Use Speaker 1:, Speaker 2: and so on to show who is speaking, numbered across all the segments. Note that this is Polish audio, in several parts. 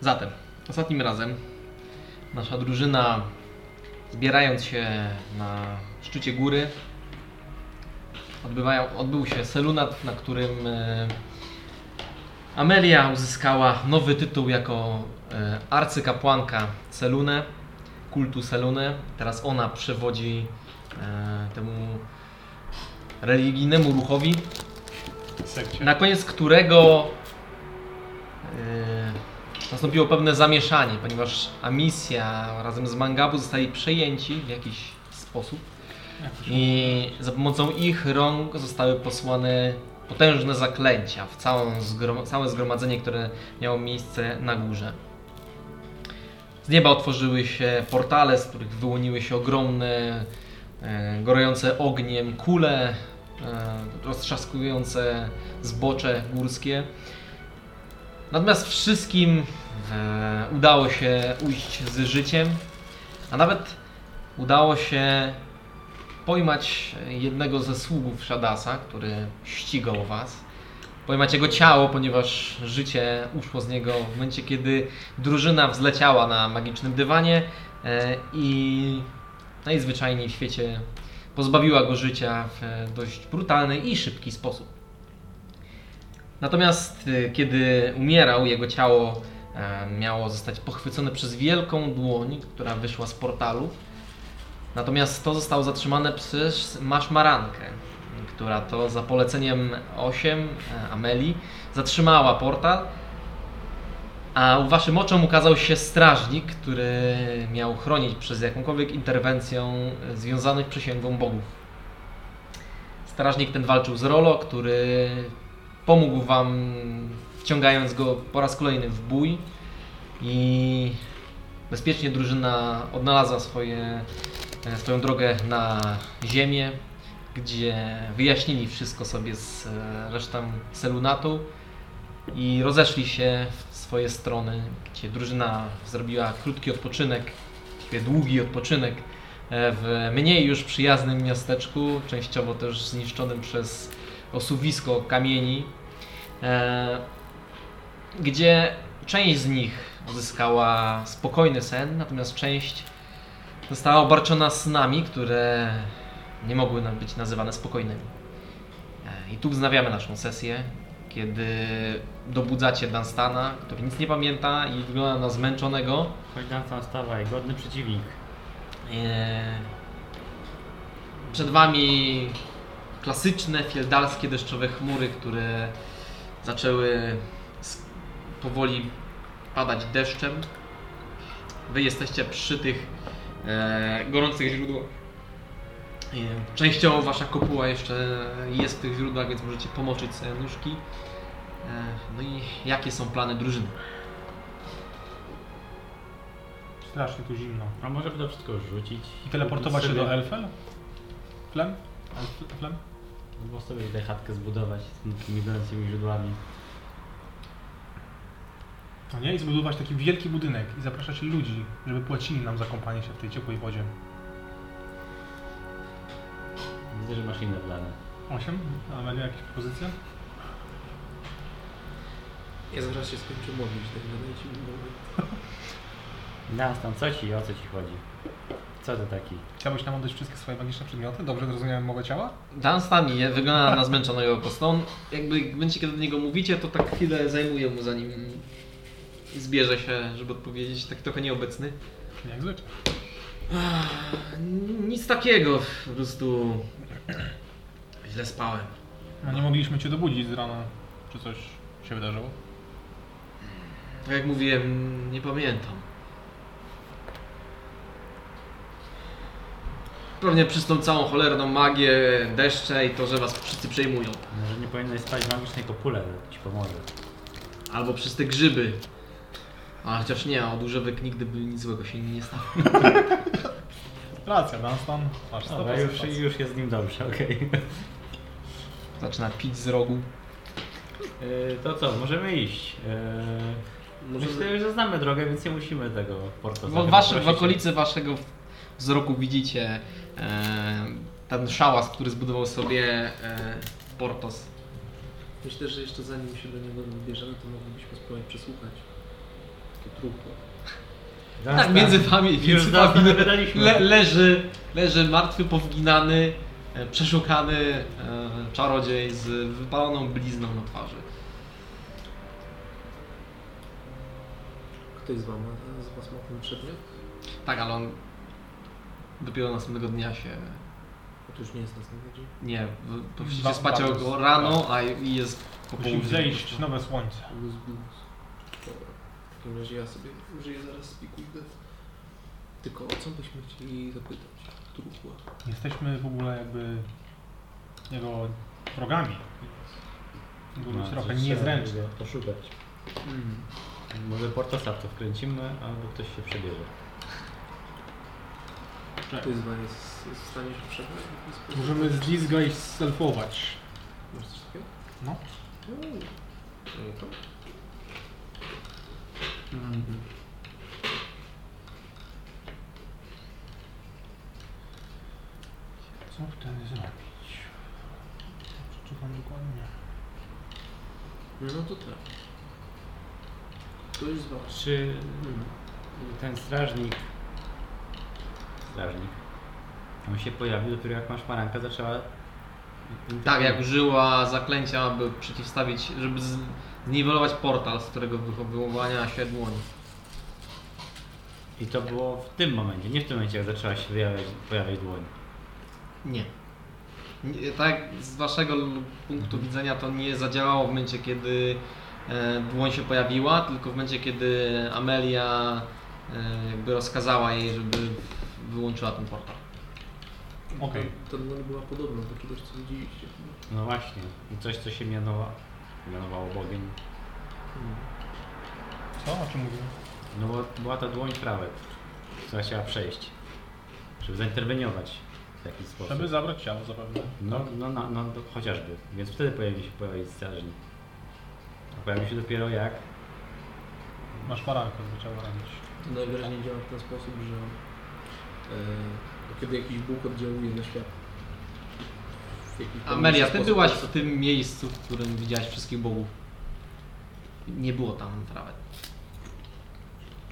Speaker 1: Zatem, ostatnim razem nasza drużyna, zbierając się na szczycie góry, odbywają, odbył się selunat, na którym e, Amelia uzyskała nowy tytuł jako e, arcykapłanka Selune, kultu Selune. Teraz ona przewodzi e, temu religijnemu ruchowi,
Speaker 2: Sekcie.
Speaker 1: na koniec którego yy, nastąpiło pewne zamieszanie, ponieważ Amisja razem z Mangabu zostali przejęci w jakiś sposób i za pomocą ich rąk zostały posłane potężne zaklęcia w całą zgrom- całe zgromadzenie, które miało miejsce na górze. Z nieba otworzyły się portale, z których wyłoniły się ogromne, e, gorące ogniem kule, e, roztrzaskujące zbocze górskie. Natomiast wszystkim e, udało się ujść z życiem, a nawet udało się pojmać jednego ze sługów Shadasa, który ścigał was. Pojmać jego ciało, ponieważ życie uszło z niego w momencie, kiedy drużyna wzleciała na magicznym dywanie e, i najzwyczajniej w świecie pozbawiła go życia w e, dość brutalny i szybki sposób. Natomiast e, kiedy umierał, jego ciało e, miało zostać pochwycone przez wielką dłoń, która wyszła z portalu. Natomiast to zostało zatrzymane przez Maszmarankę, która to za poleceniem 8 e, Ameli zatrzymała portal. A u waszym oczom ukazał się strażnik, który miał chronić przez jakąkolwiek interwencją e, związanych przysięgą bogów. Strażnik ten walczył z Rolo, który pomógł wam wciągając go po raz kolejny w bój i bezpiecznie drużyna odnalazła swoje, e, swoją drogę na ziemię, gdzie wyjaśnili wszystko sobie z e, resztą Selunatu i rozeszli się w swoje strony, gdzie drużyna zrobiła krótki odpoczynek, właściwie długi odpoczynek e, w mniej już przyjaznym miasteczku, częściowo też zniszczonym przez osuwisko kamieni, e, gdzie część z nich uzyskała spokojny sen, natomiast część została obarczona snami, które nie mogły nam być nazywane spokojnymi. E, I tu wznawiamy naszą sesję, kiedy dobudzacie Dunstana, który nic nie pamięta i wygląda na zmęczonego.
Speaker 3: Chodź Dunstan, stawaj, godny przeciwnik.
Speaker 1: E, Przed Wami klasyczne fieldalskie deszczowe chmury, które zaczęły s- powoli padać deszczem. Wy jesteście przy tych e, gorących źródłach. E, częściowo Wasza kopuła jeszcze jest w tych źródłach, więc możecie pomoczyć sobie nóżki. E, no i jakie są plany drużyny?
Speaker 2: Strasznie tu zimno.
Speaker 3: A może by to wszystko rzucić?
Speaker 2: I teleportować się
Speaker 3: Sobie-
Speaker 2: do Elfel? Flem? Elf- Flem?
Speaker 3: Albo sobie tutaj chatkę zbudować z tymi gorącymi źródłami.
Speaker 2: No nie? I zbudować taki wielki budynek i zapraszać ludzi, żeby płacili nam za kąpanie się w tej ciepłej wodzie.
Speaker 3: Widzę, że masz inne plany.
Speaker 2: Osiem? Amelia, jakieś propozycje?
Speaker 4: Ja zaraz się skończę modlić, tak dajcie mi moment.
Speaker 3: Dunstan, co ci, o co ci chodzi? Co to taki?
Speaker 2: Chciałbyś nam oddać wszystkie swoje magiczne przedmioty? Dobrze zrozumiałem mowę ciała?
Speaker 1: Dunstan je- wygląda na zmęczonego po prostu. On jakby w momencie, kiedy do niego mówicie, to tak chwilę zajmuje mu zanim zbierze się, żeby odpowiedzieć, tak trochę nieobecny.
Speaker 2: Jak zwykle.
Speaker 1: Ach, Nic takiego, po prostu źle spałem.
Speaker 2: No nie mogliśmy cię dobudzić z rana. Czy coś się wydarzyło?
Speaker 1: Tak jak mówiłem, nie pamiętam. Pewnie przez tą całą cholerną magię, deszcze i to, że was wszyscy przejmują.
Speaker 3: Może nie powinieneś spać w magicznej kopule, to ci pomoże.
Speaker 1: Albo przez te grzyby. A chociaż nie, od używek nigdy by nic złego się nie stało.
Speaker 2: Racja, Dunstan. Masz 100%
Speaker 3: Dobra, już,
Speaker 2: racji.
Speaker 3: już jest z nim dobrze, okej.
Speaker 1: Zaczyna pić z rogu.
Speaker 3: Yy, To co, możemy iść. Yy,
Speaker 4: Może-
Speaker 3: Myślę, że znamy drogę, więc nie musimy tego portu
Speaker 1: W, waszy, w okolicy waszego wzroku widzicie e, ten szałas, który zbudował sobie e, Portos.
Speaker 4: Myślę, że jeszcze zanim się do niego wybierzemy, to moglibyśmy spróbować przesłuchać. To trudno.
Speaker 1: Tak, między wami,
Speaker 3: Już
Speaker 1: między
Speaker 3: dawno
Speaker 1: wami
Speaker 3: nie
Speaker 1: le,
Speaker 3: gadaliśmy.
Speaker 1: leży, leży martwy, powginany, e, przeszukany e, czarodziej z wypaloną blizną na twarzy.
Speaker 4: Ktoś z, wam, z Was ma ten przedmiot?
Speaker 1: Tak, ale on dopiero następnego dnia się...
Speaker 4: Bo to już nie jest następny dzień.
Speaker 1: Nie, wy-
Speaker 2: Ba-
Speaker 1: powinniście spać
Speaker 2: bardzo- tak.
Speaker 1: go rano, a i jest po
Speaker 2: Musi
Speaker 1: południu.
Speaker 2: wzejść nowe słońce.
Speaker 4: Luz, blues. Dobra. W takim razie ja sobie użyję zaraz spiku idę. Tylko o co byśmy chcieli zapytać? Truchła.
Speaker 2: Jesteśmy w ogóle jakby jego wrogami. Jego
Speaker 3: No,
Speaker 2: no, trochę
Speaker 3: coś trzeba
Speaker 2: niezręczny.
Speaker 3: go Poszukać.
Speaker 1: Mm.
Speaker 3: Może Portosa w to wkręcimy, albo ktoś się przebierze.
Speaker 4: Czy Ty z Wami jest, jest w stanie się przebrać w jakiś sposób?
Speaker 2: Możemy zlizga i selfować.
Speaker 4: Masz coś takiego?
Speaker 2: No.
Speaker 4: Mm. No to
Speaker 2: Co wtedy zrobić? Przeczytam dokładnie.
Speaker 4: No to tak. To jest wasz.
Speaker 3: Czy ten strażnik... Strażnik. On się pojawił dopiero jak masz maranka zaczęła...
Speaker 1: Tak, jak użyła zaklęcia, aby przeciwstawić, żeby z- zniwelować portal, z którego wycho- wyłania się dłoń.
Speaker 3: I to było w tym momencie, nie w tym momencie jak zaczęła się pojawiać, pojawiać dłoń.
Speaker 1: Nie. Nie, Tak, z waszego l- punktu
Speaker 2: Mhm.
Speaker 1: widzenia to nie zadziałało w momencie, kiedy e, dłoń się pojawiła, tylko w momencie, kiedy Amelia e, jakby rozkazała jej, żeby wyłączyła ten portal.
Speaker 2: Okej.
Speaker 4: Ta dłoń była podobna do czegoś, co widzieliście.
Speaker 3: No właśnie, I coś co się mianowało, mianowało Bogiem.
Speaker 2: Hmm.
Speaker 4: Mm.
Speaker 2: Co? O czym mówimy?
Speaker 3: No bo była ta dłoń prawek, która chciała przejść, żeby zainterweniować w jakiś sposób.
Speaker 2: Żeby zabrać ciało zapewne.
Speaker 3: No, no, no, no do, chociażby, więc wtedy pojawił się pojawić strażnik. A pojawił się dopiero jak
Speaker 2: Masz parankę, żeby ciało ranić.
Speaker 4: To najwyraźniej działa w ten sposób, że e, kiedy jakiś Bóg oddziałuje na świat. w jakiś tam
Speaker 1: Amelia, ty
Speaker 4: sposób-
Speaker 1: byłaś w tym miejscu, w którym widziałaś wszystkich bogów. Nie było tam trawet.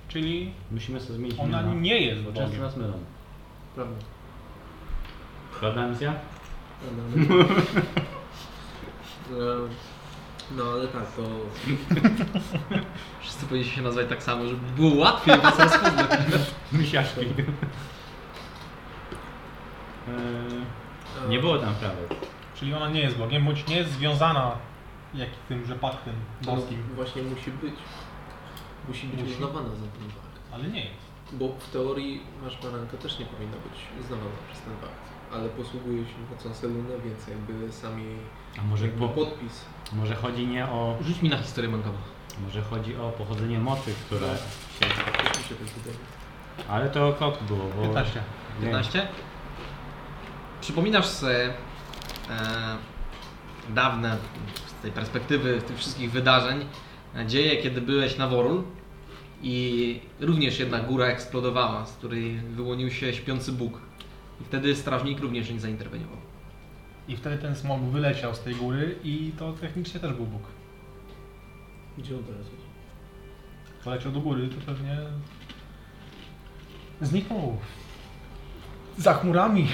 Speaker 2: Czyli
Speaker 3: musimy sobie zmienić
Speaker 2: ona
Speaker 3: imiona,
Speaker 2: nie jest
Speaker 3: bo często
Speaker 2: Bogiem.
Speaker 3: nas mylą.
Speaker 4: Prawda.
Speaker 3: Prawda misja?
Speaker 4: Prawda, Amelia? E, No ale tak, to
Speaker 1: Wszyscy powinniście się nazwać tak samo, żeby było łatwiej was rozpoznać.
Speaker 3: Misiaszki.
Speaker 4: e,
Speaker 3: nie było tam prawek.
Speaker 2: Czyli ona nie jest Bogiem, bądź nie jest związana jak tymże paktem
Speaker 4: to
Speaker 2: boskim.
Speaker 4: no, właśnie musi być. Musi być
Speaker 2: Musi?
Speaker 4: uznawana za ten fakt.
Speaker 2: Ale nie jest.
Speaker 4: Bo w teorii masz baranka też nie powinna być uznawana przez ten fakt, ale posługuje się mocą Selunę, więc jakby sami
Speaker 3: A może,
Speaker 4: jakby
Speaker 3: bo,
Speaker 4: podpis.
Speaker 3: może chodzi nie o
Speaker 1: Rzuć mi na historię bankową.
Speaker 3: Może chodzi o pochodzenie mocy, które się...
Speaker 4: Też mi się tak wydaje.
Speaker 2: No.
Speaker 3: Ale to kop było, bo...
Speaker 2: 15.
Speaker 3: Nie.
Speaker 1: 15? Przypominasz sobie e, dawne, z tej perspektywy tych wszystkich wydarzeń, e, dzieje, kiedy byłeś na Worul i również jedna góra eksplodowała, z której wyłonił się śpiący Bóg. I wtedy strażnik również nie zainterweniował.
Speaker 2: I wtedy ten smog wyleciał z tej góry i to technicznie też był Bóg.
Speaker 4: Gdzie on teraz jest?
Speaker 2: Poleciał do góry, to pewnie zniknął. Za chmurami.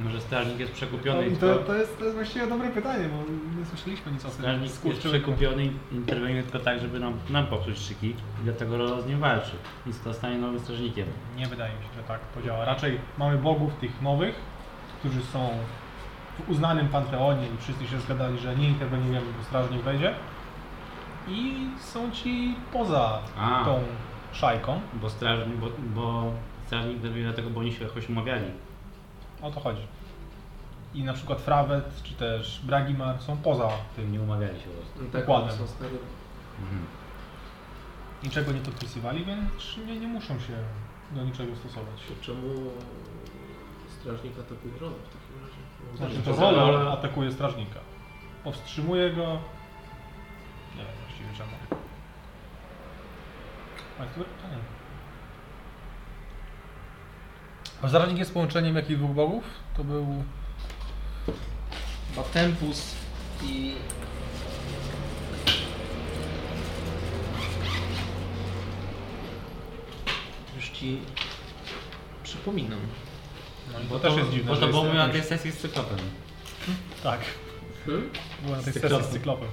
Speaker 3: Może strażnik jest
Speaker 2: To,
Speaker 3: przekupiony i
Speaker 2: No, to,
Speaker 3: tylko...
Speaker 2: jest, to jest właściwie dobre pytanie, bo nie słyszeliśmy nic o tym.
Speaker 3: Strażnik jest przekupiony i interweniuje tylko tak, żeby nam, nam popsuć szyki i dlatego Rolo z nim walczy. I zostanie nowym strażnikiem.
Speaker 2: Nie wydaje mi się, że tak to działa. Raczej mamy bogów tych nowych, którzy są w uznanym panteonie i wszyscy się zgadali, że nie interweniujemy, bo strażnik wejdzie. I są ci poza
Speaker 3: A.
Speaker 2: tą szajką.
Speaker 3: Bo strażnik, bo, bo strażnik interweniuje dlatego, bo oni się jakoś umawiali.
Speaker 2: O to chodzi. I na przykład Frawet czy też Bragimar są poza
Speaker 3: Tym nie umawiali się po prostu.
Speaker 4: No tak,
Speaker 2: Dokładnie.
Speaker 4: oni są stary.
Speaker 3: Mhm.
Speaker 2: niczego nie podpisywali, więc nie, nie muszą się do niczego stosować.
Speaker 4: To czemu strażnik atakuje rolę w takim razie? No, Bo
Speaker 2: Znaczy
Speaker 4: on
Speaker 2: to
Speaker 4: zaraz-
Speaker 2: Rolol atakuje strażnika. Powstrzymuje go. Nie wiem właściwie czemu. Ale to pytanie. A strażnik jest połączeniem jakich dwóch bogów? To był...
Speaker 1: Chyba Tempus i... ci przypominam.
Speaker 2: No i to, też jest dziwne,
Speaker 3: Bo
Speaker 2: że
Speaker 3: to było
Speaker 2: jest
Speaker 3: na
Speaker 2: jakoś-
Speaker 3: tej sesji z cyklopem.
Speaker 2: Tak,
Speaker 4: Hmm?
Speaker 2: była na tej
Speaker 3: Z
Speaker 2: sesji z
Speaker 3: cyklopem.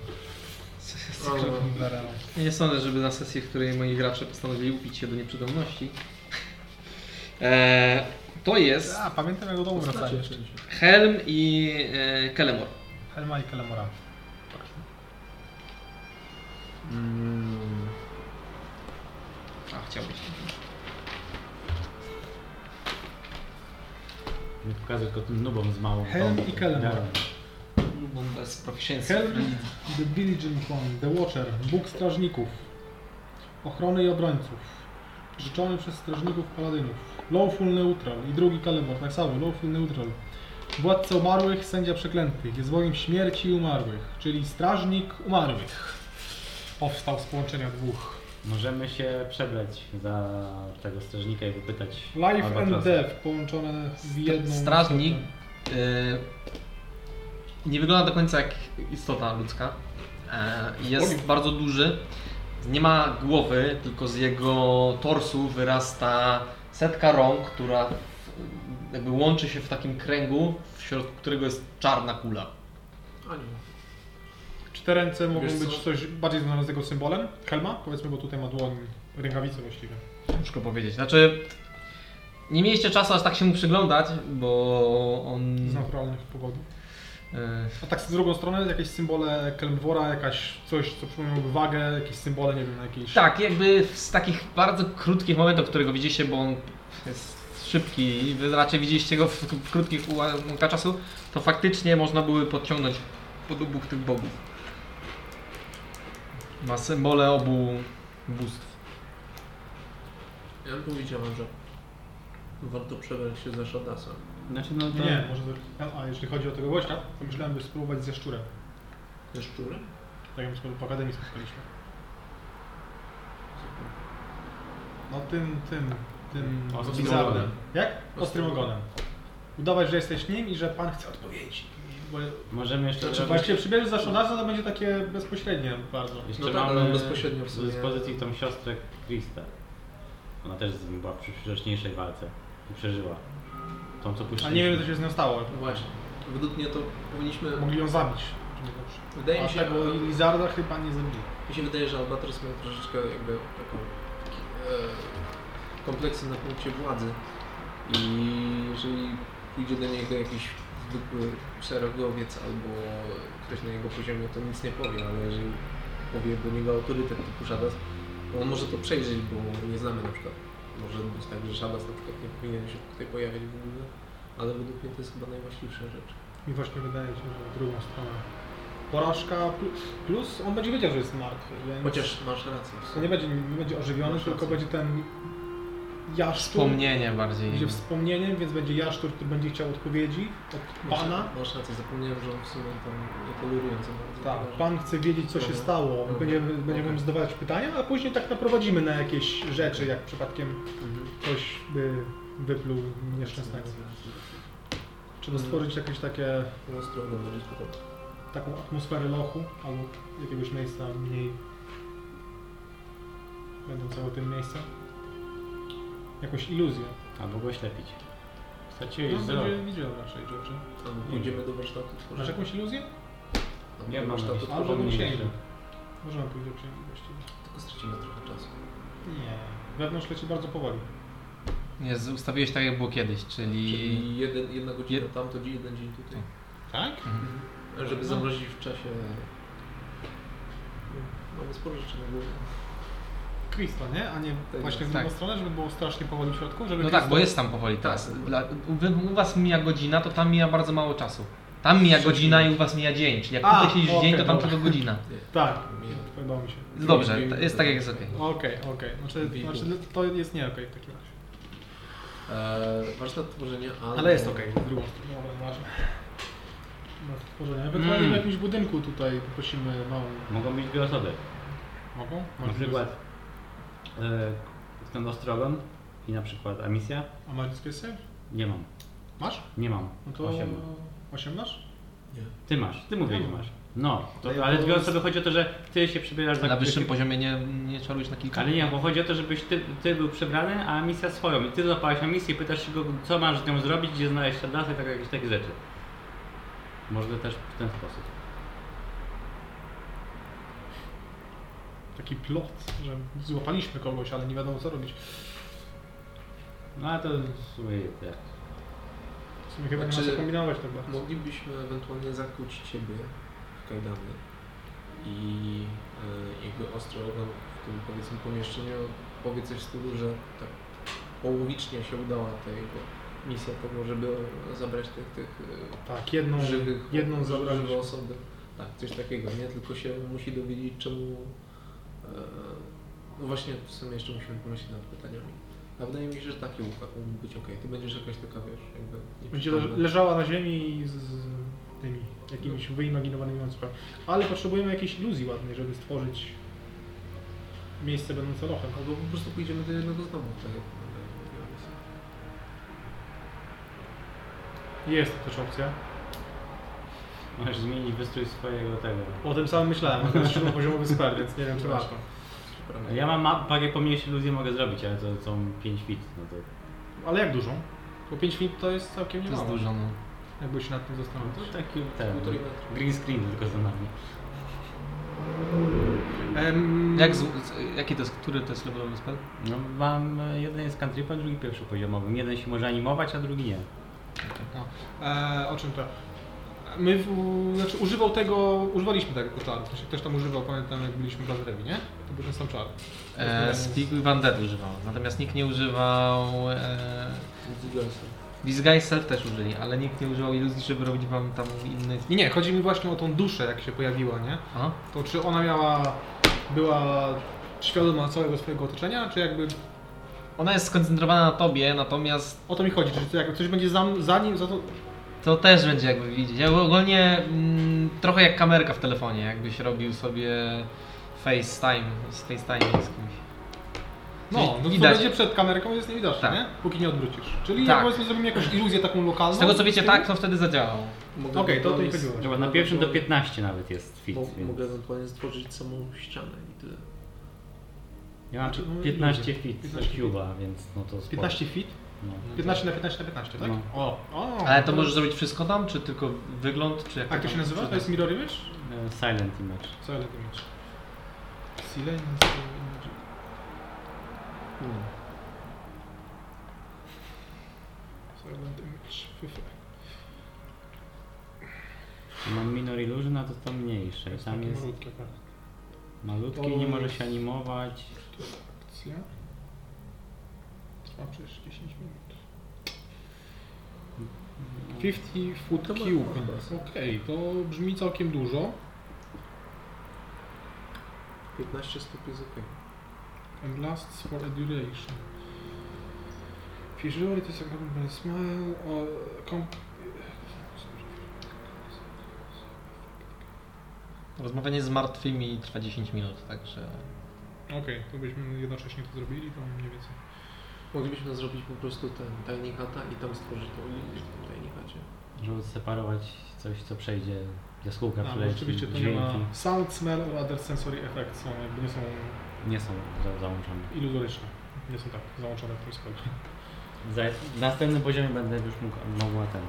Speaker 2: cyklopem. Zareal.
Speaker 1: Nie sądzę, żeby na sesji, w której moi gracze postanowili upić się do nieprzytomności. E, to jest
Speaker 2: A, pamiętam jak do domu wracali jeszcze.
Speaker 1: Helm i e, Kelemor.
Speaker 2: Helma i Kelemora.
Speaker 3: Mm,
Speaker 1: A, chciałbyś.
Speaker 3: nie pokazuję tylko tym nubom z małą.
Speaker 2: Helm
Speaker 3: tą-
Speaker 2: i Kelem.
Speaker 3: miarą.
Speaker 1: Lubą bez proficiency.
Speaker 2: Helm, The Diligent One, The Watcher, Bóg Strażników, Ochrony i Obrońców, życzony przez Strażników Paladynów, Lawful Neutral i drugi Kalemor, tak samo, Lawful Neutral, Władca Umarłych, Sędzia Przeklętych, jest bogiem śmierci i umarłych, czyli Strażnik Umarłych. Powstał z połączenia dwóch.
Speaker 3: Możemy się przebrać za tego strażnika i wypytać.
Speaker 2: Life and
Speaker 3: Albatrosa.
Speaker 2: Death połączone w jedną...
Speaker 1: Strażnik
Speaker 2: istotę.
Speaker 1: e, nie wygląda do końca jak istota ludzka. E, jest bardzo duży. Nie ma głowy, tylko z jego torsu wyrasta setka rąk, która w- jakby łączy się w takim kręgu, w środku którego jest czarna kula.
Speaker 4: Anioł.
Speaker 2: Cztery ręce mogą
Speaker 4: Wiesz co?
Speaker 2: być coś bardziej związane z jego symbolem, helma, powiedzmy, bo tutaj ma dłoń, rękawicę właściwie.
Speaker 1: Ciężko powiedzieć. Znaczy, nie mieliście czasu aż tak się mu przyglądać, bo on.
Speaker 2: Z naturalnych powodów.
Speaker 1: e,
Speaker 2: A tak z drugą stronę jakieś symbole Kelmwora, jakaś coś, co przypominałoby wagę, jakieś symbole, nie wiem, jakieś...
Speaker 1: Tak, jakby z takich bardzo krótkich momentów, którego widzieliście, bo on jest szybki i wy raczej widzieliście go w, w krótkich ułamkach czasu, to faktycznie można były podciągnąć pod obu tych bogów. Ma symbole obu bóstw.
Speaker 4: Ja bym powiedziałem, że warto przebrać się za Shadasa.
Speaker 3: Znaczy no to...
Speaker 2: Nie, nie, może... to- A jeśli chodzi o tego gościa, to myślałem, by spróbować ze szczurem.
Speaker 4: Ze szczurem?
Speaker 2: Tak jak my po akademii spotkaliśmy. No tym, tym, tym...
Speaker 3: Ostrym
Speaker 2: bizarnym.
Speaker 3: ogonem.
Speaker 2: Jak? Ostrym ogonem. Udawać, że jesteś nim i że pan chce odpowiedzi. Bo...
Speaker 3: Możemy jeszcze
Speaker 2: Znaczy,
Speaker 3: zrobić-
Speaker 2: właściwie przybierzesz za Shonasa, to będzie takie bezpośrednie bardzo.
Speaker 3: Jeszcze
Speaker 4: No tak, ale
Speaker 3: mamy
Speaker 4: bezpośrednio w
Speaker 3: w
Speaker 4: sumie.
Speaker 3: dyspozycji tą siostrę Krista. Ona też z nim była przy wcześniejszej walce i przeżyła. Tą co
Speaker 2: A
Speaker 3: puściliśmy.
Speaker 2: nie wiem, co się z nią stało.
Speaker 4: No właśnie. Według mnie to powinniśmy...
Speaker 2: Mogli ją zabić. Czy nie dobrze?
Speaker 4: Wydaje mi
Speaker 2: A
Speaker 4: się,
Speaker 2: tego Lizarda chyba nie zabili.
Speaker 4: mi się wydaje, że Albatros miał troszeczkę jakby taką e, kompleksy na punkcie władzy. I jeżeli pójdzie do niego jakiś zwykły szeregowiec albo ktoś na jego poziomie, to nic nie powie, ale jeżeli powie do niego autorytet typu Shadas, to on może to przejrzeć, bo nie znamy na przykład. Może być tak, że Shadas na przykład nie powinien się tutaj pojawiać w ogóle, ale według mnie to jest chyba najważniejsza rzecz.
Speaker 2: Mi właśnie wydaje się, że drugą stronę. Porażka plus, plus on będzie wiedział, że jest martwy. Więc
Speaker 4: Chociaż masz rację. w
Speaker 2: to
Speaker 4: sumie.
Speaker 2: nie będzie, nie będzie ożywiony,
Speaker 4: Masz
Speaker 2: tylko
Speaker 4: rację.
Speaker 2: będzie ten jaszczur.
Speaker 1: Wspomnienie bardziej.
Speaker 2: Będzie wspomnieniem, więc będzie jaszczur, który będzie chciał odpowiedzi od
Speaker 4: Masz-
Speaker 2: pana.
Speaker 4: Masz rację, zapomniałem, że on w sumie tam nie toleruje co bardzo.
Speaker 2: Tak,
Speaker 4: Chyba, że-
Speaker 2: pan chce wiedzieć, co się
Speaker 4: Dobra.
Speaker 2: stało.
Speaker 4: Dobra.
Speaker 2: Będziemy, będziemy
Speaker 4: Okej.
Speaker 2: zadawać pytania, a później tak naprowadzimy na jakieś rzeczy, jak przypadkiem
Speaker 4: Mhm.
Speaker 2: ktoś by wypluł nieszczęsnego. Trzeba stworzyć jakieś takie
Speaker 4: No stronę może być potem.
Speaker 2: taką atmosferę lochu albo jakiegoś miejsca mniej będącego tym miejscem. Jakąś iluzję.
Speaker 3: Albo go ślepić. Straciłeś
Speaker 2: No,
Speaker 3: wzrok.
Speaker 2: będzie widział raczej rzeczy.
Speaker 4: Albo pójdziemy do warsztatu tworzyć.
Speaker 2: Masz jakąś iluzję?
Speaker 4: Albo
Speaker 3: Nie,
Speaker 4: do
Speaker 3: mam
Speaker 4: warsztatu
Speaker 3: jakieś-
Speaker 4: tworzyć.
Speaker 2: Albo do
Speaker 3: mniejsze.
Speaker 2: księgi. Możemy pójść do księgi właściwie.
Speaker 4: Tylko stracimy trochę czasu.
Speaker 2: Nie. Wewnątrz leci bardzo powoli.
Speaker 1: Jest, ustawiłeś tak jak było kiedyś, czyli.
Speaker 4: Czyli jeden, jedna godzina
Speaker 1: Jed-
Speaker 4: tam, to dzień, jeden dzień tutaj.
Speaker 2: Tak?
Speaker 1: Mhm.
Speaker 4: Żeby
Speaker 2: No.
Speaker 4: zamrozić w czasie... No, Mamy sporo rzeczy na głowie.
Speaker 2: Krista, nie? A nie
Speaker 4: Tak,
Speaker 2: właśnie z
Speaker 1: tak.
Speaker 2: drugą stronę, żeby było strasznie powoli w środku, żeby
Speaker 1: No
Speaker 2: Krista-
Speaker 1: tak, bo jest tam powoli teraz.
Speaker 4: Tak.
Speaker 1: Dla, u, wy, u was mija godzina, to tam mija bardzo mało czasu. Tam mija godzina i u was mija dzień. Czyli jak
Speaker 2: A,
Speaker 1: tutaj siedzisz dzień, to
Speaker 2: okej,
Speaker 1: tam
Speaker 2: dobra.
Speaker 1: tylko godzina.
Speaker 2: Tak,
Speaker 4: Mija.
Speaker 2: podobało mi się.
Speaker 1: Dobrze,
Speaker 4: Drugi-
Speaker 1: to jest tak jak jest okej.
Speaker 2: Okej, okej. Znaczy,
Speaker 4: Bigu.
Speaker 2: znaczy to jest nie okej w takim razie.
Speaker 4: Eee, warsztat tworzenia, ale...
Speaker 2: z drugą stroną. Dobra, ważne. Na stworzenie. Ewentualnie w jakimś budynku tutaj poprosimy małą...
Speaker 3: Mogą być dwie osoby.
Speaker 2: Mogą?
Speaker 3: Na przykład e, ten ostrogon i na przykład emisja.
Speaker 2: A masz dyskusję?
Speaker 3: Nie mam.
Speaker 2: Masz?
Speaker 3: Nie mam.
Speaker 2: No to...
Speaker 3: Osiem.
Speaker 2: Osiem masz?
Speaker 4: Nie.
Speaker 3: Ty masz. Ty mówisz,
Speaker 2: Ja
Speaker 3: że
Speaker 2: mam.
Speaker 3: masz. No,
Speaker 2: Ale
Speaker 3: to, ale
Speaker 2: to jest-
Speaker 3: biorąc sobie chodzi o to, że ty się przebierasz za
Speaker 1: Na wyższym poziomie nie, nie czarujesz na kilka.
Speaker 3: Tak, Ale nie, bo chodzi o to, żebyś ty, ty był przebrany, a misja swoją. I ty zapałeś na misję i pytasz się go, co masz z nią zrobić, gdzie znaleźć się i tak, jakieś takie rzeczy. Może też w ten sposób.
Speaker 2: Taki plot, że złapaliśmy kogoś, ale nie wiadomo co robić.
Speaker 3: No ale to w sumie tak.
Speaker 2: W sumie chyba nie
Speaker 4: Znaczy-
Speaker 2: ma co kombinować tak bardzo.
Speaker 4: Moglibyśmy ewentualnie zakuć ciebie w kajdany i e, jakby ostro nam w tym powiedzmy pomieszczeniu powie coś z tyłu, że tak połowicznie się udała ta jego misja tego, żeby zabrać tych, tych
Speaker 2: Tak, jedną,
Speaker 4: e, żywych
Speaker 2: jedną
Speaker 4: żywą
Speaker 2: zabraliśmy.
Speaker 4: osobę. Tak, coś takiego, nie? Tylko się musi dowiedzieć czemu... E, no właśnie w sumie jeszcze musimy pomyśleć nad pytaniami. A wydaje mi się, że takie mógł być okej. Ty będziesz jakaś taka, wiesz, jakby...
Speaker 2: Będzie
Speaker 4: nieprzytomna.
Speaker 2: leż- leżała na ziemi z, z tymi jakimiś wyimaginowanymi łańcuchami. Ale potrzebujemy jakiejś iluzji ładnej, żeby stworzyć miejsce będące lochem.
Speaker 4: Albo po prostu pójdziemy do jednego z domów, tak jak mówiłem.
Speaker 2: Jest też opcja.
Speaker 3: Możesz zmienić wystrój swojego tego.
Speaker 2: O tym samym myślałem, to jest siódmopoziomowy spell, więc nie wiem czy warto.
Speaker 4: Prawda.
Speaker 3: Ja mam ma- parę pomniejszych iluzji mogę zrobić, ale to są 5 fit, no to
Speaker 2: Ale jak dużą? Bo 5 minut to jest całkiem
Speaker 1: To jest
Speaker 2: niemało.
Speaker 1: dużo, no.
Speaker 2: Jakbyś się nad tym zastanowił.
Speaker 3: To taki ten.
Speaker 4: No, Półtorej metra.
Speaker 3: Green screen tylko za nami.
Speaker 2: Em,
Speaker 1: Jak z, z, jaki to jest, który to jest levelowy spell?
Speaker 3: No mam e, jeden jest countrypem, drugi pierwszopoziomowym. Jeden się może animować, a drugi nie.
Speaker 2: No. E, o czym to? My, w, znaczy używał tego, używaliśmy tego czaru. Ktoś, ktoś tam używał, pamiętam jak byliśmy w Lazarewi, nie? To był ten sam czar.
Speaker 1: E, Speak with Undead używał, natomiast nikt nie używał... E,
Speaker 4: Zgadzam.
Speaker 1: Disguise Self też użyli, ale nikt nie używał iluzji, żeby robić wam tam inny...
Speaker 2: Nie, nie, chodzi mi właśnie o tą duszę, jak się pojawiła, nie?
Speaker 1: O?
Speaker 2: To czy ona miała, była świadoma całego swojego otoczenia, czy jakby,
Speaker 1: Ona jest skoncentrowana na tobie, natomiast
Speaker 2: o to mi chodzi, czy to jak coś będzie za, za nim, za to...
Speaker 1: To też będzie jakby widzieć. Ja ogólnie mm, trochę jak kamerka w telefonie, jakbyś robił sobie FaceTime z FaceTime z kimś.
Speaker 2: No, no
Speaker 1: Widać.
Speaker 2: co będzie przed kamerką jest niewidoczne,
Speaker 1: Tak.
Speaker 2: nie? Póki nie odwrócisz. Czyli
Speaker 1: Tak.
Speaker 2: tak. powiedzmy zrobimy jakąś iluzję taką lokalną.
Speaker 1: Z tego co wiecie,
Speaker 2: tym?
Speaker 1: tak, to wtedy zadziałało.
Speaker 4: Mogę
Speaker 2: Okej, to o to mi
Speaker 4: ewentualnie
Speaker 2: chodziło.
Speaker 4: z-
Speaker 3: Dobra, na pierwszym do 15 nawet jest fit.
Speaker 4: mo-
Speaker 3: więc-
Speaker 4: Mogę ewentualnie stworzyć samą ścianę i tyle.
Speaker 3: Ja mam
Speaker 2: Znaczy, no,
Speaker 3: 15
Speaker 2: ludzie.
Speaker 3: fit
Speaker 2: 15
Speaker 3: z Cuba, więc no to spoko.
Speaker 2: 15 feet?
Speaker 3: No.
Speaker 2: 15 na 15 na 15, tak?
Speaker 3: No.
Speaker 2: O, o.
Speaker 1: Ale to możesz zrobić wszystko tam, czy tylko wygląd, czy jak
Speaker 2: A jak to się
Speaker 1: tam-
Speaker 2: nazywa? To jest Mirror Image?
Speaker 3: E, Silent image.
Speaker 2: Co ale to image? Silence Image.
Speaker 4: Hmm.
Speaker 2: Silent Image. Fyfy.
Speaker 3: Mam minor illusion, a to to mniejsze. I
Speaker 2: Jest
Speaker 3: tam
Speaker 2: takie
Speaker 3: jest
Speaker 2: malutkie, tak.
Speaker 3: malutki, nie może się animować.
Speaker 2: Akcja. Trwa przez 10 minut. 50 foot
Speaker 4: To ma-
Speaker 2: cube. Okej, to brzmi całkiem dużo.
Speaker 4: 15 stóp jest okej.
Speaker 2: and lasts for a duration. If usually it is accompanied by a smile or com-
Speaker 1: Rozmawianie z martwymi trwa 10 minut, także...
Speaker 2: Okej, to byśmy jednocześnie to zrobili, to mniej więcej.
Speaker 4: Moglibyśmy zrobić po prostu ten tajnik hata i tam stworzyć tą linię w tym tajnik hacie.
Speaker 3: Żeby separować coś, co przejdzie. Jaskółka
Speaker 2: A, Tak, bo
Speaker 3: przyleci,
Speaker 2: rzeczywiście No, to nie
Speaker 3: dźwięki.
Speaker 2: ma... Sound, smell or other sensory effects są jakby nie są
Speaker 3: Nie są za- załączone.
Speaker 2: iluzoryczne. Nie są tak załączone w tym spelu.
Speaker 3: Za, w następnym poziomie będę już mógł, mogła ten,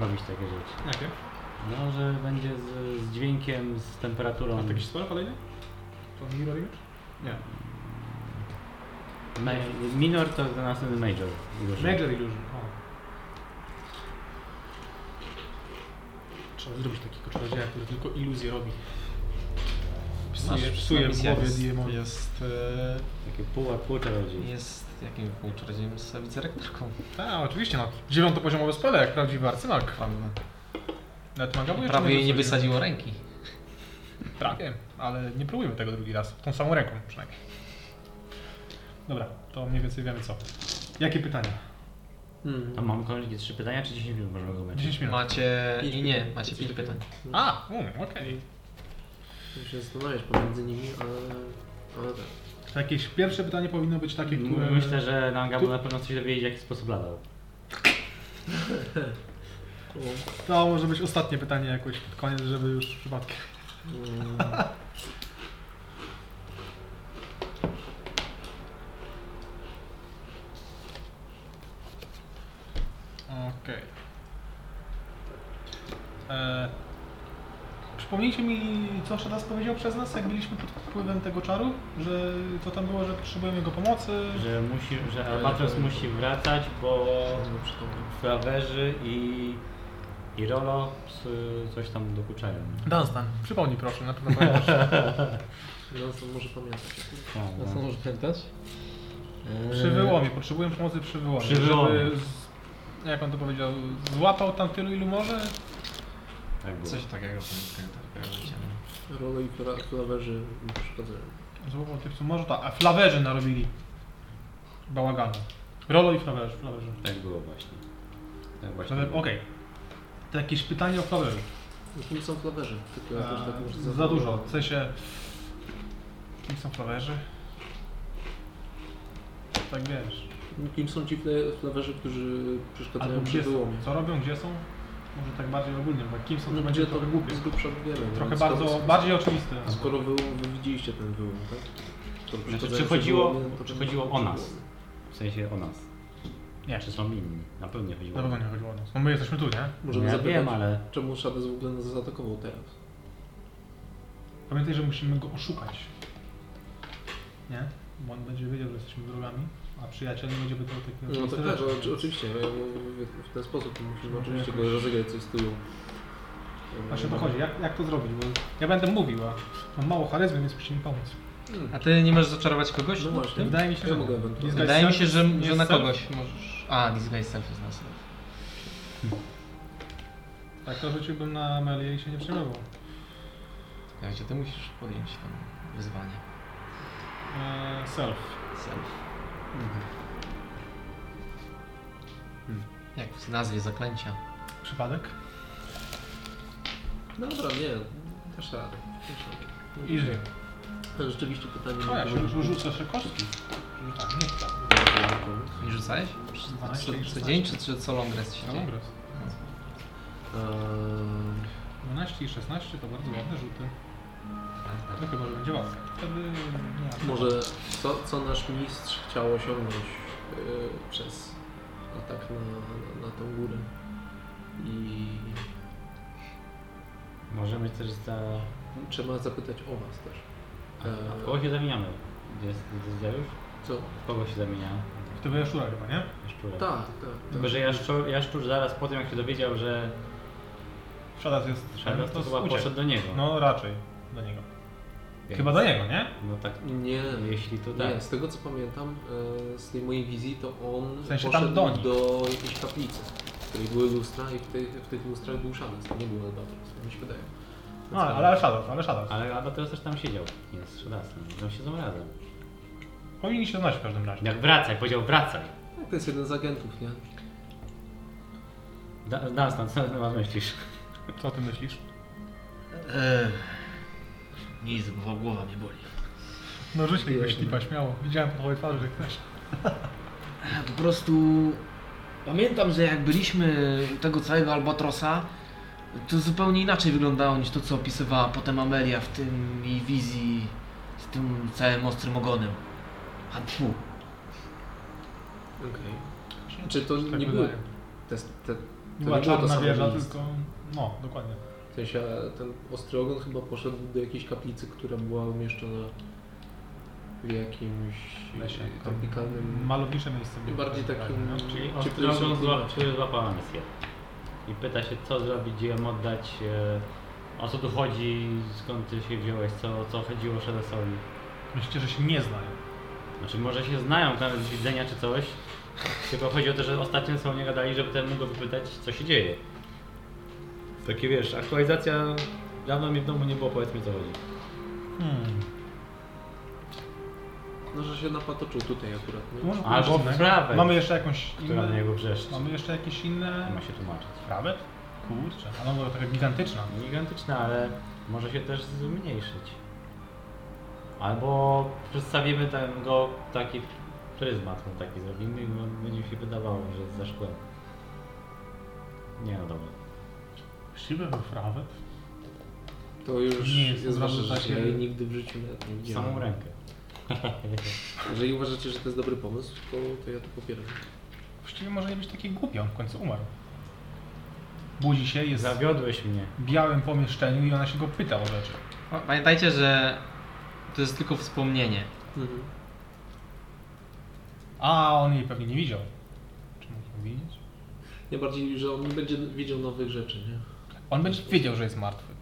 Speaker 3: robić takie rzeczy.
Speaker 2: Jakie?
Speaker 3: No, że będzie z, z dźwiękiem, z temperaturą.
Speaker 2: A taki spell kolejny? To Mirror Image? Nie.
Speaker 3: Ma, minor to ten następny major. Illusion.
Speaker 2: Major Illusion. O. Trzeba zrobić takiego czarodzieja, który tylko iluzję robi.
Speaker 1: Masz-
Speaker 2: Psuje, psuje w
Speaker 1: misja
Speaker 2: głowie
Speaker 1: jest-
Speaker 2: Diemon.
Speaker 1: Jest... e,
Speaker 3: Takie pół, pół czarodziej.
Speaker 1: Jest jakim półczarodziejem? Jest wicerektorką.
Speaker 2: Tak, oczywiście no. Dziewiątopoziomowy spell, jak prawdziwy arcynak. Nawet manga mówię, czy
Speaker 1: Prawie jej nie
Speaker 2: wysadził?
Speaker 1: wysadziło ręki.
Speaker 2: Prawie, Tak, ale nie próbujmy tego drugi raz. Tą samą ręką przynajmniej. Dobra, to mniej więcej wiemy co. Jakie pytania?
Speaker 4: Hmm.
Speaker 3: A mam kolejne trzy pytania, czy 10 minut możemy go mieć?
Speaker 2: 10 minut.
Speaker 1: Macie...
Speaker 4: Pięć
Speaker 1: I nie,
Speaker 4: pytań.
Speaker 1: macie
Speaker 4: Coś
Speaker 1: 5
Speaker 4: takiego.
Speaker 1: pytań.
Speaker 4: No.
Speaker 2: A, um, okej.
Speaker 4: Ty się zastanawiasz pomiędzy nimi, ale... Ale tak.
Speaker 2: To Jakieś pierwsze pytanie powinno być takie,
Speaker 3: Mm.
Speaker 2: które...
Speaker 3: Myślę, że Nanga na pewno chce się dowiedzieć, w jaki sposób ladał.
Speaker 2: To może być ostatnie pytanie jakoś pod koniec, żeby już przypadkiem.
Speaker 4: mm,
Speaker 2: Okej. E, Przypomnijcie mi, co Szadas powiedział przez nas, jak byliśmy pod wpływem tego czaru, że co tam było, że potrzebujemy jego pomocy.
Speaker 3: Że, musi, że Albatros musi wracać, bo frawerzy i, i Rolo psy coś tam dokuczają.
Speaker 2: Dunstan. Przypomnij proszę, na pewno pamiętasz.
Speaker 3: E,
Speaker 4: Johnson może pamiętać.
Speaker 3: No,
Speaker 1: Na co może pamiętać?
Speaker 4: E,
Speaker 2: Przy wyłomie, potrzebuję pomocy przy wyłomie.
Speaker 3: Przy wyłomie.
Speaker 2: Żeby z, jak on to powiedział, złapał tam tylu ilu może?
Speaker 3: tak było.
Speaker 1: Coś takiego
Speaker 2: tak,
Speaker 1: pamiętam.
Speaker 4: Rolo i kla- klawerzy mi przeszkadzają.
Speaker 2: Złapał tych co może, tak. A flawerzy narobili bałaganu. Rolo i flawerzy. flawerzy.
Speaker 3: Tak było właśnie. Tak właśnie.
Speaker 2: Flawe- Okej.
Speaker 3: było.
Speaker 2: To jakieś pytanie o flawerzy.
Speaker 4: No kim są klawerzy? Tylko ja też tak
Speaker 2: Eee,
Speaker 4: muszę
Speaker 2: za, dużo. W sensie... Kim są flawerzy? Tak wiesz.
Speaker 4: Kim są ci fle- flawerzy, którzy
Speaker 2: Albo
Speaker 4: przeszkadzają przy
Speaker 2: gdzie są?
Speaker 4: wyłomie?
Speaker 2: Co robią? Gdzie są? Może tak bardziej ogólnie, bo kim są, to
Speaker 4: No
Speaker 2: będzie
Speaker 4: gdzie to
Speaker 2: trochę głupie.
Speaker 4: z grubsza wiemy.
Speaker 2: Trochę
Speaker 4: więc skoro-
Speaker 2: bardzo, bardziej oczywiste.
Speaker 4: Skoro wy, wy widzieliście ten wyłom, tak? To przeszkadzają przy
Speaker 3: Znaczy, przychodziło-
Speaker 4: wyłomie, to
Speaker 3: przychodziło
Speaker 4: czemu-
Speaker 3: o nas. W sensie o nas.
Speaker 2: Nie.
Speaker 3: Czy są inni? Na pewno nie chodziło
Speaker 2: Na pewno nie chodziło o nas. No my jesteśmy tu, nie?
Speaker 4: Możemy
Speaker 3: ja
Speaker 4: zapytać,
Speaker 3: wiem, ale
Speaker 4: czemu Shadows w ogóle nas zaatakował teraz?
Speaker 2: Pamiętaj, że musimy go oszukać. Nie? Bo on będzie wiedział, że jesteśmy wrogami, a przyjaciel nie będzie pytał takiego.
Speaker 4: No to tak, oczy- oczywiście, no, w- w ten sposób musimy
Speaker 2: No,
Speaker 4: oczywiście
Speaker 2: jakoś-
Speaker 4: go rozegrać coś z tyłu.
Speaker 2: Właśnie o to chodzi, jak, jak to zrobić, bo ja będę mówił, a mam mało charyzmy, więc musi mi pomóc.
Speaker 4: Hmm.
Speaker 1: A ty nie możesz zaczarować kogoś?
Speaker 4: No właśnie.
Speaker 2: Wydaje mi się,
Speaker 4: Ja
Speaker 2: że...
Speaker 4: mogę ewentualnie.
Speaker 2: Disguise
Speaker 1: Wydaje mi się,
Speaker 2: self
Speaker 1: że,
Speaker 2: nie
Speaker 1: że na
Speaker 2: jest self.
Speaker 1: kogoś możesz. A, disguise self jest na self.
Speaker 2: Tak, to rzuciłbym na Amelię i się nie przejmował.
Speaker 1: Ja gdzie ty musisz podjąć tam wyzwanie.
Speaker 2: Eee, self.
Speaker 1: Self. Jak w nazwie zaklęcia.
Speaker 2: Przypadek?
Speaker 4: No Dobra, nie, też radę. Też radę. No,
Speaker 2: Easy.
Speaker 4: To rzeczywiście pytanie...
Speaker 2: O, ja się
Speaker 4: mogę-
Speaker 2: już rzucę sobie kostki. Rzucam, nie chcę.
Speaker 1: Nie rzucałeś? Przy,
Speaker 2: Dwanaście
Speaker 1: co, co
Speaker 2: i szesnaście. No
Speaker 1: dzień czy, czy co long rest się
Speaker 2: Ja
Speaker 1: dzieje?
Speaker 2: mam raz.
Speaker 4: Eee,
Speaker 2: 12 i 16 to bardzo ładne rzuty.
Speaker 1: Tak,
Speaker 2: No chyba, że będzie walka. Wtedy... Nie,
Speaker 4: Może co, co nasz mistrz chciał osiągnąć e, przez atak na, na, na tą górę. I
Speaker 3: możemy też za...
Speaker 4: trzeba zapytać o was też.
Speaker 3: A, a w kogo się zamieniamy? Gdzie jest Dezdiariusz?
Speaker 4: Co?
Speaker 3: W kogo się zamienia
Speaker 2: To była szura chyba, nie?
Speaker 3: Jaszczura?
Speaker 4: Tak, tak.
Speaker 3: Tylko,
Speaker 4: tak.
Speaker 3: że Jaszczur, Jaszczur zaraz po tym, jak się dowiedział, że
Speaker 2: Szadas jest...
Speaker 3: Shadow, to chyba
Speaker 2: No uciekł.
Speaker 3: poszedł do niego.
Speaker 2: No raczej do niego.
Speaker 3: Więc-
Speaker 2: Chyba do niego, nie?
Speaker 3: No tak,
Speaker 4: Nie,
Speaker 3: jeśli to tak.
Speaker 4: nie, z tego co pamiętam, e, z tej mojej wizji, to on
Speaker 2: W sensie tam
Speaker 4: poszedł
Speaker 2: do nich.
Speaker 4: do jakiejś kaplicy, w której były lustra i w, tej, w tych lustrach był szanec, to nie był Albatros, tak mi się wydaje.
Speaker 2: No, ale, ale Shadows, ale Shadows.
Speaker 3: Ale Albatros też tam siedział. Nie, z Shadasem. No siedzą razem.
Speaker 2: Powinni się znać w każdym razie.
Speaker 3: Jak wracaj, powiedział wracaj.
Speaker 4: Tak, to jest jeden z agentów, nie?
Speaker 3: Da- Dunstan, co ty masz myślisz?
Speaker 2: Co o tym myślisz?
Speaker 5: Eee, nic, bo głowa mnie boli.
Speaker 2: No rzuć jakiegoś tipa, śmiało. Widziałem po twojej twarzy, że chcesz.
Speaker 5: Ja po prostu pamiętam, że jak byliśmy u tego całego albatrosa, to zupełnie inaczej wyglądało niż to, co opisywała potem Amelia w tym jej wizji z tym całym ostrym ogonem. A tfu.
Speaker 4: Okej. Czy to nie
Speaker 2: Tak wydaje.
Speaker 4: były te, te,
Speaker 2: Była
Speaker 4: nie było to
Speaker 2: czarna
Speaker 4: samo
Speaker 2: wieża,
Speaker 4: miejsce.
Speaker 2: tylko... No, dokładnie.
Speaker 4: W sensie ten ostry ogon chyba poszedł do jakiejś kaplicy, która była umieszczona w jakimś
Speaker 2: Lesie.
Speaker 4: e, tropikalnym...
Speaker 2: Malownicze miejsce. Tak.
Speaker 4: I
Speaker 2: było.
Speaker 4: bardziej takim...
Speaker 3: Czyli
Speaker 4: czy któryś
Speaker 3: ostrogon
Speaker 4: od-
Speaker 3: zła- który złapała misję. I pyta się, co zrobić, gdzie ją oddać, e, o co tu chodzi, skąd ty się wziąłeś, co, co chodziło Shadosowi.
Speaker 2: Myślicie, że się nie znają.
Speaker 3: Znaczy może się znają tam z widzenia czy coś, tylko chodzi o to, że ostatnio są nie gadali, żeby ten mógł go wypytać, co się dzieje. Takie wiesz, aktualizacja dawno mi w domu nie było, powiedzmy co chodzi.
Speaker 2: Hmm.
Speaker 4: No, że się napatoczył tutaj akurat, nie?
Speaker 2: Może
Speaker 3: Albo
Speaker 2: pójdziemy.
Speaker 3: prawe.
Speaker 2: Mamy jeszcze jakąś
Speaker 3: Która na
Speaker 2: inne...
Speaker 3: niego wrzeszczy.
Speaker 2: Mamy jeszcze jakieś
Speaker 3: Nie
Speaker 2: inne...
Speaker 3: ma się tłumaczyć.
Speaker 2: Prawe? Kurczę, a no bo taka gigantyczna.
Speaker 3: Gigantyczna, ale może się też zmniejszyć. Albo przedstawimy ten go taki pryzmat, no taki zrobimy i on będzie się wydawało, że jest za szkłem. Nie no dobra.
Speaker 2: Krzywę we frawę?
Speaker 4: To już
Speaker 2: Nie,
Speaker 4: jest
Speaker 2: są
Speaker 4: wasze
Speaker 2: takie-
Speaker 4: życie. Ja jej nigdy w życiu nawet nie widziałem.
Speaker 3: Samą rękę.
Speaker 4: Jeżeli uważacie, że to jest dobry pomysł, to, to ja to popieram.
Speaker 2: Właściwie może nie być taki głupi, on w końcu umarł. Budzi się, jest
Speaker 3: Zawiodłeś mnie.
Speaker 2: w białym pomieszczeniu i ona się go pyta o rzeczy.
Speaker 1: Pa- Pamiętajcie, że to jest tylko wspomnienie.
Speaker 4: Mhm.
Speaker 2: A on jej pewnie nie widział. Czy mógł ją widzieć?
Speaker 4: Nie bardziej, że on nie będzie widział nowych rzeczy, nie?
Speaker 2: On będzie wiedział, że jest martwy.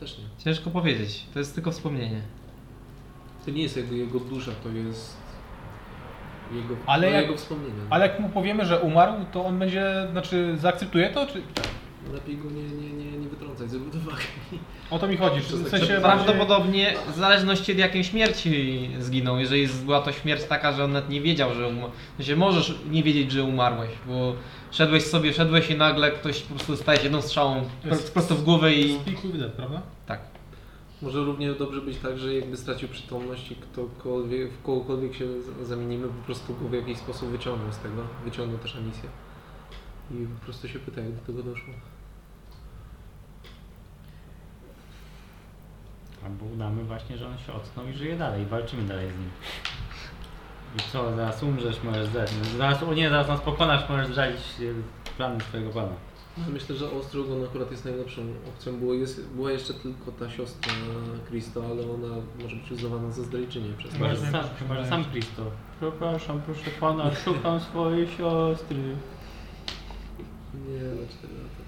Speaker 4: Też nie.
Speaker 1: Ciężko powiedzieć, to jest tylko wspomnienie.
Speaker 4: To nie jest jakby jego dusza, to jest jego,
Speaker 2: Ale
Speaker 4: no,
Speaker 2: jak-
Speaker 4: jego wspomnienie.
Speaker 2: Ale jak mu powiemy, że umarł, to on będzie, znaczy zaakceptuje to, czy...
Speaker 4: Lepiej go nie, nie, nie, nie wytrącać z jego uwagi.
Speaker 2: O to mi chodzi, czy w sensie...
Speaker 1: Prawdopodobnie w zależności od jakiej śmierci zginął. Jeżeli z- była to śmierć taka, że on nawet nie wiedział, że umarł. Znaczy, możesz nie wiedzieć, że umarłeś, bo szedłeś sobie, szedłeś i nagle ktoś po prostu staje się jedną strzałą pro- prosto w głowę i.
Speaker 2: Speak with death, prawda?
Speaker 1: Tak.
Speaker 4: Może równie dobrze być tak, że jakby stracił przytomność i ktokolwiek, w kogokolwiek się z- zamienimy, po prostu go w jakiś sposób wyciągnął z tego. Wyciągnął też Anisję. I po prostu się pyta, jak do tego doszło.
Speaker 3: Albo udamy właśnie, że on się ocknął i żyje dalej. Walczymy dalej z nim. I co, zaraz umrzesz, możesz zdać. Zaraz, o nie, zaraz nas pokonasz, możesz zdradzić e, plany swojego pana.
Speaker 4: No, Myślę, że Ostrogon akurat jest najlepszą opcją. Było, jest, była jeszcze tylko ta siostra Kristo, ale ona może być uznawana za zdrajczynię przez
Speaker 3: Chyba, że
Speaker 2: Może
Speaker 3: sam,
Speaker 2: jakoś
Speaker 3: chyba, że
Speaker 2: udaje
Speaker 3: sam
Speaker 2: się.
Speaker 3: Kristo. Przepraszam, proszę pana, szukam swojej siostry.
Speaker 4: Nie, na 4 lata.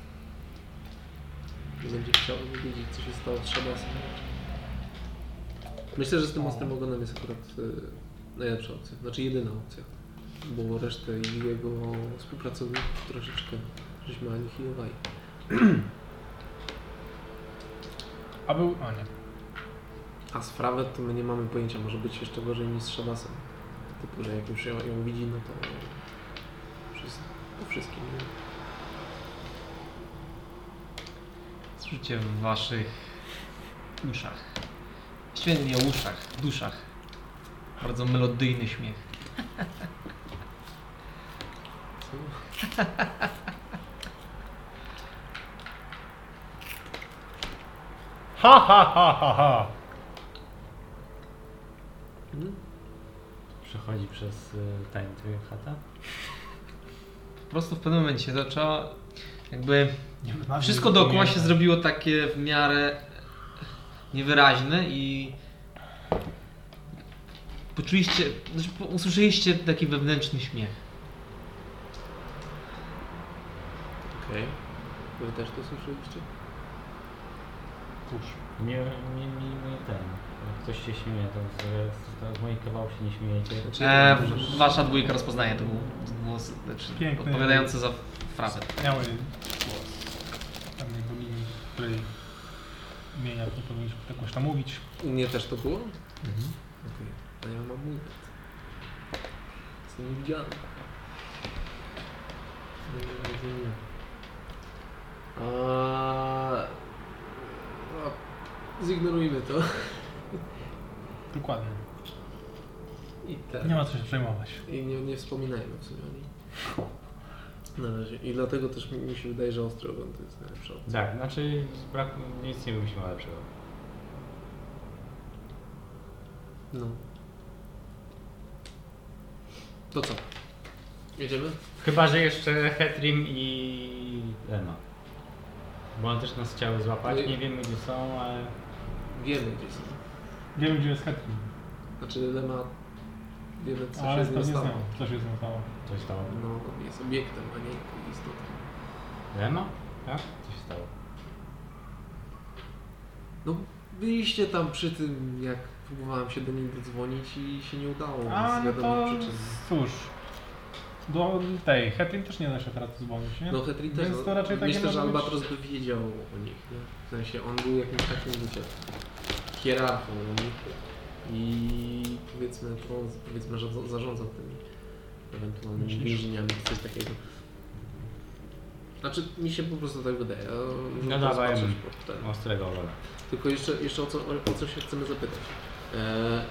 Speaker 4: Nie będzie chciał wiedzieć, co się stało z Szabasem. Myślę, że z tym ostrym ogonem jest akurat y, najlepsza opcja. Znaczy jedyna opcja. Bo resztę i jego współpracowników troszeczkę żeśmy anihilowali.
Speaker 2: A był... A nie.
Speaker 4: A z Frawet to my nie mamy pojęcia, może być jeszcze gorzej niż z Szabasem. Typu, że jak już ją, ją widzi, no to wszystko, po wszystkim. nie?
Speaker 1: Słyszycie w waszych uszach. Właściwie nie uszach, duszach. Bardzo melodyjny śmiech.
Speaker 4: Co?
Speaker 2: Ha, ha, ha, ha, ha!
Speaker 4: Hmm?
Speaker 3: Przechodzi przez y, tajemnicę chata.
Speaker 1: Po prostu w pewnym momencie zaczęła jakby
Speaker 2: Nie wymawiam,
Speaker 1: Wszystko
Speaker 2: nie
Speaker 1: dookoła
Speaker 2: pamiętam.
Speaker 1: się zrobiło takie w miarę niewyraźne i poczuliście, znaczy po- usłyszeliście taki wewnętrzny śmiech.
Speaker 4: Okej. Wy też to słyszeliście?
Speaker 2: Cóż,
Speaker 3: Nie, nie, nie, nie ten. Jak ktoś się śmieje, to z, z, z moich kawałów się nie śmiejecie.
Speaker 4: Znaczy,
Speaker 1: E,
Speaker 4: możesz-
Speaker 1: wasza dwójka rozpoznaje to był głos znaczy,
Speaker 2: Piękny. Mhm.
Speaker 1: odpowiadający za frazę.
Speaker 2: miały głos. Tam nie bogini, której imienia nie powinniśmy jakoś tam mówić.
Speaker 4: U mnie też to było? Okej. A ja mam mój. Co nie widziałem. Nie, nie, nie, nie. A... No, zignorujmy to.
Speaker 2: Dokładnie.
Speaker 4: I tak.
Speaker 2: Nie ma co się przejmować.
Speaker 4: I nie, nie wspominajmy w sumie o niej. Na razie. I dlatego też mi, mi się wydaje, że ostry ogon to jest najlepsza opcja.
Speaker 3: Tak, znaczy brak, nic nie wymyśliła lepszego.
Speaker 4: No. To co? Jedziemy?
Speaker 3: Chyba, że jeszcze Hetrim i Lena. Bo one też nas chciały
Speaker 2: No
Speaker 3: złapać. Nie wiemy gdzie są, ale
Speaker 4: Wiemy gdzie są.
Speaker 2: Wiemy, gdzie jest Hetman.
Speaker 4: Znaczy Lema... Wiemy co
Speaker 2: Ale
Speaker 4: się z
Speaker 2: pewnie
Speaker 4: nim
Speaker 2: znam,
Speaker 4: stało.
Speaker 2: co się z nią stało.
Speaker 3: coś stało.
Speaker 4: No, jest obiektem, a nie istotą.
Speaker 3: Lena? Tak? Co się stało?
Speaker 4: No, byliście tam przy tym, jak próbowałem się do niej dodzwonić i się nie udało
Speaker 2: A,
Speaker 4: z
Speaker 2: no to
Speaker 4: wiadomych przyczyn.
Speaker 2: cóż. Do tej, Hetman też nie da się teraz dzwonić, nie?
Speaker 4: No Hetri też,
Speaker 2: Więc to raczej takie
Speaker 4: myślę,
Speaker 2: może
Speaker 4: że
Speaker 2: być-
Speaker 4: Albatros by wiedział o nich, nie? W sensie on był jakimś takim, wiecie, hierarchą u nich i powiedzmy, on, powiedzmy, że za- zarządzał tymi ewentualnymi
Speaker 2: Myślisz?
Speaker 4: więźniami, czy coś takiego. Znaczy, mi się po prostu tak wydaje. a muszę
Speaker 3: No
Speaker 4: teraz
Speaker 3: dawaj.
Speaker 4: patrzeć po- ten.
Speaker 3: Ostrego ogona.
Speaker 4: Tylko jeszcze, jeszcze o, co, o, o co się chcemy zapytać. E,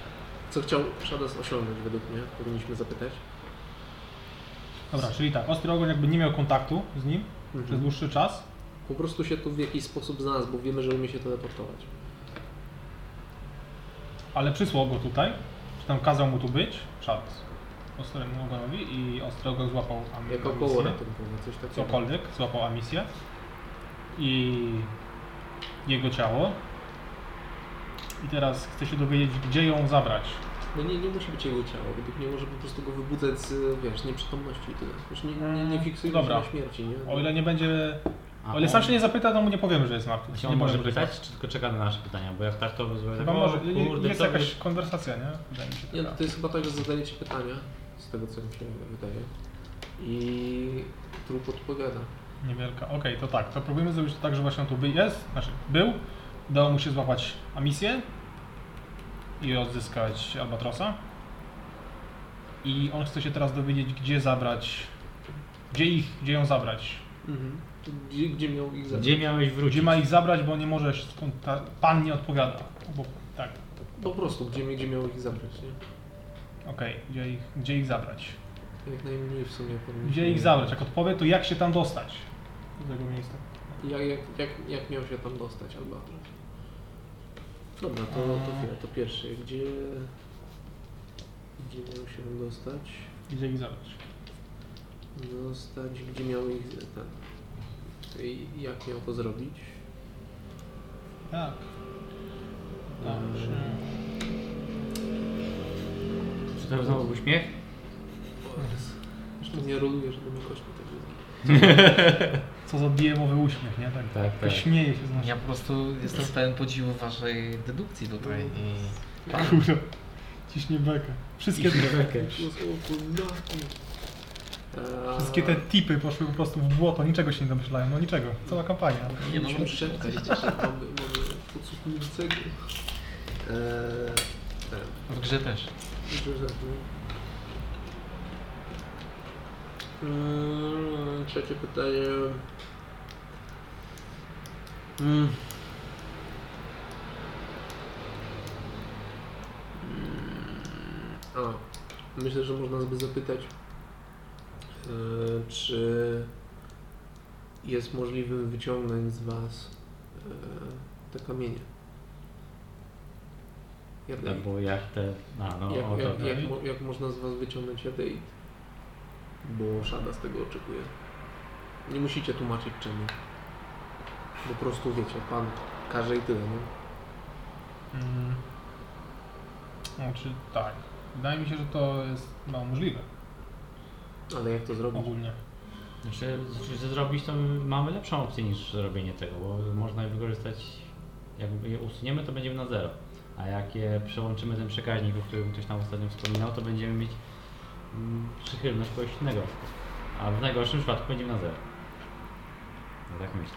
Speaker 4: co chciał Shadows osiągnąć według mnie, powinniśmy zapytać. Mhm.
Speaker 2: Dobra, czyli tak, ostry ogon jakby nie miał kontaktu z nim przez dłuższy czas.
Speaker 4: Po prostu się tu w jakiś sposób znalazł, bo wiemy, że umie się teleportować.
Speaker 2: Ale przysłał go tutaj, czy tam kazał mu tu być, czad ostremu ogonowi i ostrego złapał am-
Speaker 4: Jako
Speaker 2: amisję,
Speaker 4: koło ratunkowe, coś takiego.
Speaker 2: cokolwiek, złapał amisję i jego ciało. I teraz chce się dowiedzieć, gdzie ją zabrać.
Speaker 4: No nie, nie musi być jego ciało, gdyby nie może po prostu go wybudzać z, wiesz, nieprzytomności i tyle. Już nie, nie, nie fiksujmy się
Speaker 2: Dobra.
Speaker 4: na śmierci, nie?
Speaker 2: O ile nie będzie,
Speaker 3: A
Speaker 2: o ile
Speaker 3: on-
Speaker 2: sam się nie zapyta, to mu nie powiemy, że jest martwy.
Speaker 3: Czy
Speaker 2: nie
Speaker 3: on może
Speaker 2: powiemy, że jest
Speaker 3: pytać, czy tylko czekamy na nasze pytania? Bo jak tak, to
Speaker 2: martwy.
Speaker 3: wyzwanie
Speaker 2: Chyba
Speaker 3: tak,
Speaker 2: może,
Speaker 3: o,
Speaker 2: nie-
Speaker 3: kurde,
Speaker 2: jest
Speaker 3: co
Speaker 2: jakaś
Speaker 3: byś-
Speaker 2: konwersacja, nie? Wydaje mi się
Speaker 4: Nie, no
Speaker 2: taka.
Speaker 4: to jest chyba tak, że zadajecie pytania, z tego co mi się wydaje. I trup odpowiada.
Speaker 2: Niewielka. Okej, to tak. To próbujemy zrobić to tak, że właśnie on tu by jest, znaczy był. Udało mu się złapać amisję i odzyskać albatrosa. I on chce się teraz dowiedzieć, gdzie zabrać. Gdzie ich, gdzie ją zabrać.
Speaker 4: Mhm. Gdzie, gdzie miał ich zabrać?
Speaker 3: Gdzie miałeś wrócić?
Speaker 2: Gdzie ma ich zabrać, bo nie może się skąd ta, Pan nie odpowiada. Bo, tak,
Speaker 4: Po prostu, gdzie, gdzie miał ich zabrać, nie?
Speaker 2: okej, gdzie, ich, gdzie ich zabrać?
Speaker 4: Jak najmniej w sumie powinniśmy...
Speaker 2: Gdzie ich zabrać? Jak odpowie, to jak się tam dostać? Do tego miejsca.
Speaker 4: Jak, jak, jak, jak miał się tam dostać Albatros? Dobra, to, to, to, to pierwsze. Gdzie... Gdzie miał się tam dostać?
Speaker 2: Gdzie ich zabrać?
Speaker 4: Dostać, gdzie miał ich... Ten, i jak miał to zrobić?
Speaker 2: Tak. Dobrze.
Speaker 3: Czy to znowu był śmiech?
Speaker 4: Zresztą nie roluje, żeby mi kość nie tak wyzwała.
Speaker 2: Co za diemowy uśmiech, nie? Tak.
Speaker 3: Tak, tak.
Speaker 2: Śmieje się z nas.
Speaker 1: Ja po prostu jestem pełen podziwu waszej dedukcji tutaj. I...
Speaker 2: Kurwa. Ciśnie bekę. Wszystkie te, wszystkie te tipy poszły po prostu w błoto, niczego się nie domyślają, no niczego. Cała kampania.
Speaker 4: Nie mam szeptać, że mamy, mamy podsłuchującego. Eee, tak,
Speaker 1: W grze też.
Speaker 4: że za to. Eee, Trzecie pytanie. Mm. Mm, A, myślę, że można by zapytać, eee, czy jest możliwym wyciągnąć z Was eee, te kamienie? Jak
Speaker 3: Tak, bo jak te... A, no,
Speaker 4: jak,
Speaker 3: o,
Speaker 4: jak,
Speaker 3: to,
Speaker 2: tak.
Speaker 4: jak, mo- jak można z was wyciągnąć jadeit? Bo Szada z tego oczekuje. Nie musicie tłumaczyć czemu. Po prostu wiecie, pan każe i tyle, no.
Speaker 2: Mm. Znaczy tak. Wydaje mi się, że to jest mało możliwe
Speaker 4: Ale jak to zrobić?
Speaker 2: ogólnie.
Speaker 3: Znaczy, czy zrobić to mamy lepszą opcję niż zrobienie tego, bo można je wykorzystać, jak je usuniemy to będziemy na zero, a jak je przełączymy ten przekaźnik, o którym ktoś tam ostatnio wspominał, to będziemy mieć mm, przychylność kogoś innego, a w najgorszym przypadku będziemy na zero. No tak myślę.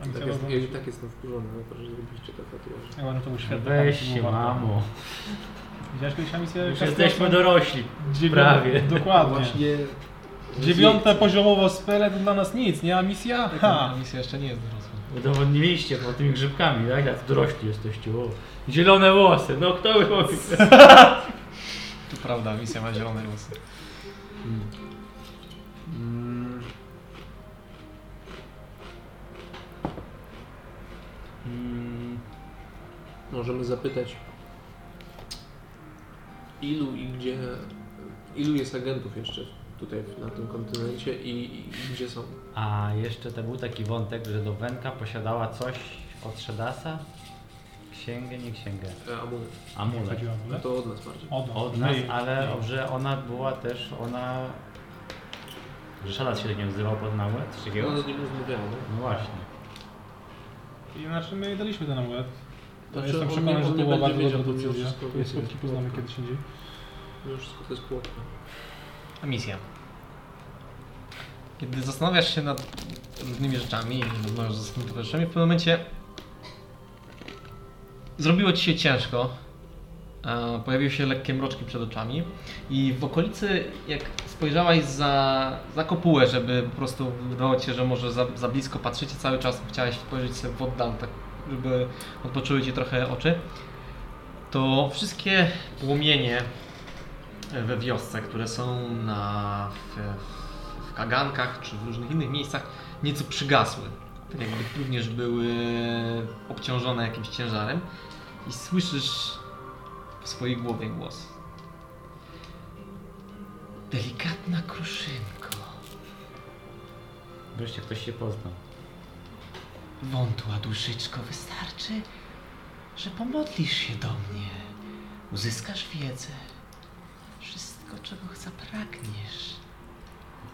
Speaker 2: A nic
Speaker 4: Tak
Speaker 2: nie
Speaker 4: jest, ja
Speaker 2: rozumiem.
Speaker 4: i tak jestem wkurzony na to, że zrobiliście te tatuaże.
Speaker 2: Ja uważam, że to był świetny
Speaker 3: Weź
Speaker 2: pomysł,
Speaker 3: się
Speaker 2: był warto.
Speaker 3: mamo,
Speaker 2: Widziałeś kiedyś misję?
Speaker 3: już jesteśmy dorośli, prawie.
Speaker 2: Dokładnie.
Speaker 4: Właśnie...
Speaker 2: Dziewiąte poziomowo spele E to dla nas nic, nie? A misja?
Speaker 4: Tak.
Speaker 2: Ha!
Speaker 1: Ta misja jeszcze nie jest dorosła.
Speaker 3: Udowodniliście po tymi grzybkami, tak? Jak dorośli jesteście, o. Zielone włosy, no kto by powiedział?
Speaker 1: To prawda, misja ma zielone włosy.
Speaker 4: Mm,
Speaker 3: Mm,
Speaker 4: możemy zapytać, ilu i gdzie... Ilu jest agentów jeszcze tutaj na tym kontynencie i, i gdzie są?
Speaker 3: A jeszcze to był taki wątek, że Dowenka posiadała coś od Shadasa? Księgę, nie księgę.
Speaker 4: E, amulet.
Speaker 3: Amulet.
Speaker 2: Chodziło,
Speaker 4: No
Speaker 2: nie?
Speaker 4: to od nas bardziej.
Speaker 3: Od nas,
Speaker 2: Ej,
Speaker 3: ale
Speaker 2: ej.
Speaker 3: że ona była też, ona... Że Shadas się do niej wzywał pod amulet? Coś takiego?
Speaker 4: Ona z nim rozmawiała, no.
Speaker 3: No właśnie.
Speaker 2: I Znaczy my daliśmy ten amulet.
Speaker 4: Znaczy,
Speaker 2: Jestem
Speaker 4: on
Speaker 2: przekonany,
Speaker 4: nie-
Speaker 2: że
Speaker 4: on
Speaker 2: to
Speaker 4: nie
Speaker 2: była
Speaker 4: będzie
Speaker 2: bardzo dobra
Speaker 4: wiedział, to mimo
Speaker 2: decyzja.
Speaker 4: wszystko
Speaker 2: Te
Speaker 4: będzie
Speaker 2: skutki poznamy
Speaker 4: płotka.
Speaker 2: kiedyś indziej.
Speaker 4: Mimo No wszystko to jest płotka.
Speaker 1: A misja. Kiedy zastanawiasz się nad różnymi rzeczami i rozmawiasz ze swoimi towarzyszami, w pewnym momencie zrobiło ci się ciężko. E, Pojawiły się lekkie mroczki przed oczami i w okolicy, jak spojrzałaś za, za kopułę, żeby po prostu wydawało ci się, że może za, za blisko patrzycie cały czas, chciałeś spojrzeć sobie w oddal, tak żeby odpoczęły ci trochę oczy, to wszystkie płomienie we wiosce, które są na, w, w kagankach czy w różnych innych miejscach, nieco przygasły. tak jakby również były obciążone jakimś ciężarem i słyszysz w swojej głowie głos. Delikatna kruszynko,
Speaker 3: Wreszcie ktoś się poznał.
Speaker 1: wątła duszyczko, wystarczy, że pomodlisz się do mnie, uzyskasz wiedzę, wszystko czego zapragniesz,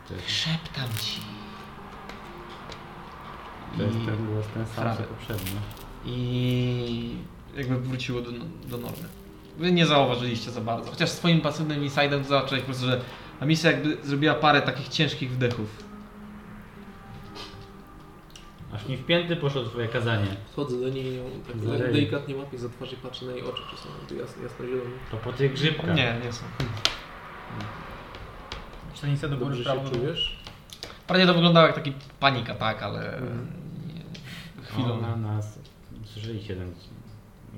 Speaker 3: To jest,
Speaker 1: szeptam ci.
Speaker 3: to jest
Speaker 1: I-
Speaker 3: ten głos, ten sam co
Speaker 1: Prawy.
Speaker 3: poprzedni.
Speaker 1: i jakby wróciło do, do normy. Wy nie zauważyliście za bardzo, chociaż swoim pasywnym insidem to zobaczyłeś po prostu, że Amicia jakby zrobiła parę takich ciężkich wdechów.
Speaker 3: Aż nie wpięty poszło twoje kazanie.
Speaker 4: Wchodzę do niej i ją tak
Speaker 3: Zarej.
Speaker 4: le- delikatnie łapię za twarz i patrzę na jej oczy, czy są jakby jasno, jasno zielone.
Speaker 3: To po tych grzybkach.
Speaker 1: Nie, nie są.
Speaker 2: Pszenica do góry,
Speaker 4: Dobrze
Speaker 2: prawo
Speaker 4: się
Speaker 2: do góry.
Speaker 4: czujesz?
Speaker 1: Prawie to wyglądało jak taki panika, tak, ale
Speaker 4: Mhm.
Speaker 1: nie,
Speaker 3: Chwilą
Speaker 1: chwilą.
Speaker 3: na nas. Słyszeliście ten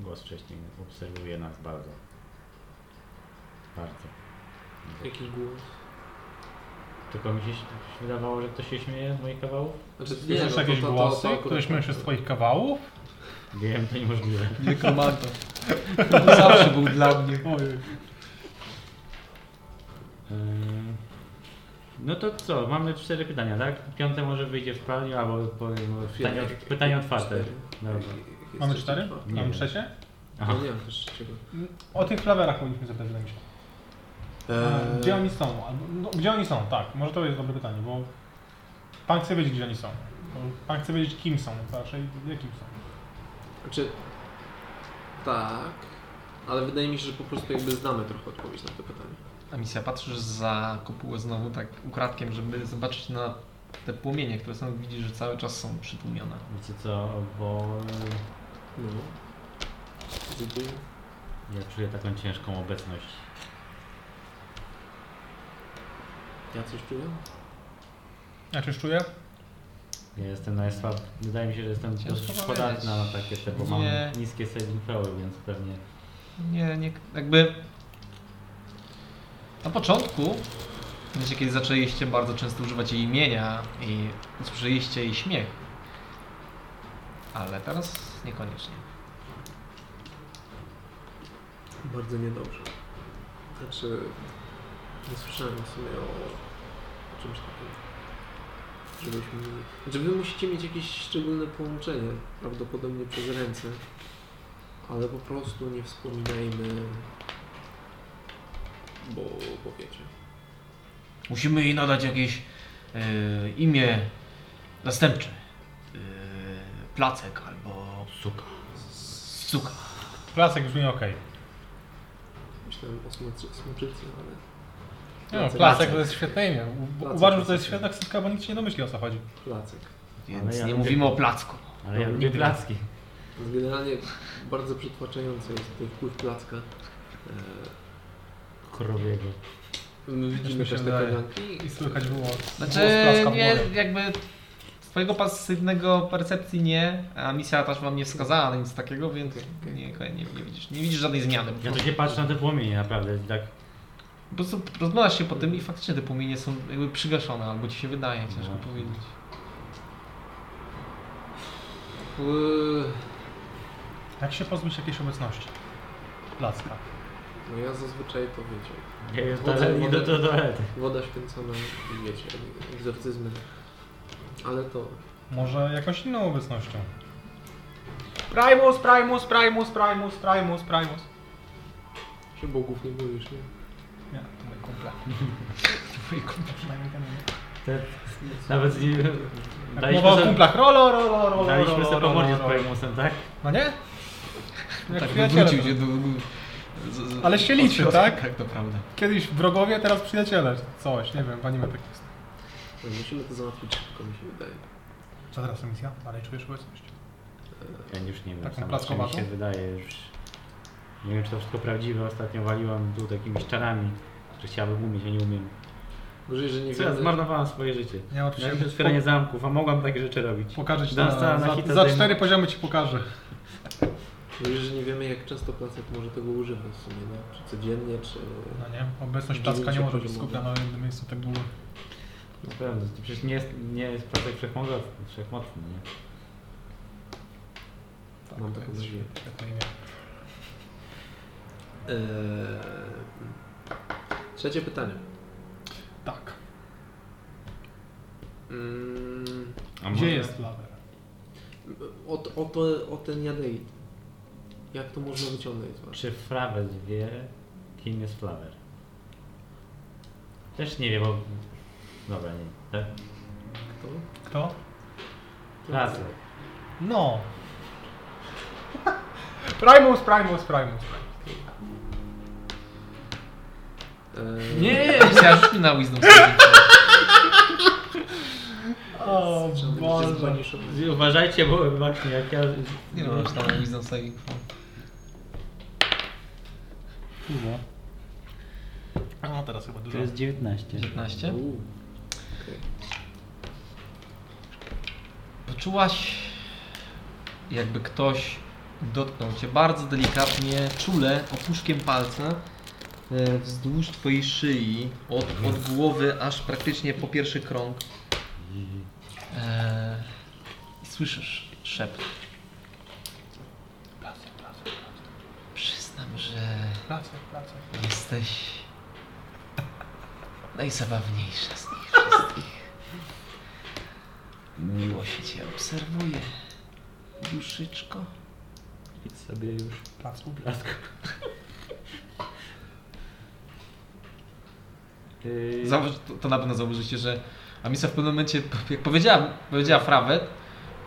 Speaker 3: głos wcześniej. Obserwuje nas bardzo. Bardzo.
Speaker 4: Jakiś głos.
Speaker 3: Tylko mi się ś- wydawało, że ktoś się śmieje z moich kawałów.
Speaker 4: Znaczy,
Speaker 2: Słyszysz
Speaker 4: no,
Speaker 2: jakieś
Speaker 4: to- to- to
Speaker 2: głosy?
Speaker 4: akurat-
Speaker 2: Któryś mężczyzn z twoich kawałów?
Speaker 3: Wiem, to niemożliwe.
Speaker 1: Nekromanta. To zawsze był dla mnie.
Speaker 2: Ojej.
Speaker 3: Ym, E, No to co, mamy cztery pytania, tak? Piąte może wyjdzie w praniu, albo powiem, pytanie,
Speaker 4: Jak- jak-
Speaker 3: pytanie
Speaker 4: jak-
Speaker 3: otwarte.
Speaker 4: cztery.
Speaker 3: Dobra.
Speaker 4: Jak- jak jest
Speaker 2: Mamy
Speaker 4: trzeci,
Speaker 2: cztery?
Speaker 4: czwarty?
Speaker 3: Nie
Speaker 2: Mamy
Speaker 3: wiem.
Speaker 2: trzecie?
Speaker 3: Aha.
Speaker 4: No nie mam też trzeciego.
Speaker 2: O tych flawerach powinniśmy zapytać, wydaje mi się.
Speaker 4: E, Eee.
Speaker 2: Gdzie oni są? Albo- No, gdzie oni są? Tak, może to jest dobre pytanie, bo pan chce wiedzieć, gdzie oni są. Bo Pan chce wiedzieć, kim są, raczej jakim są.
Speaker 4: Znaczy, tak, ale wydaje mi się, że po prostu jakby znamy trochę odpowiedź na to pytanie.
Speaker 1: Amicia, patrzysz za kopułę znowu tak ukradkiem, żeby zobaczyć na te płomienie, które są, widzisz, że cały czas są przytłumione.
Speaker 3: Wiecie co, bo
Speaker 4: No. Dziękuję.
Speaker 3: ja czuję taką ciężką obecność.
Speaker 4: Ja coś czuję?
Speaker 2: Ja coś czuję?
Speaker 3: Ja jestem najsłab... Wydaje mi się, że jestem
Speaker 1: Ciężko
Speaker 3: dosyć
Speaker 1: powiedzieć.
Speaker 3: podatna na takie te, bo mam
Speaker 1: Nie.
Speaker 3: niskie saving throwy, więc pewnie...
Speaker 1: Nie, nie, jakby na początku, wiecie, kiedy zaczęliście bardzo często używać jej imienia i usłyszeliście jej śmiech, ale teraz niekoniecznie.
Speaker 4: Bardzo niedobrze. Znaczy, nie słyszałem w sumie o, o czymś takim. Żebyśmy... Znaczy, wy musicie mieć jakieś szczególne połączenie, prawdopodobnie przez ręce, ale po prostu nie wspominajmy, bo, bo wiecie.
Speaker 5: Musimy jej nadać jakieś e, imię zastępcze. E, placek albo
Speaker 3: Suka.
Speaker 5: suka.
Speaker 2: Placek brzmi ok.
Speaker 4: Myślałem o smoczy, smoczycy, ale...
Speaker 2: Nie no, placek
Speaker 4: Placek.
Speaker 2: to jest świetne imię. U-
Speaker 4: Placek.
Speaker 2: Uważam, że to jest świetna ksypka, bo nikt się nie domyśli o co chodzi.
Speaker 4: Placek.
Speaker 5: Więc
Speaker 3: Ale ja
Speaker 5: nie
Speaker 3: lubię-
Speaker 5: mówimy o placku.
Speaker 3: Ale ja
Speaker 2: No,
Speaker 3: lubię
Speaker 2: nigdy.
Speaker 3: placki.
Speaker 4: Więc generalnie bardzo przytłaczający jest ten wpływ placka. E,
Speaker 3: Krowiego.
Speaker 4: My widzimy
Speaker 2: mi się
Speaker 4: też te
Speaker 2: wydaje.
Speaker 4: kajdanki.
Speaker 2: I słychać było
Speaker 1: Znaczy,
Speaker 2: głos placka w
Speaker 1: nie,
Speaker 2: głowie.
Speaker 1: jakby twojego pasywnego percepcji nie, a misja też wam nie wskazała na nic takiego, więc nie, nie, nie widzisz. Nie widzisz żadnej zmiany.
Speaker 3: Ja to się patrzę na te płomienie naprawdę, tak...
Speaker 1: Po prostu rozglądasz się po tym i faktycznie te płomienie są jakby przygaszone, albo ci się wydaje, ciężko
Speaker 3: No.
Speaker 1: powiedzieć.
Speaker 4: Eee,
Speaker 2: Jak się pozbyć jakiejś obecności? Placka.
Speaker 4: No ja zazwyczaj to wiecie.
Speaker 3: Ja jest
Speaker 4: Chodzę,
Speaker 3: dalej, idę
Speaker 4: chodzę.
Speaker 3: do toalety.
Speaker 4: Woda święcona i wiecie, egzorcyzmy. Ale to
Speaker 2: Może jakąś inną obecnością. Primus, Primus, Primus, Primus, Primus, Primus.
Speaker 4: się bogów nie boisz, nie?
Speaker 2: Nie, to moje kumple. Twoje kumple przynajmniej ten
Speaker 3: Te, nawet nie...
Speaker 2: Jak mowa o
Speaker 3: sobie-
Speaker 2: kumplach, rolo, rolo, rolo,
Speaker 3: Daliśmy
Speaker 2: rolo,
Speaker 3: sobie po
Speaker 2: rolo,
Speaker 3: mordzie No z
Speaker 2: rolo.
Speaker 3: Primusem, tak?
Speaker 2: No nie? Jak
Speaker 1: Tak,
Speaker 2: przyjaciele
Speaker 1: wrócił
Speaker 2: to-
Speaker 1: się do... z- z-
Speaker 2: Ale się liczy,
Speaker 1: od-
Speaker 2: tak?
Speaker 1: Tak, to prawda.
Speaker 2: Kiedyś wrogowie, teraz przyjaciele. Coś, nie wiem, w anime tak jest.
Speaker 4: No, Musimy to załatwić szybko, mi się wydaje.
Speaker 2: Co teraz misja? Dalej czujesz obecność?
Speaker 3: Ja już nie wiem,
Speaker 2: Taką
Speaker 3: sam, czy mi
Speaker 2: plackowatą?
Speaker 3: się wydaje już. Nie wiem, czy to wszystko prawdziwe. Ostatnio waliłam tu takimiś czarami, że chciałabym umieć, a nie umiem.
Speaker 4: Gorzej, że nie
Speaker 3: Co ja
Speaker 4: wiemy.
Speaker 3: zmarnowałam swoje życie.
Speaker 2: Nie,
Speaker 3: Miałem też otwieranie zamków, a mogłam takie rzeczy robić.
Speaker 2: Pokażę ci
Speaker 3: Dance
Speaker 2: na,
Speaker 3: na
Speaker 2: za,
Speaker 3: hita
Speaker 2: za
Speaker 3: zdejmę.
Speaker 2: cztery poziomy ci pokażę.
Speaker 4: Gorzej, że nie wiemy jak często placek może tego używać w sumie, no? Czy codziennie, czy...
Speaker 2: No nie, obecność
Speaker 4: Dziewięć
Speaker 2: placka nie może być
Speaker 4: poziomowy.
Speaker 2: skupiona w jednym miejscu tak długo.
Speaker 3: No Na pewno, to przecież nie jest, nie jest placek wszechmogący, wszechmocny, nie?
Speaker 4: mam taką nadzieję.
Speaker 2: Jak Tak, to imię?
Speaker 4: Eee, trzecie pytanie.
Speaker 2: Tak.
Speaker 4: Mm,
Speaker 2: Gdzie
Speaker 3: A może-
Speaker 2: jest lawer?
Speaker 4: o, t- o, to, o ten jadeit. Jak to można wyciągnąć z was?
Speaker 3: Czy Frawes wie, kim jest Flawer? Też nie wiem, bo... Dobra, nie. Tak?
Speaker 4: Kto?
Speaker 2: Kto?
Speaker 3: Racja.
Speaker 2: No. Primus, Primus, Primus.
Speaker 4: Eee,
Speaker 1: Nie, nie, nie, rzuć mi na wisdom saving
Speaker 2: O
Speaker 4: Trzeba będzie
Speaker 2: Boże.
Speaker 4: zbanić od-
Speaker 3: Uważajcie, bo właśnie jak ja...
Speaker 1: throw. Nie no, masz tam na wisdom saving throw.
Speaker 2: Dużo. No teraz chyba dużo.
Speaker 3: To jest 19.
Speaker 1: 19.
Speaker 4: Uuu.
Speaker 1: Poczułaś, jakby ktoś dotknął cię bardzo delikatnie, czule, opuszkiem palca e, wzdłuż twojej szyi, od, od głowy aż praktycznie po pierwszy krąg. E, I słyszysz szept.
Speaker 2: Pracuj, pracuj,
Speaker 1: Przyznam, że
Speaker 2: pracuj, pracuj.
Speaker 1: jesteś najzabawniejsza z nich wszystkich. Miło się cię obserwuje, duszyczko.
Speaker 3: Idź sobie już.
Speaker 2: Pracuj.
Speaker 3: Yy,
Speaker 1: Zauważ, to, to na pewno zauważycie, że Amisa w pewnym momencie, p- jak powiedziała, powiedziała frawet,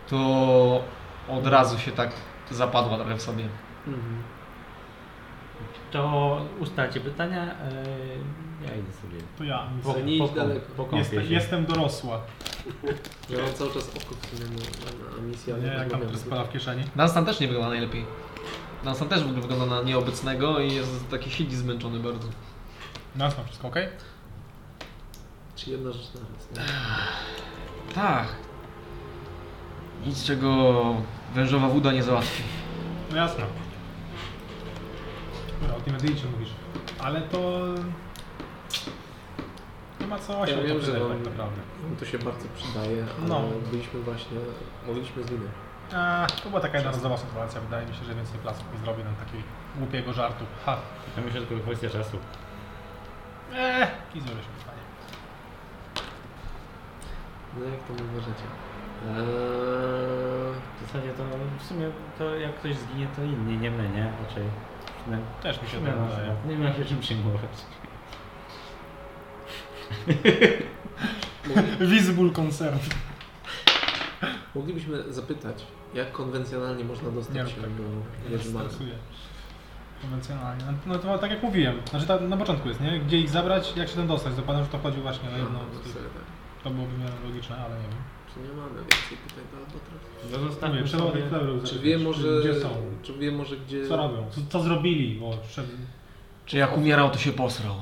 Speaker 1: to od razu się tak zapadła trochę w sobie.
Speaker 4: Mhm.
Speaker 3: To ustacie pytania. Yy, ja idę sobie.
Speaker 2: To ja.
Speaker 3: Po,
Speaker 4: nie idź
Speaker 3: po, po,
Speaker 4: daleko.
Speaker 3: pokąpię
Speaker 2: Jest,
Speaker 3: się.
Speaker 2: jestem dorosła.
Speaker 4: Ja mam cały czas oko w sumie na, na, na misję,
Speaker 2: Nie,
Speaker 4: ale
Speaker 2: jak tam
Speaker 4: rozmawiamy.
Speaker 2: to spada w kieszeni.
Speaker 1: Dunstan też nie wygląda najlepiej. Dunstan też w ogóle wygląda na nieobecnego i jest taki siedzi zmęczony bardzo.
Speaker 2: Nas mam No wszystko, okej?
Speaker 4: Czy jedna rzecz na raz? nie?
Speaker 1: Tak. Nic czego wężowa woda nie załatwi.
Speaker 2: No jasne. Dobra, o tym medyjcie mówisz. Ale to... Nie ma co się
Speaker 4: Ja wiem, że
Speaker 2: opowiadać
Speaker 4: wam-
Speaker 2: tak naprawdę.
Speaker 4: No To się bardzo przydaje, ale
Speaker 2: No.
Speaker 4: byliśmy właśnie, mogliśmy z nimi.
Speaker 2: A, to była taka jednorazowa sytuacja. Wydaje mi się, że więcej klasów nie zrobię nam takiego głupiego żartu. Ha!
Speaker 3: Ja myślę, że to kwestia czasu.
Speaker 2: Eee, i zrobię się pytanie.
Speaker 4: No jak to uważacie? Eee,
Speaker 3: W zasadzie to w sumie to jak ktoś zginie, to inni nie my, nie? Raczej. No,
Speaker 2: Też mi się
Speaker 3: nie,
Speaker 2: tak
Speaker 3: ma,
Speaker 2: wydaje.
Speaker 3: nie ma się czym przyjmować.
Speaker 2: Visible concern.
Speaker 4: moglibyśmy zapytać, jak konwencjonalnie można dostać
Speaker 2: Nie,
Speaker 4: się
Speaker 2: tak.
Speaker 4: do
Speaker 2: Ja
Speaker 4: Jerzymana.
Speaker 2: stresuję. Konwencjonalnie. No, No to tak jak mówiłem, znaczy ta, na początku jest, nie? Gdzie ich zabrać, jak się tam dostać? Zakładam, że to chodzi właśnie o jedno.
Speaker 4: No,
Speaker 2: z
Speaker 4: sobie
Speaker 2: tych-
Speaker 4: tak.
Speaker 2: To byłoby w miarę logiczne, ale nie wiem.
Speaker 4: Czy nie mamy więcej pytań do Albatrosa?
Speaker 3: No
Speaker 2: Tak, nie,
Speaker 3: zostawmy
Speaker 2: trzeba o
Speaker 3: sobie...
Speaker 2: tych pleurów
Speaker 4: Czy
Speaker 2: zapytać,
Speaker 4: wie może,
Speaker 2: Gdzie są?
Speaker 4: czy wie może gdzie...
Speaker 2: Co robią? Co, co zrobili? Bo przed...
Speaker 1: Czy jak umierał, to się posrał.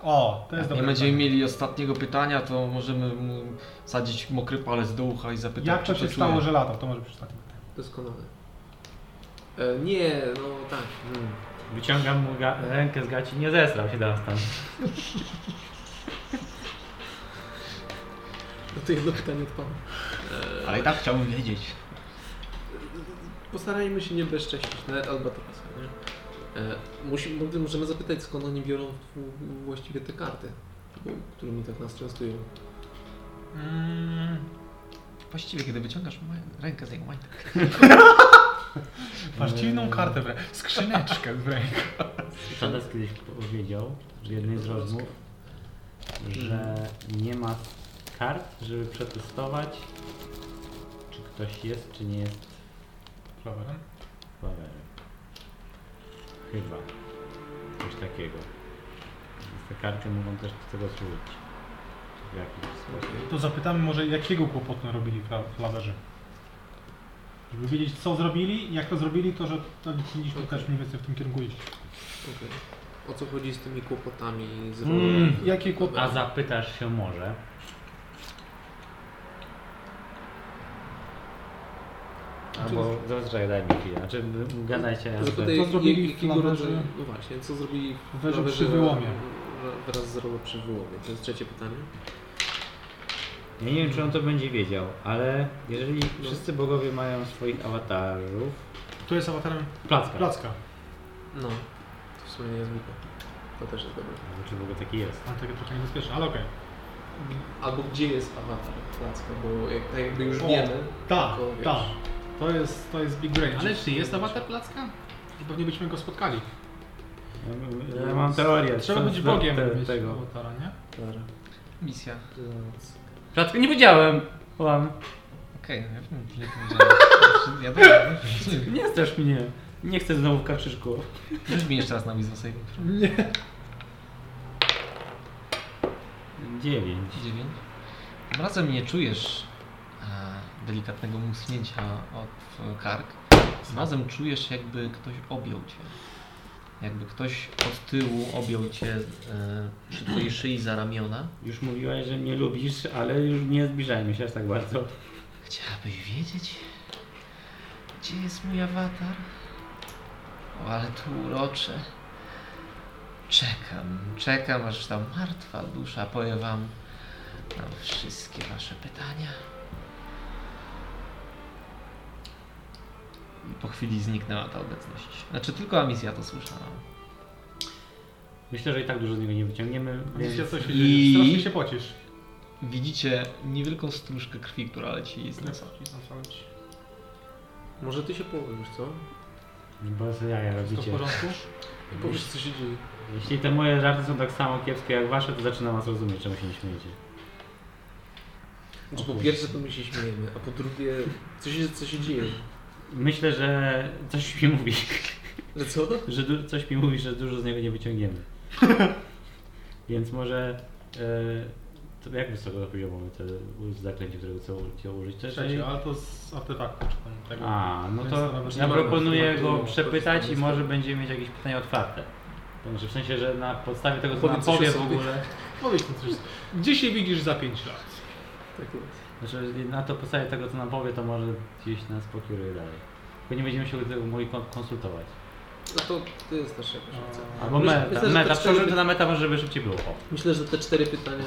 Speaker 2: O, to jest
Speaker 1: Jak
Speaker 2: dobre
Speaker 1: nie będziemy
Speaker 2: pytanie.
Speaker 1: mieli ostatniego pytania, to możemy mu sadzić mokry palec do ucha i zapytać,
Speaker 2: Jak to
Speaker 1: czy
Speaker 2: się
Speaker 1: to
Speaker 2: stało,
Speaker 1: czuje.
Speaker 2: że latał? To może przeczytać.
Speaker 4: Doskonale. E, nie, no tak. Hmm.
Speaker 3: Wyciągam mu ga- rękę z gaci, nie zesrał się teraz tam.
Speaker 4: No to jedno pytanie od pana. E,
Speaker 1: Ale i tak chciałbym wiedzieć.
Speaker 4: Postarajmy się nie bezcześcić, nawet Albatrosa, nie? E, musi, mogli- możemy zapytać, skąd oni biorą w- właściwie te karty, którymi tak nas częstują.
Speaker 2: Mm,
Speaker 1: Właściwie, kiedy wyciągasz ma- rękę z jego majtek.
Speaker 2: masz dziwną kartę w ręku. Skrzyneczkę w ręku.
Speaker 3: Szadas kiedyś powiedział w jednej z rozmów, że nie ma kart, żeby przetestować, czy ktoś jest, czy nie jest
Speaker 2: Flowerem?
Speaker 3: planerem. Chyba. Coś takiego. Więc te karty mogą też do tego służyć. W jakiś sposób.
Speaker 2: To zapytamy może, jakiego kłopotu robili fla- flawerzy? Żeby wiedzieć, co zrobili i jak to zrobili, to że to powinniśmy też mniej więcej w tym kierunku iść.
Speaker 4: Okej. O co chodzi z tymi kłopotami? Z
Speaker 2: Mm, jakie kłopoty?
Speaker 3: A zapytasz się może, albo zazwyczaj daj mi chwilę, znaczy gadajcie.
Speaker 4: Zapytaj,
Speaker 2: Co
Speaker 4: jak-
Speaker 2: zrobili
Speaker 4: jakiego
Speaker 2: flawerzy-
Speaker 4: rodzaju- No właśnie, co zrobili
Speaker 2: Flawerzy przy
Speaker 4: ra-
Speaker 2: wyłomie?
Speaker 4: ra- Wraz z rolą przy wyłomie. To jest trzecie pytanie.
Speaker 3: Ja nie wiem, czy on to będzie wiedział, ale jeżeli
Speaker 4: No.
Speaker 3: wszyscy bogowie mają swoich awatarów,
Speaker 2: Kto jest awatarem
Speaker 3: Placka.
Speaker 2: Placka?
Speaker 4: No, to w sumie niezwykle. To też jest dobre.
Speaker 3: Znaczy w ogóle taki jest.
Speaker 2: Ale takie trochę niebezpieczne, ale okej.
Speaker 4: Albo gdzie jest awatar Placka, bo jak, tak jakby już
Speaker 2: O,
Speaker 4: wiemy.
Speaker 2: Tak,
Speaker 4: tylko wiesz,
Speaker 2: tak. To jest, to jest Big Brain. Ale czy jest awatar Placka? I pewnie byśmy go spotkali.
Speaker 3: Ja mam teorię.
Speaker 2: No, Trzeba
Speaker 3: co
Speaker 2: być
Speaker 3: z
Speaker 2: Bogiem,
Speaker 3: te-
Speaker 2: by mieć
Speaker 3: tego.
Speaker 2: awatara, nie?
Speaker 4: Dobra.
Speaker 1: Misja.
Speaker 4: Plac.
Speaker 3: Placka nie wiedziałem. Łam.
Speaker 1: Okej, no ja wiem, ile powiedziałem. Ja dobrze.
Speaker 3: Nie strasz mnie. Nie chcę znowu w karczyszku.
Speaker 1: Rzuć mi jeszcze raz na Wisdom Saving.
Speaker 3: Dziewięć.
Speaker 1: 9. Tym razem nie czujesz e, delikatnego musnięcia od e, kark. Tym razem czujesz, jakby ktoś objął cię. Jakby ktoś od tyłu objął cię e, przy twojej szyi za ramiona.
Speaker 3: Już mówiłaś, że mnie lubisz, ale już nie zbliżajmy się aż tak bardzo.
Speaker 1: Chciałabyś wiedzieć, gdzie jest mój awatar? O, ale tu urocze. Czekam, czekam, aż ta martwa dusza powie wam na wszystkie wasze pytania. I po chwili zniknęła ta obecność. Znaczy, tylko Amicia to słyszała.
Speaker 3: Myślę, że i tak dużo z niego nie wyciągniemy.
Speaker 2: Widzicie,
Speaker 3: Więc...
Speaker 2: co się
Speaker 1: I-
Speaker 2: dzieje? Strasznie się pocisz.
Speaker 1: Widzicie niewielką stróżkę krwi, która leci z nosa.
Speaker 4: Może ty się położysz, co?
Speaker 3: Bo co jaja
Speaker 2: Wszystko w
Speaker 3: robicie.
Speaker 2: porządku?
Speaker 4: I powiesz, co się dzieje.
Speaker 3: Jeśli te moje żarty są tak samo kiepskie jak wasze, to zaczynam was rozumieć, czemu się nie śmiejecie.
Speaker 4: Znaczy,
Speaker 3: O
Speaker 4: po
Speaker 3: chuj.
Speaker 4: pierwsze to my się śmiejemy, a po drugie, co się, co się dzieje?
Speaker 3: Myślę, że coś mi mówi,
Speaker 4: Że No co?
Speaker 3: że du- coś mi mówi, że dużo z niego nie wyciągniemy. Więc może... E, to jak wysoko poziomu mamy te zaklęcie, którego chcę chcę użyć? To jest-
Speaker 2: Trzecie, ale to z artefaktu czy tam tego.
Speaker 3: A, no
Speaker 2: Więc
Speaker 3: to
Speaker 2: nawet
Speaker 3: ja
Speaker 4: nie mamy
Speaker 3: proponuję
Speaker 4: tematu,
Speaker 3: go
Speaker 4: no,
Speaker 3: przepytać i
Speaker 4: korzystamy z
Speaker 3: może
Speaker 4: tego.
Speaker 3: będziemy mieć jakieś pytania otwarte. Także w sensie, że na podstawie tego, co
Speaker 4: Powiedz
Speaker 3: nam
Speaker 4: coś
Speaker 3: powie
Speaker 4: o
Speaker 3: w
Speaker 4: sobie.
Speaker 3: ogóle,
Speaker 2: Powiedz mi coś. Gdzie się widzisz za 5 lat?
Speaker 4: Tak jest.
Speaker 3: znaczy na to podstawie tego, co nam powie, to może gdzieś nas pokieruje dalej. Tylko nie będziemy się tego mogli kon- konsultować.
Speaker 4: No to, to jest też jakaś opcja.
Speaker 3: Albo
Speaker 4: Myślę,
Speaker 3: meta,
Speaker 4: myślę, że
Speaker 3: meta,
Speaker 4: to cztery-
Speaker 3: przełożymy to na meta, może żeby szybciej było. O.
Speaker 4: Myślę, że te cztery pytania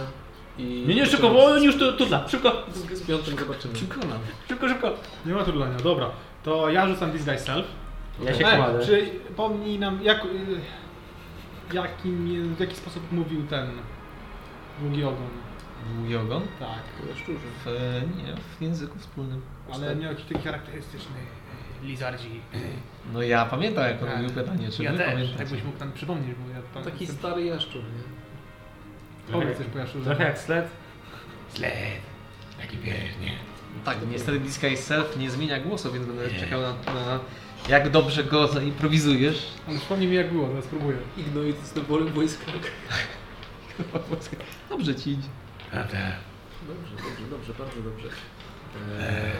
Speaker 4: i...
Speaker 3: Nie, nie, szybko,
Speaker 2: No
Speaker 3: bo on już tu, tu dla, szybko,
Speaker 4: Z, z piątym zobaczymy.
Speaker 1: Przekonam.
Speaker 3: szybko, szybko.
Speaker 2: Nie ma trudania, dobra. To ja rzucam Disguise Self.
Speaker 3: Ja się
Speaker 2: Ej,
Speaker 3: kładę.
Speaker 2: Czy pomnij nam, jak, y, jakim, w jaki sposób mówił ten długi ogon?
Speaker 1: Długi ogon?
Speaker 2: Tak,
Speaker 4: Na szczurze.
Speaker 1: W, e, nie, w języku wspólnym.
Speaker 2: ale miał jakiś taki charakterystyczny y, lizardzi.
Speaker 1: No ja pamiętam, jak on
Speaker 2: Tak.
Speaker 1: mówił pytanie, czy
Speaker 2: ja
Speaker 1: wy
Speaker 2: też,
Speaker 1: pamiętacie?
Speaker 2: jakbyś mógł tam przypomnieć, bo ja tam...
Speaker 4: Taki
Speaker 2: jestem-
Speaker 4: stary jaszczur, nie?
Speaker 2: Powiedz coś, bo ja szczurze-
Speaker 3: Trochę jak sled.
Speaker 1: Tak, niestety Disguise Self nie zmienia głosu, więc będę czekał na, na jak dobrze go zaimprowizujesz.
Speaker 2: Ale przypomnij mi jak było, teraz spróbuję.
Speaker 4: Ignoruj to z wolnym wojska.
Speaker 1: Dobrze ci idzie.
Speaker 4: Dobrze, dobrze, dobrze, bardzo dobrze. Eee,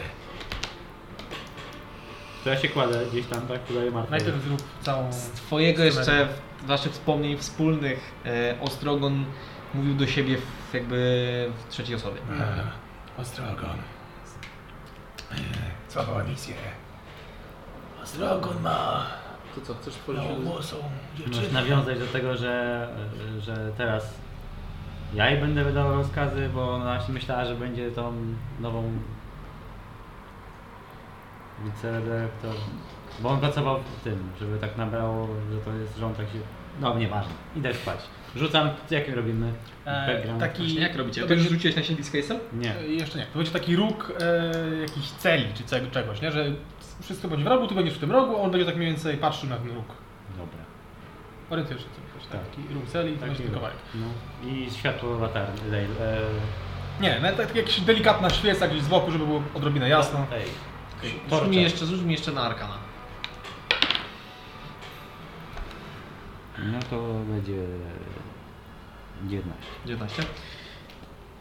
Speaker 3: To ja się kładę gdzieś tam, tak, udaje Marta.
Speaker 2: Najpierw zrób całą...
Speaker 1: Z twojego jeszcze, w- waszych wspomnień wspólnych, e, Ostrogon mówił do siebie w, jakby w trzeciej osobie.
Speaker 6: E, Ostrogon. E, Słaba misję. Ostrogon ma
Speaker 4: to co, chcesz porzucić?
Speaker 2: No.
Speaker 6: małogłosą
Speaker 3: Możesz
Speaker 6: dziewczynę.
Speaker 3: nawiązać do tego, że, że teraz ja jej będę wydawał rozkazy, bo ona się myślała, że będzie tą nową wiceredaktor. Bo on pracował w tym, żeby tak nabrało, że to jest rząd tak się. No nieważne. Idę spać. Rzucam, jakim robimy?
Speaker 2: E,
Speaker 3: Background.
Speaker 2: taki...
Speaker 1: Właśnie, jak robicie?
Speaker 2: to
Speaker 1: To już
Speaker 2: będzie-
Speaker 1: rzuciłeś na siebie Disguise'em?
Speaker 3: Nie.
Speaker 2: E, Jeszcze nie. To będzie taki róg e, jakichś celi czy cego, czegoś, nie? Że wszystko będzie w rogu, ty będziesz w tym rogu, on będzie tak mniej więcej patrzył na ten róg.
Speaker 3: Dobra.
Speaker 2: Orientujesz się co mi chodzi, tak?
Speaker 3: Tak.
Speaker 2: Taki róg celi i to będzie ten kawałek.
Speaker 3: No. I światło latarni. Ej, e,
Speaker 2: Nie, no, tak, tak jakaś delikatna świeca gdzieś z boku, żeby było odrobinę jasno.
Speaker 3: Ej.
Speaker 1: Rzuć
Speaker 3: Torcze.
Speaker 1: mi jeszcze, rzuć mi jeszcze na Arkana.
Speaker 3: No to będzie 19.
Speaker 1: 19.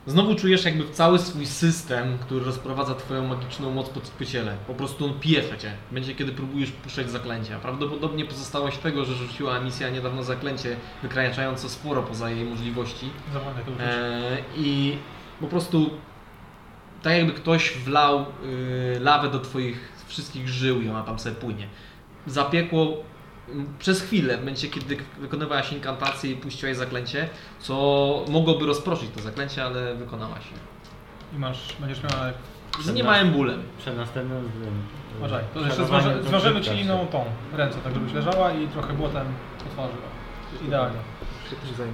Speaker 1: Znowu czujesz jakby cały swój system, który rozprowadza twoją magiczną moc pod spyciele. Po prostu on piesze cię. Będzie kiedy próbujesz puszczać zaklęcia. Prawdopodobnie pozostałość tego, że rzuciła misja niedawno zaklęcie wykraczające sporo poza jej możliwości.
Speaker 2: Zapomnę to użyć.
Speaker 1: E, I po prostu tak jakby ktoś wlał y, lawę do twoich wszystkich żył i ona tam sobie płynie. Zapiekło mm, przez chwilę, w momencie kiedy k- wykonywałaś inkantację i puściłaś zaklęcie, co mogłoby rozproszyć to zaklęcie, ale wykonałaś je.
Speaker 2: I masz, będziesz miała
Speaker 1: Z niemałym bólem.
Speaker 3: Przed następnym... tym,
Speaker 2: Uważaj, to
Speaker 3: przed
Speaker 2: jeszcze
Speaker 3: zwanym
Speaker 2: zważy, zważymy ci
Speaker 3: konfliktem.
Speaker 2: inną tą ręce, tak żebyś leżała i trochę błotem otworzyła. Idealnie.
Speaker 4: Się też zajmę.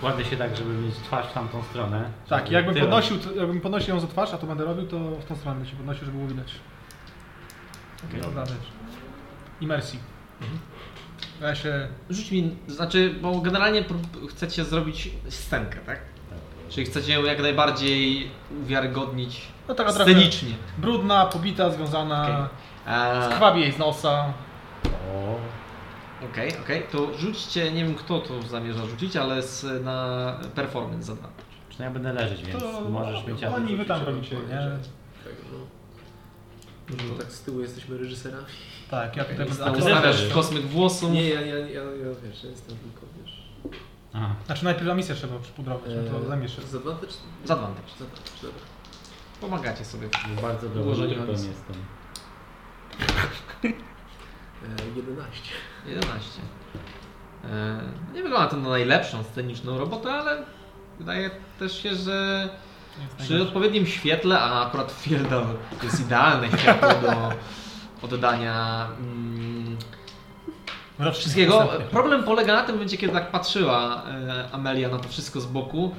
Speaker 3: Kładę się tak, żeby mieć twarz w tamtą stronę.
Speaker 2: Tak,
Speaker 3: żeby
Speaker 2: jakbym
Speaker 3: tyłem-
Speaker 2: podnosił, jakbym podnosił ją za twarz, a to będę robił, to w tą stronę się podnosił, żeby było widać.
Speaker 3: Okej.
Speaker 2: Dobra rzecz. Imersji. Ja się...
Speaker 1: Rzuć mi, znaczy, bo generalnie prób- chcecie zrobić scenkę, tak? Czyli chcecie ją jak najbardziej uwiarygodnić
Speaker 2: No taka trochę
Speaker 1: scenicznie.
Speaker 2: brudna, pobita, związana,
Speaker 1: Eee,
Speaker 2: skrabi jej z nosa.
Speaker 3: O,
Speaker 1: Okej, okej, to rzućcie, nie wiem kto to zamierza rzucić, ale z, na performance za dwa.
Speaker 3: Czy no ja będę leżeć, więc
Speaker 2: To-
Speaker 3: możesz
Speaker 2: Oni
Speaker 3: mieć atak.
Speaker 2: wy tam
Speaker 4: Żeby
Speaker 2: robicie,
Speaker 4: powiedzieć,
Speaker 2: nie?
Speaker 4: że- Tak, no. Może tak z tyłu jesteśmy reżyserami.
Speaker 2: Tak, ja tutaj
Speaker 1: A
Speaker 2: będę...
Speaker 1: ustawiasz kosmyk włosów.
Speaker 4: Nie, ja, ja, ja, ja wiesz, ja jestem tylko, wiesz...
Speaker 3: Aha.
Speaker 2: Znaczy najpierw misję trzeba przypudrować, no to
Speaker 4: e,
Speaker 2: zamieszczę.
Speaker 4: Z advantage?
Speaker 1: Z advantage.
Speaker 4: Z advantage, dobra.
Speaker 1: Pomagacie sobie.
Speaker 3: Bo No, Bardzo
Speaker 1: Ułożenie mam.
Speaker 3: dobrze jestem.
Speaker 4: E, 11.
Speaker 1: 11. E, no nie wygląda to na najlepszą sceniczną robotę, ale wydaje też się, że
Speaker 2: Nie jest
Speaker 1: przy
Speaker 2: najgorsze.
Speaker 1: odpowiednim świetle, a akurat Fielda jest idealne światło do oddania mm,
Speaker 2: Wracz
Speaker 1: wszystkiego.
Speaker 2: następny.
Speaker 1: Problem polega na tym w momencie, kiedy tak patrzyła e, Amelia na to wszystko z boku,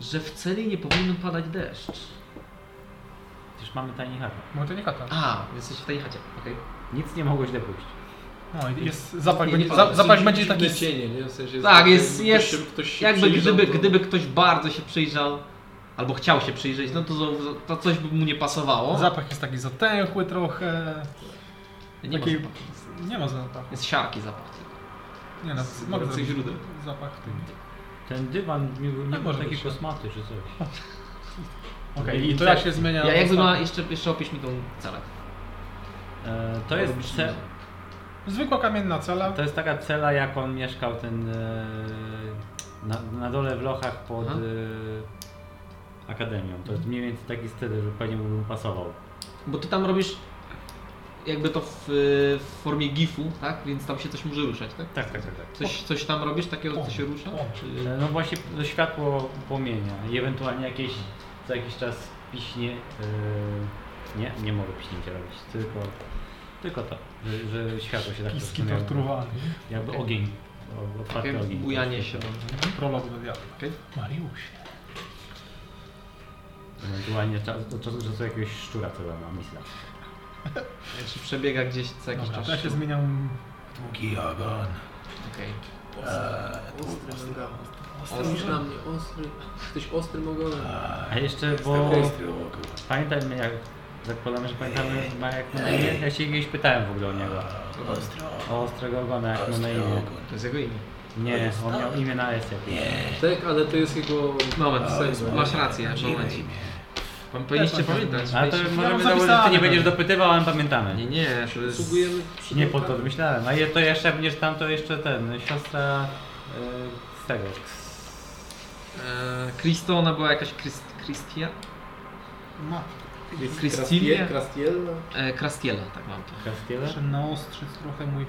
Speaker 1: że w celi nie powinien padać deszcz.
Speaker 3: Przecież mamy tajny hat.
Speaker 2: Bo to nie kata.
Speaker 1: A, jesteś w tej chacie. Okej.
Speaker 3: Nic nie mogło źle pójść.
Speaker 2: No i jest zapach,
Speaker 1: Nie, nie
Speaker 2: będzie,
Speaker 1: pada.
Speaker 2: za, zapach
Speaker 4: Są
Speaker 2: będzie
Speaker 4: dziwne
Speaker 2: taki...
Speaker 4: cienie, nie? W sensie
Speaker 1: Tak,
Speaker 4: jakby
Speaker 1: jest-
Speaker 4: ktoś
Speaker 1: jest-
Speaker 4: się- ktoś się
Speaker 1: Jakby
Speaker 4: przyjrzał,
Speaker 1: gdyby,
Speaker 4: to-
Speaker 1: gdyby ktoś bardzo się przyjrzał, albo chciał się przyjrzeć, no to, zau- to coś by mu nie pasowało.
Speaker 2: Zapach jest taki zatęchły trochę.
Speaker 1: nie ma
Speaker 2: taki-
Speaker 1: zapachu.
Speaker 2: Nie ma zapachu.
Speaker 1: Jest siarki zapach tylko.
Speaker 2: Nie no,
Speaker 1: Z
Speaker 2: mogę
Speaker 1: gorących
Speaker 2: zrobić
Speaker 1: źródeł. Mhm.
Speaker 2: zapach.
Speaker 3: Ten dywan nie, nie
Speaker 2: Tak
Speaker 3: był
Speaker 2: może
Speaker 3: taki
Speaker 2: być.
Speaker 3: kosmaty czy coś.
Speaker 2: Okej,
Speaker 3: I
Speaker 2: i to
Speaker 3: tak-
Speaker 2: jak się zmienia...
Speaker 1: Ja jak
Speaker 2: ostatnio?
Speaker 1: wygląda, jeszcze, jeszcze opisz mi tą celę.
Speaker 3: E, to, jest ce,
Speaker 2: Zwykła kamienna cela.
Speaker 1: Tak.
Speaker 3: to jest taka cela, jak on mieszkał ten e, na, na dole w Lochach pod
Speaker 1: Aha.
Speaker 3: e, Akademią. To jest mniej więcej taki styl, że pewnie mu bym pasował.
Speaker 1: Bo ty tam robisz jakby to w, e, w formie gifu, tak? Więc tam się coś może ruszać, tak?
Speaker 3: Tak, tak, tak. tak.
Speaker 1: Coś, coś tam robisz takiego, co się rusza?
Speaker 2: O,
Speaker 1: Czy...
Speaker 3: No właśnie to światło płomienia i ewentualnie jakieś, co jakiś czas piśnie. e, nie, nie mogę piśnięcia robić, tylko, tylko to, że, że światło się tak
Speaker 2: Piski
Speaker 3: rozsunęło.
Speaker 2: torturowany.
Speaker 1: Mhm.
Speaker 3: Jakby ogień. o- Otwarty
Speaker 1: Takie
Speaker 3: ogień.
Speaker 1: bujanie się.
Speaker 2: Prolog do diabła.
Speaker 1: Okej.
Speaker 2: Mariusz.
Speaker 3: Ewentualnie cza- od czasu do czasu jakiegoś szczura co na misla.
Speaker 1: Jak się przebiega gdzieś co jakiś
Speaker 2: Dobra,
Speaker 1: czas.
Speaker 2: to ja się zmieniam...
Speaker 6: Długi ogon.
Speaker 1: Okej.
Speaker 2: Eee,
Speaker 4: Ostry, ostry, ostry.
Speaker 1: Ostry.
Speaker 4: na mnie, ostry. Jesteś ostrym ogonem.
Speaker 3: A jeszcze, bo
Speaker 6: Ostry ogon.
Speaker 3: pamiętajmy jak, zakładamy, że pamiętamy ma jak ma na imię, ja się kiedyś pytałem w ogóle o niego.
Speaker 6: Ostry ogon.
Speaker 3: O ostrego ogona, jak ma na
Speaker 6: Ostry
Speaker 3: imię.
Speaker 6: ogon.
Speaker 1: To jest jego imię.
Speaker 3: Nie, on miał imię na S.
Speaker 4: Tak, ale to jest jego...
Speaker 1: Moment,
Speaker 4: A, jest
Speaker 1: masz rację, moment. Pan powinniście
Speaker 2: Tak, tak.
Speaker 1: pamiętać.
Speaker 3: Ale to
Speaker 1: powinniście-
Speaker 2: mam
Speaker 3: możemy założyć, że ty
Speaker 2: zapisane.
Speaker 3: nie będziesz dopytywał, ale pamiętamy.
Speaker 1: Nie, nie, to jest...
Speaker 4: Przysługujemy
Speaker 3: Nie po to myślałem. A je, to jeszcze jak będziesz tam, to jeszcze ten, siostra e, z tego.
Speaker 1: E, Christo, ona była jakaś Christ, Christia?
Speaker 2: Ma.
Speaker 1: Tak? Krystylia?
Speaker 4: Krastiella.
Speaker 1: E, Krastiela, tak mam to.
Speaker 3: Castiela?
Speaker 2: Muszę naostrzyć trochę mój...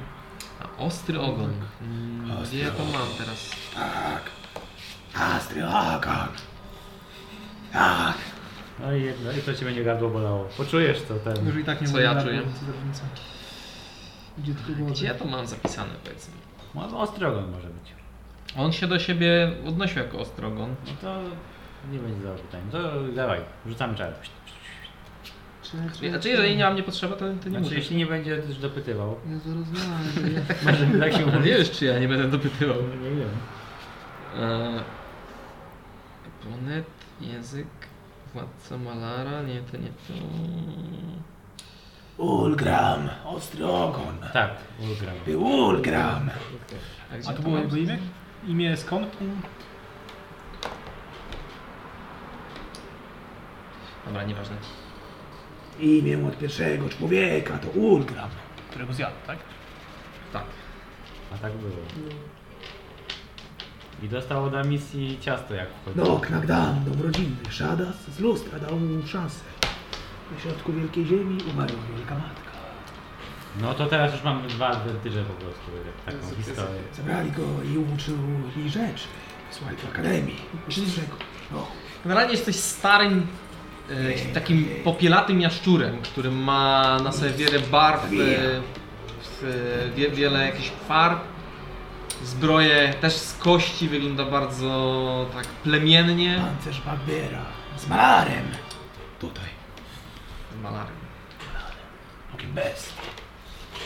Speaker 1: A, ostry ogon. Mm,
Speaker 6: Ostry
Speaker 1: Gdzie ja to
Speaker 6: ogon.
Speaker 1: mam teraz?
Speaker 6: Ostry ogon. Tak.
Speaker 3: No i jedno, i to ci będzie gardło bolało. Poczujesz to ten.
Speaker 2: Już i tak nie
Speaker 1: Co
Speaker 2: będę
Speaker 1: ja
Speaker 2: na
Speaker 1: czuję?
Speaker 2: granicy do różnicy. Gdzie tylko było.
Speaker 1: Gdzie ja to mam zapisane, powiedz mi?
Speaker 3: Może ostrogon może być.
Speaker 1: On się do siebie odnosił jako ostrogon.
Speaker 3: No to nie będzie za pytań. To dawaj, rzucamy czar.
Speaker 1: Znaczy, jeżeli nie mam nie potrzeba, to, to nie
Speaker 3: Znaczy,
Speaker 1: muszę.
Speaker 3: jeśli nie będzie też dopytywał,
Speaker 2: Ja zrozumiałem.
Speaker 3: może mi tak się
Speaker 1: Ale
Speaker 3: umówić.
Speaker 1: wiesz, czy ja nie będę dopytywał.
Speaker 3: No, Nie wiem.
Speaker 1: E, Planet, język, władca Malara, nie, to nie to.
Speaker 6: Ulgram. Ostry ogon.
Speaker 3: Tak, ulgram.
Speaker 6: Ty Ulgram.
Speaker 1: A, gdzie
Speaker 2: A to
Speaker 1: to
Speaker 2: było
Speaker 1: mam?
Speaker 2: jego imię? Imię skąd?
Speaker 1: Dobra, nieważne.
Speaker 6: Imię od pierwszego człowieka to Ulgram.
Speaker 2: Którego zjadł, tak?
Speaker 1: Tak.
Speaker 3: A tak było. I dostał od misji ciasto jak
Speaker 6: Do
Speaker 3: wchodził.
Speaker 6: okna dam dom rodzinny Szadas z lustra dał mu szansę. Na środku wielkiej ziemi umarła wielka matka.
Speaker 3: No to teraz już mamy dwa adwentyże po prostu. tak, Taką historię.
Speaker 6: Zabrali go i uczył jej rzeczy. Wysłali do akademii. Czyli czego? No,
Speaker 1: Generalnie jesteś starym e, takim popielatym jaszczurem, który ma na sobie wiele barw, e, w, e, wie, wiele jakichś farb. Zbroję też z kości wygląda bardzo tak plemiennie.
Speaker 6: Pancerz Babiera. Z malarem. Tutaj.
Speaker 1: Malarem.
Speaker 6: Okiem bez.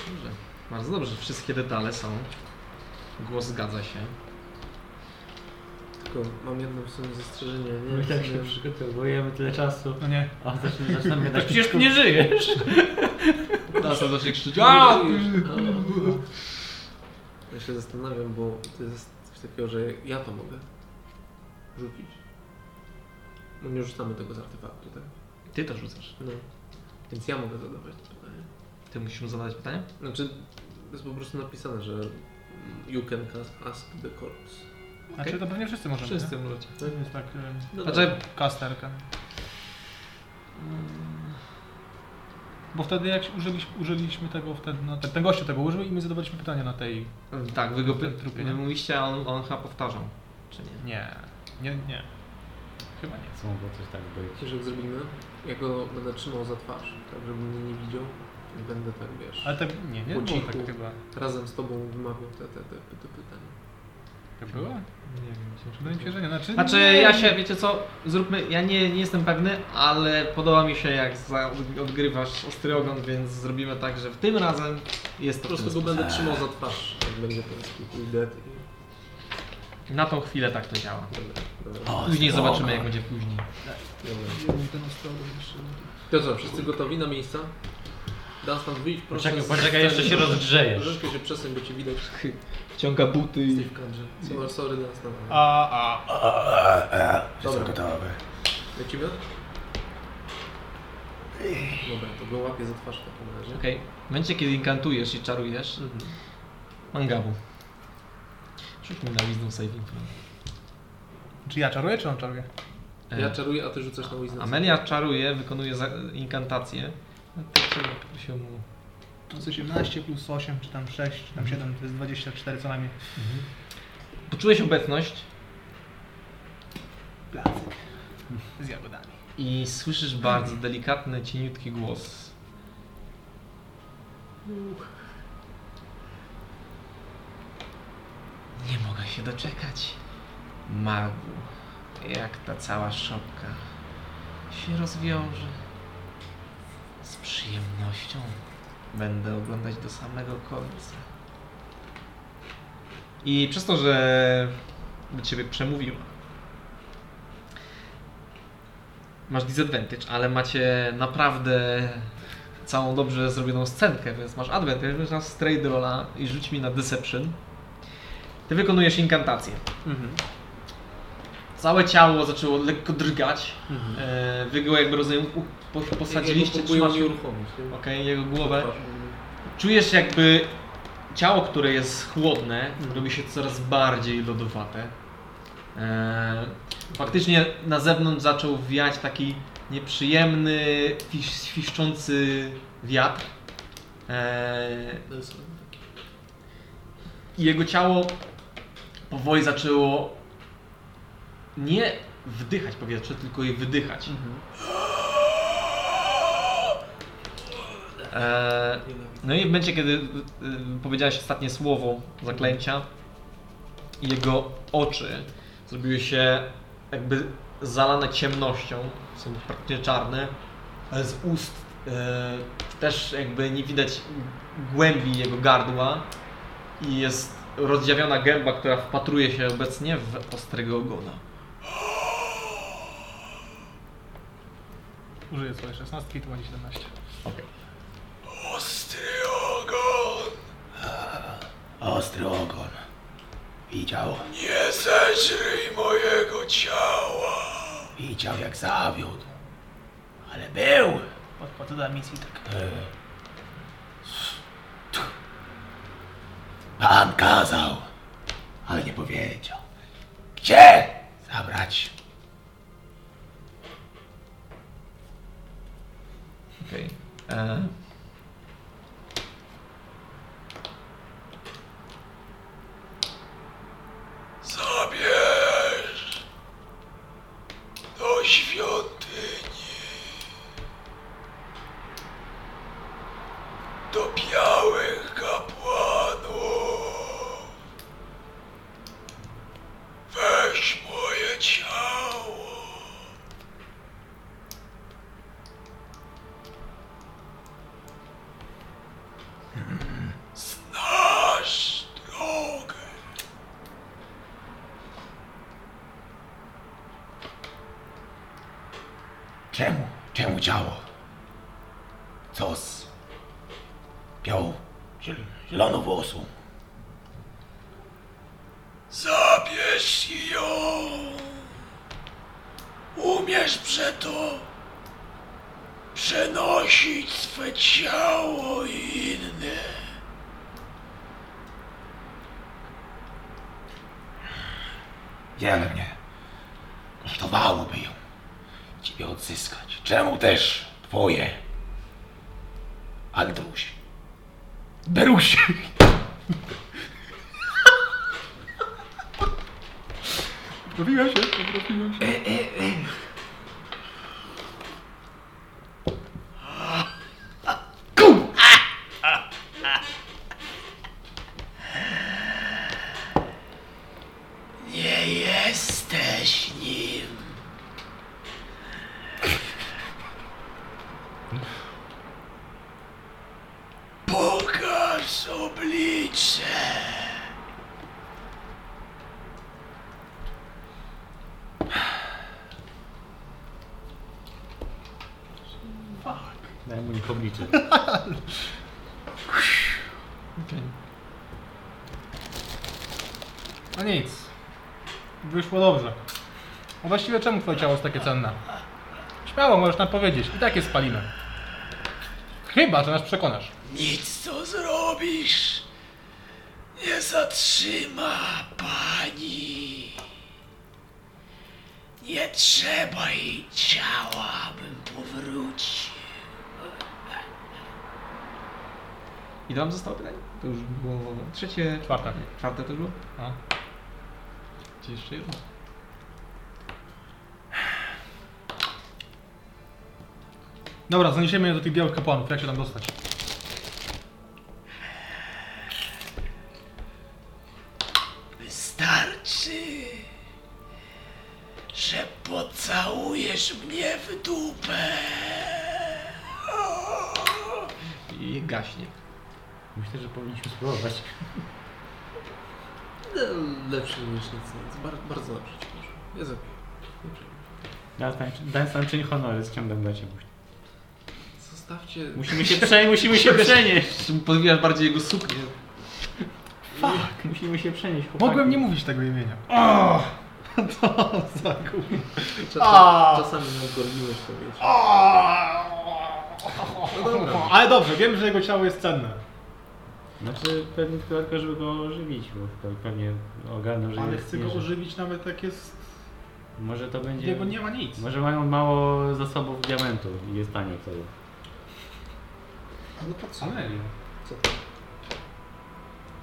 Speaker 1: Dobrze. Bardzo dobrze, wszystkie detale są. Głos zgadza się.
Speaker 4: Tylko mam jedno w sumie zastrzeżenie. Nie
Speaker 3: My
Speaker 4: wiem,
Speaker 3: tak
Speaker 4: czy
Speaker 3: się
Speaker 4: miałem-
Speaker 3: przygotowujemy tyle czasu.
Speaker 2: No nie.
Speaker 3: A zaczynamy, zaczynamy
Speaker 2: Tak
Speaker 3: gadać. Tak Przecież nie żyjesz!
Speaker 1: Teraz on zacznie krzyczeć.
Speaker 4: A!
Speaker 1: "A!"
Speaker 4: Ja się zastanawiam, bo to jest coś takiego, że ja to mogę rzucić. No nie rzucamy tego z artefaktu, tak?
Speaker 1: Ty to rzucasz.
Speaker 4: No. Więc ja mogę zadawać to pytanie.
Speaker 1: Ty musisz mu zadać pytanie?
Speaker 4: Znaczy, to jest po prostu napisane, że you can cast- ask the corpse.
Speaker 2: Znaczy to pewnie wszyscy możemy.
Speaker 1: Wszyscy
Speaker 2: nie?
Speaker 1: możecie.
Speaker 2: To jest tak e,
Speaker 4: No
Speaker 1: Znaczy,
Speaker 2: kasterka. Mm. Bo wtedy jak się użyliśmy, użyliśmy tego wtedy, no, ten, ten gościu tego użył i my zadawaliśmy pytania na tej.
Speaker 1: tak, wy go py-
Speaker 2: Ten trupie, nie?
Speaker 1: wy mówiliście, a on, on chyba powtarzał. Czy nie?
Speaker 2: Nie, nie, nie. Chyba nie.
Speaker 3: Co mogło coś tak być?
Speaker 4: Kieszek zrobimy. Ja go będę trzymał za twarz, tak żeby mnie nie widział. I będę tak, wiesz,
Speaker 2: Ale to nie, nie
Speaker 4: Po
Speaker 2: było tak
Speaker 4: cichu.
Speaker 2: chyba.
Speaker 4: razem z tobą wymawiał te, te, te, te pytania.
Speaker 2: To było?
Speaker 1: Nie wiem,
Speaker 2: Wydaje mi się, że nie. Znaczy,
Speaker 1: Znaczy,
Speaker 2: nie.
Speaker 1: ja się, wiecie co, zróbmy, ja nie, nie jestem pewny, ale podoba mi się jak za, odgrywasz ostry ogon, więc zrobimy tak, że w tym razem jest
Speaker 4: Po
Speaker 1: to w ten
Speaker 4: prostu go
Speaker 1: sposób.
Speaker 4: będę trzymał za twarz, jak będzie ten spokój dead i
Speaker 1: Na tą chwilę tak to działa.
Speaker 4: dobra, dobra,
Speaker 6: O,
Speaker 1: Później
Speaker 6: spoko.
Speaker 1: zobaczymy jak będzie później.
Speaker 4: dobra. To co, wszyscy gotowi na miejsca? Dunstan, wyjdź proszę.
Speaker 3: Poczekaj,
Speaker 4: z-
Speaker 3: poczekaj, jeszcze się rozgrzejesz.
Speaker 4: Troszeczkę się przesuń, bo cię widać.
Speaker 1: Wciąga buty
Speaker 4: Jesteś w kadrze. Sorry, sorry Dunstan.
Speaker 2: A, a.
Speaker 4: Dobra.
Speaker 6: Jestem gotowy.
Speaker 4: Lecimy? Dobra, to go łapię za twarz w takim razie.
Speaker 1: Okej, w momencie kiedy inkantujesz i czarujesz,
Speaker 4: Mhm.
Speaker 1: mangabu. Rzuć mi na wisdom saving throw.
Speaker 2: Czy ja czaruję, czy on czaruje?
Speaker 1: E,
Speaker 4: Ja czaruję, a ty rzucasz na wisdom.
Speaker 1: Amelia czaruje, wykonuje za, inkantację. No to trzeba poprosił mu.
Speaker 2: To jest 18 plus 8, czy tam 6, czy tam 7, to jest 24 co najmniej.
Speaker 1: Poczułeś obecność
Speaker 2: Placek. Z jagodami.
Speaker 1: i słyszysz bardzo delikatny, cieniutki głos. Nie mogę się doczekać. Magu, jak ta cała szopka się rozwiąże. Z przyjemnością będę oglądać do samego końca. I przez to, że do ciebie przemówiła, masz disadvantage, ale macie naprawdę całą dobrze zrobioną scenkę, więc masz advantage, więc masz straight rolla i rzuć mi na deception. Ty wykonujesz inkantację. Mhm, Całe ciało zaczęło lekko drgać. E, wy go jakby rozumiem, u, po, posadziliście,
Speaker 4: trzymasz...
Speaker 1: trzymasz
Speaker 4: nie uruchomić. nie?
Speaker 1: Okej, jego głowę.
Speaker 4: Twarz.
Speaker 1: Czujesz jakby ciało, które jest chłodne, robi się coraz bardziej lodowate. Eee, faktycznie na zewnątrz zaczął wiać taki nieprzyjemny, fisz, świszczący wiatr. Eee,
Speaker 4: To jest-
Speaker 1: i jego ciało powoli zaczęło nie wdychać powietrze, tylko je wydychać.
Speaker 4: Mhm.
Speaker 1: Eee,
Speaker 4: Nienawidzę.
Speaker 1: No i w momencie, kiedy y, y, powiedziałeś ostatnie słowo zaklęcia, jego oczy zrobiły się jakby zalane ciemnością, są praktycznie czarne, ale z ust y, też jakby nie widać głębi jego gardła i jest rozdziawiona gęba, która wpatruje się obecnie w ostrego ogona.
Speaker 2: Użyję swojej 16, to będzie 17.
Speaker 6: Ostry ogon. Widział. Nie zeżrij mojego ciała. Widział jak zawiódł. Ale był.
Speaker 2: Podchodzę do misji tak.
Speaker 6: Pan kazał, ale nie powiedział. Gdzie zabrać?
Speaker 1: Okej. E.
Speaker 6: Zabierz do świątyni.
Speaker 7: Czemu? Czemu ciało? Co z białą, ziel- zieloną włosą? Zabierz ją! Umiesz przeto przenosić swe ciało i inne. Wiele mnie kosztowałoby ją ciebie odzyskać. Czemu też twoje? Andruś. Beruś.
Speaker 2: Zrobiłem się, zrobiłem
Speaker 7: E,
Speaker 2: się.
Speaker 7: Nie jesteś nim. Pokaż oblicze.
Speaker 3: Daj mu ich oblicze.
Speaker 2: No nic. Wyszło dobrze. A właściwie czemu twoje ciało jest takie cenne? Śmiało możesz nam powiedzieć. I tak je spalimy. Chyba, że nas przekonasz.
Speaker 7: Nic co zrobisz nie zatrzyma pani. Nie trzeba jej ciała, abym powrócił.
Speaker 1: Ile wam zostało pytań? To już było trzecie,
Speaker 2: Czwarte.
Speaker 1: czwarte to już było?
Speaker 2: No.
Speaker 1: Czy jeszcze jedno?
Speaker 2: Dobra, zaniesiemy je do tych białych kapłanów. Jak się tam dostać?
Speaker 7: Wystarczy, że pocałujesz mnie w dupę.
Speaker 1: I gaśnie.
Speaker 3: Myślę, że powinniśmy spróbować.
Speaker 4: No, Lepszy niż nic. nic. Bar- bardzo dobrze ci poszło. Jest okej. Nie przejmuj się.
Speaker 3: Daj sam czyń honory, ściągam dla ciebie.
Speaker 4: Zostawcie...
Speaker 3: Musimy się przenieść, musimy się przenieść.
Speaker 1: Podwijasz bardziej jego suknię.
Speaker 3: Tak, Musimy się przenieść, chłopaki.
Speaker 2: Mogłem nie mówić tego imienia.
Speaker 4: Czasami, czasami nadgorliłeś to, wiecie. No dobra.
Speaker 2: Ale dobrze, wiem, że jego ciało jest cenne.
Speaker 3: Znaczy, pewnie tylko, tylko żeby go ożywić, bo to pewnie ogarnął, że
Speaker 2: Ale
Speaker 3: jest
Speaker 2: chcę go
Speaker 3: nie, że-
Speaker 2: ożywić nawet jak jest...
Speaker 3: Może to będzie...
Speaker 2: Jego nie ma nic.
Speaker 3: Może mają mało zasobów diamentu i jest tanie wtedy.
Speaker 4: No to co?
Speaker 2: Amelia.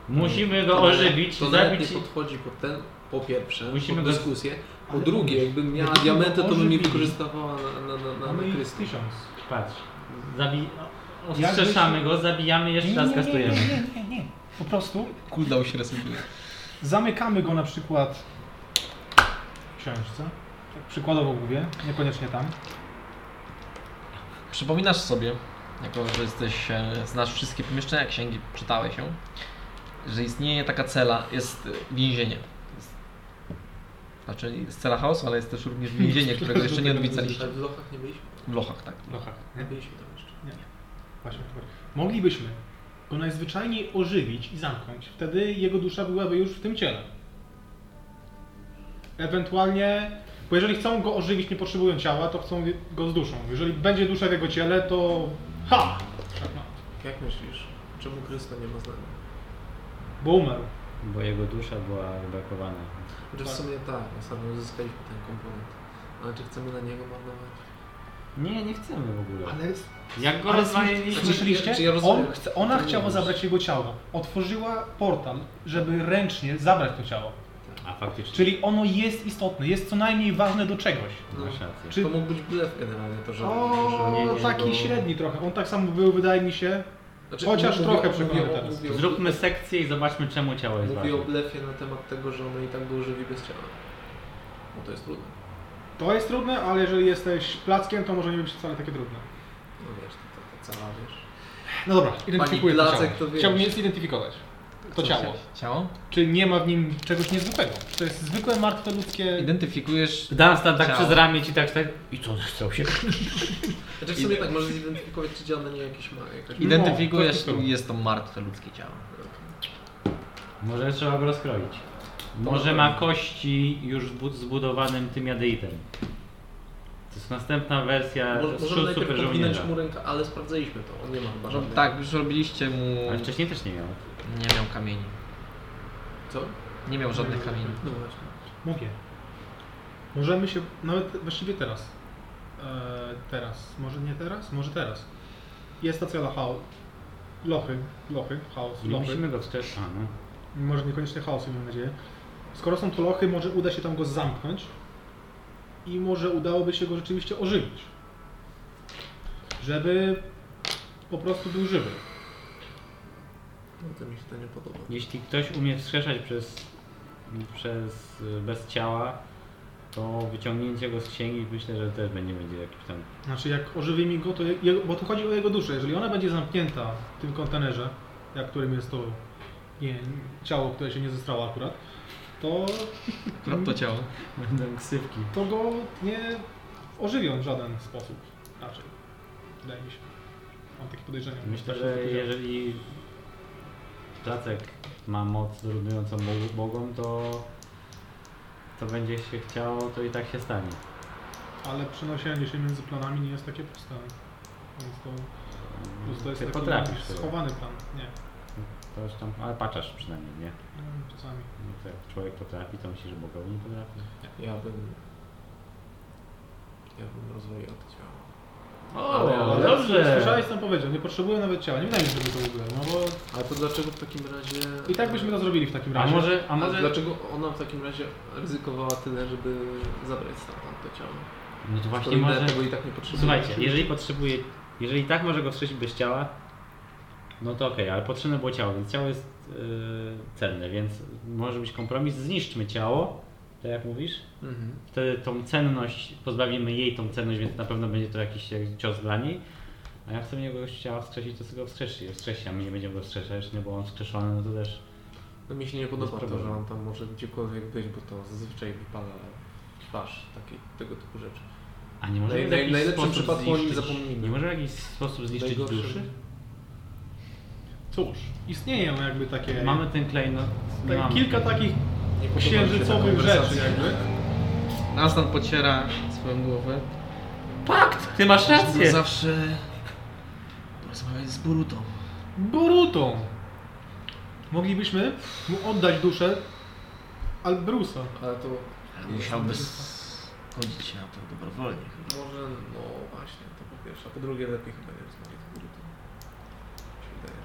Speaker 3: Musimy
Speaker 4: To
Speaker 3: go
Speaker 4: nawet-
Speaker 3: ożywić,
Speaker 4: To nawet
Speaker 3: zabić
Speaker 4: nie podchodzi pod ten, po pierwsze,
Speaker 3: Musimy
Speaker 4: pod
Speaker 3: go-
Speaker 4: dyskusję. Po
Speaker 2: Ale
Speaker 4: drugie,
Speaker 2: mówisz,
Speaker 4: jakbym miała
Speaker 2: jakbyśmy
Speaker 4: diamenty, to bym je
Speaker 2: ożywili. No
Speaker 4: wykorzystywała na, na, na, na,
Speaker 2: Mamy
Speaker 4: na
Speaker 2: ich
Speaker 4: Krystian.
Speaker 2: tysiąc.
Speaker 3: Patrz. Zabi... Ostrzeszamy go, zabijamy, jeszcze raz kastujemy.
Speaker 2: nie, nie, nie. Po prostu
Speaker 1: Cooldown się resetuje.
Speaker 2: zamykamy go na przykład w książce. Tak przykładowo mówię, niekoniecznie tam.
Speaker 1: Przypominasz sobie, jako że jesteś, e, znasz wszystkie pomieszczenia, księgi, czytałeś się, że istnieje taka cela, jest e, więzienie. Jest, znaczy jest cela chaosu, ale jest też również więzienie, którego jeszcze nie odwiedzaliście.
Speaker 4: Ale w lochach nie byliśmy?
Speaker 1: W lochach, tak.
Speaker 2: Lochach.
Speaker 4: Nie byliśmy tam jeszcze.
Speaker 2: Właśnie. tak. Moglibyśmy go najzwyczajniej ożywić i zamknąć. Wtedy jego dusza byłaby już w tym ciele. Ewentualnie, bo jeżeli chcą go ożywić, nie potrzebują ciała, to chcą go z duszą. Jeżeli będzie dusza w jego ciele, to ha! Tak
Speaker 4: Jak myślisz? Czemu Krysta nie ma z nami?
Speaker 2: Bo umarł.
Speaker 3: Bo jego dusza była wybrakowana.
Speaker 4: Znaczy w sumie tak, na samym uzyskaliśmy ten komponent. Ale czy chcemy na niego marnować?
Speaker 3: Nie, nie chcemy w ogóle.
Speaker 2: Ale jest
Speaker 3: Jak go
Speaker 2: Ale
Speaker 3: rozwaliliśmy...
Speaker 2: Słyszeliście?
Speaker 4: Czy ja rozumiem?
Speaker 2: On chce, ona
Speaker 4: To nie
Speaker 2: chciała
Speaker 4: jest.
Speaker 2: zabrać jego ciało. Otworzyła portal, żeby ręcznie zabrać to ciało.
Speaker 3: A faktycznie.
Speaker 2: Czyli ono jest istotne, jest co najmniej ważne do czegoś.
Speaker 3: Masz rację.
Speaker 2: Czy-
Speaker 4: To mógł być blef generalnie, to że... że nie,
Speaker 2: O,
Speaker 4: nie,
Speaker 2: taki
Speaker 4: bo-
Speaker 2: średni trochę. On tak samo był, wydaje mi się.
Speaker 4: Znaczy,
Speaker 2: Chociaż
Speaker 4: mówię-
Speaker 2: trochę
Speaker 4: mówię
Speaker 2: przekonany
Speaker 4: o-
Speaker 2: teraz.
Speaker 4: mówię o-
Speaker 3: Zróbmy sekcję i zobaczmy czemu ciało jest
Speaker 4: Mówię o
Speaker 3: ważne.
Speaker 4: blefie na temat tego, że ono i tak go żywi bez ciała. Bo to jest trudne.
Speaker 2: To jest trudne, ale jeżeli jesteś plackiem, to może nie być wcale takie trudne.
Speaker 4: No wiesz, to, to, to cała wiesz.
Speaker 2: No dobra, identyfikuję to
Speaker 4: placek
Speaker 2: ciało.
Speaker 4: to wiesz.
Speaker 2: Chciałbym je zidentyfikować. To
Speaker 1: Co
Speaker 2: ciało.
Speaker 1: chciałeś? Ciało?
Speaker 2: Czy nie ma w nim czegoś niezwykłego? Czy to jest zwykłe, martwe, ludzkie...
Speaker 1: Identyfikujesz
Speaker 3: Dunstan tak
Speaker 1: Ciało.
Speaker 3: przez ramię ci tak, tak. I co, stał się?
Speaker 4: Znaczy w sumie tak, możesz zidentyfikować, czy działa na niej jakaś ma, jakaś
Speaker 1: Identyfikujesz,
Speaker 2: No, to- to-
Speaker 1: jest to martwe ludzkie ciało.
Speaker 3: Może trzeba go rozkroić. Może ma kości już w bu- zbudowanym tym jadeitem. To jest następna wersja
Speaker 4: Mo- Możemy
Speaker 3: Su- super
Speaker 4: najpierw podwinąć
Speaker 3: żołnierza.
Speaker 4: mu rękę, ale sprawdzaliśmy to. On nie ma chyba
Speaker 1: No,
Speaker 4: żadnej-
Speaker 1: tak, już robiliście mu...
Speaker 3: Ale wcześniej też nie miał.
Speaker 1: Nie miał kamieni.
Speaker 4: Co?
Speaker 1: Nie miał żadnych kamieni.
Speaker 4: No właśnie.
Speaker 2: Mogę. Możemy się, nawet właściwie teraz. E, teraz, może nie teraz? Może teraz. Jest stacja dla chaos. Lochy, lochy, chaos,
Speaker 3: Nie
Speaker 2: lochy.
Speaker 3: musimy go wskrzeszyć. A, no.
Speaker 2: Może niekoniecznie chaosu, mam nadzieję. Skoro są to lochy, może uda się tam go zamknąć. I może udałoby się go rzeczywiście ożywić. Żeby po prostu był żywy.
Speaker 4: No to mi się to nie podoba.
Speaker 3: Jeśli ktoś umie wskrzeszać przez, przez y, bez ciała, to wyciągnięcie go z księgi myślę, że też będzie, będzie jakiś tam.
Speaker 2: Znaczy jak ożywimy go, to je, jego- bo to chodzi o jego duszę. Jeżeli ona będzie zamknięta w tym kontenerze, jak którym jest to nie, ciało, które się nie zestrało akurat, to,
Speaker 1: Akurat to ciało.
Speaker 3: Będą ksywki.
Speaker 2: to go nie ożywią w żaden sposób. Raczej. Wydaje mi się. Mam takie podejrzenia.
Speaker 3: Myślę,
Speaker 2: Tak się
Speaker 3: że
Speaker 2: spodziewałem.
Speaker 3: jeżeli placek ma moc dorównującą Bogu- Bogom, to to będzie się chciało, to i tak się stanie.
Speaker 2: Ale przenoszenie się między planami nie jest takie proste. Więc to, plus to jest
Speaker 3: Mhm. Ty
Speaker 2: taki
Speaker 3: potrafisz
Speaker 2: jakiś
Speaker 3: tego.
Speaker 2: schowany plan. Nie.
Speaker 3: To już tam, ale paczasz przynajmniej, nie?
Speaker 2: No, Czasami.
Speaker 3: No to jak człowiek potrafi, to myśli, że Bogowie nie potrafi.
Speaker 4: Ja bym... Ja bym rozwijał to ciało.
Speaker 3: O,
Speaker 4: Ale- ale-
Speaker 2: Słyszałeś, co on powiedział. Nie potrzebuję nawet ciała. Nie wydaje mi się, żeby to było. No bo
Speaker 4: Ale to dlaczego w takim razie...
Speaker 2: I tak byśmy to zrobili w takim
Speaker 3: A
Speaker 2: razie.
Speaker 3: może, a
Speaker 4: A
Speaker 3: może...
Speaker 4: dlaczego ona w takim razie ryzykowała tyle, żeby zabrać stamtąd to ciało?
Speaker 3: No to właśnie
Speaker 4: Skoro
Speaker 3: może...
Speaker 4: inne tego i tak nie potrzebuje.
Speaker 3: Słuchajcie, jeżeli potrzebuje, jeżeli tak może go wstrzelić bez ciała, no to okej, ale potrzebne było ciało, więc ciało jest yy, cenne, więc może być kompromis, zniszczmy ciało, tak jak mówisz,
Speaker 4: Mhm.
Speaker 3: wtedy tą cenność, pozbawimy jej tą cenność, więc na pewno będzie to jakiś e, cios dla niej, a jak sobie go chciała wskrzesić, to sobie go wskrzesi, wskrzesi, a my nie będziemy go wskrzeszać, no bo on wskrzeszony, no to też
Speaker 4: No mi się nie podoba to,
Speaker 3: problemu.
Speaker 4: że on tam może gdziekolwiek być, bo to zazwyczaj wypala twarz takiej, tego typu rzeczy.
Speaker 3: a nie może
Speaker 4: Naj-
Speaker 3: w
Speaker 4: naj-
Speaker 3: jakiś
Speaker 4: najlepszym
Speaker 3: sposób
Speaker 4: przypadku o nim
Speaker 3: zniszczyć-
Speaker 4: zapomnimy.
Speaker 3: Nie może w jakiś sposób zniszczyć
Speaker 4: Najgorszym-
Speaker 3: duszy?
Speaker 2: Cóż, istnieją jakby takie.
Speaker 3: Mamy ten klejnot.
Speaker 2: tak,
Speaker 3: mamy
Speaker 2: kilka
Speaker 3: klejnot.
Speaker 2: takich
Speaker 4: Nie podoba mi się ta
Speaker 2: księżycowych
Speaker 4: konwersacja.
Speaker 2: rzeczy jakby.
Speaker 1: Nastan pociera swoją głowę.
Speaker 3: Pakt! Ty masz
Speaker 5: Trzeba
Speaker 3: rację!
Speaker 5: zawsze porozmawiać z Borutą.
Speaker 2: Borutą! Moglibyśmy mu oddać duszę Albrusa.
Speaker 4: Ale to
Speaker 5: Ale musiałby zgodzić się na to dobrowolnie chyba.
Speaker 4: może, no właśnie, to po pierwsze. A po drugie lepiej chyba nie rozmawiać z górą. Mi się wydaje.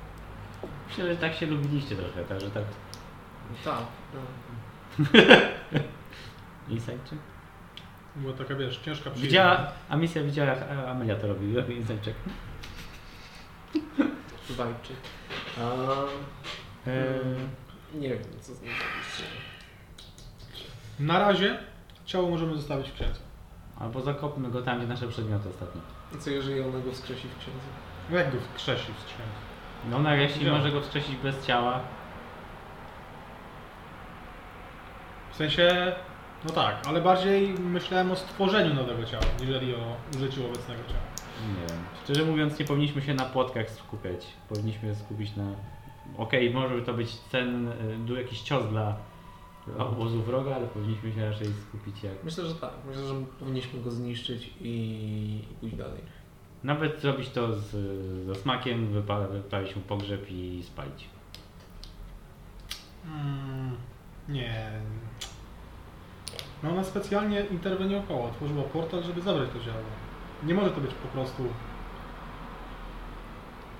Speaker 3: Myślę, że tak się lubiliście trochę, także tak.
Speaker 4: No tak, no.
Speaker 3: Inside'czyk?
Speaker 2: Była taka wiesz, ciężka przyjemność.
Speaker 3: Widziała, a misja widziała, jak A- Amelia to robi, robi Inside'czyk.
Speaker 4: Wajczy. A,
Speaker 2: E,
Speaker 4: nie wiem, co z nim zrobić.
Speaker 2: Na razie ciało możemy zostawić w księdze.
Speaker 3: Albo zakopmy go tam, gdzie nasze przedmioty ostatnio.
Speaker 4: I co jeżeli ona go wskrzesi w księdze?
Speaker 2: No jak go wskrzesił z księdza?
Speaker 3: No, no jeśli
Speaker 2: Widziałem.
Speaker 3: może go wskrzesić bez ciała,
Speaker 2: W sensie, no tak, ale bardziej myślałem o stworzeniu nowego ciała, niżeli o użyciu obecnego ciała.
Speaker 3: nie wiem. Szczerze mówiąc, nie powinniśmy się na płotkach skupiać. Powinniśmy skupić na... Okej, może to być ten, y, du- jakiś cios dla dla obozu wroga, ale powinniśmy się raczej skupić jak...
Speaker 4: Myślę, że tak. Myślę, że powinniśmy go zniszczyć i, i pójść dalej.
Speaker 3: Nawet zrobić to z, ze smakiem, wypa- wyprawić mu pogrzeb i spalić.
Speaker 2: Mm, nie. No ona specjalnie interweniowała, otworzyła portal, żeby zabrać to ziarno. Nie może to być po prostu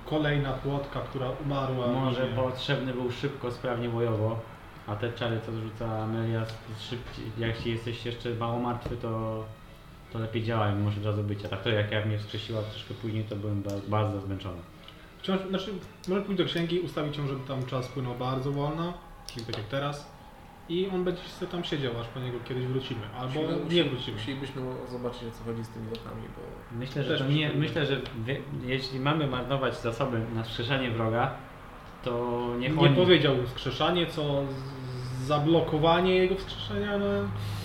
Speaker 2: kolejna płotka, która umarła.
Speaker 3: Może
Speaker 2: nie.
Speaker 3: potrzebny był szybko, sprawnie bojowo, a te czary, co rzuca Amelia, szybciej, jak jesteś jeszcze mało martwy, to, to lepiej działają, może od razu być. A tak to jak ja mnie wskrzesiła troszkę później, to byłem ba- bardzo zmęczony.
Speaker 2: Wciąż, znaczy, może pójść do księgi, ustawić ją, żeby tam czas płynął bardzo wolno, czyli tak jak teraz. I on będzie sobie tam siedział, aż po niego kiedyś wrócimy. Albo nie wrócimy.
Speaker 4: Musielibyśmy zobaczyć o co chodzi z tymi lokami, bo
Speaker 3: Myślę, że,
Speaker 2: Też
Speaker 3: to nie,
Speaker 2: przyjemnie.
Speaker 3: myślę, że wie, jeśli mamy marnować zasoby na wskrzeszanie wroga, to to niech
Speaker 2: Nie
Speaker 3: oni...
Speaker 2: powiedział wskrzeszanie, co z- zablokowanie jego wskrzeszenia, no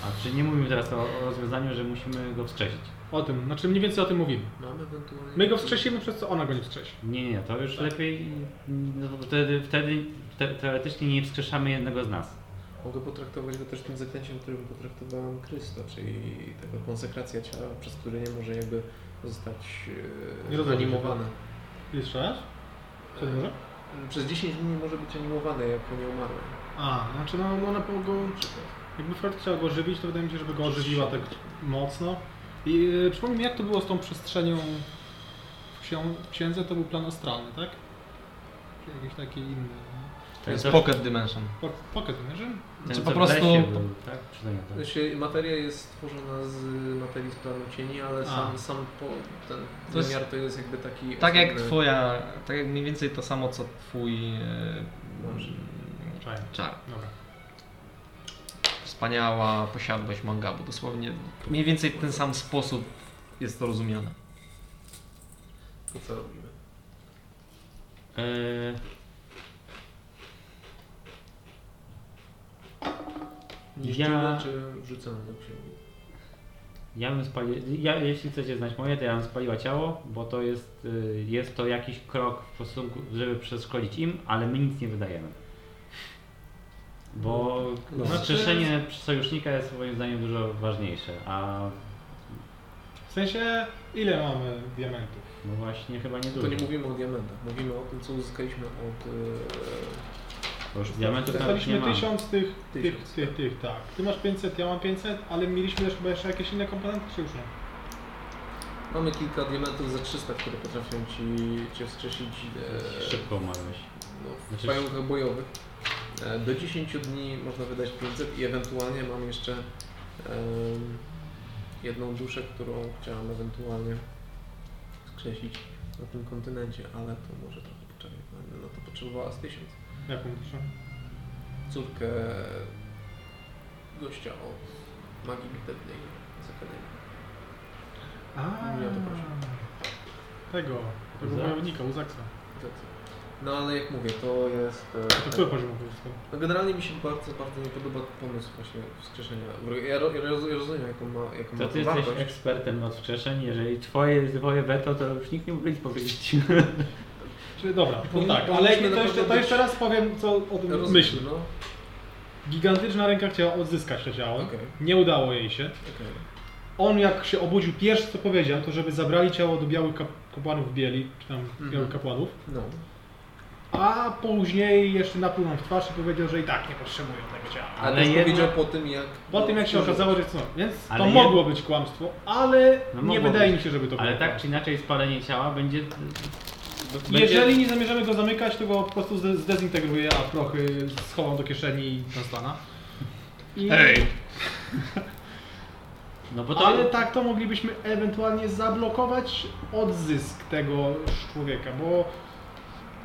Speaker 3: A czy nie mówimy teraz o, o rozwiązaniu, że musimy go wskrzesić?
Speaker 2: o tym, znaczy mniej więcej o tym mówimy.
Speaker 4: Mamy ewentualnie...
Speaker 2: My go wskrzesimy, przez co ona go nie wskrzesi.
Speaker 3: Nie, nie, to
Speaker 2: Tak.
Speaker 3: już lepiej... No, to wtedy wtedy te, teoretycznie nie wskrzeszamy jednego z nas.
Speaker 4: Mogę potraktować go też tym zaklęciem, którym potraktowałem Krysto, czyli taka konsekracja ciała, przez które nie może jakby zostać
Speaker 2: Nie
Speaker 4: e,
Speaker 2: rozumiem
Speaker 4: animowane.
Speaker 2: Jeszcze raz? Co może?
Speaker 1: znaczy?
Speaker 4: E, Przez 10 dni nie może być animowane jako nieumarły.
Speaker 2: A, znaczy no, no ona po go... Jakby Fred chciał go ożywić, to wydaje mi się, żeby go ożywiła tak mocno. I e, przypomnij mi, jak to było z tą przestrzenią w ksią- w księdze, to był plan astralny, tak? Czy jakiś taki inny?
Speaker 1: To jest
Speaker 3: Ten, co-
Speaker 1: Pocket Dimension.
Speaker 2: Po- Pocket, nie?
Speaker 3: ten,
Speaker 1: Czy
Speaker 3: co
Speaker 1: po
Speaker 3: w
Speaker 1: prostu-
Speaker 3: lesie Był, tak? Czy to nie tak?
Speaker 4: Znaczy, materia jest stworzona z materii z planu cieni, ale
Speaker 2: A.
Speaker 4: sam, sam po, ten
Speaker 1: To jest-
Speaker 4: wymiar to jest jakby taki...
Speaker 1: Tak jak
Speaker 4: osobny-
Speaker 1: twoja, tak jak mniej więcej to samo co twój e,
Speaker 4: Dobrze.
Speaker 1: mm,
Speaker 2: Czaj.
Speaker 1: czar.
Speaker 2: Dobra.
Speaker 1: Wspaniała posiadłość mangabu. Dosłownie mniej więcej w ten sam sposób jest to rozumiane.
Speaker 4: To co robimy?
Speaker 3: Eee,
Speaker 4: Niszczymy
Speaker 3: Ja-
Speaker 4: czy wrzucamy do księgi?
Speaker 3: Ja bym spalił, ja, jeśli chcecie znać moje, to ja bym spaliła ciało, bo to jest, y, jest to jakiś krok w stosunku, żeby przeszkodzić im, ale my nic nie wydajemy. Bo
Speaker 4: No.
Speaker 3: wskrzeszenie sojusznika jest moim zdaniem dużo ważniejsze, a
Speaker 2: W sensie, ile mamy diamentów?
Speaker 3: no właśnie chyba nie dużo.
Speaker 4: To nie mówimy o diamentach, mówimy o tym, co uzyskaliśmy od... e,
Speaker 3: Bo już diamentów nawet nie
Speaker 2: Dostaliśmy
Speaker 3: mamy.
Speaker 2: tysiąc tych, tych,
Speaker 4: tak, Tysiąc,
Speaker 2: tych,
Speaker 4: tak.
Speaker 2: tych, tak. Ty masz 500, ja mam 500, ale mieliśmy też chyba jeszcze jakieś inne komponenty, czy już nie?
Speaker 4: E, mamy kilka diamentów za 300, które potrafią ci, cię wskrzesić e,
Speaker 3: Szybko umarłeś.
Speaker 4: no, w
Speaker 3: Znaczy-
Speaker 4: pająkach bojowych. E, Do 10 dni można wydać 500 i ewentualnie mam jeszcze em, jedną duszę, którą chciałam ewentualnie skrzesić na tym kontynencie, ale to może trochę poczekać. Będę na to potrzebowała z 1000.
Speaker 2: Jaką duszę?
Speaker 4: Córkę gościa o magii bitewnej z Akademii.
Speaker 2: A,
Speaker 4: Ja to proszę.
Speaker 2: Tego, tego
Speaker 3: Uzak?
Speaker 2: wojownika, Uzaksa.
Speaker 4: Tacy. No ale jak mówię, to jest... e,
Speaker 2: To który poziom uzyskał?
Speaker 4: No generalnie mi się bardzo, bardzo nie podoba pomysł właśnie wskrzeszenia. Ja, ro, ja, roz, ja rozumiem jaką ma, jaką
Speaker 3: To
Speaker 4: ma
Speaker 3: ty
Speaker 4: to
Speaker 3: jesteś
Speaker 4: wartość.
Speaker 3: ekspertem od wskrzeszeń, jeżeli twoje, twoje weto, to już nikt nie mógł nic powiedzieć.
Speaker 2: Czyli dobra, no
Speaker 4: Powinni-
Speaker 2: tak, ale
Speaker 4: powinniśmy
Speaker 2: to jeszcze, to
Speaker 4: naprawdę
Speaker 2: jeszcze
Speaker 4: być-
Speaker 2: raz powiem, co o tym
Speaker 4: Rozumiem,
Speaker 2: myślę.
Speaker 4: No,
Speaker 2: Gigantyczna ręka chciała odzyskać to ciało,
Speaker 4: Okej.
Speaker 2: nie udało jej się.
Speaker 4: okej.
Speaker 2: On jak się obudził, pierwsze co powiedział, to żeby zabrali ciało do białych kap- kapłanów bieli, czy tam
Speaker 3: Mhm.
Speaker 2: białych kapłanów.
Speaker 4: No.
Speaker 2: A później jeszcze napluł nam w twarz i powiedział, że i tak nie potrzebują tego ciała.
Speaker 4: Ale
Speaker 3: Ale
Speaker 4: też
Speaker 3: jednak-
Speaker 4: powiedział po tym jak...
Speaker 2: Po tym jak się okazało, że co, więc
Speaker 3: Ale
Speaker 2: to
Speaker 3: jed-
Speaker 2: mogło być kłamstwo, ale
Speaker 3: No
Speaker 2: nie
Speaker 3: mogło
Speaker 2: wydaje
Speaker 3: być.
Speaker 2: mi się, żeby to było
Speaker 3: Ale tak
Speaker 2: kłamstwo.
Speaker 3: czy inaczej spalenie ciała będzie... będzie-
Speaker 2: Jeżeli nie zamierzamy go zamykać, to go po prostu zde- zdezintegruję, a prochy schowam do kieszeni i do stana. I...
Speaker 3: No bo to...
Speaker 2: Ale tak to moglibyśmy ewentualnie zablokować odzysk tego człowieka, bo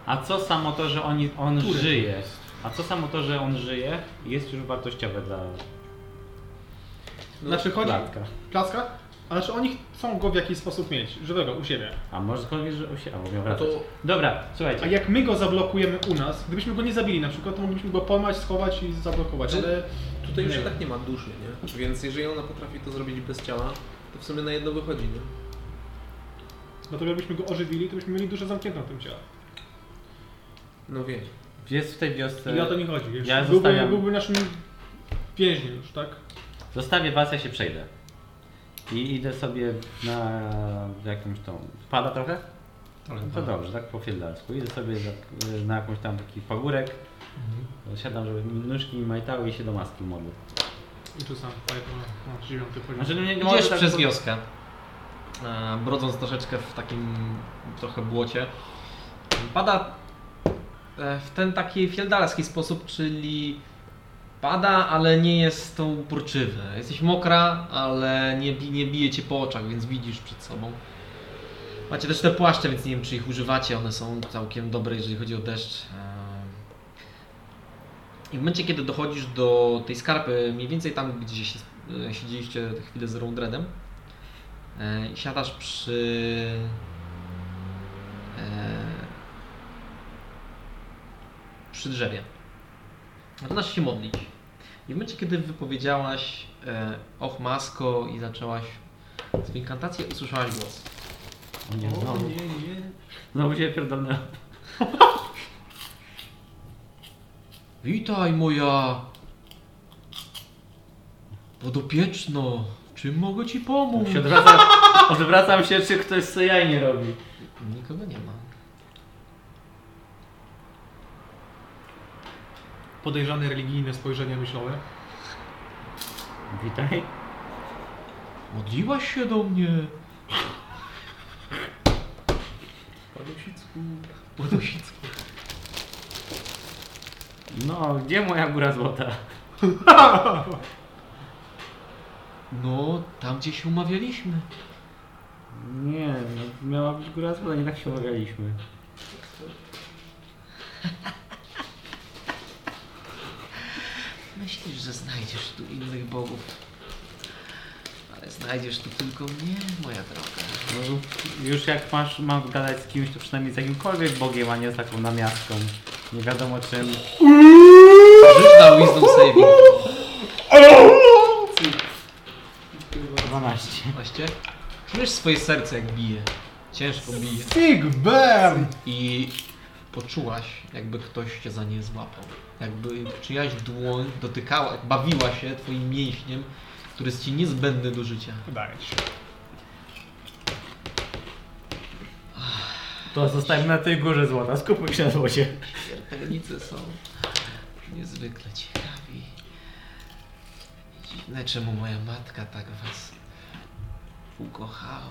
Speaker 3: A co samo to, że oni, on
Speaker 2: Który?
Speaker 3: żyje? A co samo to, że on żyje, jest już wartościowe dla
Speaker 4: No,
Speaker 2: znaczy chodzi
Speaker 3: klatka.
Speaker 2: Placka? A znaczy oni chcą go w jakiś sposób mieć, żywego, u siebie.
Speaker 3: A może skąd wiesz, że się... A, bo miał
Speaker 4: No to...
Speaker 3: wracać. Dobra,
Speaker 2: No A
Speaker 3: słuchajcie.
Speaker 2: jak my go zablokujemy u nas, gdybyśmy go nie zabili na przykład, to mogliśmy go pojmać, schować i zablokować,
Speaker 3: Znaczy-
Speaker 4: Czy-
Speaker 2: ale
Speaker 4: Tutaj już
Speaker 2: Nie.
Speaker 4: i tak nie ma duszy, nie? Więc jeżeli ona potrafi to zrobić bez ciała, to w sumie na jedno wychodzi, nie?
Speaker 2: no to jakbyśmy go ożywili, to byśmy mieli duszę zamkniętą w tym ciele.
Speaker 4: No wiem.
Speaker 3: Jest w tej wiosce...
Speaker 2: I o to mi chodzi, wiesz,
Speaker 3: Ja
Speaker 2: byłby,
Speaker 3: zostawiam.
Speaker 2: byłby naszym więźniem już, tak?
Speaker 3: Zostawię was, ja się przejdę. I idę sobie na jakąś tą... Pada trochę? No to dobrze, tak po fiedlarsku. Idę sobie za- na jakąś tam taki pagórek.
Speaker 2: Mhm.
Speaker 3: Siadam, żeby mi nóżki mi majtały i się do maski modlę.
Speaker 2: I tu sam, pamiętam, no, dziewiąty poziom.
Speaker 3: Znaczy, no nie, nie może
Speaker 1: Idziesz
Speaker 3: tak-
Speaker 1: przez wioskę, e, brodząc troszeczkę w takim trochę błocie. Pada e, w ten taki fieldarski sposób, czyli pada, ale nie jest to uporczywe. Jesteś mokra, ale nie, bi- nie bije cię po oczach, więc widzisz przed sobą. Macie też te płaszcze, więc nie wiem, czy ich używacie. One są całkiem dobre, jeżeli chodzi o deszcz. E, I w momencie, kiedy dochodzisz do tej skarpy, mniej więcej tam, gdzie się e, siedzieliście te chwilę z Rondredem, e, i siadasz przy e, przy drzewie. Zaczynasz się modlić. I w momencie, kiedy wypowiedziałaś e, Och Masko i zaczęłaś swoją inkantację, usłyszałaś głos.
Speaker 3: Nie, znowu.
Speaker 2: nie, nie.
Speaker 3: Znowu się pierdolnę.
Speaker 1: Witaj moja podopieczno. Czym mogę ci pomóc?
Speaker 3: Się odwracam, odwracam się, czy ktoś sobie jaj nie robi.
Speaker 1: Nikogo nie ma.
Speaker 2: Podejrzane religijne spojrzenie myślowe.
Speaker 3: Witaj.
Speaker 1: Modliłaś się do mnie.
Speaker 4: Palusicku.
Speaker 3: No, gdzie moja góra złota?
Speaker 1: No, tam gdzie się umawialiśmy.
Speaker 3: Nie, no, miała być góra złota, nie tak się umawialiśmy.
Speaker 1: Myślisz, że znajdziesz tu innych bogów. Ale znajdziesz tu tylko mnie, moja droga.
Speaker 3: No, już jak masz, mam gadać z kimś, to przynajmniej z jakimkolwiek bogiem, a nie z taką namiastką. Nie wiadomo czym.
Speaker 1: Rzuć na wisdom saving.
Speaker 3: 12.
Speaker 1: Właśnie. Czujesz swoje serce jak bije. Ciężko bije.
Speaker 2: Big Bam!
Speaker 1: I poczułaś, jakby ktoś cię za nie złapał. Jakby czyjaś dłoń dotykała, bawiła się twoim mięśniem, który jest ci niezbędny do życia.
Speaker 2: Wydaje ci się.
Speaker 3: To zostańmy na tej górze złota, skupmy się na złocie.
Speaker 1: Śmiertelnicy są niezwykle ciekawi. Dziwne, czemu moja matka tak was ukochała.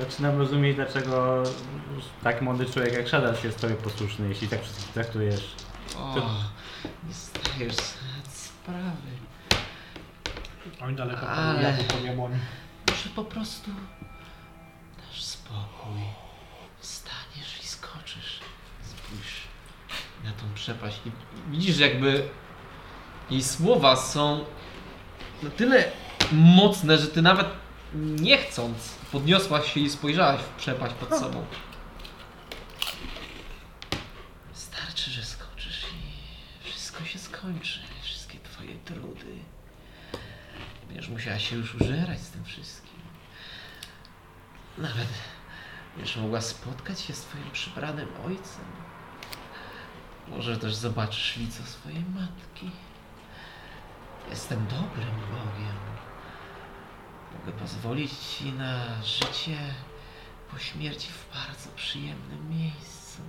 Speaker 3: Zaczynam rozumieć, dlaczego tak młody człowiek jak Shadas jest tobie posłuszny, jeśli tak wszystkich traktujesz.
Speaker 1: O, nie zdajesz sobie sprawy.
Speaker 2: Oni daleko
Speaker 1: Ale-
Speaker 2: Ale... pod jabłoni.
Speaker 1: Może po prostu dasz spokój. Wstaniesz i skoczysz. Spójrz na tą przepaść. I widzisz, że jakby jej słowa są na tyle mocne, że ty nawet nie chcąc podniosłaś się i spojrzałaś w przepaść pod sobą. Starczy, że skoczysz i wszystko się skończy. Wszystkie twoje trudy. Będziesz musiała się już użerać z tym wszystkim. Nawet będziesz mogła spotkać się z twoim przybranym ojcem. Może też zobaczysz lico swojej matki. Jestem dobrym Bogiem. Mogę pozwolić ci na życie po śmierci w bardzo przyjemnym miejscu.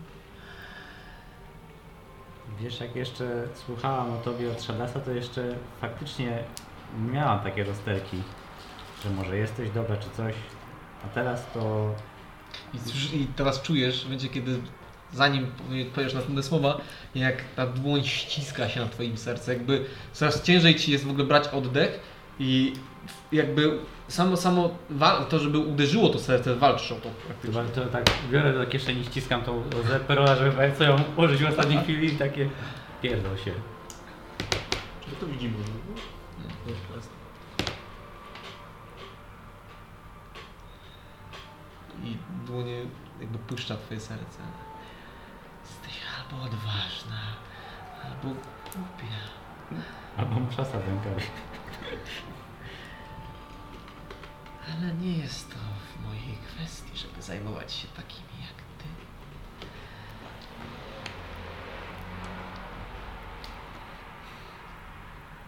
Speaker 3: Wiesz, jak jeszcze słuchałam o tobie od Shadasa, to jeszcze faktycznie miałam takie rozterki, że może jesteś dobra czy coś, a teraz to
Speaker 1: I, cóż- I teraz czujesz, będzie kiedy zanim powie- powiesz następne słowa, jak ta dłoń ściska się na twoim sercu, jakby coraz ciężej ci jest w ogóle brać oddech i jakby samo, samo wa- to, żeby uderzyło to serce, walczysz o to
Speaker 3: chyba
Speaker 1: praktycznie.
Speaker 3: to tak biorę do kieszeni, ściskam tą zeperola, żeby państwo ją użyć w ostatniej chwili i takie pierdol się.
Speaker 4: No to widzimy. no. No, jasne.
Speaker 1: I dłonie jakby puszcza twoje serce. Jesteś albo odważna, albo głupia.
Speaker 3: Albo muszę sadem
Speaker 1: Ale nie jest to w mojej kwestii, żeby zajmować się takimi jak ty.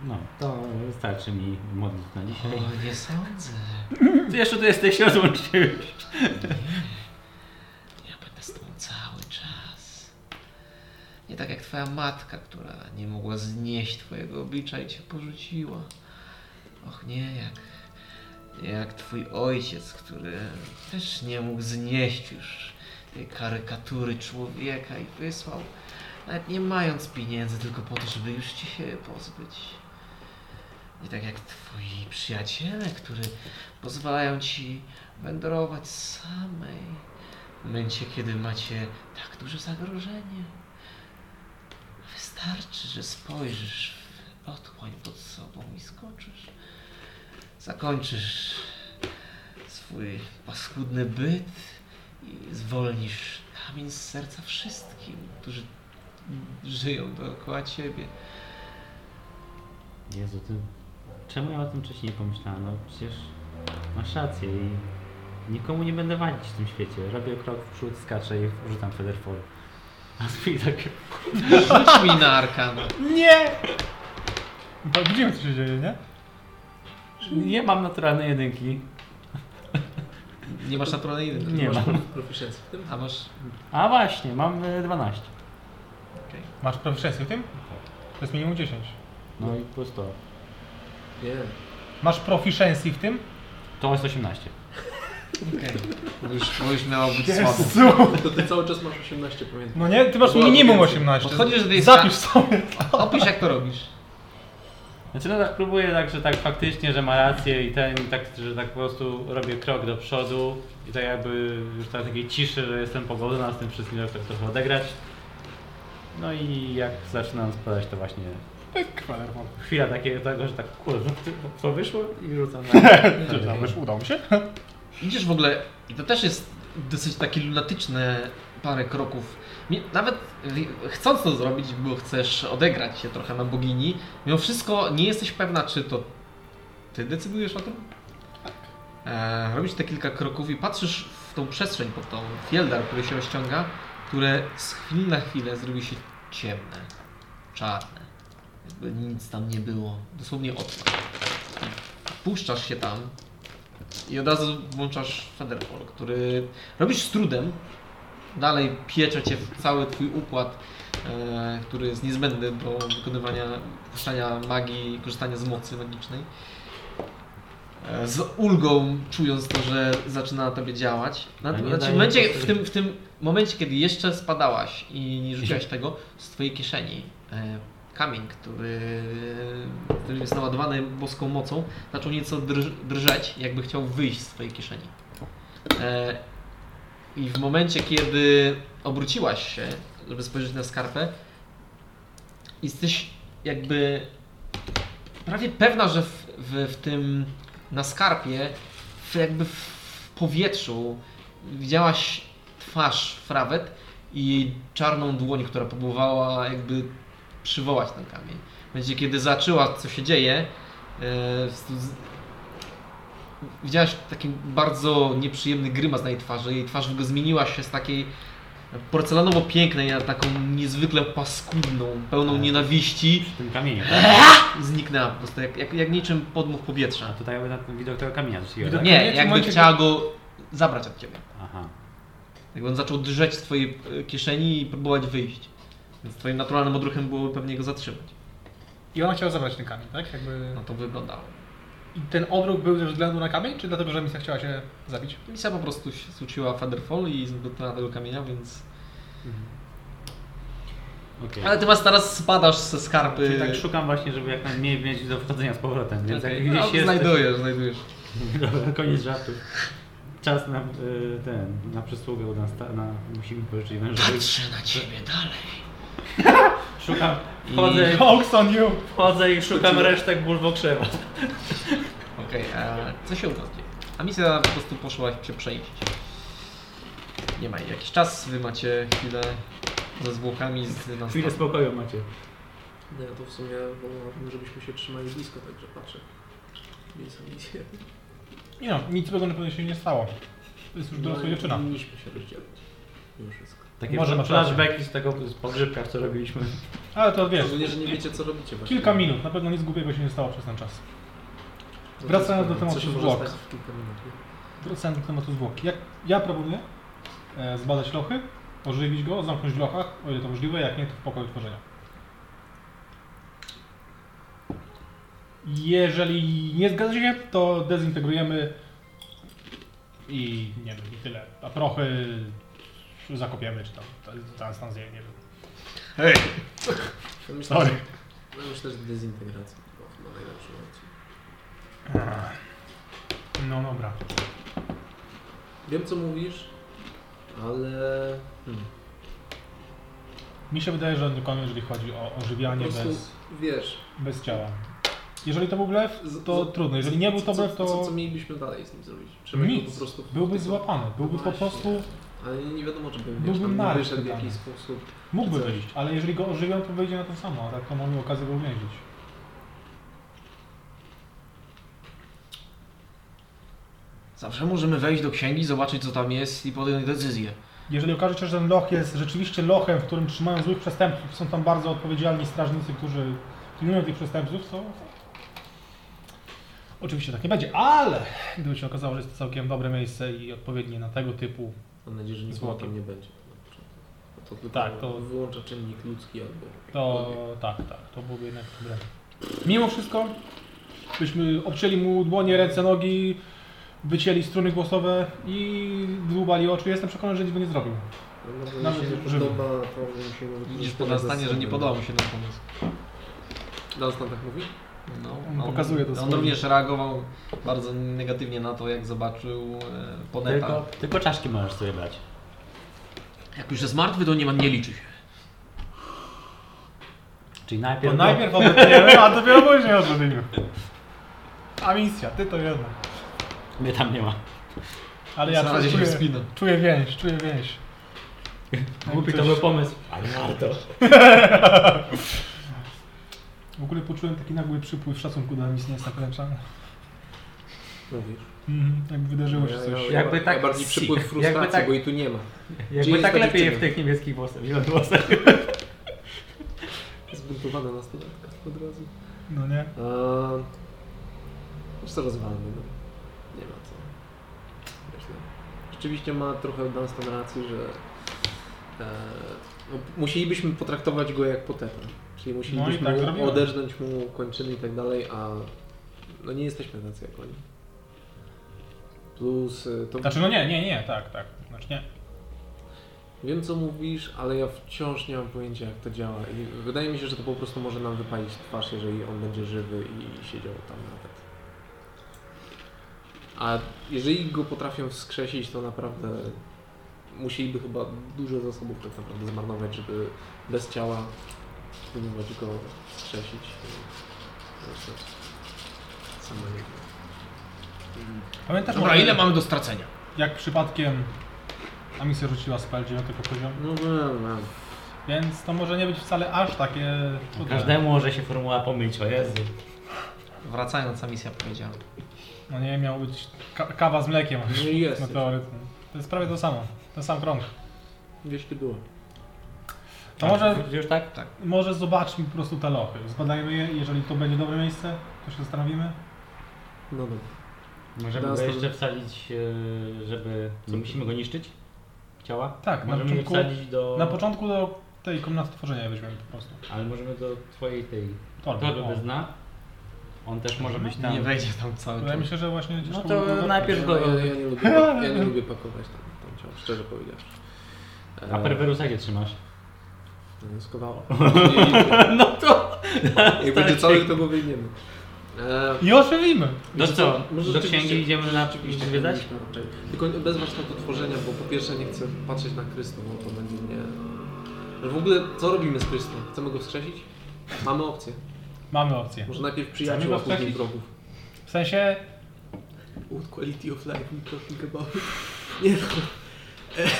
Speaker 3: No, to wystarczy mi modlitw na dzisiaj.
Speaker 1: O, nie sądzę.
Speaker 3: Ty jeszcze tu jesteś, rozłączyłeś.
Speaker 1: Ja będę z tobą cały czas. Nie tak jak twoja matka, która nie mogła znieść twojego oblicza i cię porzuciła. Och nie, jak, jak twój ojciec, który też nie mógł znieść już tej karykatury człowieka i wysłał, nawet nie mając pieniędzy, tylko po to, żeby już ci się pozbyć. Nie tak jak twoi przyjaciele, którzy pozwalają ci wędrować samej w momencie, kiedy macie tak duże zagrożenie. Wystarczy, że spojrzysz w otchłań pod sobą i skoczysz. Zakończysz swój paskudny byt i zwolnisz kamień z serca wszystkim, którzy żyją dookoła ciebie.
Speaker 3: Jezu, ty... Czemu ja o tym wcześniej nie pomyślałem? No przecież masz rację i nikomu nie będę walić w tym świecie. Robię krok w przód, skaczę i użytam Featherfall. A spij tak...
Speaker 1: Rzuć mi na arkan.
Speaker 3: Nie!
Speaker 2: Bo widzimy co się dzieje, nie?
Speaker 3: Nie mam naturalnej jedynki.
Speaker 1: Nie masz naturalnej jedynki.
Speaker 3: Nie
Speaker 1: masz.
Speaker 3: mam.
Speaker 4: Proficiency w tym?
Speaker 1: A masz.
Speaker 3: A właśnie, mam y, 12.
Speaker 2: Masz proficiency w tym? To jest minimum 10.
Speaker 3: No i plus to.
Speaker 4: Nie.
Speaker 2: Masz proficiency w tym?
Speaker 3: To jest 18.
Speaker 1: Okej. Bo Już, bo już miało być słabo.
Speaker 4: To ty cały czas masz 18, pamiętam.
Speaker 2: No nie, ty masz
Speaker 4: Było
Speaker 2: minimum
Speaker 4: więcej.
Speaker 2: 18.
Speaker 1: Podchodzisz do tej
Speaker 2: Zapisz sobie.
Speaker 1: Opisz jak to robisz.
Speaker 3: Znaczy no tak, próbuję tak, że tak faktycznie, że ma rację i ten, i tak, że tak po prostu robię krok do przodu i tak jakby już tak takiej ciszy, że jestem pogodna z tym wszystkim, żeby tak trochę odegrać. No i jak zaczynam spadać, to właśnie
Speaker 2: Kwaderwol.
Speaker 3: chwila takiego, tego, że tak kurde, co wyszło i rzucam na...
Speaker 2: Udało mi się?
Speaker 1: Idziesz w ogóle, i to też jest dosyć takie lunatyczne parę kroków. Mi- Nawet y, chcąc to zrobić, bo chcesz odegrać się trochę na bogini, mimo wszystko nie jesteś pewna, czy to ty decydujesz o tym? E, robisz te kilka kroków i patrzysz w tą przestrzeń pod tą fieldar, który się rozciąga, które z chwili na chwilę zrobi się ciemne, czarne. Jakby nic tam nie było. Dosłownie od. Puszczasz się tam, i od razu włączasz Federpol, który robisz z trudem. Dalej piecze cię w cały twój układ, e, który jest niezbędny do wykonywania, puszczania magii, korzystania z mocy magicznej. E, z ulgą czując to, że zaczyna na tobie działać. Na,
Speaker 3: A nie
Speaker 1: znaczy, w,
Speaker 3: daje
Speaker 1: momencie,
Speaker 3: po
Speaker 1: w, tym, w tym momencie, kiedy jeszcze spadałaś i nie rzuciłaś tego, z twojej kieszeni e, kamień, który, który jest naładowany boską mocą, zaczął nieco drż- drżeć, jakby chciał wyjść z twojej kieszeni. E, I w momencie, kiedy obróciłaś się, żeby spojrzeć na skarpę, jesteś jakby prawie pewna, że w, w, w tym na skarpie, w, jakby w powietrzu widziałaś twarz Frawet i jej czarną dłoń, która próbowała jakby przywołać ten kamień. W momencie, kiedy zaczęła, co się dzieje, e, z- z- widziałaś taki bardzo nieprzyjemny grymas na jej twarzy. Jej twarz w ogóle zmieniła się z takiej porcelanowo pięknej na taką niezwykle paskudną, pełną nienawiści.
Speaker 3: Przy tym kamieniu, tak?
Speaker 1: Zniknęła po prostu, jak, jak, jak niczym podmuch
Speaker 3: A
Speaker 1: powietrza.
Speaker 3: tutaj jakby na ten widok tego kamienia rzuciłem,
Speaker 2: Widok-
Speaker 3: tak?
Speaker 2: nie, czy
Speaker 1: Nie,
Speaker 2: w
Speaker 1: jakby
Speaker 2: momencie,
Speaker 1: chciała go zabrać od ciebie.
Speaker 3: Aha.
Speaker 1: Jakby on zaczął drżeć z twojej e, kieszeni i próbować wyjść. Więc twoim naturalnym odruchem było pewnie go zatrzymać.
Speaker 2: I ona chciała zabrać ten kamień, tak? Jakby...
Speaker 1: No to wyglądało.
Speaker 2: I ten odruch był ze względu na kamień, czy dlatego, że misja chciała się zabić?
Speaker 1: Misia po prostu się zrzuciła Featherfall i zdotknęła tego kamienia, więc...
Speaker 3: Okej.
Speaker 1: Ale ty masz teraz spadasz ze
Speaker 3: Czyli
Speaker 1: skarpy.
Speaker 3: tak szukam właśnie, żeby jak najmniej mieć do wchodzenia z powrotem, więc
Speaker 1: Okej,
Speaker 3: jak gdzieś
Speaker 1: no,
Speaker 3: jest...
Speaker 1: Znajdujesz, znajdujesz.
Speaker 3: Dobra, koniec żartów. Czas na y, ten, na przysługę u nas, ta- na, musimy pożyczyć wężowy.
Speaker 1: na ciebie dalej.
Speaker 3: Szukam, wchodzę,
Speaker 2: Hoax on you!
Speaker 3: wchodzę i szukam resztek bulwokrzewa.
Speaker 1: Okej, a co się u was dzieje? A misja po prostu poszła się przejść. Nie ma jej jakiś czas, wy macie chwilę ze zwłokami z
Speaker 3: Chwilę spokoju macie.
Speaker 4: No ja to w sumie wolałabym, żebyśmy się trzymali blisko, także patrzę. Nie są misje.
Speaker 2: Nie no, nic złego na pewno się nie stało. To jest już dorosła
Speaker 4: No i
Speaker 2: dziewczyna.
Speaker 4: Powinniśmy się rozdzielić. Mimo wszystko.
Speaker 3: Takie
Speaker 2: Może masz rację.
Speaker 3: flashbacki z tego z pogrzebka, co robiliśmy.
Speaker 2: Ale to wiesz,
Speaker 4: Szczególnie, że nie wiecie co robicie właśnie.
Speaker 2: kilka minut, na pewno nic głupiego się nie stało przez ten czas.
Speaker 4: No to
Speaker 2: Wracając do
Speaker 4: jest fajne.
Speaker 2: tematu
Speaker 4: Co się
Speaker 2: zwłok.
Speaker 4: może stać w kilka minut. nie?
Speaker 2: Wracając do tematu zwłoki. Jak ja proponuję e, zbadać lochy, ożywić go, zamknąć w lochach, o ile to możliwe, jak nie, to w pokoju tworzenia. Jeżeli nie zgadza się, to dezintegrujemy i nie wiem, i tyle. A prochy zakopiemy, czy tam transstanzję, nie wiem.
Speaker 1: Hej!
Speaker 4: Ja myślę,
Speaker 2: Sorry.
Speaker 4: że- Ja myślę, że dezintegracja była na najlepszym opcji.
Speaker 2: No dobra.
Speaker 4: Wiem co mówisz, ale... Hmm.
Speaker 2: Mi się wydaje, że on koniec, jeżeli chodzi o
Speaker 4: Po
Speaker 2: ożywianie
Speaker 4: prostu,
Speaker 2: bez,
Speaker 4: wiesz,
Speaker 2: bez ciała. Jeżeli to był blef,
Speaker 4: Z-
Speaker 2: to
Speaker 4: z-
Speaker 2: trudno. Jeżeli nie był to
Speaker 4: co,
Speaker 2: blef, to
Speaker 4: Co, co mielibyśmy dalej z nim zrobić? Trzeba go
Speaker 2: nic.
Speaker 4: po prostu...
Speaker 2: Byłby złapany. Byłby po
Speaker 4: Właśnie.
Speaker 2: prostu
Speaker 4: Ale nie wiadomo, czy bym
Speaker 2: Byłbym
Speaker 4: wiesz, tam nie
Speaker 2: naryć
Speaker 4: wyszedł w
Speaker 2: wybrany.
Speaker 4: jakiś sposób.
Speaker 2: Mógłby
Speaker 4: Coś.
Speaker 2: wyjść, ale jeżeli go ożywią, to wyjdzie na to samo, a tak to mamy okazję go uwięzić.
Speaker 5: Zawsze możemy wejść do księgi, zobaczyć co tam jest i podjąć decyzję.
Speaker 2: Jeżeli okaże się, że ten loch jest rzeczywiście lochem, w którym trzymają złych przestępców, są tam bardzo odpowiedzialni strażnicy, którzy pilnują tych przestępców, to oczywiście tak nie będzie, ale gdyby się okazało, że jest to całkiem dobre miejsce i odpowiednie na tego typu,
Speaker 4: Mam nadzieję, że nikogo
Speaker 2: Złotem.
Speaker 4: tam nie będzie. na początku. Bo To tylko
Speaker 2: Tak, to-
Speaker 4: wyłącza czynnik ludzki albo...
Speaker 2: to tak, tak, to byłoby jednak dobre. Mimo wszystko, byśmy obcięli mu dłonie, ręce, nogi, wycięli struny głosowe i dłubali oczy, jestem przekonany, że nic by nie zrobił.
Speaker 4: No,
Speaker 2: Nawet
Speaker 4: Nawet się nie
Speaker 2: żywy.
Speaker 4: podoba, to że się...
Speaker 1: Widzisz po Dunstanie, że nie podoba mu się ten pomysł.
Speaker 4: Dunstan tak mówi?
Speaker 1: No,
Speaker 2: On pokazuje to
Speaker 1: On
Speaker 2: swoim.
Speaker 1: również reagował bardzo negatywnie na to, jak zobaczył e, Poneta.
Speaker 3: Tylko, tylko czaszki możesz sobie brać.
Speaker 5: Jak już jest martwy, to nie, ma, nie liczy się.
Speaker 3: Czyli
Speaker 2: Bo
Speaker 3: najpierw...
Speaker 2: najpierw odetniemy, a dopiero później odetniemy. A misja, ty to jedno.
Speaker 3: Mnie tam nie ma.
Speaker 2: Ale ja
Speaker 1: Na razie się
Speaker 2: czuję,
Speaker 1: wspina.
Speaker 2: czuję więź, czuję więź. Tak,
Speaker 3: Głupi to był pomysł. Ale warto.
Speaker 2: W ogóle poczułem taki nagły przypływ szacunku dla misji Instacracza.
Speaker 4: Mówisz.
Speaker 2: Mhm, jakby wydarzyło się coś.
Speaker 4: Ja,
Speaker 3: Jakby
Speaker 4: jakby
Speaker 3: tak-
Speaker 4: tak, ja bardziej przypływ
Speaker 3: Jakby
Speaker 4: frustracji,
Speaker 3: tak-
Speaker 4: bo jej tu nie ma. Gdzie
Speaker 3: Jakby
Speaker 4: jest
Speaker 3: tak
Speaker 4: ta
Speaker 3: lepiej
Speaker 4: dziewczyna?
Speaker 3: w tych niebieskich włosach. Zielonych włosach.
Speaker 4: Zbuntowana nastolatka od razu.
Speaker 2: No nie?
Speaker 4: A... Już co Eee, rozwalmy, no. Nie ma co. Myślę. Rzeczywiście ma trochę Dunstan rację, że e, no, musielibyśmy potraktować go jak potępę. Czyli musielibyśmy
Speaker 2: tak zrobiłem.
Speaker 4: oderznąć mu kończyny i tak dalej, a no nie jesteśmy tacy jak oni. Plus e, to
Speaker 2: Znaczy no nie, nie, nie, tak, tak. Znaczy nie.
Speaker 4: Wiem co mówisz, ale ja wciąż nie mam pojęcia jak to działa i wydaje mi się, że to po prostu może nam wypalić twarz, jeżeli on będzie żywy i siedział tam nawet. A jeżeli go potrafią wskrzesić, to naprawdę musieliby chyba dużo zasobów tak naprawdę zmarnować, żeby bez ciała próbować go wskrzesić. Zresztą Sama nie wiem.
Speaker 2: Pamiętasz
Speaker 5: Dobra,
Speaker 2: może,
Speaker 5: ile mamy do stracenia?
Speaker 2: jak przypadkiem a misja rzuciła spell 9 poziomu,
Speaker 4: No wiem, wiem.
Speaker 2: więc to może nie być wcale aż takie trudne.
Speaker 3: Każdemu może się formuła pomylić, o Jezu.
Speaker 1: Wracając, ta misja powiedziała.
Speaker 2: No nie, miał być ka- kawa z mlekiem.
Speaker 4: No i jest.
Speaker 2: No teoretycznie. To jest prawie to samo, ten sam krąg.
Speaker 4: Gdzieś ty było.
Speaker 2: To może
Speaker 3: Już tak? Tak.
Speaker 2: Może zobaczmy po prostu te lochy. Zbadajmy je, jeżeli to będzie dobre miejsce, to się zastanowimy.
Speaker 4: No dobra.
Speaker 3: Możemy
Speaker 4: Teraz
Speaker 3: go
Speaker 4: to-
Speaker 3: jeszcze wsadzić, e, żeby... Nie musimy go niszczyć? Ciała?
Speaker 2: Tak, na
Speaker 3: możemy
Speaker 2: początku-
Speaker 3: go wsadzić do...
Speaker 2: Na początku do tej komnaty tworzenia je weźmiemy po prostu.
Speaker 3: Ale możemy do twojej tej
Speaker 2: Torby.
Speaker 3: torby
Speaker 2: o.
Speaker 3: bez dna. On
Speaker 2: tak,
Speaker 3: też może być tam.
Speaker 1: Nie wejdzie tam cały
Speaker 2: Ja
Speaker 1: czas.
Speaker 2: myślę, że właśnie gdzieś
Speaker 3: No
Speaker 2: tu
Speaker 3: to
Speaker 2: byłby-
Speaker 3: najpierw go...
Speaker 4: Ja, ja, ja, nie lubię, ja nie lubię pakować tam, tam ciało, szczerze powiedziawszy. E,
Speaker 3: A perwerusa gdzie trzymasz?
Speaker 4: Skowało. No to... Jak będzie cały, to go wyjmiemy. E,
Speaker 2: I ożywimy!
Speaker 3: Do No co?
Speaker 4: może
Speaker 3: Do
Speaker 4: rzeczywiście-
Speaker 3: księgi idziemy na
Speaker 4: rzeczywiście
Speaker 3: zwiedzać?
Speaker 4: raczej. Tylko bez warsztatu tworzenia, bo po pierwsze nie chcę patrzeć na Krystą, bo to będzie mnie... Że w ogóle co robimy z Krystą? Chcemy go wskrzesić? Mamy opcję.
Speaker 2: Mamy opcję.
Speaker 4: Może najpierw
Speaker 2: Chcemy
Speaker 4: przyjaciół,
Speaker 2: go
Speaker 4: a później
Speaker 2: wskrzesić?
Speaker 4: wrogów.
Speaker 2: W sensie,
Speaker 4: What quality of life we talking about? Nie no.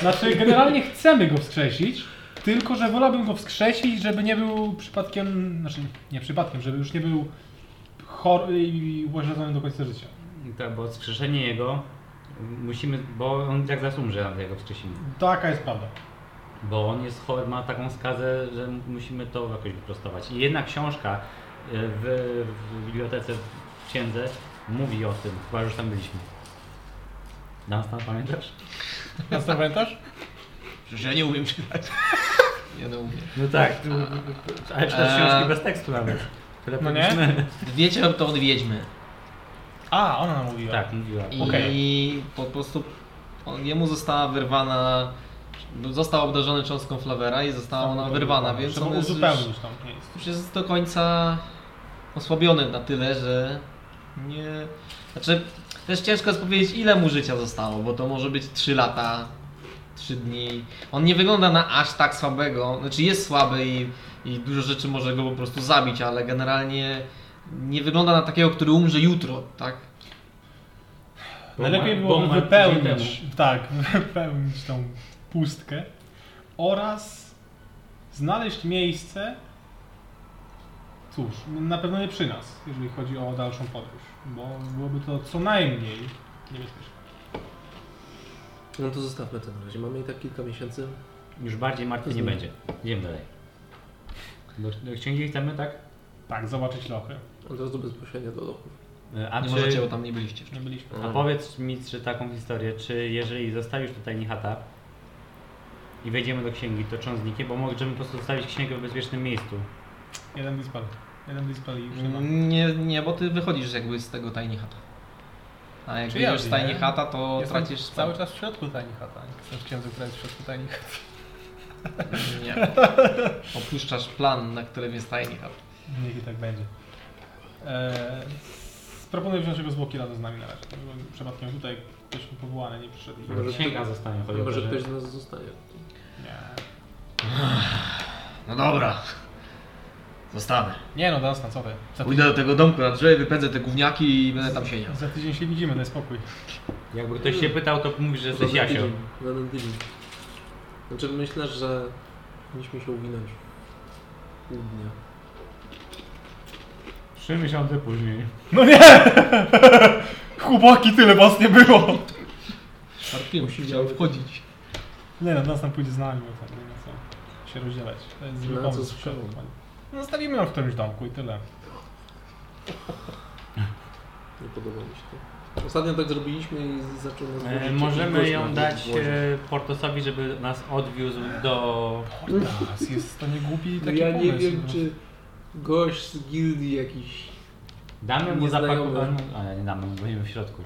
Speaker 2: znaczy generalnie chcemy go wskrzesić, tylko że wolałbym go wskrzesić, żeby nie był przypadkiem, znaczy nie przypadkiem, żeby już nie był chory i upośledzony do końca życia.
Speaker 3: Tak, bo skrzeszenie jego musimy, bo on tak zaraz umrze, jak go wskrzesimy.
Speaker 2: Taka jest prawda.
Speaker 3: Bo on jest chory, ma taką skazę, że musimy to jakoś wyprostować. I jedna książka e, w, w bibliotece w księdze mówi o tym, chyba już tam byliśmy. Dunstan, pamiętasz?
Speaker 2: Nas to pamiętasz?
Speaker 5: Przecież ja nie umiem czytać.
Speaker 1: Ja nie umiem.
Speaker 3: No tak, tu, ale
Speaker 1: E,
Speaker 3: czytasz książki bez tekstu nawet. Które
Speaker 2: No nie?
Speaker 3: powinniśmy-
Speaker 1: Wiecie to od wiedźmy.
Speaker 2: A, ona nam mówiła.
Speaker 3: Tak, mówiła.
Speaker 1: I
Speaker 2: Okej.
Speaker 1: po prostu on, jemu została wyrwana. no, Został obdarzony cząstką flawera i została ona wyrwana, więc
Speaker 2: tak. Trzeba
Speaker 1: on jest już,
Speaker 2: uzupełnić tam miejsce.
Speaker 1: już jest do końca osłabiony na tyle, że nie. Znaczy, też ciężko jest powiedzieć, ile mu życia zostało, bo to może być 3 lata, 3 dni. On nie wygląda na aż tak słabego. Znaczy, jest słaby i, i dużo rzeczy może go po prostu zabić, ale generalnie nie wygląda na takiego, który umrze jutro, tak?
Speaker 3: Bo
Speaker 2: Najlepiej
Speaker 3: ma-
Speaker 2: No byłoby
Speaker 3: bo ma tydzień
Speaker 2: wypełnić, tak, wypełnić tą pustkę oraz znaleźć miejsce, cóż, na pewno nie przy nas, jeżeli chodzi o dalszą podróż, bo byłoby to co najmniej niebezpieczne.
Speaker 4: No to zostawmy to na razie. Mamy i tak kilka miesięcy.
Speaker 3: Już bardziej martwy nie
Speaker 2: Mhm.
Speaker 4: Rozumiem.
Speaker 3: będzie. Idziemy dalej. Do, do księgi chcemy, tak?
Speaker 2: Tak, zobaczyć lochy.
Speaker 4: Od razu bezpośrednio do lochu.
Speaker 3: E, A,
Speaker 1: Nie
Speaker 3: czy-
Speaker 1: możecie, bo tam nie byliście jeszcze.
Speaker 2: Nie byliśmy.
Speaker 3: a
Speaker 4: Mhm.
Speaker 3: powiedz mi czy taką historię, czy jeżeli zostawisz tutaj Nihata i wejdziemy do księgi, to czy on zniknie? Bo możemy po prostu zostawić księgę w bezpiecznym miejscu.
Speaker 2: Jeden dispel. Jeden dispel i już nie ma.
Speaker 1: Nie, nie, bo ty wychodzisz jakby z tego tajni chata. A jak
Speaker 2: Czy
Speaker 1: wyjdziesz
Speaker 2: ja
Speaker 1: z tajni
Speaker 2: wiem?
Speaker 1: chata, to
Speaker 2: Jestem
Speaker 1: tracisz
Speaker 2: cały czas w środku tajni chata. Nie jestem w księdzu, która jest w środku tajni chata.
Speaker 1: Nie. Opuszczasz plan, na którym jest tajni chat.
Speaker 2: Niech i tak będzie. Eee, proponuję wziąć jego zwłoki razem z nami na razie. Żeby Przypadkiem tutaj ktoś powołany nie przyszedł. i-
Speaker 4: Może
Speaker 3: Księga
Speaker 4: ktoś-
Speaker 3: zostanie, chodzi o to,
Speaker 4: Może
Speaker 3: że...
Speaker 4: ktoś z nas zostaje.
Speaker 2: Nie.
Speaker 5: No dobra. Zostanę.
Speaker 2: Nie no, Dasna, co ty? Za
Speaker 5: Pójdę do tego domku na drzewie, wypędzę te gówniaki i będę tam siedział.
Speaker 2: Za tydzień się widzimy, daj spokój.
Speaker 3: Jakby ktoś się pytał, to mówisz, że jesteś
Speaker 4: Za ten
Speaker 3: Jasio.
Speaker 4: tydzień, Za ten tydzień. Znaczy myślę, że powinniśmy się uwinąć. Pół dnia.
Speaker 3: Trzy miesiące później.
Speaker 2: No nie! Chłopaki, tyle was nie było!
Speaker 1: Szarpiłem się, chciałem wchodzić.
Speaker 2: Nie no, Dasna pójdzie z nami, bo tak nie ma co się rozdzielać. To jest zły
Speaker 4: No,
Speaker 2: pomysł.
Speaker 4: co z szkołą?
Speaker 2: No, Zostawimy ją w którymś domku i tyle.
Speaker 4: Nie podoba mi się to. Ostatnio tak zrobiliśmy i z- zaczął nas budzić
Speaker 3: E,
Speaker 4: jakiś
Speaker 3: możemy
Speaker 4: gość
Speaker 3: ją
Speaker 4: na
Speaker 3: dać
Speaker 4: dworze.
Speaker 3: e, Portosowi, żeby nas odwiózł do...
Speaker 2: Teraz jest to nie głupi
Speaker 4: No
Speaker 2: taki
Speaker 4: ja
Speaker 2: pomysł.
Speaker 4: nie wiem,
Speaker 2: no.
Speaker 4: czy gość z gildii jakiś...
Speaker 3: Damy mu
Speaker 4: Nieznajomy.
Speaker 3: zapakowanie... Ale no, nie damy, mu, będziemy w środku.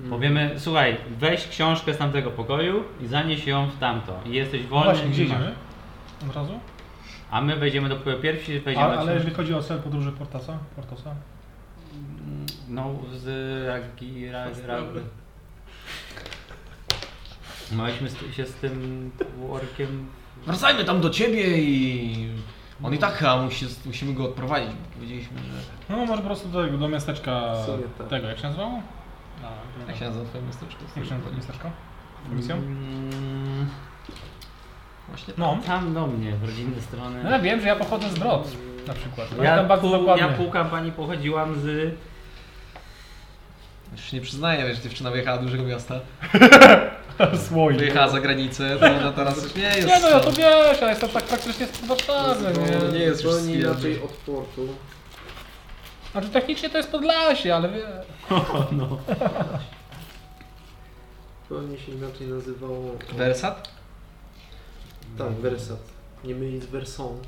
Speaker 4: Mhm.
Speaker 3: Powiemy, słuchaj, weź książkę z tamtego pokoju i zanieś ją w tamto. I jesteś wolny.
Speaker 2: No Właśnie, gdzie
Speaker 3: i masz.
Speaker 2: idziemy? Od razu?
Speaker 3: A my wejdziemy do pokoju pierwsi, wejdziemy...
Speaker 2: Ale, ale jeżeli chodzi o cel podróży Portasa, Portosa?
Speaker 3: No, z... Ragi, ra, ra... Mieliśmy z, się z tym workiem...
Speaker 1: Wracajmy tam do ciebie i... On i tak chyba musi, musimy go odprowadzić, bo powiedzieliśmy, że...
Speaker 2: No może po prostu do, tego- do miasteczka
Speaker 4: W sumie tak.
Speaker 2: tego, jak się nazywało? No,
Speaker 1: Jak się nazywa twoje miasteczko?
Speaker 2: jak się nazywa miasteczko? Komisją?
Speaker 3: Mm,
Speaker 1: Właśnie tak.
Speaker 2: No.
Speaker 3: tam do mnie, w rodzinnej strony.
Speaker 2: No ja wiem, że ja pochodzę z Brod na przykład. Ja
Speaker 3: Ja
Speaker 2: tam bardzo
Speaker 3: pół,
Speaker 2: dokładnie.
Speaker 3: ja pół kampanii pochodziłam z...
Speaker 1: Już się nie przyznaję, że dziewczyna wyjechała do dużego miasta.
Speaker 2: Słoik.
Speaker 1: Wyjechała za granicę, to ona teraz już nie jest...
Speaker 2: Nie no, ja to wiesz, ja jestem tak praktycznie z Warszawy,
Speaker 4: No,
Speaker 2: nie?
Speaker 1: jest
Speaker 4: nie jest
Speaker 1: już
Speaker 4: zupełnie
Speaker 1: z
Speaker 4: inaczej
Speaker 1: gildii.
Speaker 4: od portu.
Speaker 2: Znaczy technicznie to jest Podlasie, ale wie...
Speaker 3: No.
Speaker 4: Zupełnie się inaczej nazywało...
Speaker 1: Wersat?
Speaker 4: Tak, Versat. Nie mylić z Versą.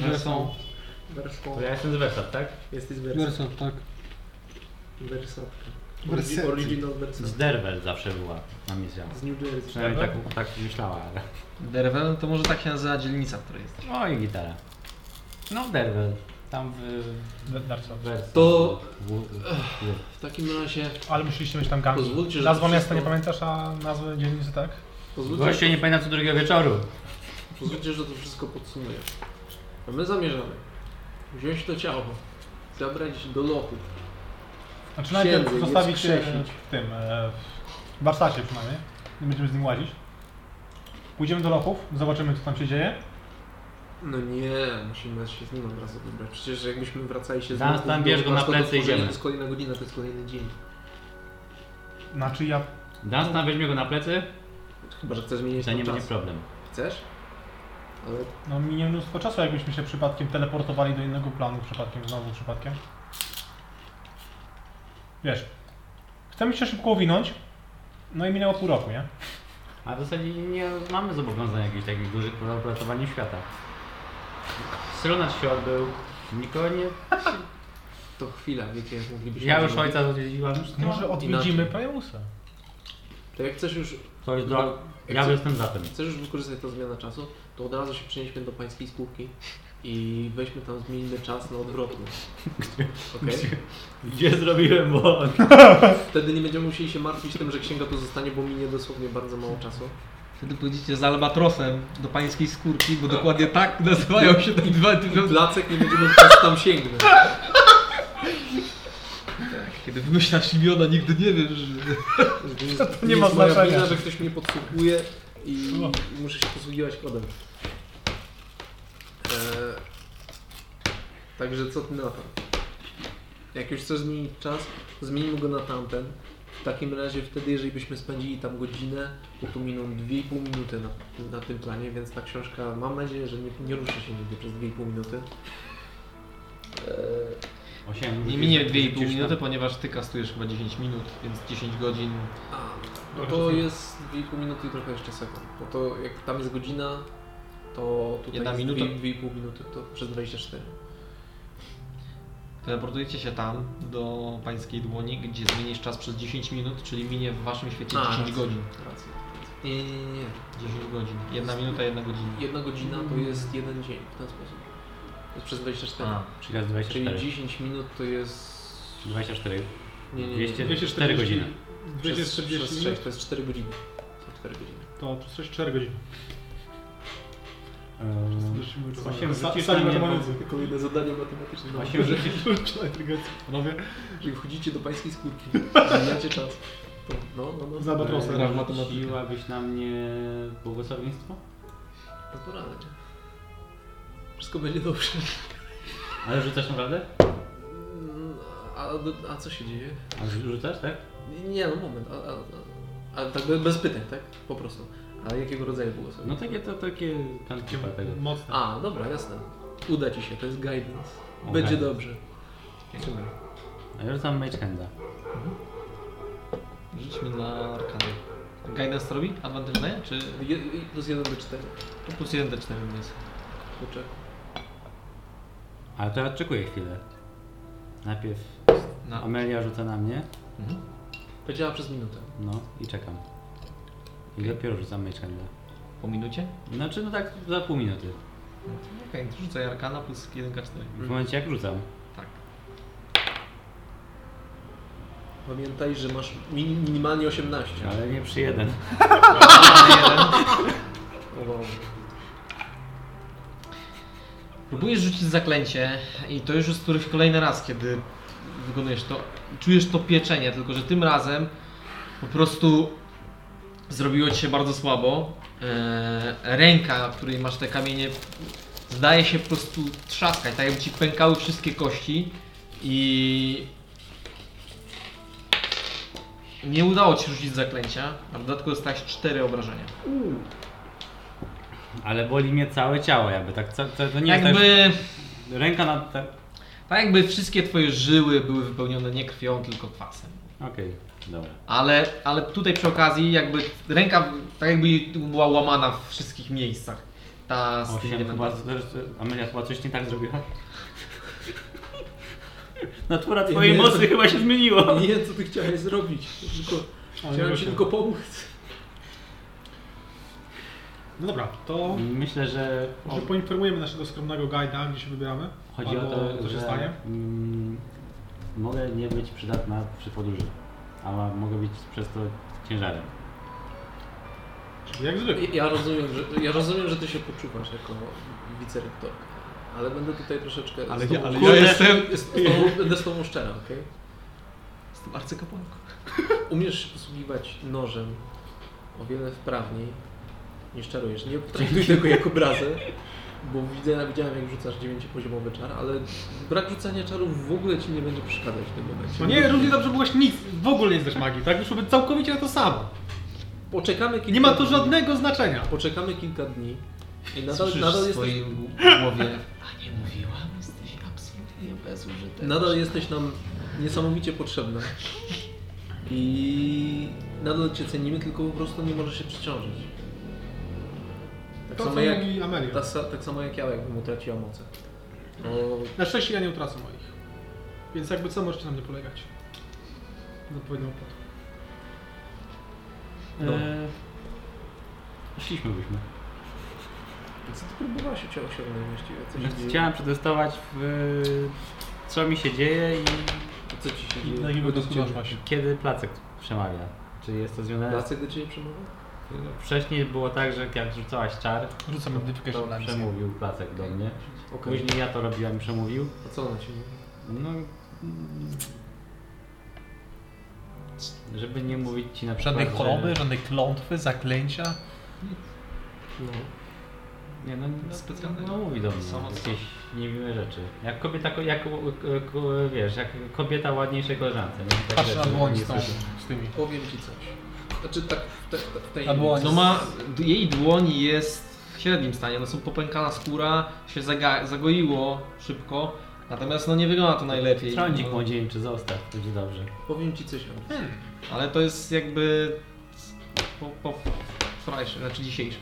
Speaker 1: Wersą.
Speaker 4: Versą.
Speaker 3: To ja jestem z Wersat, tak?
Speaker 4: Jesteś Versat.
Speaker 2: tak.
Speaker 4: Versat.
Speaker 6: Versat.
Speaker 4: Original
Speaker 3: Z
Speaker 4: Versat.
Speaker 3: Derwel zawsze była na misja.
Speaker 4: Z New Jersey.
Speaker 3: Przynajmniej tak, tak myślała. ale-
Speaker 1: Derwel to może tak się nazywa dzielnica, w której jesteś.
Speaker 3: O i gitara. No Derwel. Tam w...
Speaker 2: Darco.
Speaker 3: Wersat.
Speaker 4: To-
Speaker 3: W, w, w,
Speaker 4: W takim razie
Speaker 2: Ale musieliście mieć tam gangi.
Speaker 4: Pozwólcie, że
Speaker 2: Nazwa miasta
Speaker 4: wszystko-
Speaker 2: nie pamiętasz, a nazwę dzielnicy tak?
Speaker 4: pozwólcie,
Speaker 3: Goście nie pamiętam co drugiego wieczoru.
Speaker 4: pozwólcie, że to wszystko podsumuję. A my zamierzamy wziąć to ciało, zabrać do lochu.
Speaker 2: Znaczy
Speaker 4: Księdzu,
Speaker 2: najpierw
Speaker 4: je
Speaker 2: zostawić się
Speaker 4: wskrzesić.
Speaker 2: w tym, e, w warsztacie przynajmniej. Nie będziemy z nim łazić. Pójdziemy do lochów, zobaczymy co tam się dzieje.
Speaker 4: No nie, musimy się z nim od razu wybrać. Przecież jakbyśmy wracali się z
Speaker 3: Tam-
Speaker 4: lochu
Speaker 3: tam
Speaker 4: do
Speaker 3: bierz go na
Speaker 4: Wrocławia,
Speaker 3: plecy i
Speaker 4: to
Speaker 3: idziemy.
Speaker 4: To jest kolejna godzina, to jest kolejny dzień.
Speaker 2: Znaczy ja
Speaker 3: Dunstan weźmie go na plecy,
Speaker 4: Chyba, że chcesz zmienić
Speaker 3: to nie
Speaker 4: ten
Speaker 3: będzie
Speaker 4: czas.
Speaker 3: problem.
Speaker 4: Chcesz? Ale
Speaker 2: No minie mnóstwo czasu, jakbyśmy się przypadkiem teleportowali do innego planu, przypadkiem, znowu przypadkiem. Wiesz, chcemy się szybko uwinąć, no i minęło pół roku, nie?
Speaker 3: A w zasadzie nie mamy zobowiązań jakichś takich dużych po ratowaniu świata. Srunacz się odbył. Nikogo nie...
Speaker 4: to chwila, wiecie, jak moglibyśmy...
Speaker 3: Ja już ojca odwiedziłam.
Speaker 2: Może odwiedzimy
Speaker 4: Inaczej.
Speaker 2: Pajeusa.
Speaker 4: To jak chcesz już,
Speaker 3: To jest do... Ja
Speaker 4: Jak-
Speaker 3: jestem za tym.
Speaker 4: chcesz już wykorzystać tę zmianę czasu, to od razu się przenieśmy do pańskiej spółki i weźmy tam, zmienimy czas na odwrotny. Okej?
Speaker 3: Gdzie zrobiłem błąd?
Speaker 4: Wtedy nie będziemy musieli się martwić tym, że księga pozostanie, bo minie dosłownie bardzo mało czasu.
Speaker 1: Wtedy pójdziecie z albatrosem do pańskiej skórki, bo dokładnie tak nazywają się te dwa
Speaker 2: No.
Speaker 1: tygodnie.
Speaker 4: Placek nie będzie mógł teraz tam sięgnąć.
Speaker 1: Kiedy wymyślasz imiona, nigdy nie wiesz. że-
Speaker 4: Żeby
Speaker 2: nie ma
Speaker 4: jest moja
Speaker 2: znaczenia.
Speaker 4: wina, że ktoś mnie podsłuchuje I
Speaker 2: O.
Speaker 4: muszę się posługiwać kodem. E, także co ty na to? Jak już chcesz zmienić czas, zmienimy go na tamten. W takim razie wtedy, jeżeli byśmy spędzili tam godzinę, to tu miną 2,5 minuty na, na tym planie, więc ta książka, mam nadzieję, że nie, nie ruszy się nigdy przez 2,5 minuty. E,
Speaker 3: Osiem,
Speaker 1: Nie minie 2,5
Speaker 3: gdzieś tam-
Speaker 1: minuty, ponieważ ty kastujesz chyba 10 minut, więc 10 godzin.
Speaker 4: A, no
Speaker 3: Trochę
Speaker 4: to
Speaker 3: czasu.
Speaker 4: jest 2,5 minuty i trochę jeszcze sekund. No to jak tam jest godzina, to tutaj
Speaker 1: Jedna
Speaker 4: jest
Speaker 1: minuta.
Speaker 4: 2,5 minuty, to przez 24.
Speaker 1: Teleportujecie się tam, do pańskiej dłoni, gdzie zmienisz czas przez 10 minut, czyli minie w waszym świecie 10
Speaker 4: A, racja.
Speaker 1: godzin.
Speaker 4: Racja. Nie, nie, nie, nie.
Speaker 1: 10 godzin. Jedna minuta, jedna godzina.
Speaker 4: Jedna godzina
Speaker 1: Mm.
Speaker 4: to jest jeden dzień w ten sposób. To jest przez 24.
Speaker 1: A,
Speaker 3: Czyli raz
Speaker 4: Czyli
Speaker 3: 24.
Speaker 4: 10 minut to jest...
Speaker 3: 24.
Speaker 4: Nie, nie, nie.
Speaker 3: 204 godziny.
Speaker 2: 240
Speaker 4: przez
Speaker 2: minut
Speaker 4: 6, to jest 4 godziny. To 4 godziny.
Speaker 2: to przez 4 godziny. Ehm,
Speaker 3: Osiem
Speaker 2: Sa-
Speaker 3: rzucisz
Speaker 2: sali
Speaker 3: na mnie,
Speaker 2: matematycy.
Speaker 4: Kolejne zadanie matematyczne. No,
Speaker 3: Osiem rzucisz
Speaker 2: Sztuczna inteligencja. Panowie,
Speaker 4: Jeżeli wchodzicie do pańskiej skórki, zmieniacie czas. To, no, no, no.
Speaker 2: za Batrosa.
Speaker 1: Gra w matematykę.
Speaker 3: Rzuciłabyś na mnie błogosławieństwo?
Speaker 4: Naturalnie. Wszystko będzie dobrze.
Speaker 3: Ale rzucasz naprawdę?
Speaker 4: Mm, A, a co się dzieje?
Speaker 3: A rzucasz, tak?
Speaker 4: Nie, no moment. A, a, a- ale tak be- bez pytań, tak? Po prostu. A jakiego rodzaju było sobie?
Speaker 3: No takie to takie kantypa tego.
Speaker 2: Mocne.
Speaker 4: A, dobra, jasne. Uda ci się, to jest guidance.
Speaker 3: O,
Speaker 4: Będzie
Speaker 3: No guidance.
Speaker 4: dobrze. Super.
Speaker 3: A ja rzucam Mage Handa.
Speaker 1: rzuć mi na arkany. Guidance robi? Advantage daje? Czy
Speaker 4: Je, i plus 1 do 4.
Speaker 1: to plus 1 D4 jest?
Speaker 4: Kurczę.
Speaker 3: Ale to ja odczekuję chwilę. Najpierw
Speaker 1: Na...
Speaker 3: Amelia rzuca na mnie,
Speaker 1: Mhm.
Speaker 4: Powiedziała przez minutę.
Speaker 3: no i czekam. I dopiero rzucam Mage Handa.
Speaker 1: Po minucie?
Speaker 3: Znaczy no tak za pół minuty.
Speaker 1: Okej, okay, rzucaj arkana plus 1K4.
Speaker 3: W momencie jak rzucam.
Speaker 1: Tak.
Speaker 4: Pamiętaj, że masz min, minimalnie 18.
Speaker 3: Ale nie przy jeden.
Speaker 4: O, wow.
Speaker 1: Próbujesz rzucić zaklęcie i to już jest któryś kolejny raz, kiedy wykonujesz to. Czujesz to pieczenie, tylko że tym razem po prostu zrobiło ci się bardzo słabo. Eee, ręka, w której masz te kamienie, zdaje się po prostu trzaskać, tak jakby ci pękały wszystkie kości i nie udało ci rzucić zaklęcia, a w dodatku dostałeś 4 obrażenia.
Speaker 3: Ale boli mnie całe ciało jakby, tak ca- to, to nie jest
Speaker 1: Jakby...
Speaker 3: tak, że ręka na... Tak.
Speaker 1: Tak jakby wszystkie twoje żyły były wypełnione nie krwią, tylko kwasem.
Speaker 3: Okej, dobra.
Speaker 1: Ale, ale tutaj przy okazji jakby ręka tak jakby była łamana w wszystkich miejscach. Ta z tym
Speaker 3: Osiem chyba,
Speaker 1: elementem.
Speaker 3: Amelia chyba coś nie tak zrobiła. Natura twojej mocy chyba się zmieniła.
Speaker 4: Nie, co ty chciałeś zrobić. Tylko,
Speaker 2: Ale
Speaker 4: chciałem
Speaker 2: właśnie.
Speaker 4: ci tylko pomóc.
Speaker 2: No dobra, to
Speaker 3: Myślę, że
Speaker 2: może poinformujemy naszego skromnego guida, gdzie się wybieramy.
Speaker 3: chodzi o
Speaker 2: Albo
Speaker 3: to,
Speaker 2: co się
Speaker 3: że
Speaker 2: stanie.
Speaker 3: mm, mogę nie być przydatna przy podróży, a ma- mogę być przez to ciężarem.
Speaker 2: Czyli jak zwykle.
Speaker 4: Ja rozumiem, że, ja rozumiem, że ty się poczuwasz jako wicerektor, ale będę tutaj troszeczkę.
Speaker 1: Ale
Speaker 4: z tobą,
Speaker 1: ja- ale ja
Speaker 4: Kurde,
Speaker 1: jestem-
Speaker 4: z tobą, będę z tobą szczera, okej?
Speaker 1: Z tym arcykapłanką.
Speaker 4: Umiesz się posługiwać nożem o wiele wprawniej niż czarujesz. Nie traktuj tego jako brazę, bo widzę, widziałem jak rzucasz dziewięciopoziomowy czar, ale brak rzucania czarów w ogóle ci nie będzie przeszkadzać w tym momencie.
Speaker 2: No nie, równie dobrze byłaś nic, w ogóle nie znasz magii, tak? Wyszłoby całkowicie to samo.
Speaker 4: Poczekamy kilka
Speaker 2: Nie ma to
Speaker 4: dni.
Speaker 2: żadnego znaczenia.
Speaker 4: Poczekamy kilka dni i nadal,
Speaker 1: Słyszysz
Speaker 4: nadal
Speaker 1: w
Speaker 4: jesteś
Speaker 1: swoim głowie. A nie mówiłam? Jesteś absolutnie bezużyteczny.
Speaker 4: Nadal jesteś nam niesamowicie potrzebna. I nadal Cię cenimy, tylko po prostu nie możesz się przeciążyć. Tak,
Speaker 2: To
Speaker 4: samo
Speaker 2: co
Speaker 4: jak,
Speaker 2: mówi Amelia.
Speaker 4: ta, sa- tak samo jak ja, jakbym utraciła moce. No,
Speaker 2: Na szczęście ja nie utracę moich. Więc jakby co możecie na mnie polegać? No powiedział Piotr.
Speaker 4: No.
Speaker 3: Eee, Szliśmy byśmy.
Speaker 4: co Ty próbowałaś się osiągnąć właściwie? Co, się dzieje?
Speaker 3: Chciałem przetestować w, co mi się dzieje i
Speaker 4: co Ci się
Speaker 2: No I na
Speaker 4: dzieje?
Speaker 2: jakiego doskonasz właśnie.
Speaker 3: kiedy placek przemawia. Czy jest to związane z
Speaker 4: Placek do Ciebie przemawia?
Speaker 3: Wcześniej było tak, że jak rzucałaś czar,
Speaker 2: Rzucam
Speaker 3: to
Speaker 2: modyfikację
Speaker 3: przemówił placek do mnie.
Speaker 4: Okej.
Speaker 3: Później ja to robiłem i przemówił.
Speaker 4: A co ona Ci mówi?
Speaker 3: No. mm, Żeby nie mówić ci na przykład. że-
Speaker 8: żadnej klątwy, zaklęcia.
Speaker 4: No.
Speaker 3: Nie, no, no
Speaker 1: Specjalnego.
Speaker 3: No mówi do mnie
Speaker 1: Samo co.
Speaker 3: jakieś niemiłe rzeczy. Jak kobieta, ko- jak, ko- ko- wiesz, jak kobieta ładniejszej koleżance. nie? Takie
Speaker 2: Patrz na
Speaker 3: rzeczy
Speaker 2: dłoń
Speaker 3: nie
Speaker 2: z, tą,
Speaker 3: słyszę.
Speaker 2: z tymi.
Speaker 4: Powiem ci coś. Znaczy tak w, te, w tej...
Speaker 2: Na dłoni.
Speaker 1: No ma, d- jej dłoń jest w średnim stanie, one są popękana skóra, się zaga, zagoiło szybko, natomiast no nie wygląda to najlepiej.
Speaker 3: Trądzik
Speaker 1: No,
Speaker 3: młodzieńczy, zostaw, będzie dobrze.
Speaker 4: Powiem ci coś, Jan.
Speaker 1: Ale to jest jakby po, po wczorajszy, znaczy dzisiejszy.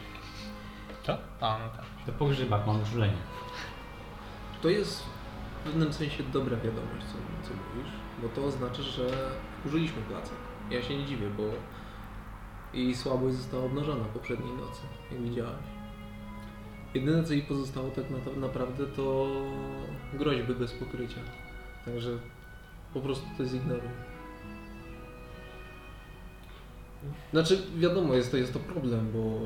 Speaker 2: Co? A, no tak.
Speaker 3: To po grzybach mam uczulenie.
Speaker 4: To jest w pewnym sensie dobra wiadomość, co, co mówisz, bo to oznacza, że użyliśmy placek. Ja się nie dziwię, bo jej słabość została obnażona poprzedniej nocy, jak widziałaś. Jedyne, co jej pozostało tak na, naprawdę, to groźby bez pokrycia. Także po prostu to zignoruj. Znaczy, wiadomo, jest to, jest to problem, bo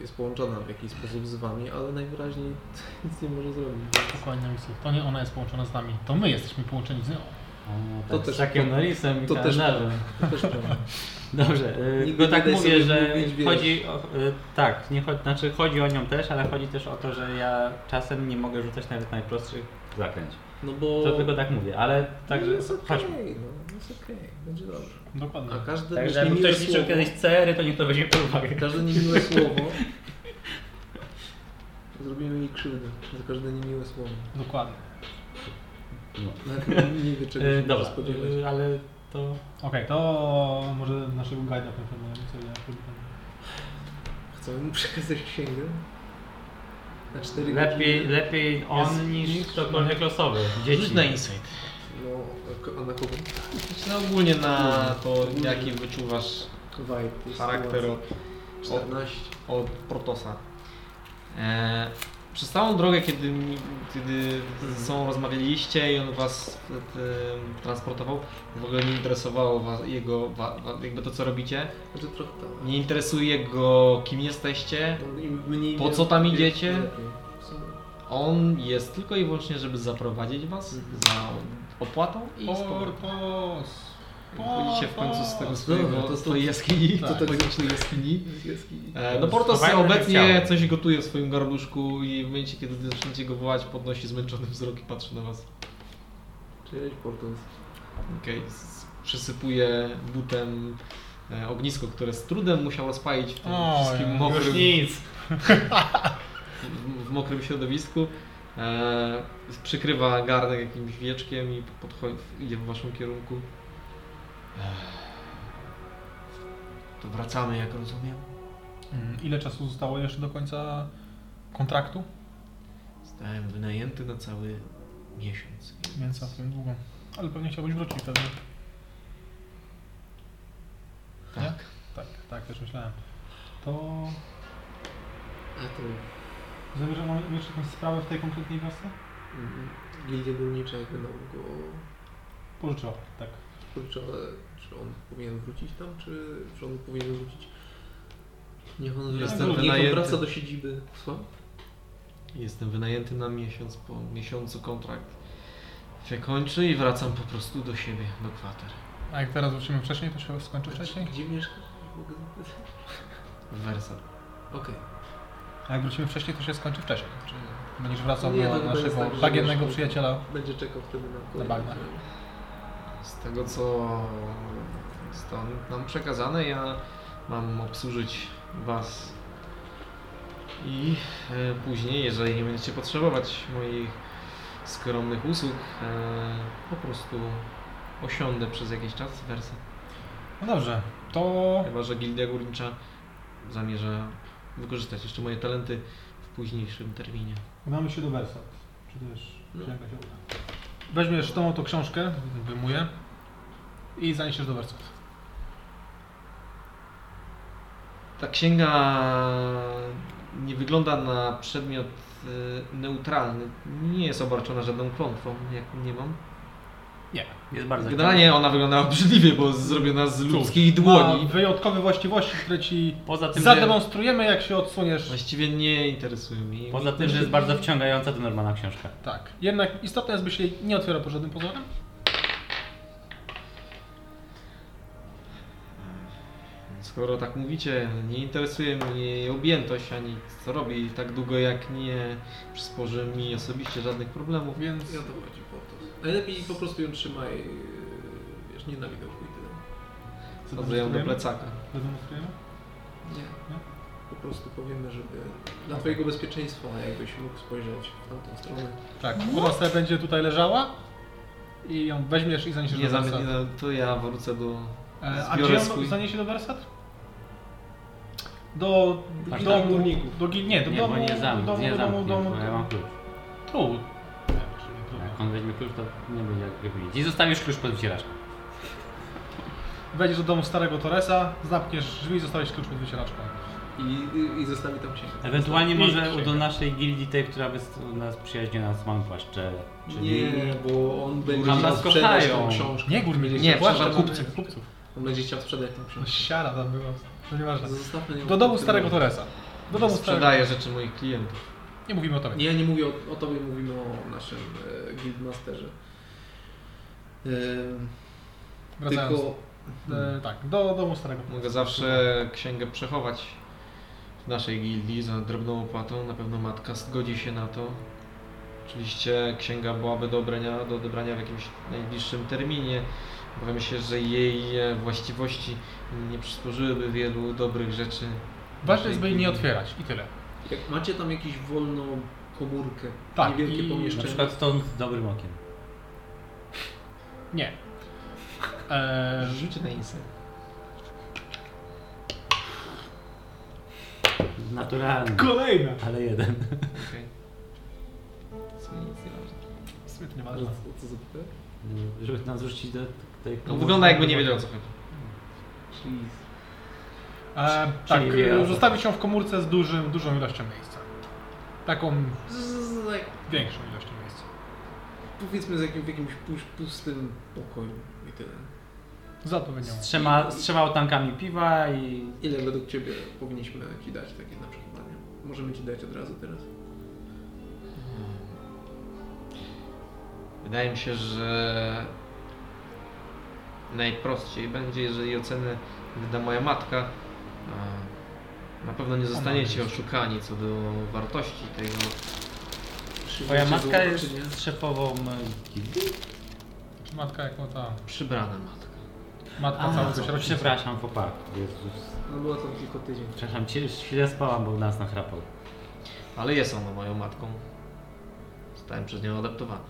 Speaker 4: jest połączona w jakiś sposób z wami, ale najwyraźniej nic nie może zrobić.
Speaker 2: Dokładnie, Wisław. To nie ona jest połączona z nami, to my jesteśmy połączeni z nią.
Speaker 3: O, tak,
Speaker 4: To
Speaker 3: to
Speaker 4: też-
Speaker 3: z takim
Speaker 4: to-
Speaker 3: Norrisem i
Speaker 4: to też-
Speaker 3: kalendarzem.
Speaker 4: To też prawda.
Speaker 3: Dobrze, yy,
Speaker 4: Nigdy
Speaker 3: no
Speaker 4: nie
Speaker 3: tak
Speaker 4: daj sobie
Speaker 3: mówię, że
Speaker 4: mówić, wiesz.
Speaker 3: chodzi o, y, tak, nie chodzi, znaczy chodzi o nią też, ale chodzi też o to, że ja czasem nie mogę rzucać nawet najprostszych zakręć.
Speaker 4: No bo...
Speaker 3: To tylko tak mówię, ale także
Speaker 4: No, jest okej,
Speaker 3: chodźmy.
Speaker 4: no, jest okej, będzie dobrze.
Speaker 2: Dokładnie.
Speaker 4: A każde
Speaker 3: Także jakby
Speaker 4: niemiłe
Speaker 3: Tak, ktoś liczył
Speaker 4: słowo,
Speaker 3: kiedyś cery, to niech to weźmie pod uwagę.
Speaker 4: każde niemiłe słowo, zrobimy jej krzywdę, za każde niemiłe słowo.
Speaker 2: Dokładnie.
Speaker 3: No.
Speaker 4: Nawet nie wie czego
Speaker 3: Y,
Speaker 4: się
Speaker 3: dobra,
Speaker 4: może spodziewać.
Speaker 3: y, ale to
Speaker 2: Okej, to może naszego guida poinformujemy, co ja robię.
Speaker 4: Chcemy mu przekazać księgę? Na cztery
Speaker 3: lepiej,
Speaker 4: godziny?
Speaker 3: lepiej on
Speaker 2: Jest-
Speaker 3: niż
Speaker 2: niż-
Speaker 3: ktokolwiek losowy.
Speaker 5: Rzuć
Speaker 3: Dzieci.
Speaker 5: na insight.
Speaker 4: No, a ko- a na kogo?
Speaker 1: Myślę Znaczy, no, ogólnie na to, jaki wyczuwasz
Speaker 4: Vibe. tej
Speaker 1: charakter
Speaker 4: sytuacji.
Speaker 1: od,
Speaker 4: 14.
Speaker 1: od Protosa. E, przez całą drogę, kiedy, mi- kiedy z sobą rozmawialiście i on was e, e, transportował, w ogóle nie interesowało was, jego, wa, wa, jakby to co robicie.
Speaker 4: Znaczy trochę tak.
Speaker 1: Nie interesuje go, kim jesteście.
Speaker 4: No, im mniej
Speaker 1: Po
Speaker 4: wie-
Speaker 1: co tam
Speaker 4: wie,
Speaker 1: idziecie?
Speaker 4: lepiej. W sumie.
Speaker 1: On jest tylko i wyłącznie, żeby zaprowadzić was za opłatą i z powrotem.
Speaker 2: Portos!
Speaker 1: Wychodzicie w końcu z tego swojego,
Speaker 4: Dobra, to
Speaker 1: to,
Speaker 4: stąd-
Speaker 1: jaskini,
Speaker 2: to
Speaker 1: to
Speaker 4: tak-
Speaker 1: magicznej jaskini.
Speaker 4: Z jaskini.
Speaker 1: E, No Portos
Speaker 3: Schowajmy
Speaker 1: obecnie
Speaker 3: chciałem.
Speaker 1: coś gotuje w swoim garnuszku i w momencie, kiedy zaczynacie go wołać, podnosi zmęczony wzrok i patrzy na was.
Speaker 4: Cześć, Portos.
Speaker 1: Okej, s- przysypuje butem e, ognisko, które z trudem musiał rozpalić w tym
Speaker 2: O,
Speaker 1: wszystkim
Speaker 2: ja-
Speaker 1: mokrym,
Speaker 3: Już nic.
Speaker 1: w, w mokrym środowisku. E, przykrywa garnek jakimś wieczkiem i podchodzi, idzie w waszym kierunku.
Speaker 5: To wracamy, jak rozumiem.
Speaker 2: Mm, Ile czasu zostało jeszcze do końca kontraktu?
Speaker 5: Zostałem wynajęty na cały miesiąc.
Speaker 2: Więc całkiem długo. Ale pewnie chciałbyś wrócić pewnie.
Speaker 5: Tak.
Speaker 2: Nie? Tak, tak też myślałem. To
Speaker 4: A to...
Speaker 2: zamierzam mamy jeszcze jakąś sprawę w tej konkretnej wiosce?
Speaker 4: mm, Gildia Górnicza jakby no, nam go
Speaker 2: Pożyczał, tak.
Speaker 4: Kurczę, ale czy on powinien wrócić tam, czy, czy on powinien wrócić? Niech on,
Speaker 1: Jestem
Speaker 4: niech on
Speaker 1: wynajęty.
Speaker 4: wraca do siedziby. Co?
Speaker 1: Jestem wynajęty na miesiąc, po miesiącu kontrakt się kończy i wracam po prostu do siebie, do kwater.
Speaker 2: A jak teraz wrócimy wcześniej, to się skończy wcześniej?
Speaker 4: Gdzie mieszkasz? Mogę zapytać?
Speaker 1: W Wersa.
Speaker 4: Okej.
Speaker 2: A jak wrócimy wcześniej, to się skończy wcześniej. Czy będziesz wracał
Speaker 4: Nie,
Speaker 2: do
Speaker 4: no to jest
Speaker 2: naszego
Speaker 4: tak, że
Speaker 2: bagiennego
Speaker 4: wiesz,
Speaker 2: przyjaciela?
Speaker 4: Będzie czekał wtedy na kolejny.
Speaker 2: bagnach.
Speaker 1: Z tego co stąd nam przekazane, ja mam obsłużyć Was i e, później, jeżeli nie będziecie potrzebować moich skromnych usług, e, po prostu osiądę przez jakiś czas w Wersa.
Speaker 2: No dobrze, to...
Speaker 1: Chyba, że Gildia Górnicza zamierza wykorzystać jeszcze moje talenty w późniejszym terminie.
Speaker 2: Udamy się do Wersat. Czy też
Speaker 4: No.
Speaker 2: czy jakaś uda. Weźmiesz tą oto książkę, wyjmuję i zaniesiesz do Wersat.
Speaker 1: Ta księga nie wygląda na przedmiot y, neutralny. Nie jest obarczona żadną klątwą, jak nie mam.
Speaker 3: Jest bardzo
Speaker 1: Generalnie ona wygląda obrzydliwie, bo zrobiona z ludzkiej
Speaker 2: Ma
Speaker 1: dłoni.
Speaker 2: wyjątkowe właściwości, które ci
Speaker 3: Poza tym, że,
Speaker 2: zademonstrujemy, jak się odsuniesz.
Speaker 1: Właściwie nie interesuje mnie.
Speaker 3: poza tym, że jest bardzo wciągająca do Normana książka.
Speaker 2: Tak. Jednak istotne jest, by się jej nie otwierał pod żadnym pozorem.
Speaker 1: Więc Skoro tak mówicie, nie interesuje mnie jej objętość ani co robi tak długo jak nie przysporzy mi osobiście żadnych problemów, więc
Speaker 4: Ja to chodzi po to. Najlepiej po prostu ją trzymaj, yy, wiesz, nie na widoku i tyle.
Speaker 1: wsadzę ją do
Speaker 2: demonstrujemy?
Speaker 1: plecaka.
Speaker 2: Co demonstrujemy?
Speaker 4: Nie.
Speaker 2: Nie?
Speaker 4: Po prostu powiemy, żeby dla twojego bezpieczeństwa jakbyś mógł spojrzeć w tamtą stronę.
Speaker 2: Tak, ona sobie będzie tutaj leżała i ją weźmiesz i zaniesiesz
Speaker 1: Nie,
Speaker 2: do
Speaker 1: zam- nie,
Speaker 2: Bersat.
Speaker 1: zam- to ja wrócę do...
Speaker 2: E, A
Speaker 1: zbiorę
Speaker 2: gdzie ją
Speaker 1: swój-
Speaker 2: zaniesie do Bersat? Do
Speaker 3: Aż tak?
Speaker 2: domu, do, gil- nie, do
Speaker 3: nie,
Speaker 2: domu,
Speaker 3: bo nie
Speaker 2: do
Speaker 3: zamknę,
Speaker 2: domu,
Speaker 3: nie
Speaker 2: do domu,
Speaker 3: zamknę,
Speaker 2: do domu,
Speaker 3: bo ja mam klucz.
Speaker 2: tu.
Speaker 3: Jak on weźmie klucz, to nie będzie jak wybić. I zostawisz klucz pod wycieraczką.
Speaker 2: Wejdziesz do domu starego Torresa, zamkniesz drzwi i zostawisz klucz pod wycieraczką.
Speaker 4: I, i, i zostawi tam cię.
Speaker 3: Ewentualnie
Speaker 2: I
Speaker 3: może
Speaker 2: księgę.
Speaker 3: do naszej gildii tej, która by z- nas przyjaźnie nas mam płaszcze. Czyli
Speaker 4: Nie, bo on będzie
Speaker 3: Tam
Speaker 4: chciał
Speaker 3: nas
Speaker 4: sprzedać
Speaker 3: kochają.
Speaker 4: tą książkę.
Speaker 2: Nie górnik,
Speaker 4: Będzie
Speaker 1: nie,
Speaker 4: chciał
Speaker 2: Zwłaszcza
Speaker 1: przepraszam.
Speaker 4: sprzedać-
Speaker 2: kupców, kupców.
Speaker 4: On będzie chciał sprzedać tą
Speaker 2: No
Speaker 4: książkę.
Speaker 2: siara tam była, to nieważne.
Speaker 4: Zostawmy ją
Speaker 2: Do domu
Speaker 4: w tym
Speaker 2: starego
Speaker 4: momencie.
Speaker 2: Torresa. Do domu starego.
Speaker 1: Sprzedaję rzeczy moich klientów.
Speaker 2: Nie mówimy o tobie.
Speaker 4: Nie, nie mówię o, o tobie, mówimy o naszym e, guildmasterze. Em,
Speaker 2: Wracając.
Speaker 4: tylko
Speaker 2: E, tak, do domu starego.
Speaker 1: Mogę zawsze księgę przechować w naszej gildii za drobną opłatą. Na pewno matka zgodzi się na to. Oczywiście księga byłaby do odebrania, do odebrania w jakimś najbliższym terminie. Obawiam się, że jej e, właściwości nie przysporzyłyby wielu dobrych rzeczy.
Speaker 2: Ważne jest, by jej nie otwierać i tyle.
Speaker 4: jak macie tam jakąś wolną komórkę,
Speaker 2: Tak,
Speaker 4: niewielkie
Speaker 2: i-
Speaker 3: na
Speaker 4: pomieszczenie,
Speaker 3: przykład stąd z dobrym okiem.
Speaker 2: Nie. E,
Speaker 1: Rzucie na insight.
Speaker 3: Naturalny,
Speaker 2: Kolejne!
Speaker 3: ale jeden.
Speaker 1: Okej. W sumie nic nie ważne.
Speaker 2: W sumie to nie
Speaker 3: No.
Speaker 4: Ale
Speaker 2: ważne.
Speaker 4: co, co zapytałem?
Speaker 3: Żeby nas rzucić do tej...
Speaker 1: No, wygląda jakby nie wiedział o co chodzi.
Speaker 4: Czyli
Speaker 2: E, tak,
Speaker 3: Czyli wie,
Speaker 2: e,
Speaker 3: o co.
Speaker 2: zostawić ją w komórce z dużym, dużą ilością miejsca. Taką
Speaker 4: z, z, z, jak,
Speaker 2: większą ilością miejsca.
Speaker 4: powiedzmy z jakim, w jakimś puś- pustym pokoju i tyle.
Speaker 2: Za to będzie.
Speaker 3: Z trzema, z trzema otankami piwa i...
Speaker 4: Ile według Ciebie powinniśmy Ci dać takie na przechowanie? Możemy Ci dać od razu teraz.
Speaker 1: Wydaje mi się, że najprościej będzie, jeżeli ocenę wyda moja matka. A Na pewno nie zostaniecie oszukani co do wartości tego.
Speaker 3: Twoja
Speaker 4: Przyjmujecie
Speaker 3: matka
Speaker 4: złoto, czy nie?
Speaker 3: jest szefową e, gildii?
Speaker 2: Czy matka jako ta.
Speaker 1: Przybrana matka.
Speaker 2: Matka całego
Speaker 3: co,
Speaker 2: środka.
Speaker 3: no przepraszam, chłopak. Jezus.
Speaker 4: No była tam tylko tydzień.
Speaker 3: Przepraszam, cię chwilę spałam, bo nas nachrapał.
Speaker 1: Ale jest ona moją matką. Zostałem przez nią adaptowany.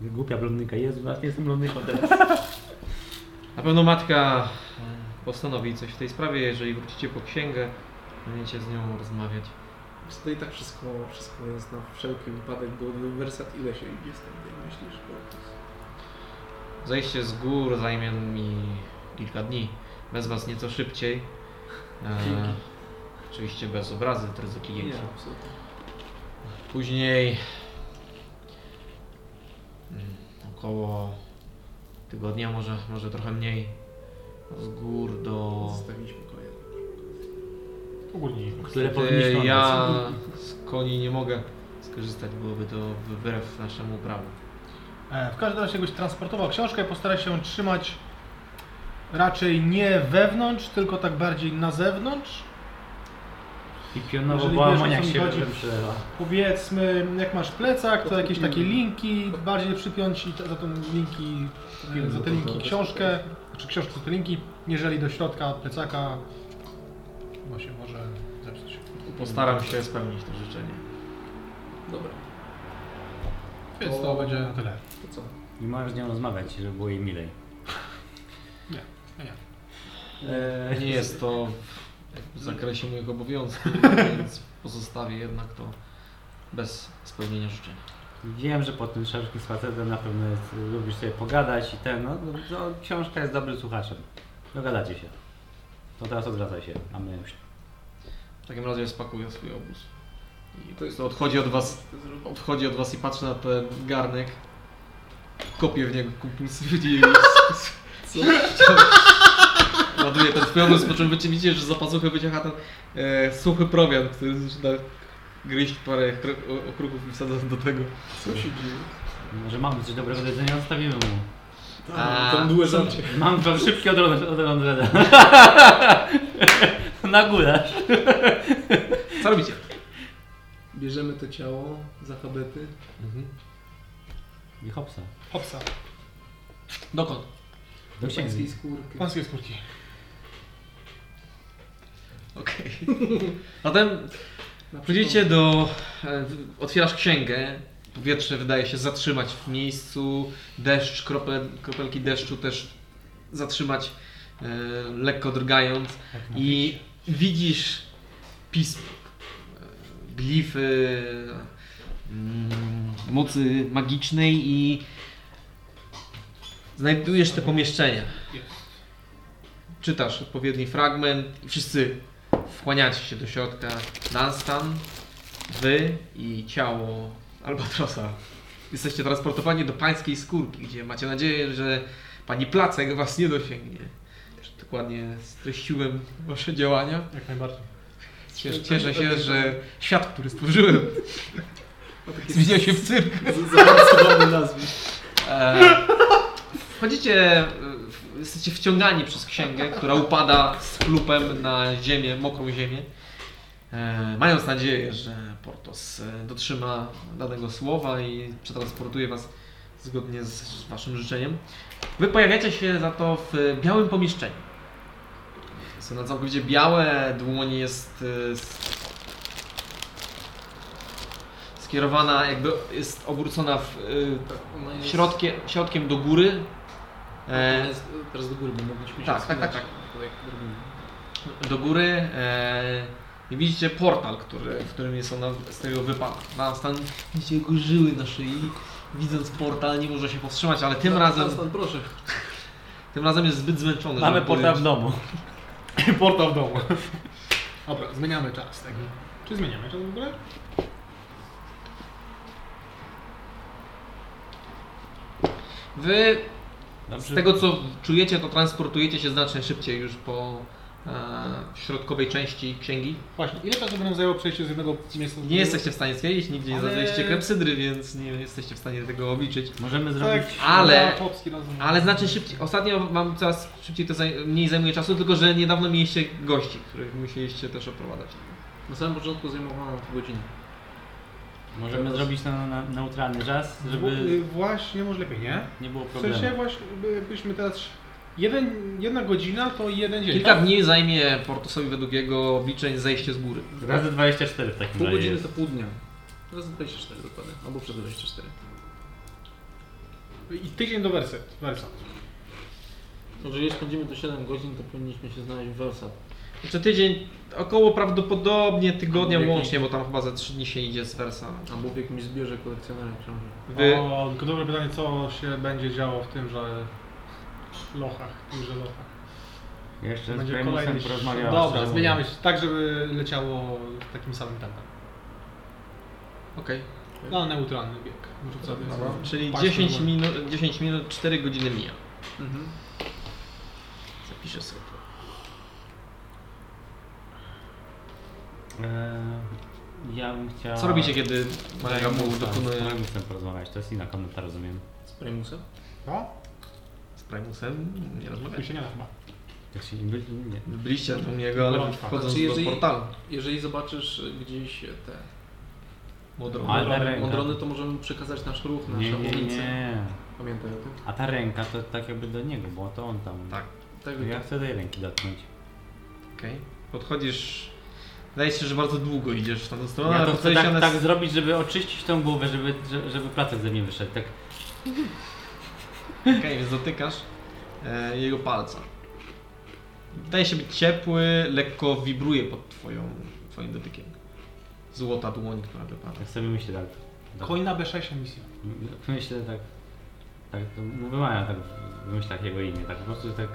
Speaker 3: Głupia blondynka, Jezu, ja jestem blondynką teraz.
Speaker 1: Na pewno matka e, postanowi coś w tej sprawie. Jeżeli wrócicie po księgę, będziecie z nią rozmawiać.
Speaker 4: Tutaj tak wszystko, wszystko jest na wszelki wypadek, bo wersat ile się idzie z tym, myślisz? Bo...
Speaker 1: Zejście z gór zajmie mi kilka dni. Bez was nieco szybciej. E,
Speaker 4: Dzięki.
Speaker 1: oczywiście bez obrazy, drodzy
Speaker 4: Nie,
Speaker 1: klienci.
Speaker 4: absolutnie.
Speaker 1: Później mm, około tygodnia, może, może trochę mniej. Z gór do.
Speaker 4: Zostawiliśmy konia.
Speaker 2: Ogólnie.
Speaker 3: Które
Speaker 1: Ty,
Speaker 3: powinniśmy
Speaker 1: ja z koni nie mogę skorzystać, byłoby to wbrew naszemu prawu.
Speaker 2: E, w każdym razie jakbyś transportował książkę, postaraj się ją trzymać raczej nie wewnątrz, tylko tak bardziej na zewnątrz.
Speaker 3: I pionowo,
Speaker 2: Jeżeli
Speaker 3: bo
Speaker 2: wiesz, o co
Speaker 3: amoniak
Speaker 2: mi
Speaker 3: się
Speaker 2: chodzi.
Speaker 3: przelewa.
Speaker 2: Powiedzmy, jak masz plecak, to jakieś takie linki, bardziej przypiąć i te- za, tą linki, e, za te linki książkę, czy książkę za te linki, jeżeli do środka plecaka, bo się może zepsuć.
Speaker 1: Postaram się spełnić to życzenie.
Speaker 4: Dobra,
Speaker 2: Więc to będzie na tyle.
Speaker 4: to co?
Speaker 3: I możesz z nią rozmawiać, żeby było jej milej.
Speaker 2: Nie, nie.
Speaker 3: E,
Speaker 1: Nie jest to w zakresie moich obowiązków, więc pozostawię jednak to bez spełnienia życzenia.
Speaker 3: Wiem, że po tym szerokim spacerze na pewno jest, lubisz sobie pogadać i ten, no to książka jest dobrym słuchaczem. Dogadacie się. To teraz odwracaj się, a my już.
Speaker 1: W takim razie spakuję swój obóz. I po
Speaker 4: To jest-
Speaker 1: prostu odchodzi od was, odchodzi od was i patrzy na ten garnek. Kopię w niego kompulsywnie i
Speaker 4: Co?
Speaker 1: ładuję ten swój obóz, po czym widzicie, że za pazuchy wyciąga ten e, suchy prowiant, który zaczyna gryźć parę kro- o- okruchów i wsadza do tego.
Speaker 4: Co się dzieje?
Speaker 3: Może mamy coś dobrego do jedzenia, zostawimy mu.
Speaker 1: A-
Speaker 4: Tam były żarcie.
Speaker 3: Mam wam szybkie odrodę od Andreda. Na górę.
Speaker 1: Co robicie?
Speaker 4: Bierzemy to ciało za habety.
Speaker 3: I hopsa.
Speaker 2: Hopsa.
Speaker 1: Dokąd?
Speaker 3: Do
Speaker 4: Pańskiej
Speaker 3: księgi.
Speaker 4: skórki.
Speaker 2: Pańskie skórki.
Speaker 1: Okej. Zatem przyjdziecie do... e, w- Otwierasz księgę. Powietrze wydaje się zatrzymać w miejscu. Deszcz, krople, kropelki deszczu też zatrzymać, e, lekko drgając. I widzisz pismo, e, glify mm, mocy magicznej i znajdujesz te pomieszczenia. Czytasz odpowiedni fragment i wszyscy wchłaniacie się do środka. Dunstan, wy i ciało Albatrosa. Jesteście transportowani do pańskiej skórki, gdzie macie nadzieję, że pani Placek was nie dosięgnie. Dokładnie streściłem wasze działania.
Speaker 2: Jak najbardziej.
Speaker 1: Cieszę, cieszę się, że świat, który stworzyłem,
Speaker 4: A takie
Speaker 1: zmienia się w cyrk.
Speaker 4: z- zaawansowane nazwy.
Speaker 1: E, wchodzicie, e, w- jesteście wciągani przez księgę, która upada z klupem na ziemię, mokrą ziemię. E, mając nadzieję, że Portos e, dotrzyma danego słowa i przetransportuje was zgodnie z, z waszym życzeniem. Wy pojawiacie się za to w e, białym pomieszczeniu. Są na całkowicie białe, dłoń jest e, s- skierowana, jakby jest obrócona w e,
Speaker 4: Tak, ona jest-
Speaker 1: środkiem, środkiem do góry.
Speaker 4: ona
Speaker 1: E,
Speaker 4: jest, e, Teraz do góry, bo mogliśmy się
Speaker 1: tak, tak, tak,
Speaker 4: wsunąć. To jak robimy.
Speaker 1: do góry e, i widzicie portal, który, w którym jest ona z tego wypada. Na stan widzicie jego żyły na szyi. Widząc portal nie może się powstrzymać, ale tym
Speaker 3: No,
Speaker 4: Stan-
Speaker 1: razem,
Speaker 4: Stan, Stan, proszę.
Speaker 1: tym razem jest zbyt zmęczony.
Speaker 3: Mamy
Speaker 1: żeby
Speaker 3: portal w
Speaker 1: podjąć.
Speaker 3: domu.
Speaker 2: Portal w domu. Dobra, zmieniamy czas. Tak. Czy zmieniamy czas w ogóle?
Speaker 1: Wy z tego co czujecie, to transportujecie się znacznie szybciej już po e, środkowej części księgi.
Speaker 2: Właśnie, ile czasu by nam zajęło przejście z jednego miejsca do
Speaker 1: Nie
Speaker 2: drugiego?
Speaker 1: jesteście w stanie stwierdzić, nigdzie nie
Speaker 2: Ale-
Speaker 1: zadaliście klepsydry, więc nie jesteście w stanie tego obliczyć.
Speaker 3: Możemy zrobić.
Speaker 2: Tak,
Speaker 1: Ale-
Speaker 2: Chłopski razem.
Speaker 1: Ale znaczy- znacznie szybciej. Ostatnio wam coraz szybciej to zaj- mniej zajmuje czasu, tylko że niedawno mieliście gości, których musieliście też oprowadzać.
Speaker 4: Na samym początku zajmowała nam to godzinę.
Speaker 3: Możemy zrobić na, na neutralny czas, żeby
Speaker 2: Żeby... y, Właśnie, może lepiej, nie?
Speaker 3: nie było
Speaker 2: W sensie
Speaker 3: problemu.
Speaker 2: właśnie by- byśmy teraz... Jeden, jedna godzina to jeden dzień.
Speaker 1: Kilka
Speaker 2: tak?
Speaker 1: dni zajmie Portosowi według jego obliczeń zejście z góry.
Speaker 2: tak.
Speaker 3: Razy 24 w takim
Speaker 4: Pół
Speaker 3: razie.
Speaker 4: godziny
Speaker 3: No Jest.
Speaker 4: to pół dnia. Teraz 24 dokładnie, albo przez 24.
Speaker 2: I tydzień do wersa. wersa.
Speaker 4: Jeżeli spędzimy to 7 godzin, to powinniśmy się znaleźć w Warszawie.
Speaker 1: Znaczy tydzień, około prawdopodobnie tygodnia
Speaker 4: Jakiś-
Speaker 1: łącznie, bo tam chyba ze trzy dni się idzie z Wersa.
Speaker 4: Albo w jakimś zbiorze kolekcjonera książek.
Speaker 1: Wy,
Speaker 2: O, tylko dobre pytanie, co się będzie działo w tymże lochach, w tymże lochach.
Speaker 3: Jeszcze z
Speaker 2: Będzie
Speaker 3: Primusem
Speaker 2: kolejny...
Speaker 3: porozmawiałem.
Speaker 2: Dobra, zmieniamy się tak, żeby leciało w takim samym tempem.
Speaker 1: okej.
Speaker 2: No, neutralny bieg. Rzucamy
Speaker 1: Dobra.
Speaker 2: sobie
Speaker 1: Czyli
Speaker 2: paść
Speaker 1: 10
Speaker 2: normalnie.
Speaker 1: minut, 10 minut, 4 godziny mija.
Speaker 4: Mhm.
Speaker 1: Zapiszę sobie to.
Speaker 3: Eee, ja bym chciał.
Speaker 1: Co robicie, kiedy Maria mu
Speaker 3: Z
Speaker 1: dokonuje
Speaker 3: Primusem porozmawiać, to jest inna komenta, rozumiem.
Speaker 4: Z Primusem?
Speaker 2: No,
Speaker 1: z Primusem? Nie
Speaker 2: tu
Speaker 1: rozmawiacie.
Speaker 2: się nie da chyba.
Speaker 3: Jak się nie byli? Nie.
Speaker 1: Byliście tam u niego, ale
Speaker 2: Gorączka.
Speaker 1: wchodząc
Speaker 4: Znaczy, jeżeli-
Speaker 1: do portalu.
Speaker 4: Jeżeli zobaczysz gdzieś te
Speaker 1: Modrą.
Speaker 3: Ale
Speaker 2: Dobra,
Speaker 3: ręka.
Speaker 4: mądrony, to możemy przekazać nasz ruch,
Speaker 3: nie,
Speaker 4: nasze
Speaker 3: nie,
Speaker 4: ulice.
Speaker 3: nie.
Speaker 4: Pamiętaj o tym.
Speaker 3: A ta ręka to tak jakby do niego, bo to on tam.
Speaker 1: Tak.
Speaker 4: Tak,
Speaker 3: Ja chcę tej ręki dotknąć.
Speaker 1: Okej. Podchodzisz. Wydaje się, że bardzo długo idziesz w tamtą stronę,
Speaker 3: ja
Speaker 1: ale
Speaker 3: to chcę
Speaker 1: podchodzisz
Speaker 3: tak,
Speaker 1: tak, ona
Speaker 3: tak
Speaker 1: tak,
Speaker 3: zrobić, żeby oczyścić tą głowę, żeby, że- żeby placek ze mnie wyszedł. Tak.
Speaker 1: więc dotykasz e, jego palca. Wydaje się być ciepły, lekko wibruje pod twoją, twoim dotykiem. Złota dłoń, która wypada.
Speaker 3: Tak sobie myślę tak. tak.
Speaker 2: Koina B6 emisja.
Speaker 3: Myślę tak. Tak, to no wymawiam tak w- w myślach jego imię, tak po prostu tak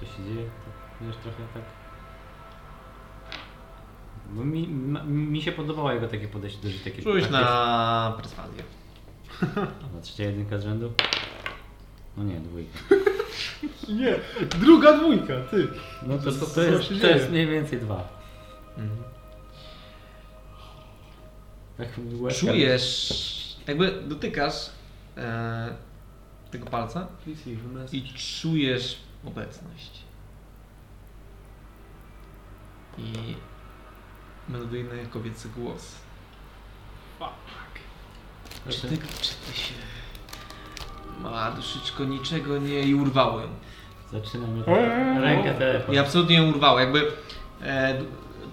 Speaker 3: co się dzieje, tak, wiesz, trochę tak. Bo mi, ma, mi się podobało jego takie podejście do życia. takie
Speaker 1: Rzuć
Speaker 3: praktyce.
Speaker 1: na perswazję.
Speaker 3: No, trzecia jedynka z rzędu? No nie, dwójka.
Speaker 2: Nie, druga dwójka, ty.
Speaker 3: No to, to,
Speaker 2: to-
Speaker 3: to,
Speaker 2: to
Speaker 3: jest,
Speaker 2: się
Speaker 3: to
Speaker 2: dzieje.
Speaker 3: jest mniej więcej dwa.
Speaker 1: Mhm.
Speaker 3: Tak łezka-
Speaker 1: Czujesz, jakby dotykasz e, tego palca
Speaker 4: Please leave a
Speaker 1: i
Speaker 4: message.
Speaker 1: czujesz obecność. I melodyjny kobiecy głos. Znaczy,
Speaker 5: Czy ty, czy ty się... Mała duszyczko niczego nie i urwało ją.
Speaker 3: Zaczynamy tak. rękę telefon.
Speaker 1: I absolutnie ją urwało. Jakby e, d-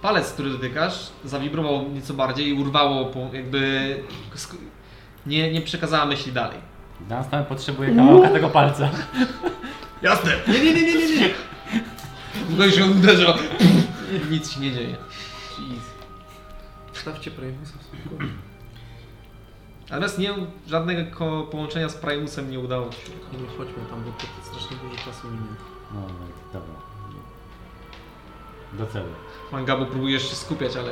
Speaker 1: palec, który dotykasz, zawibrował nieco bardziej i urwało, po, jakby sk- nie, nie przekazała myśli dalej.
Speaker 3: Dan tam potrzebuje kawałka tego palca.
Speaker 1: Jasne! Nie, nie, nie, nie, nie, nie. Tylko się uderza. Nic się nie dzieje.
Speaker 4: Jeez. Stawcie Primusa w spokoju.
Speaker 1: Natomiast nie, żadnego ko- połączenia z Primusem nie udało ci się.
Speaker 4: Nie chodźmy tam, bo to strasznie dużo czasu minie.
Speaker 3: No, dobra. Do celu.
Speaker 1: Mangabo próbujesz się skupiać, ale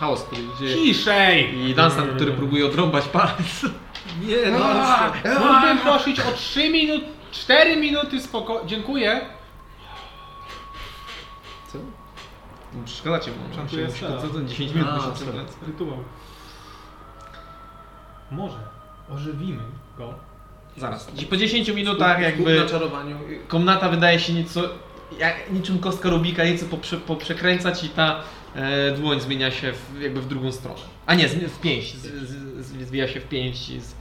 Speaker 1: chaos, który dzieje.
Speaker 2: Ciszej!
Speaker 1: I Dunstan, który próbuje odrąbać palec.
Speaker 4: Nie, no
Speaker 2: A,
Speaker 4: ale co?
Speaker 2: Mógłbym prosić o 3 minut, 4 minuty spoko... Dziękuję.
Speaker 4: Co?
Speaker 1: Szkoda cię, bo
Speaker 2: Szantuję strzela.
Speaker 1: co ten 10 minut
Speaker 4: A,
Speaker 1: musi
Speaker 4: sorry.
Speaker 1: odcinać.
Speaker 2: Rytuał. Może ożywimy go.
Speaker 1: Zaraz. I po 10 minutach
Speaker 4: Skup- skup
Speaker 1: jakby
Speaker 4: na czarowaniu.
Speaker 1: komnata wydaje się nieco, jak, niczym kostka Rubika, nieco poprze, poprzekręcać i ta e, dłoń zmienia się w, jakby w drugą stronę. A nie, zmi- w pięść. Z, z, z, zwija się w pięść. i Z...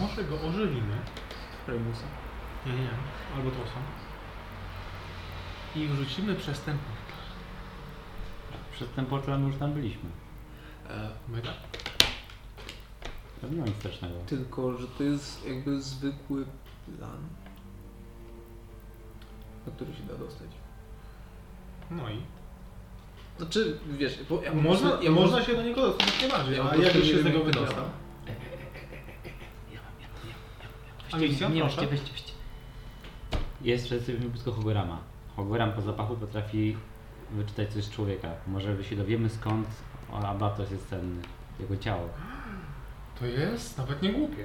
Speaker 2: Może go ożywimy.
Speaker 4: Primusa.
Speaker 2: Nie, nie. Albo trosa. I wrzucimy przez ten...
Speaker 3: Przed tym portalem już tam byliśmy.
Speaker 4: E,
Speaker 2: Mega.
Speaker 3: To nie ma nic strasznego.
Speaker 4: tylko, że to jest jakby zwykły plan, na który się da dostać.
Speaker 2: No i...
Speaker 4: Znaczy, wiesz, bo ja po
Speaker 2: Można,
Speaker 4: prostu- ja
Speaker 2: można się do niego dostać jak najbardziej,
Speaker 4: Ja
Speaker 2: a
Speaker 4: po
Speaker 2: jak
Speaker 4: prostu
Speaker 2: już
Speaker 4: nie
Speaker 2: się z
Speaker 4: wiem,
Speaker 2: tego
Speaker 4: jak to
Speaker 2: wydostał?
Speaker 4: działa.
Speaker 2: A misja?
Speaker 3: Nie,
Speaker 2: Proszę.
Speaker 3: weźcie, weźcie, weźcie. Jest, że jesteśmy blisko Hogorama. Hogoram po zapachu potrafi wyczytać coś z człowieka. Może się dowiemy skąd Abatos jest ten, jego ciało.
Speaker 2: To jest nawet nie głupie.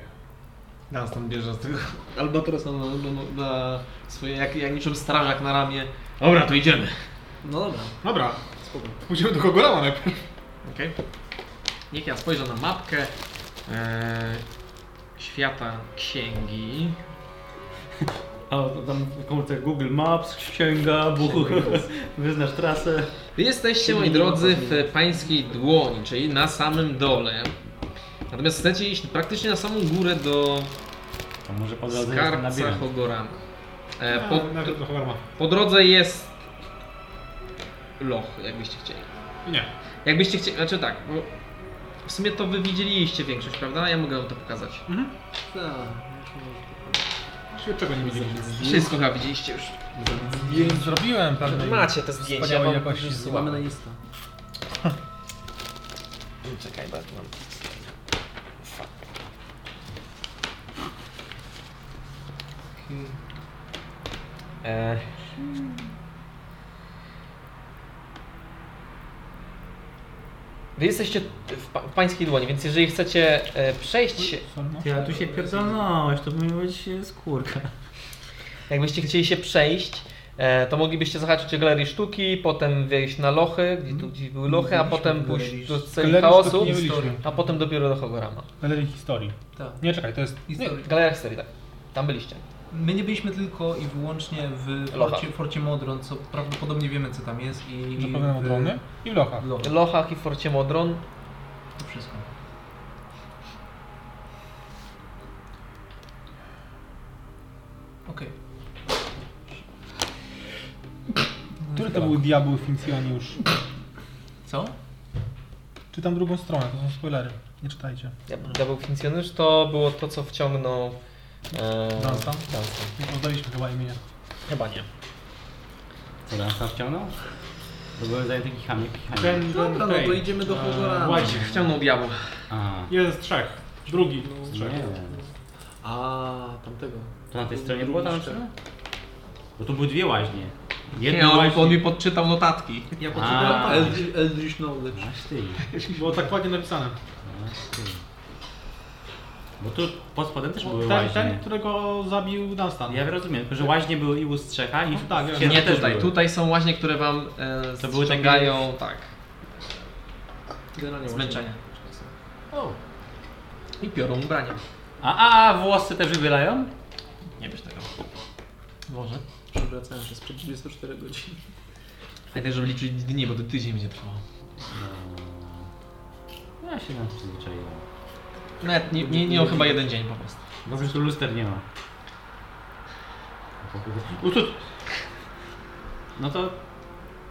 Speaker 1: Dunstan bierze z tego albatrosa na, no, na, na swoje, jak, jak niczym strażak na ramię. Dobra, to idziemy.
Speaker 4: No dobra,
Speaker 2: Dobra,
Speaker 4: spoko.
Speaker 2: pójdziemy do Hogorama najpierw.
Speaker 1: Okej. Niech ja spojrzę na mapkę e, świata księgi.
Speaker 3: A to tam w komórce Google Maps, księga, buch, wyznasz trasę.
Speaker 1: Wy jesteście, moi drodzy, w pańskiej dłoni, czyli na samym dole. Natomiast chcecie iść praktycznie na samą górę do
Speaker 3: To może po drodze jest na
Speaker 1: skarbca
Speaker 3: biegu.
Speaker 1: Hogorama. E, po,
Speaker 2: Najpierw do Hogorama.
Speaker 1: po drodze jest loch, jakbyście chcieli.
Speaker 2: Nie.
Speaker 1: Jakbyście chcieli, znaczy tak, bo w sumie to wy widzieliście większość, prawda? Ja mogę wam to pokazać.
Speaker 4: Tak,
Speaker 2: Właściwie czego nie widzieliśmy.
Speaker 1: Wszystko chyba widzieliście już.
Speaker 2: Zrobiłem pewne.
Speaker 1: Macie te zdjęcia,
Speaker 2: Wspaniałej
Speaker 1: wam
Speaker 2: jakości.
Speaker 1: wysyłam.
Speaker 4: Mamy na Insta.
Speaker 7: Czekaj, Batman.
Speaker 1: E... Wy jesteście w, pa- w pańskiej dłoni, więc jeżeli chcecie e, przejść, się-
Speaker 3: No. Ty, a tu się pierdolnąłeś, to powinno być e, skórka.
Speaker 1: jakbyście chcieli się przejść, e, to moglibyście zahaczyć o galerię sztuki, potem wejść na lochy, gdzie, tu, gdzie były lochy, a potem pójść do celi
Speaker 2: Galerii
Speaker 1: chaosu,
Speaker 2: sztuki nie byliśmy.
Speaker 1: a potem dopiero do Hogorama.
Speaker 2: Galerii historii.
Speaker 8: Tak.
Speaker 2: Nie, czekaj, to jest...
Speaker 1: Nie,
Speaker 8: Historii.
Speaker 1: galeria historii, tak. Tam byliście.
Speaker 8: My nie byliśmy tylko i wyłącznie w
Speaker 1: Locha.
Speaker 8: forcie, forcie Modron, co prawdopodobnie wiemy co tam jest i... i
Speaker 2: Zapewne
Speaker 8: w-
Speaker 2: Modrony i w Lochach.
Speaker 8: w Loch,
Speaker 1: W Lochach i w Forcie Modron.
Speaker 8: to wszystko. Okej.
Speaker 2: Który to był diabeł Fincjoniusz?
Speaker 8: Co?
Speaker 2: Czytam drugą stronę, to są spoilery. Nie czytajcie.
Speaker 1: Diabeł Fincjonariusz to było to, co wciągnął... E,
Speaker 2: Dunstan?
Speaker 1: Dunstan.
Speaker 2: Nie poznaliśmy chyba imienia.
Speaker 1: Chyba nie.
Speaker 3: Co, nas tam wciągnął? To byłem za taki chamik, chamik.
Speaker 2: Ten,
Speaker 4: Dobra, no to idziemy do Hogorama.
Speaker 2: Łazik.
Speaker 1: E, Wciągnął diabeł.
Speaker 3: A,
Speaker 2: Jeden z trzech. Drugi z
Speaker 3: nie
Speaker 2: trzech.
Speaker 3: wiem.
Speaker 4: A, tamtego.
Speaker 3: To na tej stronie było tam napisane? Bo tu były dwie łaźnie.
Speaker 1: Nie,
Speaker 3: Jedna
Speaker 1: on, on mi
Speaker 3: łaźnie...
Speaker 1: podczytał notatki.
Speaker 4: Ja
Speaker 3: poczytałem tam.
Speaker 4: No, tak. Eldritch Eldritch tak Knowledge.
Speaker 3: Aż ty,
Speaker 2: Było tak ładnie napisane.
Speaker 3: aż ty. Bo tu pod spodem też były
Speaker 2: No, Ten, ten
Speaker 3: łaźnie.
Speaker 2: którego zabił Dunstan.
Speaker 3: Ja rozumiem, tylko że łaźnie były i u Strzecha, i
Speaker 2: No tak, ja
Speaker 3: w
Speaker 2: wiem.
Speaker 1: Nie
Speaker 3: Sierpie też
Speaker 1: tutaj.
Speaker 3: były.
Speaker 1: Tutaj są łaźnie, które wam e,
Speaker 3: To były takie-
Speaker 1: ściągają, tak,
Speaker 4: Generalnie
Speaker 1: zmęczenia.
Speaker 4: O,
Speaker 1: I piorą ubrania.
Speaker 3: A, a, a włosy też wybielają?
Speaker 1: Nie bierz tego. Może.
Speaker 4: Przewracałem się sprzed 24 godzin.
Speaker 1: Pamiętaj, żeby liczyć dni, bo to tydzień będzie trwało.
Speaker 3: Ja się na to przyzwyczaiłem.
Speaker 1: Nawet nie, nie, nie o chyba jeden dzień po prostu.
Speaker 3: Dobrze, że tu luster nie ma. U, tu. No to...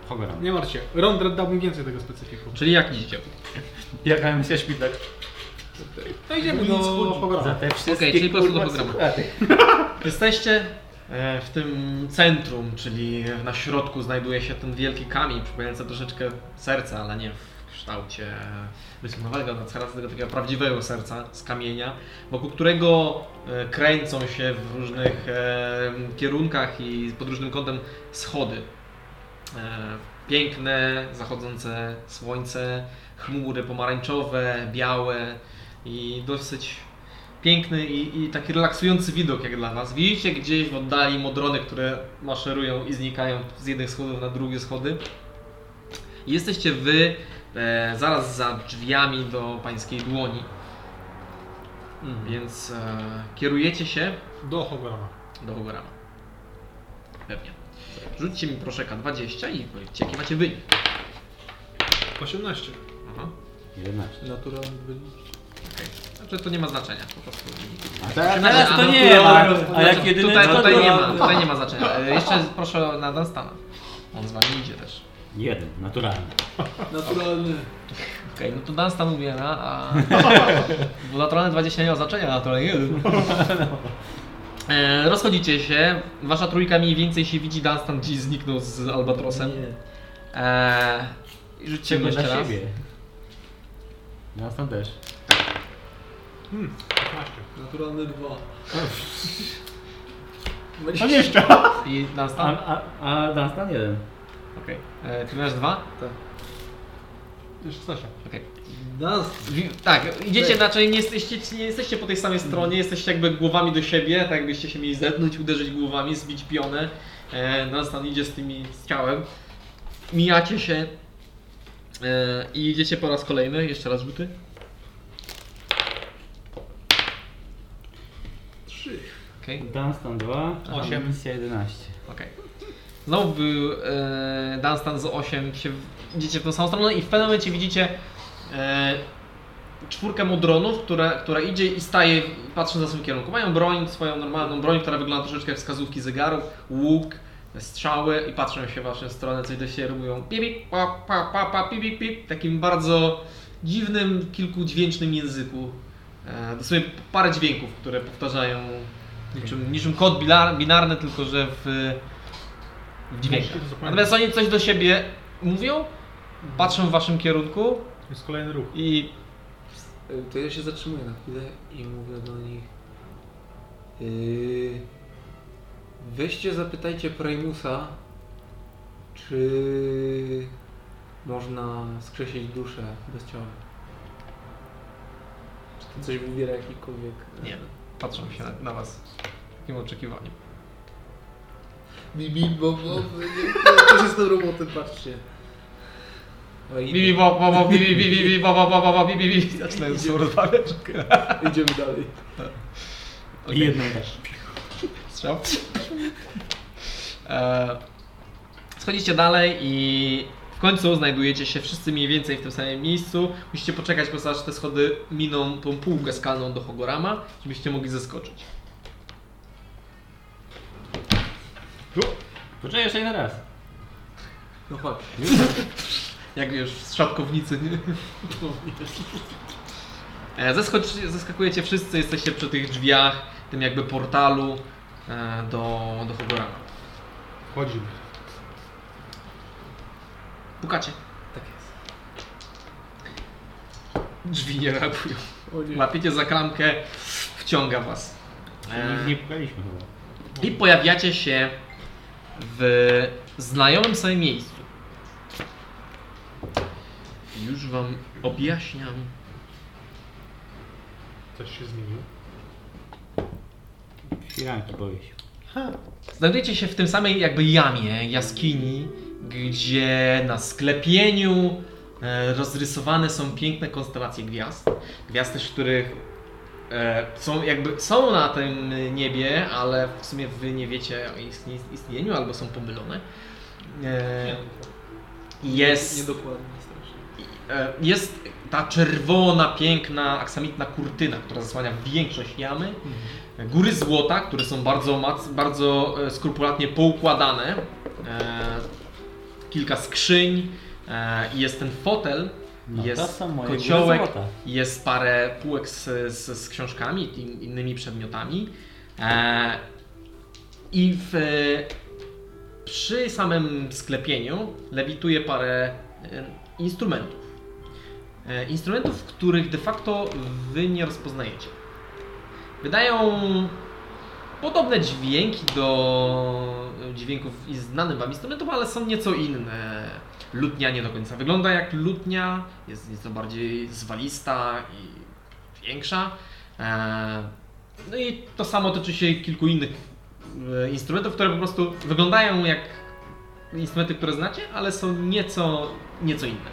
Speaker 3: Hogoram.
Speaker 2: Nie martw się, Rondred dałbym więcej tego specyfiku.
Speaker 1: Czyli jak idzie?
Speaker 3: Jaka emisja śmidlak?
Speaker 2: No idziemy do
Speaker 3: Za
Speaker 2: Hogorama.
Speaker 3: te wszystkie
Speaker 1: Okej, czyli po prostu do
Speaker 3: kurwa
Speaker 1: Hogorama.
Speaker 3: cytaty.
Speaker 1: Jesteście e, w tym centrum, czyli na środku znajduje się ten wielki kamień, przypominający troszeczkę serca, ale nie w kształcie rysunowego, na serca, tylko takiego prawdziwego serca z kamienia, wokół którego e, kręcą się w różnych e, kierunkach i pod różnym kątem schody. E, Piękne, zachodzące słońce, chmury pomarańczowe, białe i dosyć piękny i, i taki relaksujący widok jak dla Was. Widzicie gdzieś w oddali modrony, które maszerują i znikają z jednych schodów na drugie schody. I Jesteście Wy e, zaraz za drzwiami do Pańskiej Dłoni. Więc e, kierujecie się
Speaker 2: Do Hogorama.
Speaker 1: do Hogorama. Pewnie. Rzućcie mi proszę K20 i powiedzcie jaki macie wynik.
Speaker 2: 18.
Speaker 1: Aha.
Speaker 3: 11.
Speaker 4: Naturalny byli.
Speaker 1: Znaczy to nie ma znaczenia, po prostu wynik.
Speaker 3: A teraz,
Speaker 1: Znaczy,
Speaker 3: teraz
Speaker 1: a
Speaker 3: to
Speaker 1: no,
Speaker 3: nie ma,
Speaker 1: no,
Speaker 3: a jak
Speaker 1: tu-
Speaker 3: jedyny
Speaker 1: tutaj,
Speaker 3: to no.
Speaker 1: tutaj
Speaker 3: to-
Speaker 1: nie ma, tutaj nie ma znaczenia. E, Jeszcze proszę na Dunstana. On z wami idzie też.
Speaker 3: Jeden, naturalny.
Speaker 4: Naturalny.
Speaker 1: Okej, no to Dunstan umiera, a... Bo naturalne 20 nie ma znaczenia, naturalnie jeden. E, Rozchodzicie się, wasza trójka mniej więcej się widzi, Dunstan gdzieś zniknął z Albatrosem. E, i Rzućcie go
Speaker 3: Ciebie
Speaker 1: jeszcze
Speaker 3: na
Speaker 1: raz.
Speaker 3: siebie. Nas tam też.
Speaker 2: 15.
Speaker 4: Naturalny 2.
Speaker 1: I Dunstan?
Speaker 3: A, a, a nas tam jeden.
Speaker 1: Okej. E, Ty masz dwa?
Speaker 2: Jeszcze 16.
Speaker 1: Okej.
Speaker 4: Nas.
Speaker 1: Wi- Tak, idziecie raczej, nie jesteście, nie jesteście po tej samej stronie, jesteście jakby głowami do siebie, tak jakbyście się mieli zetknąć, uderzyć głowami, zbić pionę. E, Nastan idzie z tymi z ciałem. Mijacie się e, i idziecie po raz kolejny, jeszcze raz rzuty.
Speaker 4: 3.
Speaker 1: Okej,
Speaker 3: Dunstan 2, a
Speaker 1: Osiem.
Speaker 3: misja 11.
Speaker 1: okej. Znowu był e, Dunstan z 8, się, w- idziecie w tą samą stronę i w pewnym momencie widzicie e, czwórkę modronów, która, która idzie i staje, patrzy na swój kierunku. Mają broń, swoją normalną broń, która wygląda troszeczkę jak wskazówki zegarów, łuk, strzały i patrzą się w waszą stronę, coś do siebie robią pip, pa, pa, pa, pa, pip, pip, pip, w takim bardzo dziwnym, kilkudźwięcznym języku. E, Dosłownie parę dźwięków, które powtarzają niczym, niczym kod bilar- binarny, tylko że w, w dźwiękach. Natomiast oni coś do siebie mówią, patrzą w waszym kierunku
Speaker 2: Jest kolejny ruch.
Speaker 1: i
Speaker 4: Y, To ja się zatrzymuję na chwilę i mówię do nich. Yy, weźcie, zapytajcie Primusa, czy można skrzesić duszę bez ciała. Czy to coś wybiera jakikolwiek? e,
Speaker 1: Nie. patrzą się na, na was z takim oczekiwaniem.
Speaker 4: Bibi, bo, bo, nie- to jest do roboty, patrzcie. O, idę.
Speaker 1: Bibi bo bo bo bibi bibi bibi bo bo bo bo bo bibi bibi zaczynają ze sobą rozmawiać.
Speaker 4: Idziemy dalej.
Speaker 1: Okej.
Speaker 3: I jedną też.
Speaker 1: Strzał. E, Schodzicie dalej i w końcu znajdujecie się wszyscy mniej więcej w tym samym miejscu. Musicie poczekać, po prostu, aż te schody miną tą półkę skalną do Hogorama, żebyście mogli zeskoczyć.
Speaker 3: Poczekaj jeszcze jeden raz.
Speaker 4: No chodź.
Speaker 1: Jak wiesz, z szapkownicy. Nie? E, Zeskocz, zeskakujecie wszyscy, jesteście przy tych drzwiach, tym jakby portalu e, do, do Hogorama.
Speaker 2: Wchodzimy.
Speaker 1: Pukacie.
Speaker 4: Tak jest.
Speaker 1: Drzwi nie reagują.
Speaker 4: O nie.
Speaker 1: Łapiecie za klamkę, wciąga was. E,
Speaker 3: Eee. Nie pukaliśmy chyba.
Speaker 1: I pojawiacie się w znajomym sobie miejscu. Już wam objaśniam.
Speaker 2: Coś się zmieniło.
Speaker 3: Firanki powiesił.
Speaker 1: Znajdujecie się w tym samej jakby jamie, jaskini, gdzie na sklepieniu e, rozrysowane są piękne konstelacje gwiazd. Gwiazd też, których E, są jakby są na tym niebie, ale w sumie wy nie wiecie o ich istnie- istnieniu albo są pomylone. E, jest
Speaker 4: Niedokładnie strasznie.
Speaker 1: E, Jest ta czerwona, piękna, aksamitna kurtyna, która zasłania większość jamy.
Speaker 3: Mhm.
Speaker 1: Góry złota, które są bardzo, mac- bardzo e, skrupulatnie poukładane. E, kilka skrzyń. E, i jest ten fotel,
Speaker 3: No, to
Speaker 1: jest
Speaker 3: są moje
Speaker 1: kociołek,
Speaker 3: góry złota.
Speaker 1: jest parę półek z, z, z książkami i innymi przedmiotami. E, I w, e, przy samym sklepieniu lewituje parę e, instrumentów. E, instrumentów, których de facto wy nie rozpoznajecie. Wydają podobne dźwięki do dźwięków i znanych wam instrumentów, ale są nieco inne. Lutnia nie do końca wygląda jak lutnia, jest nieco bardziej zwalista i większa. E, No i to samo tyczy się kilku innych e, instrumentów, które po prostu wyglądają jak instrumenty, które znacie, ale są nieco, nieco inne.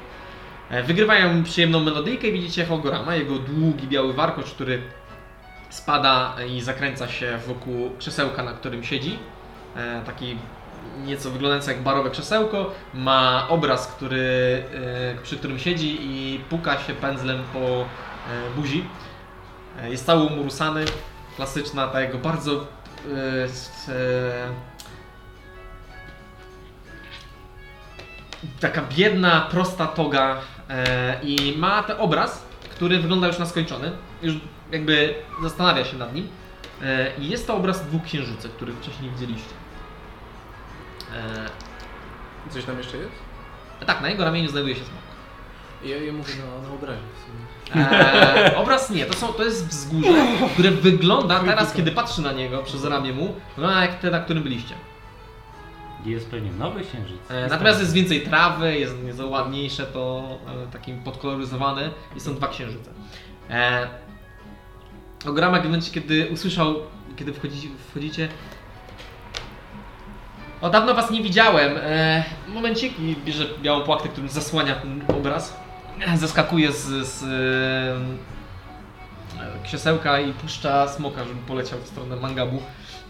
Speaker 1: E, Wygrywają przyjemną melodyjkę i widzicie Hogorama, jego długi biały warkocz, który spada i zakręca się wokół krzesełka, na którym siedzi. E, taki nieco wyglądający jak barowe krzesełko. Ma obraz, który, e, przy którym siedzi i puka się pędzlem po e, buzi. E, jest cały umurusany. Klasyczna ta jego bardzo... E, s- e, taka biedna, prosta toga e, i ma ten obraz, który wygląda już na skończony. Już jakby zastanawia się nad nim. E, I jest to obraz dwóch księżycek, których wcześniej widzieliście.
Speaker 4: I Coś tam jeszcze jest?
Speaker 1: E, tak, na jego ramieniu znajduje się smok.
Speaker 4: Ja, ja mówię na, na obrazie w sumie.
Speaker 1: E, obraz nie, to, są, to jest wzgórze, które wygląda teraz, kiedy patrzy na niego przez ramię mu, wygląda jak te, na którym byliście.
Speaker 3: Jest pewnie nowy księżyc.
Speaker 1: E, natomiast jest więcej trawy, jest nieco ładniejsze to, e, takim podkoloryzowane i są dwa księżyce. E, Ogramak w momencie, kiedy usłyszał, kiedy wchodzicie, wchodzicie o dawno was nie widziałem. E, momencik i bierze białą płachtę, którym zasłania ten obraz. Zaskakuje z, z e, krzesełka i puszcza smoka, żeby poleciał w stronę mangabu,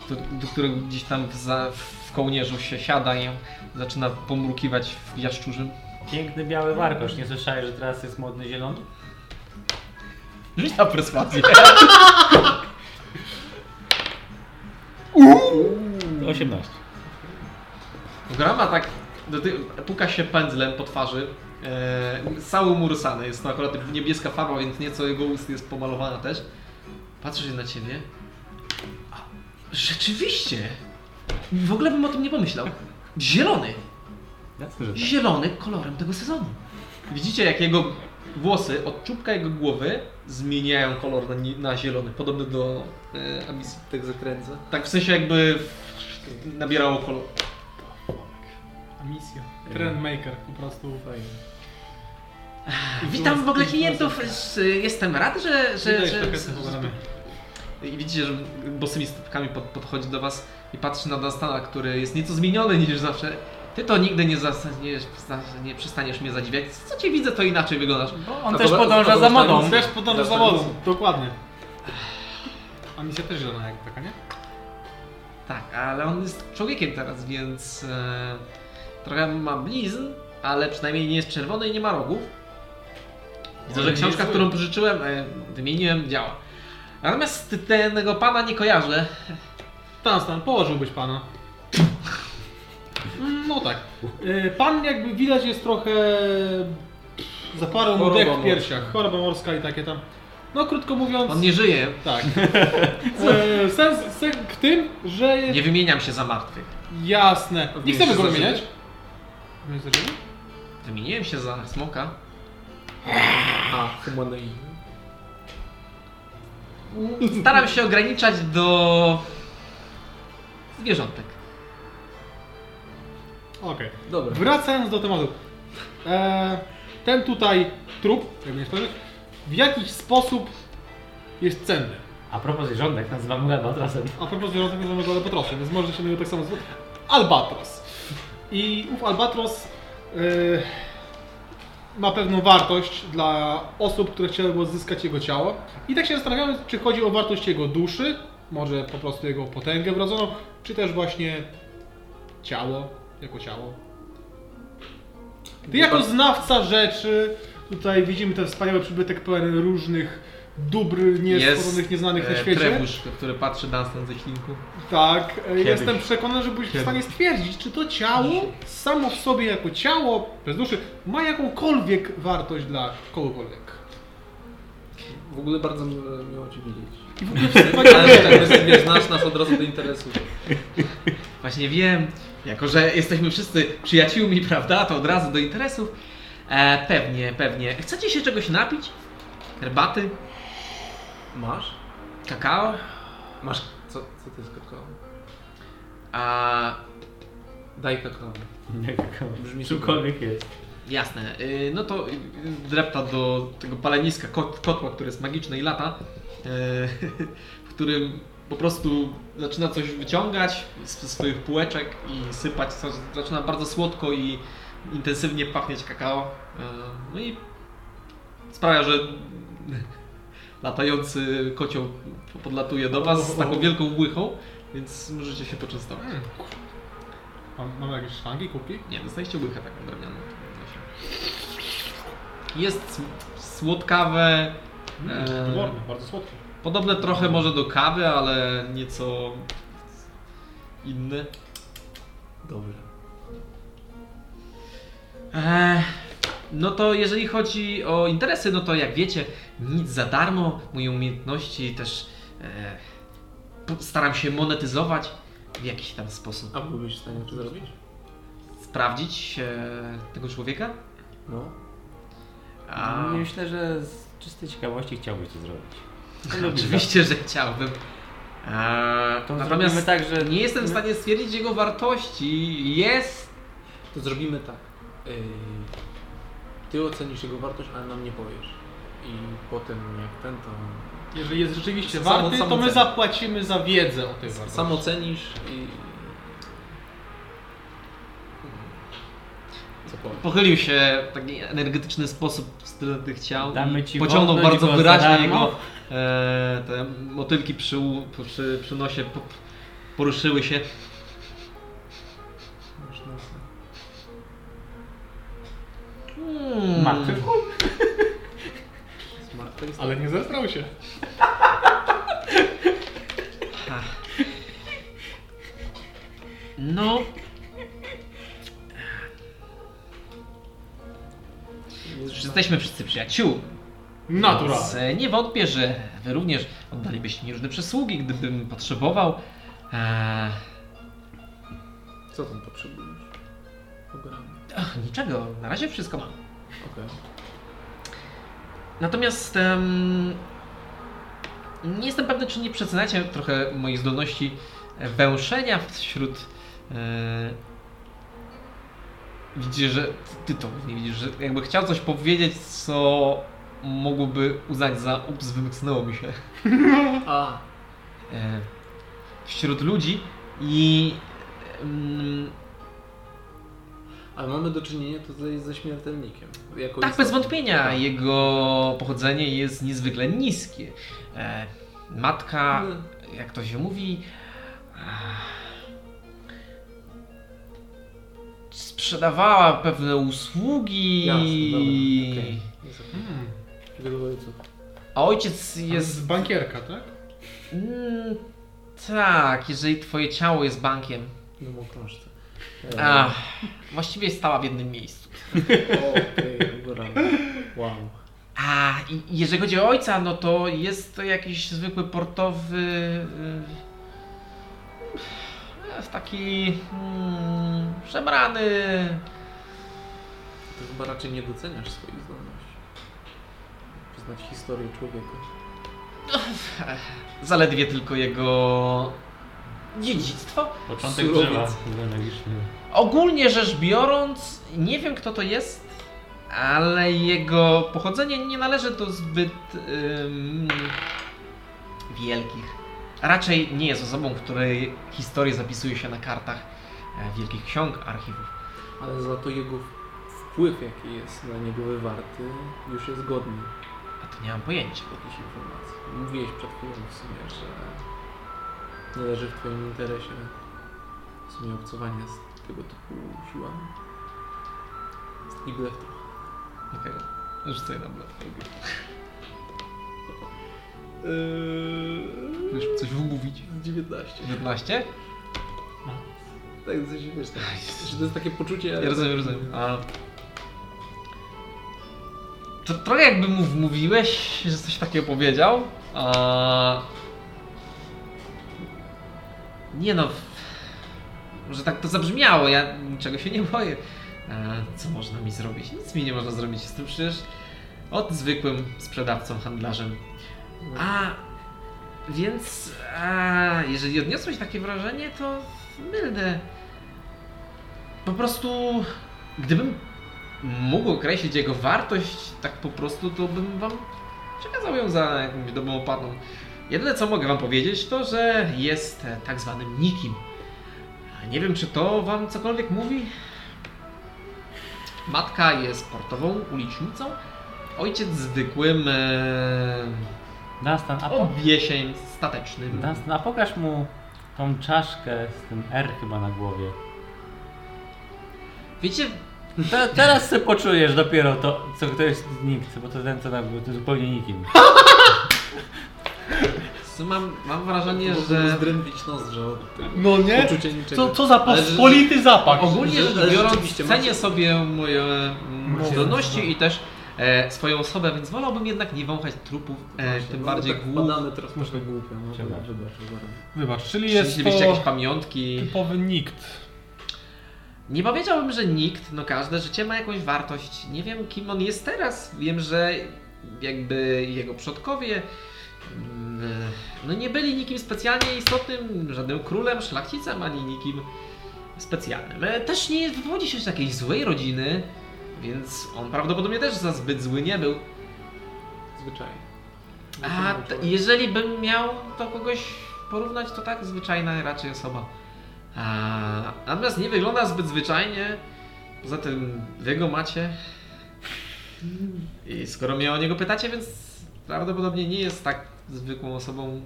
Speaker 1: do, do którego gdzieś tam w, za, w kołnierzu się siada i zaczyna pomrukiwać w jaszczurzym.
Speaker 3: Piękny biały warkosz. Nie słyszałeś, że teraz jest modny zielony?
Speaker 1: Rzuć na perswazję.
Speaker 3: 18.
Speaker 1: Grama tak doty- puka się pędzlem po twarzy. E, cały umurusany. Jest to akurat niebieska farba, więc nieco jego ust jest pomalowana też. Patrzy się na ciebie. A, rzeczywiście! W ogóle bym o tym nie pomyślał. Zielony!
Speaker 3: Jasne, że tak.
Speaker 1: Zielony kolorem tego sezonu. Widzicie, jak jego włosy od czubka jego głowy zmieniają kolor na, ni- na zielony, podobny do e, Abis.
Speaker 4: Tak zakręca.
Speaker 1: Tak w sensie jakby w- nabierało kolor.
Speaker 2: Misja. Trendmaker po prostu.
Speaker 4: Fajnie.
Speaker 1: Witam w ogóle klientów. z- Jestem rad, że. że,
Speaker 2: Widać
Speaker 1: że
Speaker 2: trochę z programem.
Speaker 1: I widzicie, że bosymi stopkami pod, podchodzi do Was i patrzy na Dunstana, który jest nieco zmieniony niż zawsze. Ty to nigdy nie, zas- nie, nie przestaniesz mnie zadziwiać. Co cię widzę, to inaczej wyglądasz.
Speaker 3: On
Speaker 4: A
Speaker 3: też
Speaker 4: to-
Speaker 3: podąża
Speaker 4: to-
Speaker 3: za
Speaker 4: to-
Speaker 3: modą.
Speaker 2: Też podąża za
Speaker 4: Zastanów-
Speaker 2: wodą. Dokładnie. A misja też zielona jak taka, nie?
Speaker 1: Tak, ale on jest człowiekiem teraz, więc e, trochę ma blizn, ale przynajmniej nie jest czerwony i nie ma rogów. Widzę, że
Speaker 2: Ale
Speaker 1: książka,
Speaker 2: nie
Speaker 1: którą pożyczyłem, e, wymieniłem, działa. Natomiast tego pana nie kojarzę.
Speaker 2: Dunstan, położyłbyś pana. Mm, No tak. E, Pan jakby widać jest trochę zaparł mu
Speaker 4: Choroba
Speaker 2: dech w
Speaker 4: morska.
Speaker 2: piersiach. Choroba morska i takie tam. No krótko mówiąc,
Speaker 1: On nie żyje.
Speaker 2: tak. E, Sens, sens w tym, że
Speaker 1: Nie wymieniam się za martwych.
Speaker 2: Jasne. Nie chcemy
Speaker 4: się
Speaker 2: go
Speaker 4: za
Speaker 2: wymieniać.
Speaker 4: żywy.
Speaker 2: Wiesz, za żywy?
Speaker 1: Wymieniłem się za smoka.
Speaker 4: A, humanoid.
Speaker 1: Staram się ograniczać do zwierzątek.
Speaker 2: Okej.
Speaker 4: Dobra.
Speaker 2: Wracając do tematu. E, ten tutaj trup, jakby nie spojrzeć, w jakiś sposób jest cenny.
Speaker 3: A propos rządek, nazywamy go albatrasem.
Speaker 2: A propos zwierzątek nazywamy go albatrosem, więc może się do niego tak samo zwać. Albatros. I ów albatros e, ma pewną wartość dla osób, które chciałyby odzyskać jego ciało. I tak się zastanawiamy, czy chodzi o wartość jego duszy, może po prostu jego potęgę wrodzoną, czy też właśnie ciało, jako ciało. Ty jako znawca rzeczy, tutaj widzimy ten wspaniały przybytek pełen różnych dóbr niesprawdzonych, nieznanych na
Speaker 1: e,
Speaker 2: świecie.
Speaker 1: Trebusz, który patrzy Dunstan ze ślinku.
Speaker 2: Tak, e, jestem przekonany, że byłeś w stanie stwierdzić, czy to ciało samo w sobie jako ciało, bez duszy, ma jakąkolwiek wartość dla kogokolwiek.
Speaker 4: W ogóle bardzo mi- miło Cię widzieć.
Speaker 2: I w ogóle wspaniale.
Speaker 4: Ale tak bez- nie znasz nas od razu do interesu.
Speaker 1: Właśnie wiem, jako że jesteśmy wszyscy przyjaciółmi, prawda, to od razu do interesów. E, pewnie, pewnie. Chcecie się czegoś napić? Herbaty?
Speaker 4: Masz?
Speaker 1: Kakao?
Speaker 4: Masz. Co, co to jest kakao?
Speaker 1: A,
Speaker 4: Daj kakao. Brzmi
Speaker 3: Brzmi Cokolwiek jest.
Speaker 1: jasne. Y, no to y, y, drepta do tego paleniska, kot, kotła, który jest magiczny i lata, y, w którym po prostu zaczyna coś wyciągać ze swoich półeczek i sypać. Coś, zaczyna bardzo słodko i intensywnie pachnieć kakao. Y, no i sprawia, że latający kocioł podlatuje do Was z taką wielką łychą, więc możecie się poczęstować.
Speaker 2: Mam, mam jakieś szwangi, kubki?
Speaker 1: Nie, dostaliście łychę taką drewnianą. Jest s- słodkawe,
Speaker 2: Mm,
Speaker 1: Eee.
Speaker 2: Hmm, Wyborne, bardzo słodkie.
Speaker 1: podobne trochę może do kawy, ale nieco inne.
Speaker 4: Dobrze.
Speaker 1: Eee, no to jeżeli chodzi o interesy, no to jak wiecie, nic za darmo. Moje umiejętności też e, p- staram się monetyzować w jakiś tam sposób.
Speaker 4: A byłbyś w stanie to zrobić?
Speaker 1: Sprawdzić e, tego człowieka?
Speaker 4: No.
Speaker 1: A,
Speaker 2: No
Speaker 3: Myślę, że z czystej ciekawości chciałbyś to zrobić.
Speaker 1: oczywiście, że chciałbym. Eee,
Speaker 3: To
Speaker 1: natomiast
Speaker 3: Natomiast tak, że
Speaker 1: Nie jestem w stanie stwierdzić jego wartości. Jest.
Speaker 4: To zrobimy tak. Yy, ty ocenisz jego wartość, ale nam nie powiesz. I potem jak ten, to
Speaker 2: Jeżeli jest rzeczywiście
Speaker 4: Samo-
Speaker 2: warty,
Speaker 4: samo
Speaker 2: to my
Speaker 4: ceny.
Speaker 2: zapłacimy za wiedzę o tej wartości.
Speaker 4: sam ocenisz i... Co powiem?
Speaker 1: Pochylił się w taki energetyczny sposób w stylu tych ciał.
Speaker 3: damy
Speaker 1: i
Speaker 3: ci
Speaker 1: Pociągnął
Speaker 3: wolność,
Speaker 1: bardzo
Speaker 3: bo za
Speaker 1: wyraźnie
Speaker 3: darmo.
Speaker 1: jego e, te motylki przy, u- przy, przy nosie po, poruszyły się.
Speaker 4: Masz nosa.
Speaker 1: Hmm.
Speaker 3: Martwy w chuj.
Speaker 4: Smart face.
Speaker 2: Ale nie zestrał się.
Speaker 1: No,
Speaker 4: Jest
Speaker 1: że jesteśmy wszyscy przyjaciół.
Speaker 2: Naturalnie.
Speaker 1: e, nie wątpię, że wy również oddalibyście mi różne przysługi, gdybym potrzebował. E,
Speaker 4: Co tam potrzebujesz? Ogromnie.
Speaker 1: ach, niczego, na razie wszystko mam.
Speaker 4: Okej.
Speaker 1: Natomiast em, nie jestem pewny, czy nie przeceniacie trochę moich zdolności e, węszenia wśród. E, widzicie, że ty to nie widzisz, że jakby chciał coś powiedzieć, co mogłoby uznać za ups, wymknęło mi się
Speaker 4: A,
Speaker 1: e, wśród ludzi i. em,
Speaker 4: ale mamy do czynienia tutaj ze śmiertelnikiem. Jako
Speaker 1: Tak,
Speaker 4: istotą.
Speaker 1: bez wątpienia. Jego pochodzenie jest niezwykle niskie. E, matka,
Speaker 4: Hmm.
Speaker 1: jak to się mówi, e, sprzedawała pewne usługi.
Speaker 4: Jasne, dobra, okej. Jest okej.
Speaker 2: Hmm.
Speaker 4: Wielu ojców.
Speaker 1: A ojciec jest.
Speaker 2: Jest bankierka, tak?
Speaker 1: Mm, tak, jeżeli twoje ciało jest bankiem.
Speaker 4: No bo krążce. E,
Speaker 1: Ach, właściwie stała w jednym miejscu.
Speaker 4: Okej, ogromnie. Wow.
Speaker 1: A i- i jeżeli chodzi o ojca, no to jest to jakiś zwykły portowy. y, y, Taki mm, szemrany.
Speaker 4: Ty chyba raczej nie doceniasz swoich zdolności. Poznać historię człowieka.
Speaker 1: Zaledwie tylko jego dziedzictwo.
Speaker 3: Początek
Speaker 4: Surowiec.
Speaker 3: drzewa. Analogiczny.
Speaker 1: Ogólnie rzecz biorąc, nie wiem kto to jest, ale jego pochodzenie nie należy do zbyt ym, wielkich. Raczej nie jest osobą, której historię zapisuje się na kartach e, wielkich ksiąg, archiwów.
Speaker 4: Ale za to jego w- wpływ, jaki jest na niego wywarty, już jest godny
Speaker 1: A to nie mam pojęcia.
Speaker 4: jakichś informacji. Mówiłeś przed chwilą w sumie, że nie leży w Twoim interesie w sumie obcowanie z tego typu siłami. I blef trochę.
Speaker 1: Okej, okay. rzucaj na blef. Chcesz coś wymówić?
Speaker 4: 19.
Speaker 1: 19?
Speaker 4: No. Tak, w sensie wiesz, tak, że to jest takie poczucie... tak, no.
Speaker 1: Ja rozumiem, rozumiem. A... To, trochę jakby mu wmówiłeś, że coś takiego powiedział, a... Nie no... Może tak to zabrzmiało, ja niczego się nie boję. E, co można mi zrobić? Nic mi nie można zrobić, jestem przecież od zwykłym sprzedawcą, handlarzem. A... Więc... A, jeżeli odniosłeś takie wrażenie, to... Mylne. Po prostu, gdybym mógł określić jego wartość tak po prostu, to bym wam przekazał ją za jakąś dobrą opatą. Jedyne co mogę wam powiedzieć, to że jest e, tak zwanym nikim. Nie wiem, czy to wam cokolwiek mówi. Matka jest portową ulicznicą, ojciec zwykłym e,
Speaker 3: Dunstan, a, po...
Speaker 1: obiesień statecznym.
Speaker 3: Dunstan, a pokaż mu tą czaszkę z tym R chyba na głowie.
Speaker 1: Wiecie,
Speaker 3: Te, teraz se poczujesz dopiero to, co ktoś jest nikt, bo to ten co tam był, to zupełnie nikim.
Speaker 1: co mam, mam wrażenie,
Speaker 4: Można
Speaker 1: że...
Speaker 4: zdrętwić nozdrza od tego
Speaker 2: No nie?
Speaker 4: poczucia niczego.
Speaker 2: Co, co za pospolity zapach.
Speaker 1: Ogólnie
Speaker 4: Że-
Speaker 1: rzecz
Speaker 4: ale
Speaker 1: biorąc,
Speaker 4: rzeczywiście
Speaker 1: cenię
Speaker 4: macie- tak.
Speaker 1: sobie moje mm,
Speaker 2: Macie-
Speaker 1: zdolności i też e, swoją osobę, więc wolałbym jednak nie wąchać trupów, e,
Speaker 4: Właśnie,
Speaker 1: tym
Speaker 4: no,
Speaker 1: bardziej
Speaker 4: tak
Speaker 1: głów.
Speaker 4: Badamy teraz trochę głupio, no
Speaker 3: Trzeba.
Speaker 4: wybacz, wybacz.
Speaker 2: Wybacz, czyli
Speaker 1: Czy
Speaker 2: jest
Speaker 1: Widzieliście jakieś
Speaker 2: to
Speaker 1: pamiątki?
Speaker 2: typowy nikt.
Speaker 1: Nie powiedziałbym, że nikt, no każde życie ma jakąś wartość. Nie wiem, kim on jest teraz. Wiem, że jakby jego przodkowie mm, no nie byli nikim specjalnie istotnym, żadnym królem, szlachcicem, ani nikim specjalnym. E, Też nie wywodzi się z jakiejś złej rodziny, więc on prawdopodobnie też za zbyt zły nie był.
Speaker 4: Zwyczajnie.
Speaker 1: A
Speaker 4: Zwyczajny
Speaker 1: t-
Speaker 4: człowiek.
Speaker 1: jeżeli bym miał do kogoś porównać, to tak, zwyczajna raczej osoba. A, natomiast nie wygląda zbyt zwyczajnie. Poza tym wy go macie. I skoro mnie o niego pytacie, więc prawdopodobnie nie jest tak zwykłą osobą.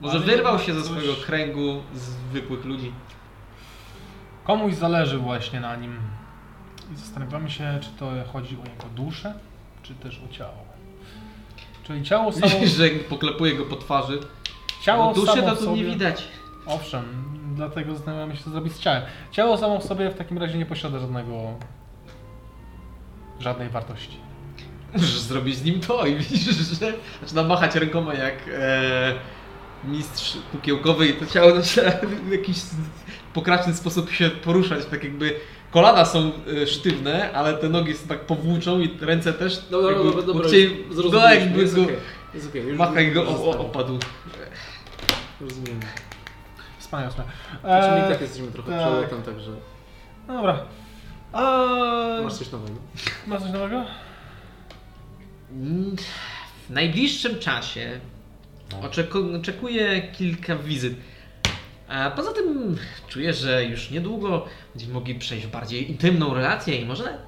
Speaker 1: Może
Speaker 2: Ale
Speaker 1: wyrwał
Speaker 2: jednak
Speaker 1: się ze
Speaker 2: coś-
Speaker 1: swojego kręgu zwykłych ludzi.
Speaker 2: Komuś zależy właśnie na nim. I zastanawiamy się, czy to chodzi o jego duszę, czy też o ciało. Czyli ciało samo,
Speaker 1: Widzisz, że poklepuje go po twarzy.
Speaker 2: ciało
Speaker 1: No duszy
Speaker 2: samo
Speaker 1: to
Speaker 2: w
Speaker 1: tu
Speaker 2: sobie,
Speaker 1: nie widać.
Speaker 2: Owszem, dlatego zastanawiamy się, co zrobić z ciałem. Ciało samo w sobie w takim razie nie posiada żadnego... żadnej wartości.
Speaker 1: Możesz zrobić z nim to i widzisz, że zaczyna machać rękoma jak e, mistrz kukiełkowy i to ciało zaczyna w jakiś pokraczny sposób się poruszać, tak jakby kolana są e, sztywne, ale te nogi są tak powłóczą i ręce też
Speaker 4: Dobra,
Speaker 1: jakby
Speaker 4: dobra, dobra, dobra,
Speaker 1: łokciej-
Speaker 4: już
Speaker 1: no
Speaker 4: zrozumieliśmy,
Speaker 1: jakby
Speaker 4: jest
Speaker 1: go,
Speaker 4: okej, jest okej, już
Speaker 1: macha i go o, o,
Speaker 4: zostawiam.
Speaker 1: opadł.
Speaker 4: Rozumiem.
Speaker 2: Wspaniałe.
Speaker 4: Znaczy, my i
Speaker 2: Eee,
Speaker 4: tak jesteśmy trochę
Speaker 2: tak.
Speaker 4: przelotem, także
Speaker 2: no dobra. Eee,
Speaker 4: masz coś nowego.
Speaker 2: masz coś nowego?
Speaker 1: Mm, W najbliższym czasie oczeku- oczekuję kilka wizyt. A poza tym czuję, że już niedługo będziemy mogli przejść w bardziej intymną relację i może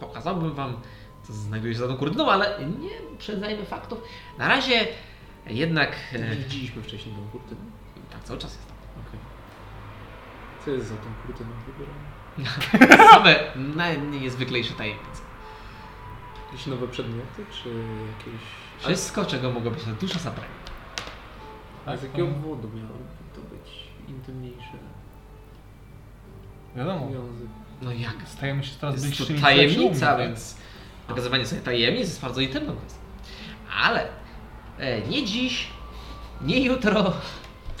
Speaker 1: pokazałbym wam, co znajduje się za tą kurtyną, ale nie przedzajmy faktów. Na razie jednak... E,
Speaker 4: Widzieliśmy wcześniej tą kurtynę.
Speaker 1: tak, cały czas jest
Speaker 4: Okej. Co jest za tą kurtyną wybrana?
Speaker 1: tam. Same najniezwyklejsze tajemnice.
Speaker 4: Jakieś nowe przedmioty, czy jakieś...
Speaker 1: Wszystko, czego mogło być na dusza zabrania.
Speaker 4: A z jakiego powodu miałoby to być intymniejsze?
Speaker 2: Wiadomo.
Speaker 4: Związek.
Speaker 1: No jak?
Speaker 2: Stajemy się coraz
Speaker 1: Jest to
Speaker 2: bliższymi
Speaker 1: tajemnica,
Speaker 2: przyjaciółmi.
Speaker 1: więc pokazywanie sobie tajemnic jest bardzo intymną kwestią. Ale e, nie dziś, nie jutro.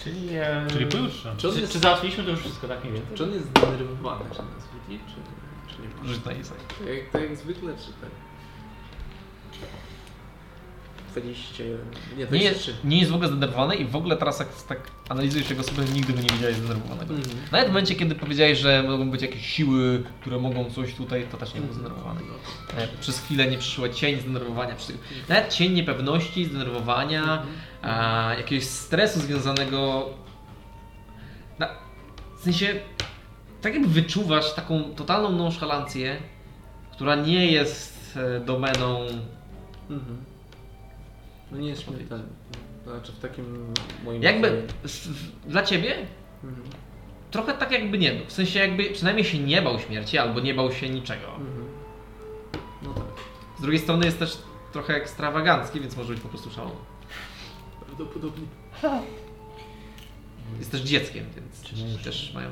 Speaker 3: Czyli, e,
Speaker 2: Czyli pojutrze.
Speaker 4: Czy on
Speaker 3: czy,
Speaker 4: jest,
Speaker 3: czy załatwiliśmy to już wszystko, tak mniej więcej?
Speaker 4: czy on jest zdenerwowany, że nas widzi, czy, czy nie?
Speaker 1: Rzuć na insight.
Speaker 4: To Tak jak, to jak zwykle, czy tak? 21. Nie,
Speaker 1: Nie, jest-
Speaker 4: 23.
Speaker 1: nie jest w ogóle zdenerwowany i w ogóle teraz jak tak analizujesz jego sobie, nigdy go nie widziałeś zdenerwowanego.
Speaker 4: Mhm.
Speaker 1: Nawet w momencie, kiedy powiedziałeś, że mogą być jakieś siły, które mogą coś tutaj, to też nie był zdenerwowany. E, Przez chwilę nie przyszło cień zdenerwowania, przy- nawet cień niepewności, zdenerwowania, a, jakiegoś stresu związanego. Na, w sensie, tak jakby wyczuwasz taką totalną nonszalancję, która nie jest e, domeną.
Speaker 4: Mhm. No nie jest śmiertelny. Znaczy w takim moim...
Speaker 1: Jakby
Speaker 4: ocenie.
Speaker 1: s- w- dla ciebie
Speaker 4: Mhm.
Speaker 1: trochę tak jakby nie był. W sensie jakby przynajmniej się nie bał śmierci albo nie bał się niczego.
Speaker 4: Mhm. No tak.
Speaker 1: Z drugiej strony jest też trochę ekstrawagancki, więc może być po prostu szalony.
Speaker 4: Prawdopodobnie.
Speaker 1: Jest też dzieckiem, więc też, też mają.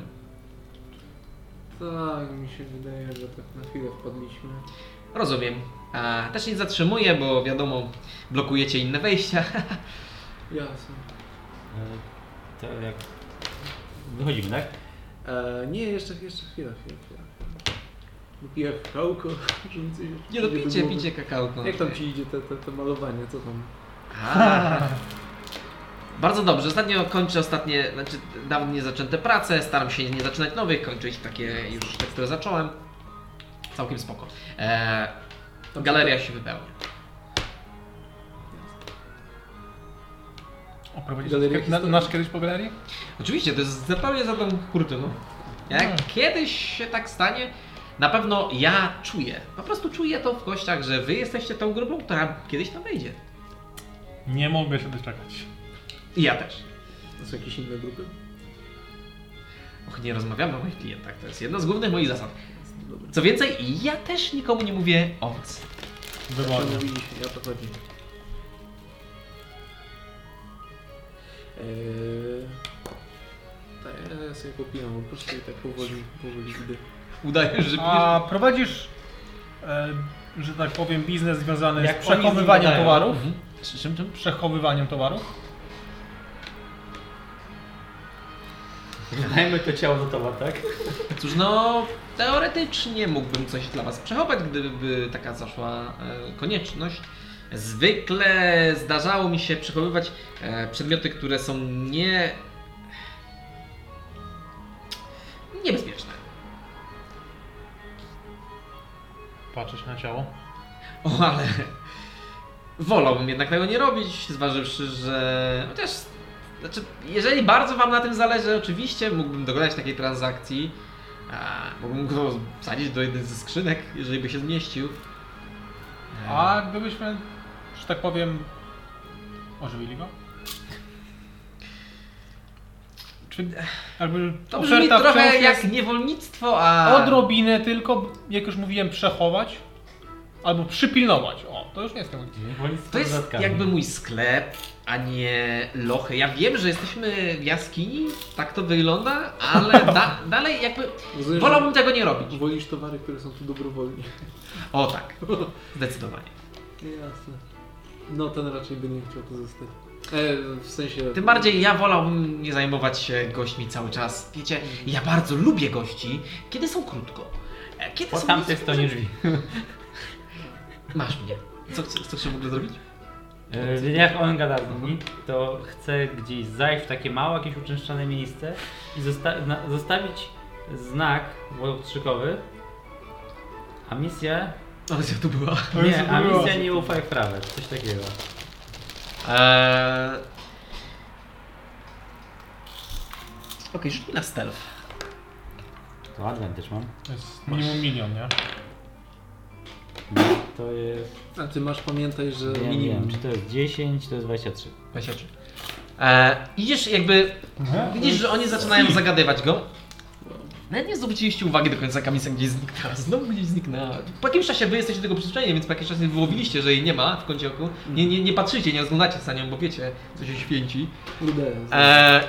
Speaker 4: Tak, mi się wydaje, że tak na chwilę wpadliśmy.
Speaker 1: Rozumiem. A, też nie zatrzymuję, bo wiadomo, blokujecie inne wejścia.
Speaker 4: Jasne.
Speaker 3: E, To jak... Wychodzimy, tak?
Speaker 4: E, nie, jeszcze, jeszcze chwila, chwila, chwila. Piję kałko, że mi coś
Speaker 1: Nie
Speaker 4: do
Speaker 1: no, picie,
Speaker 4: głowy.
Speaker 1: picie kakałko.
Speaker 4: Jak tam ci idzie te, te, te malowanie, co tam?
Speaker 1: A. Bardzo dobrze. Ostatnio kończę ostatnie, znaczy dawno nie zaczęte prace, staram się nie zaczynać nowych, kończę ich takie już te, które zacząłem. Całkiem spoko. Eee, galeria się wypełnia. No,
Speaker 2: Oprowadzisz
Speaker 4: Galeria
Speaker 2: nas- na,
Speaker 4: historii.
Speaker 2: nasz kiedyś po galerii?
Speaker 1: Oczywiście, to jest zupełnie za tą kurtyną. Jak
Speaker 2: Mm.
Speaker 1: kiedyś się tak stanie, na pewno ja czuję, po prostu czuję to w kościach, że wy jesteście tą grupą, która kiedyś tam wejdzie.
Speaker 2: Nie mogę się doczekać.
Speaker 1: I ja też.
Speaker 4: To są jakieś inne grupy?
Speaker 1: Och, nie rozmawiamy o moich klientach, to jest jedna z głównych moich zasad. Co więcej, ja też nikomu nie mówię o was. No.
Speaker 2: Wybornie.
Speaker 4: Mówiliśmy, ja to chodzi. Eee, tak, ja sobie popijam, po prostu i tak powoli, powoli idę.
Speaker 1: Udajesz, że
Speaker 2: A prowadzisz, e, że tak powiem, biznes związany
Speaker 3: Jak
Speaker 2: z
Speaker 3: oni z nim
Speaker 2: przechowywaniem
Speaker 3: gadają.
Speaker 2: towarów?
Speaker 1: pijesz. Mhm. Czym, czym?
Speaker 2: Przechowywaniem towarów?
Speaker 3: Dajmy to ciało do towar, tak?
Speaker 1: Cóż, no teoretycznie mógłbym coś dla was przechować, gdyby taka zaszła e, konieczność. Zwykle zdarzało mi się przechowywać e, przedmioty, które są nie... niebezpieczne.
Speaker 2: Patrzysz na ciało.
Speaker 1: O, ale wolałbym jednak tego nie robić, zważywszy, że chociaż, znaczy, jeżeli bardzo Wam na tym zależy, oczywiście mógłbym dokonać takiej transakcji. A, mógłbym go wsadzić do jednej ze skrzynek, jeżeli by się zmieścił.
Speaker 2: A gdybyśmy, że tak powiem, ożywili go? Czy jakby
Speaker 1: To brzmi
Speaker 2: oferta wciąż
Speaker 1: trochę
Speaker 2: jest
Speaker 1: jak niewolnictwo, a...
Speaker 2: odrobinę tylko, jak już mówiłem, przechować albo przypilnować. O, to już nie jest tego.
Speaker 1: To jest jakby mój sklep, a nie lochy. Ja wiem, że jesteśmy w jaskini, tak to wygląda, ale da, dalej jakby...
Speaker 4: Rozumiem,
Speaker 1: Wolałbym tego nie robić.
Speaker 4: że Wolisz towary, które są tu dobrowolnie.
Speaker 1: O tak, zdecydowanie.
Speaker 4: Jasne. No ten raczej by nie chciał tu zostać. E, w sensie...
Speaker 1: Tym bardziej ja wolałbym nie zajmować się gośćmi cały czas. Wiecie, ja bardzo lubię gości, kiedy są krótko. E, Kiedy
Speaker 3: Po
Speaker 1: są
Speaker 3: tamtej stronie drzwi.
Speaker 1: Masz mnie. Co, chce- co chcesz w ogóle zrobić?
Speaker 3: E, Jak on gada z nimi, to chce gdzieś zajść w takie małe, jakieś uczęszczane miejsce i zosta- na- zostawić znak wodowstrzykowy, a misja...
Speaker 1: Ale co tu była?
Speaker 3: Nie, a misja nie ufa jak prawe, coś takiego.
Speaker 1: Eee... Okej, rzuć mi na stealth.
Speaker 3: To advantage mam.
Speaker 2: To jest minimum milion, nie?
Speaker 3: To jest...
Speaker 4: A ty masz pamiętaj, że
Speaker 3: Nie
Speaker 4: minimum...
Speaker 3: wiem, czy to jest 10, to jest 23.
Speaker 1: 23. Eee, idziesz jakby, widzisz, że oni zaczynają zagadywać go. Nawet nie zwróciliście uwagi do końca, Kamisa gdzieś zniknęła, znowu gdzieś zniknęła. Po jakimś czasie wy jesteście do tego przyzwyczajeni, więc po jakimś czasie wyłowiliście, że jej nie ma w kącie oku. Nie, nie, nie patrzycie, nie rozglądacie się za nią, bo wiecie, co się święci.
Speaker 4: Kurde,
Speaker 1: Eee,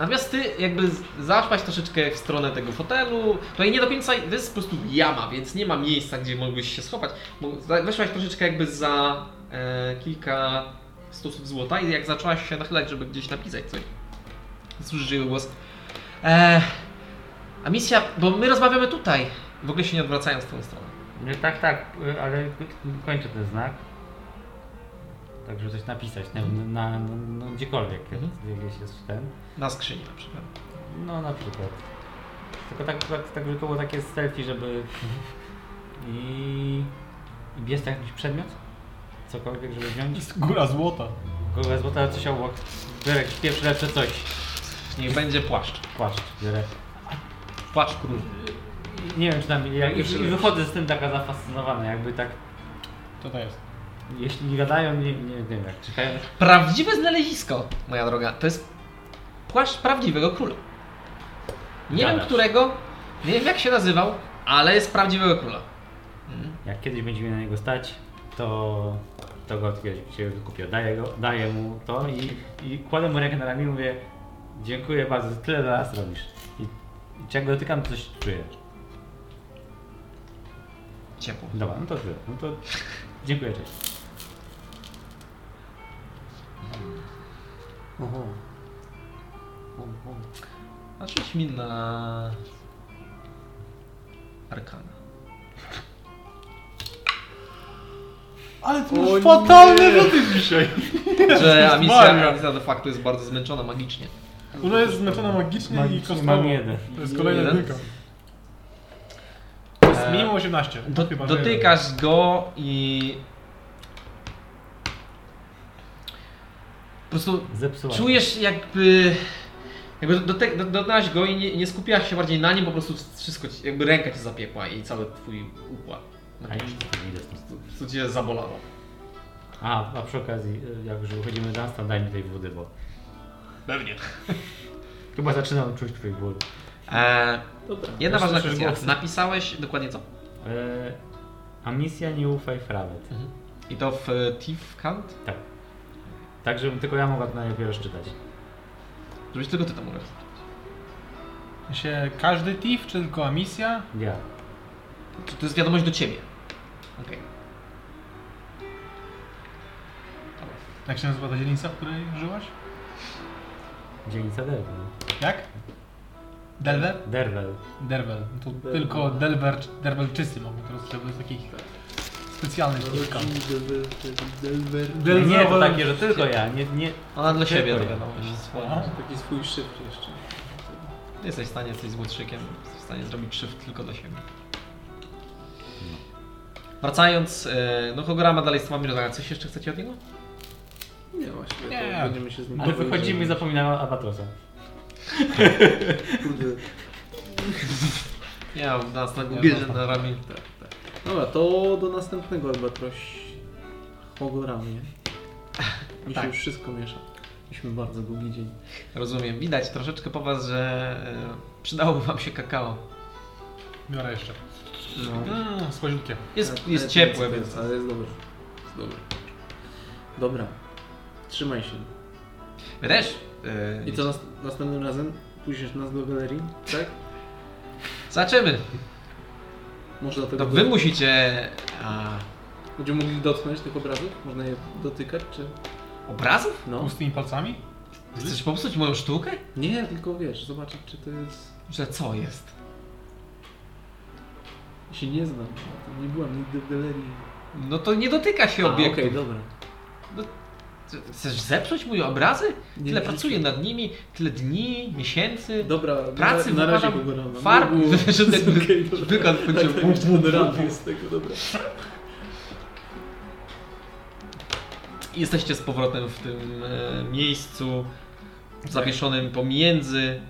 Speaker 1: natomiast ty jakby z- zaszłaś troszeczkę w stronę tego fotelu. Tutaj nie do końca, to jest po prostu jama, więc nie ma miejsca, gdzie mógłbyś się schować. Bo za- Weszłaś troszeczkę jakby za e, kilka stosów złota i jak zaczęłaś się nachylać, żeby gdzieś napisać coś, słyszysz jego głos. Eee, a misja, bo my rozmawiamy tutaj, w ogóle się nie odwracając w tą stronę.
Speaker 3: Nie, tak, tak, y, ale kończę ten znak. Tak, żeby coś napisać, na, na, na, no, gdziekolwiek, jak, jak jest ten.
Speaker 1: Na skrzyni na przykład.
Speaker 3: No na przykład. Tylko tak, tak, tak żeby to było takie selfie, żeby... I... I jest jakiś przedmiot? Cokolwiek, żeby wziąć?
Speaker 2: Jest góra złota.
Speaker 3: Kogo złota, coś obok. Wyrek, pierwszy lepszy coś.
Speaker 1: Niech będzie płaszcz.
Speaker 3: Płaszcz, wyrek.
Speaker 1: Płaszcz król.
Speaker 3: nie wiem czy tam, jak, i,
Speaker 4: Jeszcze
Speaker 3: i
Speaker 4: lepszy.
Speaker 3: wychodzę z tym taka zafascynowana, jakby tak,
Speaker 2: Co to jest?
Speaker 3: jeśli nie gadają, nie, nie, nie wiem jak czekają.
Speaker 1: Prawdziwe znalezisko, moja droga. To jest płaszcz prawdziwego króla. Nie wiem
Speaker 3: Gadasz.
Speaker 1: którego, nie wiem jak się nazywał, ale jest prawdziwego króla.
Speaker 3: Jak kiedyś będzie mi na niego stać, to, to go kiedyś się wykupię. Daję, go, daję mu to i, i kładę mu rękę na ramię i mówię dziękuję bardzo, tyle dla nas robisz. I, i jak go dotykam, to coś czuję.
Speaker 1: Ciepło.
Speaker 3: Dobra, no to tyle. No to dziękuję, cześć.
Speaker 1: A rzuć mi na... Arkana.
Speaker 2: Ale ty masz fatalne rzuty dzisiaj.
Speaker 1: Że
Speaker 2: Jezus Maria.
Speaker 1: misja, misja de facto jest bardzo zmęczona magicznie.
Speaker 2: Ona jest zmęczona magicznie, i
Speaker 3: Magicznie
Speaker 2: kosztowo.
Speaker 3: mam jeden.
Speaker 2: To jest kolejna
Speaker 1: Jeden.
Speaker 2: dynka. To jest
Speaker 1: E,
Speaker 2: minimum 18.
Speaker 1: Do,
Speaker 2: Chyba, że jeden.
Speaker 1: dotykasz go i... Po prostu
Speaker 3: Zepsuła.
Speaker 1: Czujesz jakby. Jakby dote- do- dotknęłaś go i nie, nie skupiłaś się bardziej na nim, po prostu wszystko, ci, jakby ręka cię zapiekła i cały twój układ.
Speaker 3: A, jeszcze nie idę stąd.
Speaker 1: Co cię zabolało.
Speaker 3: A, a przy okazji, y, jak już wychodzimy na stan, daj mi tej wody, bo
Speaker 1: Pewnie.
Speaker 3: chyba zaczynam czuć twój ból.
Speaker 1: E, jedna
Speaker 4: Dobra.
Speaker 3: Jeszcze
Speaker 1: ważna
Speaker 3: słyszysz
Speaker 1: kwestia.
Speaker 3: głosy.
Speaker 1: Napisałeś dokładnie co?
Speaker 3: E, a misja nie ufaj frawet.
Speaker 1: I to w e, Thief Count?
Speaker 3: Tak. Tak, żebym tylko ja mogła na niego rozczytać.
Speaker 1: Żebyś tylko ty to mówił.
Speaker 2: Się każdy TIF, czy tylko emisja?
Speaker 3: Ja.
Speaker 1: To, to jest wiadomość do ciebie. Okej.
Speaker 2: Jak się nazywa ta dzielnica, w której żyłaś?
Speaker 3: Dzielnica Derwel.
Speaker 2: Jak? Delver?
Speaker 3: Derwel.
Speaker 2: Derwel. To tylko Delver, Derwelczycy mogą teraz zrobić takich specjalnych kilka.
Speaker 3: Nie,
Speaker 2: Delver,
Speaker 3: nie, to takie, że tylko ja. Nie, nie.
Speaker 1: Ona dla siebie
Speaker 3: Dziękuję.
Speaker 1: to wiadomość.
Speaker 2: Aha.
Speaker 4: Taki swój szyfr jeszcze.
Speaker 1: Nie jesteś w stanie, jesteś złotrzykiem, jesteś w stanie zrobić krzywd tylko do siebie. Wracając, e, no Hogorama dalej z tobą rozmawia. Coś jeszcze chcecie od niego?
Speaker 4: Nie, właśnie.
Speaker 2: Nie.
Speaker 4: To będziemy się z nim
Speaker 3: Ale
Speaker 4: bawić,
Speaker 3: wychodzimy i zapominamy o Albatrosa.
Speaker 4: Kurde.
Speaker 1: Ja nas na
Speaker 4: gubię
Speaker 1: na ramię.
Speaker 4: Tak, tak. Dobra, to do następnego albatroś Hogoramie. Mi
Speaker 1: Tak.
Speaker 4: się już wszystko miesza. Mieliśmy bardzo długi dzień.
Speaker 1: Rozumiem, widać troszeczkę po was, że e, przydało wam się kakao.
Speaker 2: Biorę jeszcze.
Speaker 4: No.
Speaker 2: Mmm, słodziutkie.
Speaker 1: Jest,
Speaker 4: Ale-
Speaker 1: jest
Speaker 4: ale
Speaker 1: ciepłe,
Speaker 4: to
Speaker 1: więc...
Speaker 4: jest- Ale jest dobre. Jest dobre. Dobra. Trzymaj się.
Speaker 1: Wy też? e,
Speaker 4: tak. I co nas, następnym razem? Pójdziesz nas do galerii, tak?
Speaker 1: Zobaczymy.
Speaker 4: Można tego
Speaker 1: To wy musicie... A,
Speaker 4: Będziemy mogli dotknąć tych obrazów? Można je dotykać, czy...
Speaker 1: obrazów?
Speaker 4: No.
Speaker 2: Pustymi palcami?
Speaker 1: Chcesz popsuć moją sztukę?
Speaker 4: Nie, tylko wiesz, zobaczyć, czy to jest...
Speaker 1: Że co jest?
Speaker 4: Ja się nie znam. Nie byłam nigdy w galerii.
Speaker 1: No to nie dotyka się
Speaker 4: A, Okej, no.
Speaker 1: obiektu.
Speaker 4: dobra.
Speaker 1: Chcesz zepsuć mój obrazy?
Speaker 4: Nie
Speaker 1: Tyle
Speaker 4: w życiu.
Speaker 1: pracuję nad nimi, tyle dni, miesięcy.
Speaker 4: Dobra,
Speaker 1: Pracy
Speaker 4: na, na razie
Speaker 1: wykładam
Speaker 4: Google Rama.
Speaker 1: farb,
Speaker 4: No,
Speaker 1: żeby- żeby
Speaker 4: jest
Speaker 1: ten
Speaker 4: okej, dobra.
Speaker 1: wykład
Speaker 4: Tak,
Speaker 1: będzie
Speaker 4: tak,
Speaker 1: bum,
Speaker 4: tak,
Speaker 1: bum,
Speaker 4: rap
Speaker 1: bum.
Speaker 4: jest tego, dobra.
Speaker 1: I Jesteście z powrotem w tym e, miejscu zawieszonym pomiędzy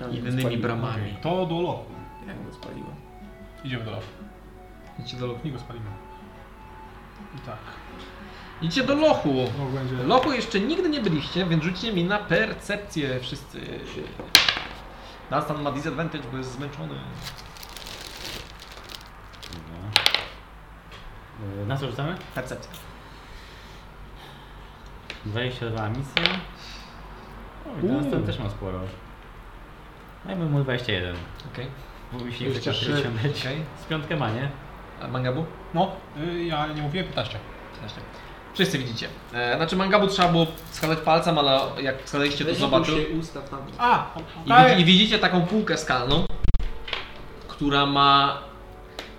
Speaker 4: Tak,
Speaker 1: innymi bramami.
Speaker 2: To do lochu.
Speaker 4: Jak go spaliło?
Speaker 2: Idziemy do lochu.
Speaker 1: Idziecie do,
Speaker 2: Nie go spalimy. I tak.
Speaker 1: Idziecie do lochu.
Speaker 2: Loch będzie...
Speaker 1: Lochu jeszcze nigdy nie byliście, więc rzućcie mi na percepcję wszyscy. Dunstan ma disadvantage, bo jest zmęczony.
Speaker 3: E, Na co rzucamy?
Speaker 1: Percepcja.
Speaker 3: 22 misje. O, teraz ten też ma sporo. Dajmy mu 21.
Speaker 1: Okej.
Speaker 3: Bo mi się nie chce
Speaker 4: 23.
Speaker 3: przyciągnąć.
Speaker 1: Okej.
Speaker 3: Z piątkę ma, nie?
Speaker 1: A Mangabu?
Speaker 2: No, y, ja nie mówiłem, 15.
Speaker 1: Właśnie. Wszyscy widzicie. E, znaczy Mangabu trzeba było wskazać palcem, ale jak wskazaliście to
Speaker 4: Weź
Speaker 1: zobaczył.
Speaker 4: się ustaw tam.
Speaker 2: A!
Speaker 1: I, widzi, I widzicie taką półkę skalną, która ma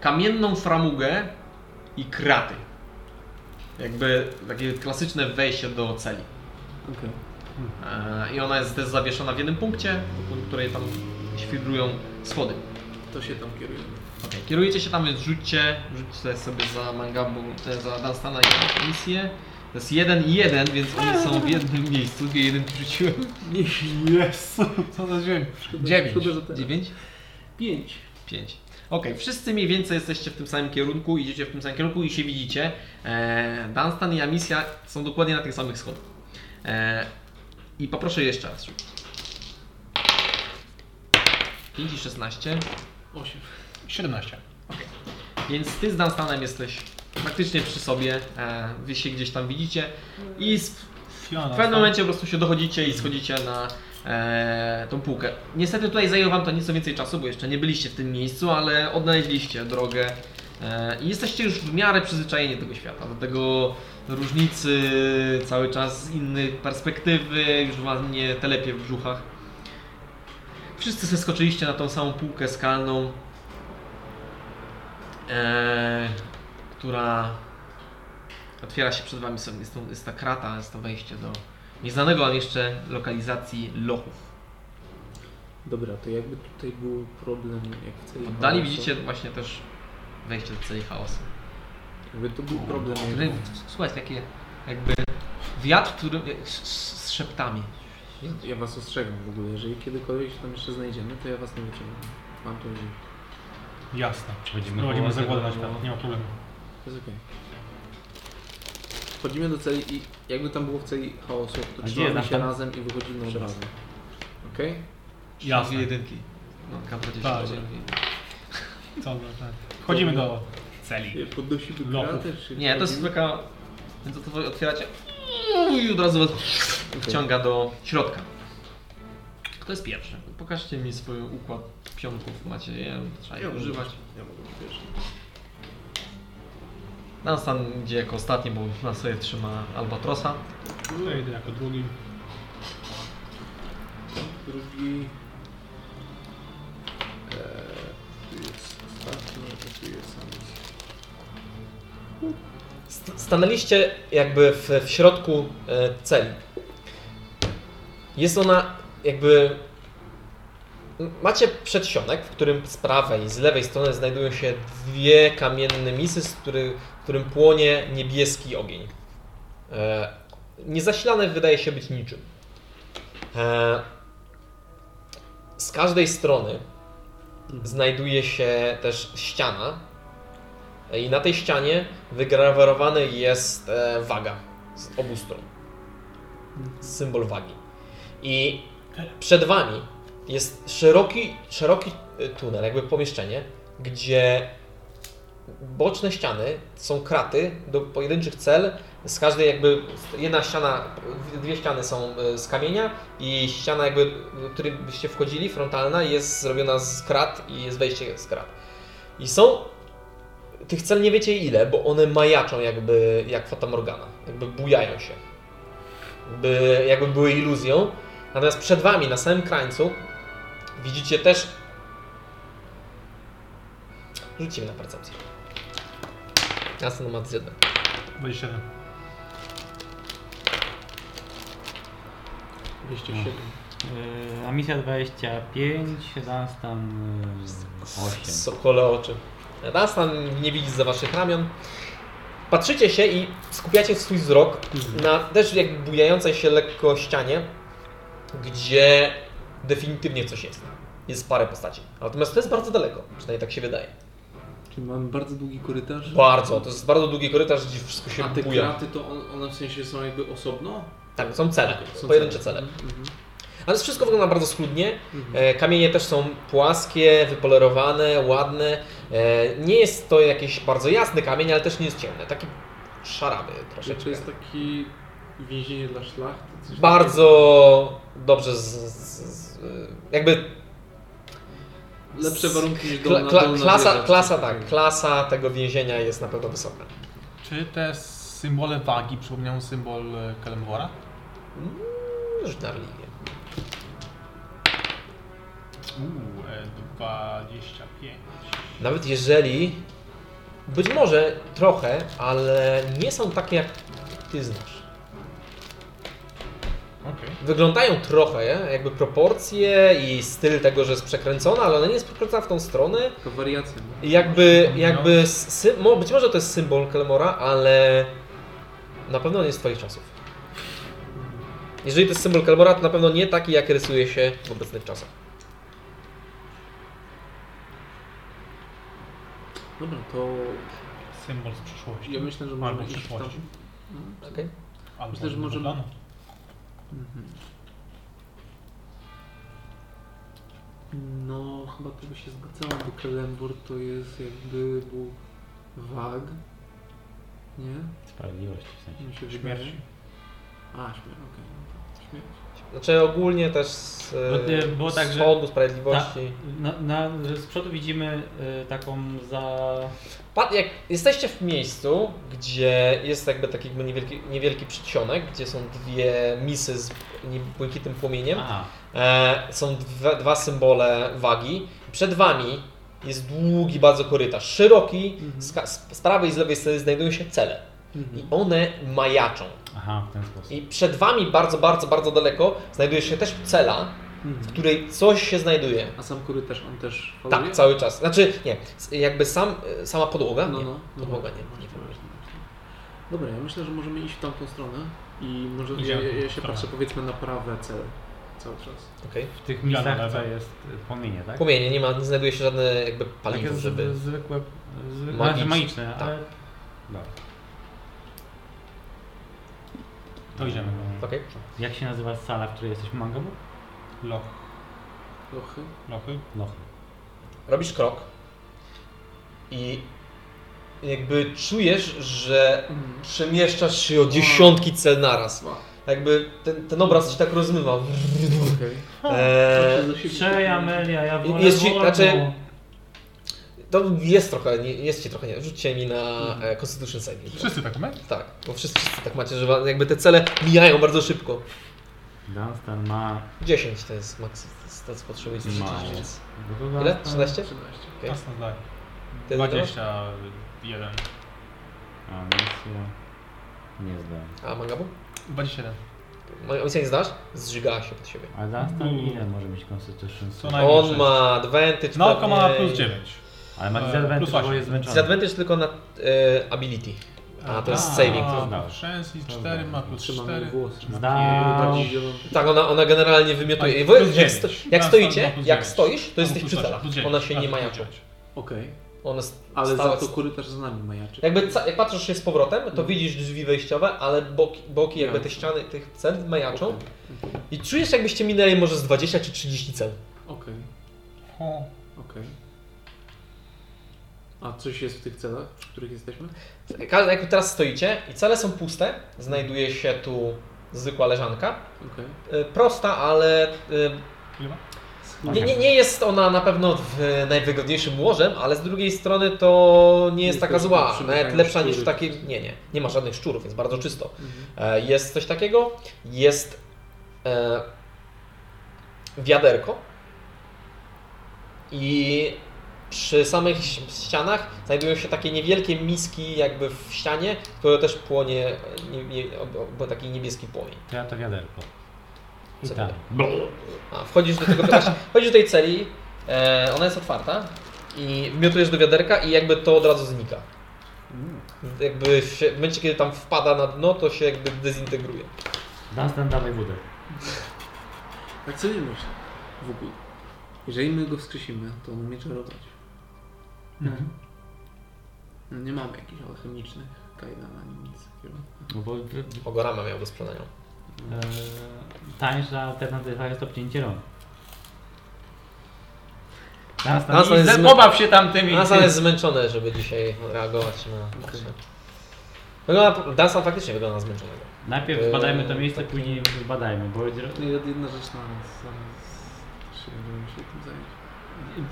Speaker 1: kamienną framugę i kraty. Jakby takie klasyczne wejście do celi.
Speaker 4: Okej.
Speaker 1: E, I ona jest też zawieszona w jednym punkcie, wokół której tam świdrują schody.
Speaker 4: To się tam kieruje.
Speaker 1: Okej, Kierujecie się tam, więc rzućcie, rzućcie sobie za Mangabu, te za Dunstana i misję. To jest jeden i jeden, więc oni są w jednym miejscu, dwie jedynki rzuciłem.
Speaker 2: Jezu, co za dźwięk. Dziewięć.
Speaker 4: Szkoda, że teraz.
Speaker 1: Dziewięć.
Speaker 4: Pięć.
Speaker 9: Pięć. Okej, wszyscy mniej więcej jesteście w tym samym kierunku, idziecie w tym samym kierunku i się widzicie. E, Dunstan i Amicia są dokładnie na tych samych schodach. E, I poproszę jeszcze raz. 5 i 16.
Speaker 4: 8.
Speaker 2: 17.
Speaker 9: Więc ty z Dunstanem jesteś praktycznie przy sobie. E, wy się gdzieś tam widzicie. I z,
Speaker 3: no,
Speaker 9: w pewnym momencie po prostu się dochodzicie i schodzicie na e, tą półkę. Niestety tutaj zajęło wam to nieco więcej czasu, bo jeszcze nie byliście w tym miejscu, ale odnaleźliście drogę. E, I jesteście już w miarę przyzwyczajeni do tego świata, do tego różnicy, cały czas innej perspektywy, już wam nie telepie w brzuchach. Wszyscy zeskoczyliście na tą samą półkę skalną, e, która otwiera się przed wami, są- jest, to, jest ta krata, jest to wejście do nieznanego wam jeszcze lokalizacji lochów.
Speaker 4: Dobra, to jakby tutaj był problem jak w celi
Speaker 9: W oddali
Speaker 4: chaosu.
Speaker 9: widzicie właśnie też wejście do celi chaosu.
Speaker 4: Jakby to był problem
Speaker 9: Który,
Speaker 4: jak...
Speaker 9: słuchaj, takie jakby wiatr, który z, z szeptami.
Speaker 4: Ja was ostrzegam w ogóle, jeżeli kiedykolwiek się tam jeszcze znajdziemy, to ja was nie wyciągnę. Mam to nadzieję.
Speaker 2: Jasne.
Speaker 3: Będziemy
Speaker 2: Prowadzimy
Speaker 3: próbować
Speaker 2: zakładać,
Speaker 3: tego-
Speaker 2: nie ma problemu.
Speaker 4: To jest okej. Wchodzimy do celi i jakby tam było w celi chaosu, to
Speaker 3: gdzie
Speaker 4: trzymamy
Speaker 3: jest
Speaker 4: się
Speaker 3: tam?
Speaker 4: razem i wychodzimy od razu. Okej?
Speaker 2: Jasne.
Speaker 9: Dwie jedynki. No, K20
Speaker 2: Tak.
Speaker 9: będzie.
Speaker 2: Co, tak. Wchodzimy do celi.
Speaker 4: Podnosimy
Speaker 2: Lochów.
Speaker 4: kratę, czy
Speaker 9: Nie, to jest
Speaker 4: wchodzimy?
Speaker 9: taka... Więc to wy otwieracie Mm, i od razu was wciąga do środka. Kto jest pierwszy? Pokażcie mi swój układ pionków. Macie je, trzeba je używać.
Speaker 4: Ja mogę być pierwszy.
Speaker 9: Dunstan idzie jako ostatni, bo na sobie trzyma Albatrosa.
Speaker 2: Tutaj idę jako drugi.
Speaker 4: Drugi... Eee, tu jest ostatni, a tu jest sam.
Speaker 1: St- Stanęliście jakby w, w środku e, celi. Jest ona jakby. M- Macie przedsionek, w którym z prawej i z lewej strony znajdują się dwie kamienne misy, z który, w którym płonie niebieski ogień. E, niezasilany wydaje się być niczym. E, z każdej strony znajduje się też ściana, i na tej ścianie wygrawerowany jest e, waga z obu stron. Symbol wagi. I przed wami jest szeroki, szeroki e, tunel, jakby pomieszczenie, gdzie boczne ściany są kraty do pojedynczych cel. Z każdej jakby jedna ściana, dwie ściany są e, z kamienia i ściana jakby, do której byście wchodzili, frontalna, jest zrobiona z krat i jest wejście z krat. I są tych cel nie wiecie ile, bo one majaczą jakby jak fatamorgana, jakby bujają się. Jakby, jakby były iluzją. Natomiast przed wami, na samym krańcu, widzicie też... Rzućcie mi na percepcję. Jasne, ma z jeden.
Speaker 2: 27.
Speaker 4: 27.
Speaker 3: Yy, Amisja 25, Dunstan yy, 8.
Speaker 1: Sokole oczy. Raz tam nie widzi za waszych ramion. Patrzycie się i skupiacie swój wzrok na też jakby bujającej się lekko ścianie, gdzie definitywnie coś jest. Jest parę postaci. Natomiast to jest bardzo daleko, przynajmniej tak się wydaje.
Speaker 4: Czyli mamy bardzo długi korytarz.
Speaker 1: Bardzo, to jest bardzo długi korytarz, gdzie wszystko się
Speaker 4: A te
Speaker 1: buja.
Speaker 4: kraty to on, one w sensie są jakby osobno?
Speaker 1: Tak, są cele,
Speaker 4: Są
Speaker 1: pojedyncze cele.
Speaker 4: Mhm.
Speaker 1: Ale wszystko wygląda bardzo schludnie.
Speaker 4: Mhm.
Speaker 1: E, Kamienie też są płaskie, wypolerowane, ładne. E, Nie jest to jakiś bardzo jasny kamień, ale też nie jest ciemny. Taki szarawy
Speaker 4: Czy
Speaker 1: troszeczkę.
Speaker 4: to jest taki więzienie dla szlachty? Coś takiego?
Speaker 1: Bardzo dobrze z, z, z, jakby
Speaker 4: Lepsze warunki niż dolna,
Speaker 1: kla, kla,
Speaker 4: dolna
Speaker 1: klasa,
Speaker 4: wieża.
Speaker 1: klasa tak, klasa tego więzienia jest na pewno wysoka.
Speaker 10: Czy te symbole wagi przypominają symbol e, Kelembora?
Speaker 1: Mm, Rzuć na religię.
Speaker 2: Uuu, e, 25.
Speaker 1: Nawet jeżeli być może trochę, ale nie są takie jak ty znasz.
Speaker 2: Okej.
Speaker 1: Wyglądają trochę, jakby proporcje i styl tego, że jest przekręcona, ale ona nie jest przekręcona w tą stronę.
Speaker 4: To wariacja. no.
Speaker 1: I Jakby, jakby s- sy- mo- być może to jest symbol Kelmora, ale na pewno nie z twoich czasów. Jeżeli to jest symbol Kelmora, to na pewno nie taki, jak rysuje się w obecnych czasach.
Speaker 4: Dobra, to
Speaker 2: Symbol z przeszłości.
Speaker 4: ja myślę, że
Speaker 2: Albo
Speaker 4: możemy iść w tam.
Speaker 2: przyszłości.
Speaker 1: Okej.
Speaker 2: Albo
Speaker 4: Myślę, że możemy- Mhm.
Speaker 2: Dodano.
Speaker 4: No, chyba to by się zgadzało, bo Kelembur to jest jakby Bóg wag, nie?
Speaker 3: Sprawiedliwości w sensie.
Speaker 4: Mi się
Speaker 2: Śmierci.
Speaker 4: wydaje. A, śmierć, okej. no tak, śmierć.
Speaker 1: Znaczy ogólnie też z, e,
Speaker 3: No, nie, było
Speaker 1: z
Speaker 3: tak, że-
Speaker 1: wschodu, sprawiedliwości.
Speaker 3: Na, na, że z przodu widzimy y, taką za...
Speaker 1: Pat, jak jesteście w miejscu, gdzie jest jakby taki jakby niewielki, niewielki przedsionek, gdzie są dwie misy z nie- błękitnym płomieniem,
Speaker 3: Aha,
Speaker 1: e, są dwa, dwa symbole wagi. Przed wami jest długi bardzo korytarz, szeroki,
Speaker 3: Mhm.
Speaker 1: z, ka- z- z prawej i z lewej strony znajdują się cele. I one majaczą.
Speaker 3: aha, w ten sposób.
Speaker 1: I przed wami bardzo, bardzo, bardzo daleko znajduje się też cela,
Speaker 4: Mhm.
Speaker 1: w której coś się znajduje.
Speaker 4: A sam korytarz on też faluje?
Speaker 1: Tak, cały czas. Znaczy, nie, s- jakby sam, e, sama podłoga?
Speaker 4: No,
Speaker 1: Nie.
Speaker 4: no, no.
Speaker 1: Podłoga nie,
Speaker 4: Masz
Speaker 1: nie
Speaker 4: rację,
Speaker 1: powiem.
Speaker 4: masz rację. Dobra, ja myślę, że możemy iść w tamtą stronę i może ja,
Speaker 3: Idziemy
Speaker 4: ja, ja
Speaker 3: w
Speaker 4: się
Speaker 3: stronę.
Speaker 4: patrzę powiedzmy na prawe cel cały czas.
Speaker 1: Okej.
Speaker 3: W tych
Speaker 2: Ja na
Speaker 3: miejscach
Speaker 2: lewo.
Speaker 3: co jest y, płomienie, tak?
Speaker 1: Płomienie, nie ma, nie znajduje się żadne jakby
Speaker 4: Tak,
Speaker 3: Takie
Speaker 1: paliwo,
Speaker 3: z-
Speaker 1: żeby...
Speaker 3: Tak zwykłe, zwykłe
Speaker 1: Magiczne.
Speaker 3: magiczne, magiczne
Speaker 1: Tak.
Speaker 3: ale... Dobra.
Speaker 2: To idziemy.
Speaker 3: no.
Speaker 1: Okej.
Speaker 3: Jak się nazywa sala, w której jesteśmy mangabu?
Speaker 2: Loch.
Speaker 4: Lochy?
Speaker 2: Lochy.
Speaker 3: Lochy.
Speaker 1: Robisz krok i jakby czujesz, że
Speaker 4: Mhm.
Speaker 1: przemieszczasz się o dziesiątki cel naraz.
Speaker 4: Wow.
Speaker 1: Jakby ten, ten obraz się tak rozmywa.
Speaker 4: Okej.
Speaker 1: Eee,
Speaker 4: Patrzę za siebie.
Speaker 3: Trzej Amelia, ja wolę
Speaker 1: Jest ci-
Speaker 3: wolno.
Speaker 1: znaczy- To jest trochę, nie, jest ci trochę, nie. Rzućcie mi na
Speaker 4: Mhm.
Speaker 1: e, Constitution Saving. throw.
Speaker 2: Wszyscy tak mają?
Speaker 1: Tak, bo wszyscy, wszyscy tak macie, że wa- jakby te cele mijają bardzo szybko.
Speaker 3: Dunstan ma...
Speaker 1: 10 to jest maks, to jest to co potrzebujesz do
Speaker 3: Mało.
Speaker 1: życia, więc...
Speaker 3: No to
Speaker 1: Ile?
Speaker 3: Dunstan-
Speaker 1: 13?
Speaker 4: 13.
Speaker 1: Okej.
Speaker 2: Jasne zdaje.
Speaker 1: Ty ile masz?
Speaker 2: 21.
Speaker 3: A, więc ja... Nie zdałem.
Speaker 1: A Mangabu?
Speaker 2: 27.
Speaker 1: Ma- Misja nie znasz? Zżygała się pod siebie.
Speaker 3: Ale Dunstan
Speaker 2: Mm.
Speaker 3: ile może mieć Constitution?
Speaker 2: Co naj- Najwyżej.
Speaker 1: On ma advantage
Speaker 2: No, oko ma
Speaker 1: pewnie
Speaker 2: plus
Speaker 1: i-
Speaker 2: 9.
Speaker 3: Ale ma
Speaker 2: E,
Speaker 3: disadvantage,
Speaker 2: plus
Speaker 3: bo
Speaker 2: osiem.
Speaker 3: jest zmęczony.
Speaker 1: Disadvantage tylko na e, ability. A, to jest saving
Speaker 2: A,
Speaker 1: throw.
Speaker 3: Dobra.
Speaker 2: Chance i
Speaker 3: Dobra.
Speaker 2: 4 ma plus
Speaker 4: Trzymamy
Speaker 2: 4.
Speaker 4: głos.
Speaker 3: Zdał.
Speaker 1: Tak, ona, ona generalnie wymiotuje.
Speaker 2: A,
Speaker 1: Wy-
Speaker 2: plus
Speaker 1: Jak,
Speaker 2: dziewięć.
Speaker 1: sto,
Speaker 2: Tam
Speaker 1: jak
Speaker 2: są
Speaker 1: stoicie, jak
Speaker 2: plus dziewięć.
Speaker 1: stoisz, to
Speaker 2: Albo
Speaker 1: jesteś
Speaker 2: plus
Speaker 1: przy
Speaker 2: osiem,
Speaker 1: celach.
Speaker 2: plus dziewięć.
Speaker 1: Ona się
Speaker 2: A,
Speaker 1: nie
Speaker 2: plus
Speaker 1: majaczy.
Speaker 2: dziewięć.
Speaker 4: Okej.
Speaker 1: Ona s-
Speaker 4: Ale
Speaker 1: stała-
Speaker 4: za to korytarz z nami Mm. majaczy.
Speaker 1: Jakby ca- jak patrzysz się z powrotem, to widzisz drzwi wejściowe, ale boki, boki jakby te
Speaker 4: Jasne.
Speaker 1: ściany tych cel majaczą.
Speaker 4: Okej.
Speaker 1: I czujesz jakbyście minęli może z 20 czy 30 cel.
Speaker 4: Okej.
Speaker 2: O,
Speaker 4: Okej. A coś jest w tych celach, w których jesteśmy?
Speaker 1: Ka- Jak teraz stoicie i cele są puste, znajduje się tu zwykła leżanka.
Speaker 4: Okej.
Speaker 1: Y, Prosta, ale y,
Speaker 2: ile ma?
Speaker 1: nie, nie, nie jest ona na pewno w najwygodniejszym łożem, ale z drugiej strony to nie jest
Speaker 4: Nie
Speaker 1: taka
Speaker 4: jest to
Speaker 1: zła.
Speaker 4: przymykają
Speaker 1: Nawet lepsza niż w
Speaker 4: szczury.
Speaker 1: takiej. Nie, nie. Nie ma żadnych szczurów, jest bardzo czysto.
Speaker 4: Mhm.
Speaker 1: E, Jest coś takiego. Jest e, wiaderko. I przy samych ś- ścianach znajdują się takie niewielkie miski jakby w ścianie, które też płonie e, nie, nie, ob- ob- taki niebieski płomień.
Speaker 2: tak-
Speaker 3: To ja to wiaderko. I tak.
Speaker 1: Co
Speaker 3: tam.
Speaker 1: dalej? A, wchodzisz do tego, właśnie, wchodzisz do tej celi, e, ona jest otwarta i wmiotujesz do wiaderka i jakby to od razu znika. Mm. Jakby się, w momencie, kiedy tam wpada na dno, to się jakby dezintegruje.
Speaker 3: Dunstan, dawaj wódę.
Speaker 4: Tak co nie myślę w ogóle. Jeżeli my go wskrzesimy, to on umie czarować. No Nie mamy jakichś alchemicznych kajdan ani nic takiego.
Speaker 3: No bo e,
Speaker 1: Ogorama miał do sprzedania.
Speaker 3: tańsza alternatywa jest obcięcie rąk. Dunstan,
Speaker 1: Dunstan
Speaker 3: i
Speaker 1: jest
Speaker 3: ze-
Speaker 1: zmy-
Speaker 3: pobaw się tam tymi...
Speaker 1: Dansan jest zmęczony, żeby dzisiaj reagować na...
Speaker 4: Okej.
Speaker 1: Wygląda, Dansan faktycznie wygląda na zmęczonego.
Speaker 3: Najpierw
Speaker 1: Eee,
Speaker 3: zbadajmy to miejsce,
Speaker 1: tak.
Speaker 3: później zbadajmy, bo
Speaker 4: No i jedna rzecz na nas. Zaraz się będziemy się tym zająć.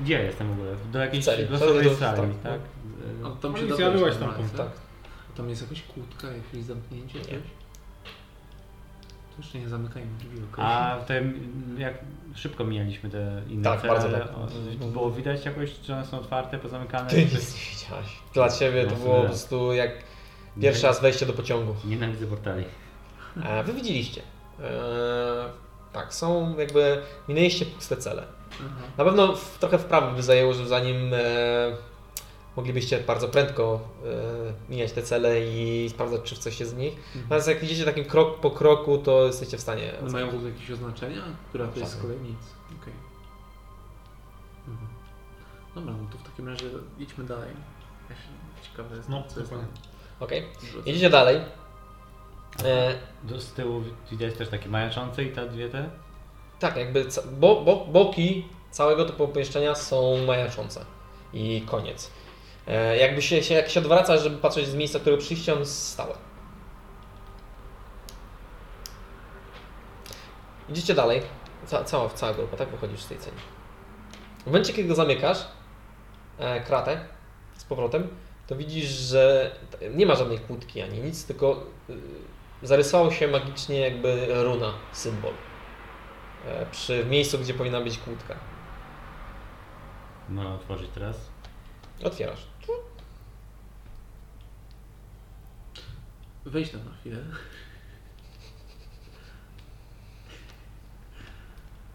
Speaker 3: gdzie ja jestem w ogóle? Do jakiejś
Speaker 1: celi.
Speaker 3: losowej
Speaker 1: Do-
Speaker 3: sali,
Speaker 1: tak.
Speaker 3: tak?
Speaker 4: A
Speaker 3: Eee,
Speaker 4: No, tam się
Speaker 2: Policja
Speaker 4: da wejść
Speaker 2: byłaś
Speaker 4: na
Speaker 2: tam,
Speaker 4: ulicę?
Speaker 1: tak.
Speaker 4: Tam jest jakaś kłódka, jakieś zamknięcie,
Speaker 1: Nie.
Speaker 4: coś? To jeszcze nie zamykajmy drzwi, okej?
Speaker 3: A w tym, jak szybko mijaliśmy te inne
Speaker 1: Tak,
Speaker 3: cele,
Speaker 1: bardzo tak.
Speaker 3: o- było widać jakoś, czy one są otwarte, pozamykane?
Speaker 1: Ty
Speaker 3: Czy-
Speaker 1: nic nie widziałaś. Dla ciebie to
Speaker 3: No,
Speaker 1: było po
Speaker 3: tak.
Speaker 1: prostu jak pierwszy raz wejście do pociągu.
Speaker 3: Nienawidzę portali.
Speaker 1: E, Wy widzieliście. E, tak, są jakby... Minęliście puste cele.
Speaker 4: Aha.
Speaker 1: Na pewno w, trochę wprawy by zajęło, że zanim e, moglibyście bardzo prędko e, mijać te cele i sprawdzać, czy coś jest z nich. Natomiast jak idziecie takim krok po kroku, to jesteście w stanie.
Speaker 4: One No mają w ogóle jakieś oznaczenia? Która to jest z
Speaker 1: Żadne.
Speaker 4: kolei nic. Okej. Mhm. Dobra, no to w takim razie idźmy dalej. Ja się- Ciekawe jest,
Speaker 2: No,
Speaker 4: co jest
Speaker 2: dokładnie.
Speaker 11: Okej,
Speaker 4: tam.
Speaker 11: jedziecie dalej. E,
Speaker 3: Do, z tyłu widać też takie majaczące i ta dwie te.
Speaker 11: tak, jakby ca- bo, bo, boki całego tego pomieszczenia są majaczące. I koniec. E, jakby się, się, jak się odwraca, żeby patrzeć z miejsca, które przyjście, on stałe. Idziecie dalej. Ca, cała, cała grupa, tak? Wychodzisz z tej celi. W momencie, kiedy go zamykasz, e, kratę z powrotem, to widzisz, że t- nie ma żadnej kłódki ani nic, tylko y, zarysował się magicznie jakby runa, symbol. E, przy w miejscu, gdzie powinna być kłódka.
Speaker 3: Można otworzyć teraz.
Speaker 11: Otwierasz.
Speaker 4: Wejdź tam na chwilę.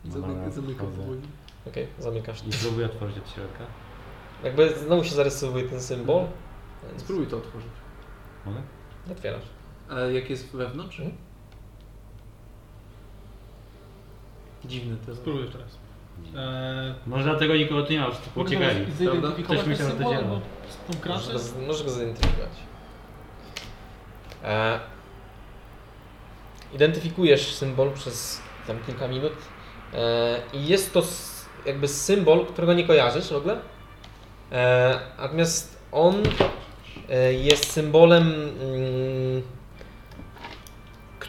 Speaker 3: Dobra,
Speaker 4: Zamyka, zamykam
Speaker 3: wchodzę.
Speaker 4: powoli.
Speaker 11: Okej, zamykasz.
Speaker 3: I próbuję otworzyć od środka.
Speaker 11: Jakby znowu się zarysowuje ten symbol. więc
Speaker 4: Spróbuj to otworzyć.
Speaker 3: Mogę?
Speaker 11: Otwierasz.
Speaker 4: A jak jest wewnątrz?
Speaker 2: Hmm?
Speaker 11: Mhm.
Speaker 4: Dziwny to jest.
Speaker 2: Spróbuj jeszcze raz. Eee,
Speaker 3: Może dlatego nikogo tu nie ma, wszyscy uciekali.
Speaker 2: mogę
Speaker 3: Ktoś
Speaker 2: Zidentyfikować ten
Speaker 3: myślał, że to
Speaker 2: symbol,
Speaker 3: działa.
Speaker 2: bo tą
Speaker 11: Możesz
Speaker 2: kratę
Speaker 11: go, z- możesz go zidentyfikować. E, identyfikujesz symbol przez tam kilka minut e, i jest to s, jakby symbol, którego nie kojarzysz w ogóle. E, natomiast on e, jest symbolem mm, k-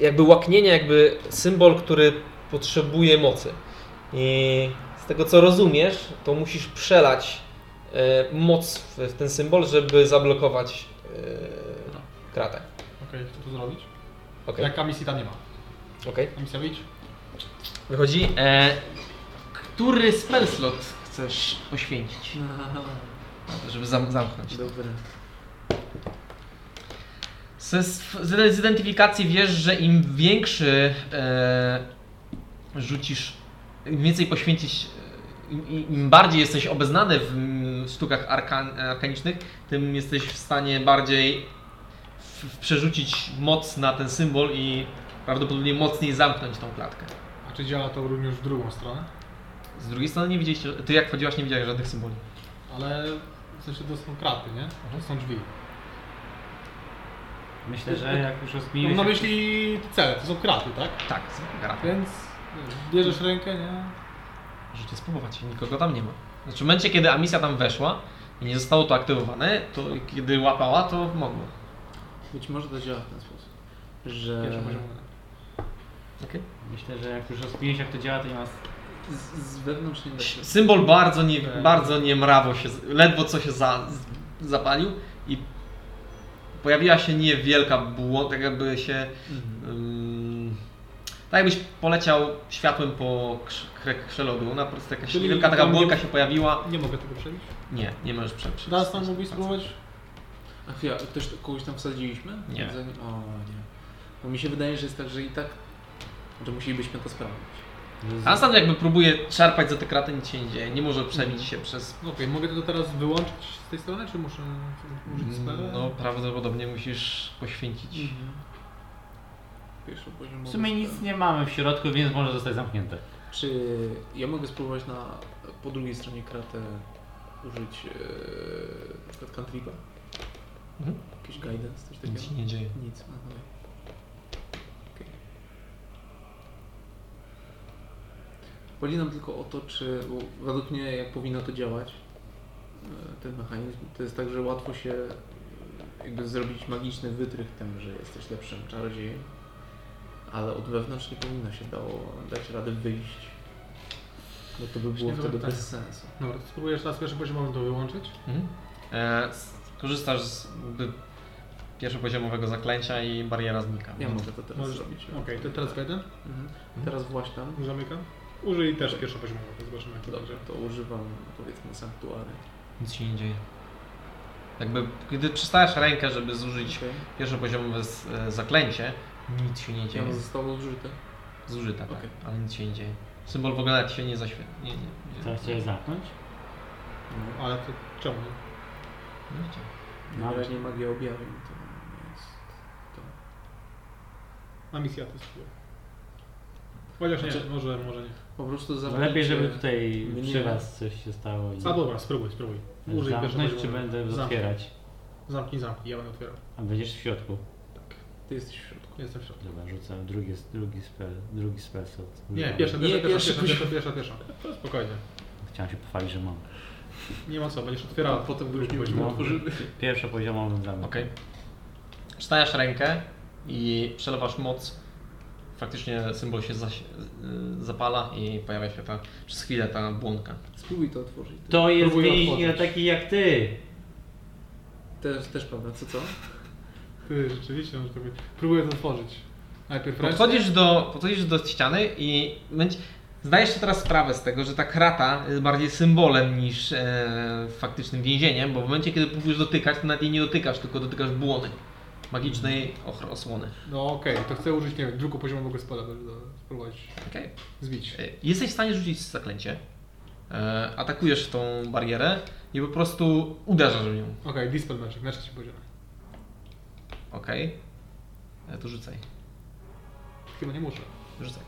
Speaker 11: jakby łaknienia, jakby symbol, który potrzebuje mocy. I z tego co rozumiesz, to musisz przelać e, moc w, w ten symbol, żeby zablokować
Speaker 1: No.
Speaker 11: e, kratę.
Speaker 2: Okej, chcę to zrobić.
Speaker 11: Okej,
Speaker 1: Tak.
Speaker 2: Jaka misji tam nie ma?
Speaker 11: okej.
Speaker 2: A misja wyjść?
Speaker 1: Wychodzi. E, który spell slot chcesz poświęcić? Żeby zam zamknąć.
Speaker 4: Dobra.
Speaker 1: Ze, sw- z z identyfikacji wiesz, że im większy e, rzucisz, im więcej poświęcisz, e, im- im, im bardziej jesteś obeznany w mm, sztukach arkan, arkanicznych, tym jesteś w stanie bardziej w, w przerzucić moc na ten symbol i prawdopodobnie mocniej zamknąć tą klatkę.
Speaker 2: A czy działa to również w drugą stronę?
Speaker 1: Z drugiej strony nie widzieliście, ty jak wchodziłaś nie widziałeś żadnych symboli.
Speaker 2: Ale w sensie to są kraty, nie? To są drzwi.
Speaker 1: Mhm.
Speaker 3: Myślę, że jak już
Speaker 2: No Mam
Speaker 3: rozkminiłeś...
Speaker 2: na myśli cele, to są kraty, tak?
Speaker 1: Tak, gra.
Speaker 2: Więc bierzesz
Speaker 1: Mhm.
Speaker 2: rękę, nie?
Speaker 1: Możecie spróbować, nikogo tam nie ma. Znaczy w momencie, kiedy Amisja tam weszła i nie zostało to aktywowane, to kiedy łapała, to mogło.
Speaker 4: Być może to działa w ten sposób, że
Speaker 2: Pierwszy poziom.
Speaker 3: Myślę, że jak już rozkminiłeś jak to działa, to nie ma... s-
Speaker 4: z, z wewnątrz nie da się. Tak.
Speaker 1: Symbol bardzo nie, bardzo nie mrawo się, ledwo co się za, z- zapalił i pojawiła się niewielka błąd, tak jakby się...
Speaker 4: Mhm.
Speaker 1: ym, tak jakbyś poleciał światłem po krz- kre- krzelodu, na prostu jakaś
Speaker 2: Czyli
Speaker 1: niewielka taka
Speaker 2: tam nie-
Speaker 1: błonka się pojawiła.
Speaker 2: Nie mogę tego przebić.
Speaker 1: Nie, nie możesz prze- prze-
Speaker 2: Teraz tam mógłbyś spróbować?
Speaker 4: A chwila, ktoś, kogoś tam wsadziliśmy?
Speaker 1: Nie.
Speaker 4: Zanim- O nie. Bo mi się wydaje, że jest tak, że i tak, że musielibyśmy to sprawdzić.
Speaker 1: Ansan jakby próbuje szarpać za te kraty, nic się nie dzieje, nie może przebić się przez
Speaker 2: No Okej, mogę to teraz wyłączyć z tej strony, czy muszę użyć spela?
Speaker 1: No, prawdopodobnie musisz poświęcić.
Speaker 4: Mm. Pierwszy poziom.
Speaker 3: W sumie nic nie mamy w środku, więc może zostać zamknięte.
Speaker 4: Czy ja mogę spróbować na po drugiej stronie kratę użyć e, na przykład cantripa?
Speaker 1: Mhm.
Speaker 4: Jakiś guidance, coś takiego?
Speaker 1: Nic się nie dzieje.
Speaker 4: Nic. aha. Okej. Chodzi nam tylko o to, czy bo według mnie jak powinno to działać, e, ten mechanizm, to jest tak, że łatwo się e, jakby zrobić magiczny wytrych tym, że jesteś lepszym czarodziejem, ale od wewnątrz nie powinno się dało dać rady wyjść, bo to by było
Speaker 2: Właśnie
Speaker 4: wtedy
Speaker 2: tak.
Speaker 4: bez sensu.
Speaker 2: Dobra, to spróbujesz teraz pierwszy poziomowym to wyłączyć.
Speaker 1: Mhm. E, s- korzystasz z jakby pierwszopoziomowego zaklęcia i bariera znika.
Speaker 4: Ja mogę to teraz
Speaker 2: Możesz-
Speaker 4: zrobić.
Speaker 2: Okej, to teraz jeden.
Speaker 4: Mhm. Teraz właśnie tam.
Speaker 2: Zamykam. Użyj też pierwszy poziomowy, zobaczymy jak to
Speaker 4: Dobrze,
Speaker 2: będzie.
Speaker 4: to używam powiedzmy sanktuary.
Speaker 1: Nic się nie dzieje. Jakby, kiedy przystajesz rękę, żeby zużyć
Speaker 4: Okej.
Speaker 1: pierwszopoziomowe z- e, zaklęcie, nic się nie
Speaker 4: Ja
Speaker 1: dzieje.
Speaker 4: mam zostało użyte.
Speaker 1: Zużyta, tak,
Speaker 4: Okej.
Speaker 1: ale nic się nie dzieje. Symbol w ogóle nawet się nie zaświetla. Nie, nie, nie.
Speaker 3: Co, chciałeś zamknąć?
Speaker 2: No, ale to czemu nie?
Speaker 1: No, wiecie.
Speaker 3: No, ale-
Speaker 4: Wyraźnie magia objawień no to jest.
Speaker 2: A misja to spróbuję. Chociaż nie,
Speaker 4: Znaczy-
Speaker 2: może, może nie.
Speaker 4: Po prostu
Speaker 3: No
Speaker 4: zawalicie...
Speaker 3: Lepiej, żeby tutaj
Speaker 4: mnie-
Speaker 3: przy was coś się stało i
Speaker 2: A dobra, spróbuj, spróbuj. Użyj
Speaker 3: zamknąć,
Speaker 2: pierwszego
Speaker 3: Znaczy czy
Speaker 2: poziomu.
Speaker 3: będę
Speaker 2: Zamknij.
Speaker 3: otwierać?
Speaker 2: Zamknij, zamknij, ja będę otwierał.
Speaker 3: A będziesz w środku.
Speaker 4: Ty jesteś w środku.
Speaker 2: Jestem w środku.
Speaker 3: Dobra, rzucam drugi, drugi spell, drugi spell slot.
Speaker 2: Nie,
Speaker 3: Rzucam.
Speaker 2: pierwsza,
Speaker 4: Nie,
Speaker 2: pierwsza,
Speaker 4: pierwszy
Speaker 2: pierwsza, pierwsza,
Speaker 4: poziom.
Speaker 2: pierwsza, pierwsza. Spokojnie.
Speaker 3: Chciałem się pochwalić, że mam.
Speaker 2: Nie ma co, będziesz otwierał. Potem go już nie
Speaker 3: No. Pierwsza poziomową dla mnie.
Speaker 1: Okej. Czytasz rękę i przelewasz moc. Faktycznie symbol się zaś, y, zapala i pojawia się ta, przez chwilę ta błonka.
Speaker 4: Spróbuj to otworzyć.
Speaker 3: To jest
Speaker 2: Próbuję
Speaker 3: więźnia
Speaker 2: otworzyć.
Speaker 3: taki jak ty!
Speaker 4: Też, też Paweł, co co?
Speaker 2: Ty, rzeczywiście, może to być. Próbuję to otworzyć.
Speaker 3: No
Speaker 2: Najpierw ręce.
Speaker 1: Podchodzisz do, podchodzisz do ściany i będzie, zdajesz sobie teraz sprawę z tego, że ta krata jest bardziej symbolem niż e, faktycznym więzieniem, bo w momencie, kiedy próbujesz dotykać, to nawet jej nie dotykasz, tylko dotykasz błony. Magicznej ochr- osłony.
Speaker 2: No okej, to chcę użyć, nie wiem, drugu poziomowego spela, żeby to spróbować
Speaker 1: Okej.
Speaker 2: zbić.
Speaker 1: E, Jesteś w stanie rzucić zaklęcie. E, atakujesz w tą barierę i po prostu uderzasz w nią.
Speaker 2: Okej, dispel magic, na trzecim poziomie.
Speaker 1: Okej. E, To rzucaj.
Speaker 2: Chyba nie muszę.
Speaker 1: Rzucaj.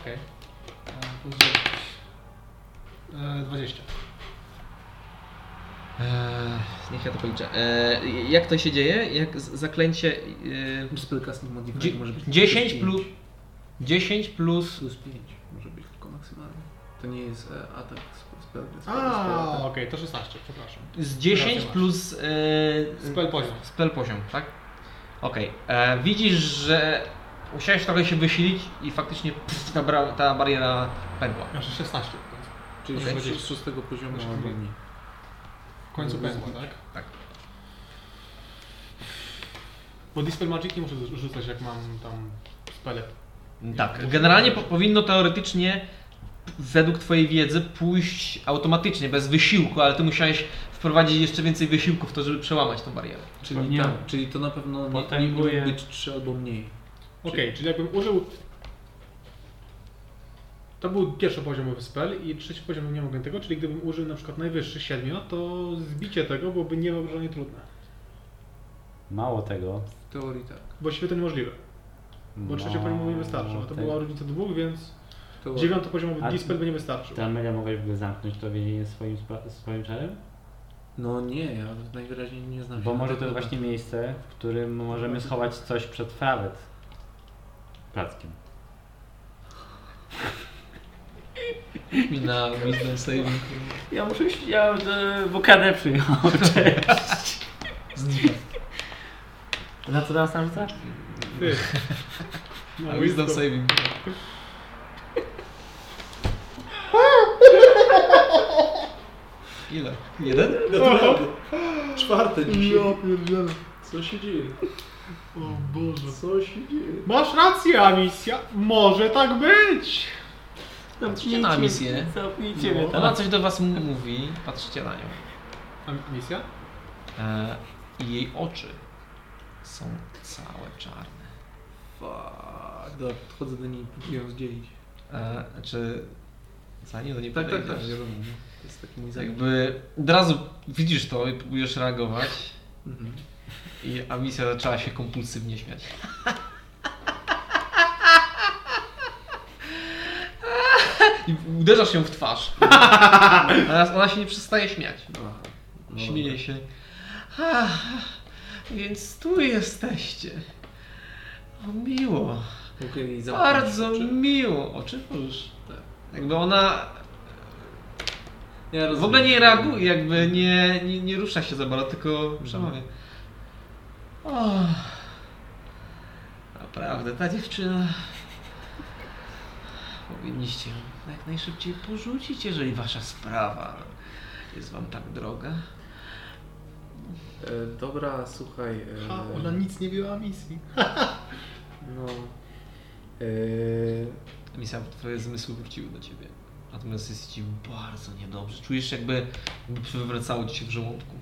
Speaker 2: Okej. E, Plus 9. E, 20.
Speaker 1: Eee, niech ja to policzę. Eee, jak to się dzieje? Jak z- zaklęcie. Eee,
Speaker 4: Spellcasting modifier
Speaker 1: Dzie-
Speaker 4: może być...
Speaker 1: 10
Speaker 4: pięć.
Speaker 1: plus. 10 plus.
Speaker 4: Plus 5 może być tylko maksymalnie. To nie jest e, atak z- spell. spell-
Speaker 2: A, okej,
Speaker 4: spell-
Speaker 2: to 16, przepraszam.
Speaker 1: Z 10
Speaker 2: Rację
Speaker 1: plus. Eee,
Speaker 2: Spell poziom.
Speaker 1: spell poziom, tak? Okej. Eee, widzisz, że musiałeś trochę się wysilić i faktycznie pff, ta, bra- ta bariera pękła.
Speaker 2: Znaczy 16 w końcu.
Speaker 4: Czyli
Speaker 1: Okej.
Speaker 4: okay. z szóstego poziomu
Speaker 3: No,
Speaker 2: Znaczy,
Speaker 4: albo mniej.
Speaker 2: W końcu
Speaker 4: Mogę
Speaker 2: pękła, tak?
Speaker 1: Tak.
Speaker 2: Bo dispel magic nie muszę rzucać, jak mam tam spele.
Speaker 1: Tak, generalnie po, powinno teoretycznie według twojej wiedzy pójść automatycznie, bez wysiłku, ale ty musiałeś wprowadzić jeszcze więcej wysiłku w to, żeby przełamać tą barierę.
Speaker 4: Czyli,
Speaker 3: Pewnie-
Speaker 4: tak, czyli to na pewno nie, nie
Speaker 3: Potęguje-
Speaker 4: mogą być 3 albo mniej.
Speaker 2: Okej, czyli jakbym użył... To był pierwszopoziomowy spell i trzeci poziom nie mogę tego, czyli gdybym użył na przykład najwyższy, 7, to zbicie tego byłoby niewyobrażalnie trudne.
Speaker 3: Mało tego.
Speaker 4: W teorii tak.
Speaker 2: Właściwie to niemożliwe, bo
Speaker 3: No.
Speaker 2: trzeciopoziomowy nie wystarczył, a no to
Speaker 3: tego.
Speaker 2: była różnica dwóch, więc
Speaker 4: W teorii.
Speaker 2: dziewiątopoziomowy
Speaker 3: Tak. A- Tak.
Speaker 2: dispel by nie wystarczył.
Speaker 3: Ta Amelia mogłaś go zamknąć to więzienie swoim, spa- swoim czarem?
Speaker 4: No nie, ja najwyraźniej nie znam się
Speaker 3: Bo
Speaker 4: na
Speaker 3: może No
Speaker 4: tym
Speaker 3: to jest
Speaker 4: na-
Speaker 3: właśnie miejsce, w którym możemy schować coś przed frawet. Plackiem.
Speaker 1: Na wisdom saving.
Speaker 3: Ja muszę iść, ja e, wokadę przyjął, cześć. Na co teraz tam
Speaker 2: Ty. No
Speaker 1: Na wisdom saving. Ile? Jeden?
Speaker 4: Czwarte dzisiaj. Ja pierdzielę. Co się dzieje?
Speaker 2: O Boże.
Speaker 4: Co się dzieje?
Speaker 2: Masz rację, Amicia. Może tak być. No.
Speaker 1: Patrzycie na misję.
Speaker 3: Cofnijcie mnie
Speaker 1: Ona coś do was m- mówi, patrzycie na nią.
Speaker 2: Misja?
Speaker 1: E, I jej oczy są całe czarne.
Speaker 4: Fuck. Dobra, podchodzę do niej i próbuję ją zdzielić.
Speaker 1: E, znaczy... Zanim do niej
Speaker 4: Tak, tak,
Speaker 1: podejdziesz.
Speaker 4: tak. wiadomo. To jest taki mój zamiar.
Speaker 1: Jakby od razu widzisz to i próbujesz reagować,
Speaker 4: Mhm.
Speaker 1: i Amicia zaczęła się kompulsywnie śmiać. I uderzasz ją w twarz. Ona, ona się nie przestaje śmiać.
Speaker 4: Aha. No
Speaker 1: Śmieje się. Ach, więc tu jesteście. O, miło.
Speaker 4: dobra. Mogę jej zamknąć
Speaker 1: Bardzo
Speaker 4: oczy?
Speaker 1: miło. Oczy możesz.
Speaker 4: Tak.
Speaker 1: Jakby ona
Speaker 4: Ja rozumiem.
Speaker 1: W ogóle nie reaguje, jakby nie, nie, nie rusza się za bardzo, tylko przemawia. O, naprawdę, ta dziewczyna. Powinniście ją jak najszybciej porzucić, jeżeli wasza sprawa jest wam tak droga.
Speaker 4: E, dobra, słuchaj. E,
Speaker 2: Ha, ona nic nie biła misji.
Speaker 4: No. E,
Speaker 1: Misja, twoje zmysły wróciły do ciebie. Natomiast jest ci bardzo niedobrze. Czujesz się jakby jakby przywracało ci się w żołądku.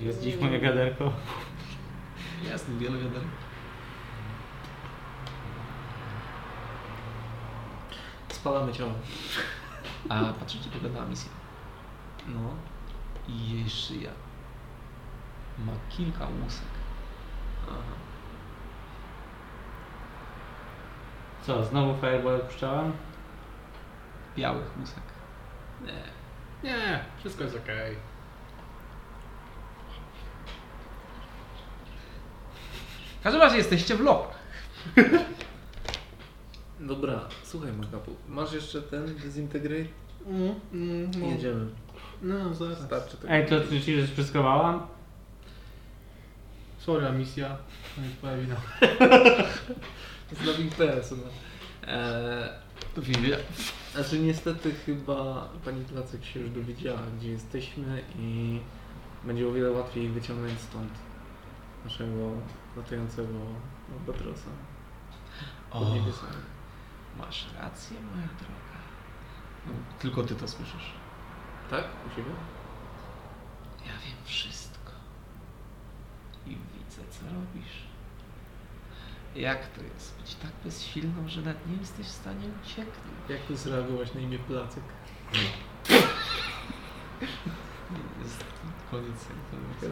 Speaker 3: Jest dziś moje gaderko.
Speaker 1: Jasne, wiele wiadomo.
Speaker 4: spalamy ciało.
Speaker 1: A patrzycie tylko na misję.
Speaker 4: No.
Speaker 1: i jej szyja ma kilka łusek.
Speaker 4: Aha.
Speaker 3: Co, znowu fireball puszczałem?
Speaker 1: Białych łusek.
Speaker 12: Nie, wszystko jest okej.
Speaker 1: W każdym razie jesteście w loch.
Speaker 4: Dobra, słuchaj Makapu, masz jeszcze ten Disintegrate?
Speaker 2: Mm, mm, no.
Speaker 4: Jedziemy.
Speaker 2: No, zaraz.
Speaker 4: Starczy tego.
Speaker 3: Ej, to ty ci spryskowałam?
Speaker 2: Sorry, a misja. To nie twoja wina.
Speaker 4: Z nowym PS-em. Eee,
Speaker 1: To widzę.
Speaker 4: Znaczy niestety chyba pani Placek się już dowiedziała, gdzie jesteśmy i będzie o wiele łatwiej wyciągnąć stąd naszego latającego albatrosa. pod
Speaker 1: O,
Speaker 4: niebiosami.
Speaker 1: masz rację, moja droga. No, Tylko ty to słyszysz.
Speaker 4: Tak? U siebie?
Speaker 1: Ja wiem wszystko. I widzę, co robisz. Jak to jest być tak bezsilną, że nawet nie jesteś w stanie ucieknąć?
Speaker 4: Jak tu zareagować na imię Placek?
Speaker 1: Jest koniec informacji.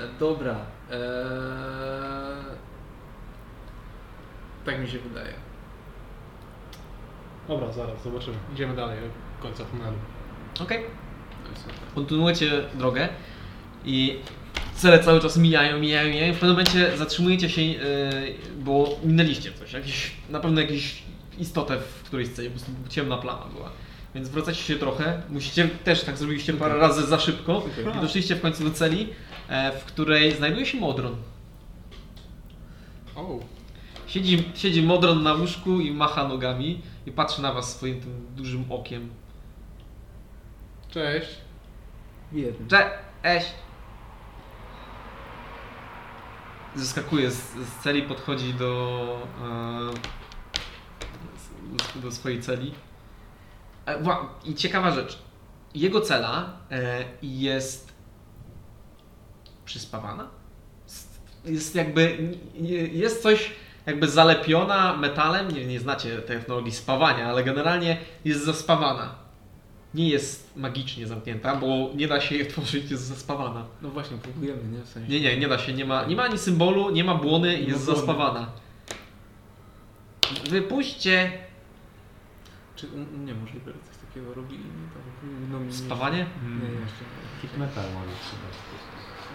Speaker 4: E, Dobra. Eee... Tak mi się wydaje.
Speaker 2: Dobra, zaraz, zobaczymy. Idziemy dalej, do końca tunelu.
Speaker 1: Okej. Kontynuujecie drogę i cele cały czas mijają, mijają, mijają. W pewnym momencie zatrzymujecie się, yy, bo minęliście coś. Jakiś, na pewno jakąś istotę w którejś scenie, po prostu ciemna plama była. Więc wracacie się trochę. Musicie też tak zrobiliście parę razy za szybko.
Speaker 4: Okej.
Speaker 1: I doszliście w końcu do celi, e, w której znajduje się Modron.
Speaker 12: O,
Speaker 1: Siedzi, siedzi Modron na łóżku i macha nogami i patrzy na was swoim tym dużym okiem.
Speaker 12: cześć.
Speaker 4: Jedno.
Speaker 1: Cześć! Zeskakuje z, z celi, podchodzi do, e, do, do swojej celi. E, wła- I ciekawa rzecz. Jego cela e, jest przyspawana. S- Jest jakby, nie- jest coś jakby zalepiona metalem, nie, nie znacie technologii spawania, ale generalnie jest zaspawana nie jest magicznie zamknięta, bo nie da się jej otworzyć, jest zaspawana.
Speaker 4: No właśnie, próbujemy, nie? W sensie.
Speaker 1: Nie, nie, nie da się, nie ma, nie ma ani symbolu, nie ma błony,
Speaker 4: Nie ma
Speaker 1: jest
Speaker 4: błony.
Speaker 1: zaspawana. Wypuśćcie!
Speaker 4: Czy um, nie możliwe, że coś takiego robili? Nie, tam, no, mi nie-
Speaker 1: Spawanie? Hmm.
Speaker 4: Nie, jeszcze nie.
Speaker 3: Jakiś metal może trzeba.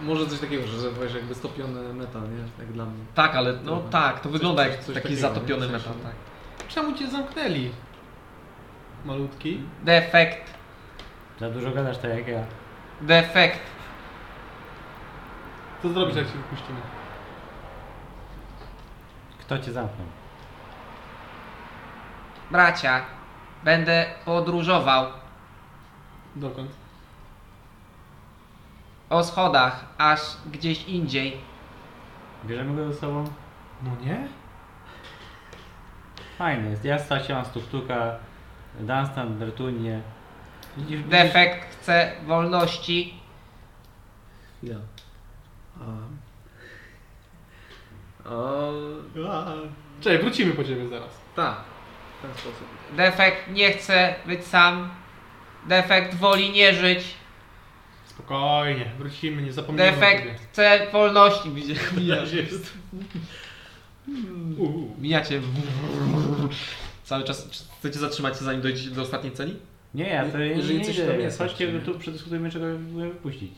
Speaker 4: Może coś takiego, że wiesz, jakby stopiony metal, nie? Jak dla mnie.
Speaker 1: Tak, ale no
Speaker 4: Dobra.
Speaker 1: tak, to wygląda
Speaker 4: coś-
Speaker 1: jak
Speaker 4: coś
Speaker 1: taki
Speaker 4: takiego,
Speaker 1: zatopiony
Speaker 4: nie? W
Speaker 1: metal,
Speaker 4: sensie-
Speaker 1: tak.
Speaker 2: Czemu cię zamknęli? Malutki?
Speaker 1: Defekt,
Speaker 3: Za dużo gadasz tak jak ja.
Speaker 1: defekt.
Speaker 2: Co zrobisz, jak się wypuścimy?
Speaker 3: Kto cię zamknął?
Speaker 1: Bracia, będę podróżował
Speaker 2: Dokąd?
Speaker 1: o schodach, aż gdzieś indziej.
Speaker 3: Bierzemy go ze sobą?
Speaker 8: No nie?
Speaker 3: Fajny jest. Ja straciłam stuktuka, Dunstan, Bertunię. Widzisz, widzisz?
Speaker 1: Defekt chce wolności.
Speaker 4: Chwila. A... A...
Speaker 2: Cześć, wrócimy po ciebie zaraz.
Speaker 4: Tak. W ten sposób.
Speaker 1: Defekt nie chce być sam. Defekt woli nie żyć.
Speaker 2: Spokojnie, wrócimy, nie zapomnijmy o tobie.
Speaker 1: Defekt chce wolności.
Speaker 2: Też jest. Uuu.
Speaker 1: Mijacie. Cały czas czy chcecie zatrzymać się zanim dojdziecie do ostatniej celi?
Speaker 3: Nie, ja to nie, nie,
Speaker 4: Jeżeli
Speaker 3: nie
Speaker 4: coś
Speaker 3: idę.
Speaker 4: tam jest
Speaker 3: Chodźcie,
Speaker 4: jeszcze, nie?
Speaker 3: tu przedyskutujmy czego próbujemy wypuścić.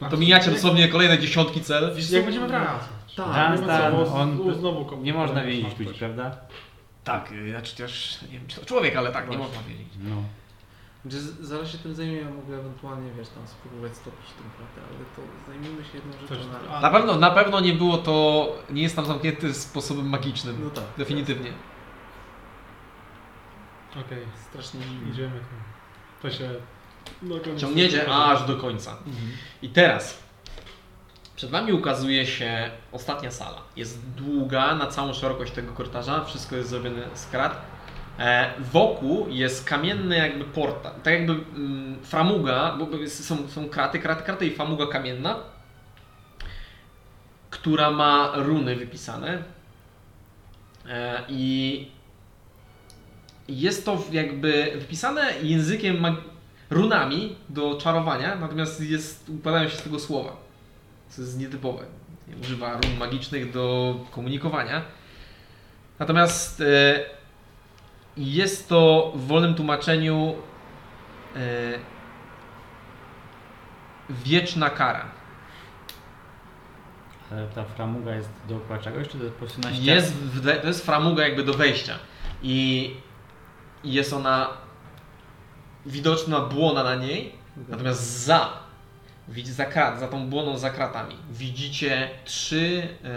Speaker 1: No to mijacie dosłownie kolejne dziesiątki cel.
Speaker 2: Wiesz, jak będziemy wracać?
Speaker 4: Tak.
Speaker 2: nie ma co,
Speaker 3: Dunstan,
Speaker 2: bo z- u,
Speaker 3: on...
Speaker 2: znowu komuś
Speaker 3: Nie można
Speaker 2: powiem,
Speaker 3: więzić
Speaker 2: masz
Speaker 3: ludzi,
Speaker 2: coś.
Speaker 3: prawda?
Speaker 5: Tak, y, znaczy też, nie wiem czy to człowiek, ale tak, nie można wiedzieć.
Speaker 3: No.
Speaker 4: Że z- zaraz się tym zajmie, ja mogę ewentualnie, wiesz, tam spróbować stopić tą kratę, ale to zajmijmy się jedną rzeczą na raz.
Speaker 1: Na pewno, na pewno nie było to. Nie jest tam zamknięty sposobem magicznym.
Speaker 4: No tak.
Speaker 1: Definitywnie.
Speaker 2: Okej,
Speaker 4: Strasznie dziwnie.
Speaker 2: idziemy. tam. To się... No, koniec.
Speaker 1: Ciągniecie aż do końca. I teraz przed Wami ukazuje się ostatnia sala. Jest długa na całą szerokość tego korytarza, wszystko jest zrobione z krat. E, wokół jest kamienny jakby portal, tak jakby mm, framuga, bo bo jest- są, są kraty, kraty, kraty i famuga kamienna, która ma runy wypisane. E, I jest to jakby wypisane językiem mag- runami do czarowania, natomiast jest, upadają się z tego słowa, co jest nietypowe. Używa run magicznych do komunikowania. Natomiast e, jest to w wolnym tłumaczeniu e, wieczna kara.
Speaker 3: Ale E, ta framuga jest dookoła czegoś, czy to jest po prostu na ścianie?
Speaker 1: Jest w, we- to jest framuga jakby do wejścia i jest ona widoczna błona na niej, natomiast za, widzi- za, krat, za tą błoną za kratami widzicie trzy e,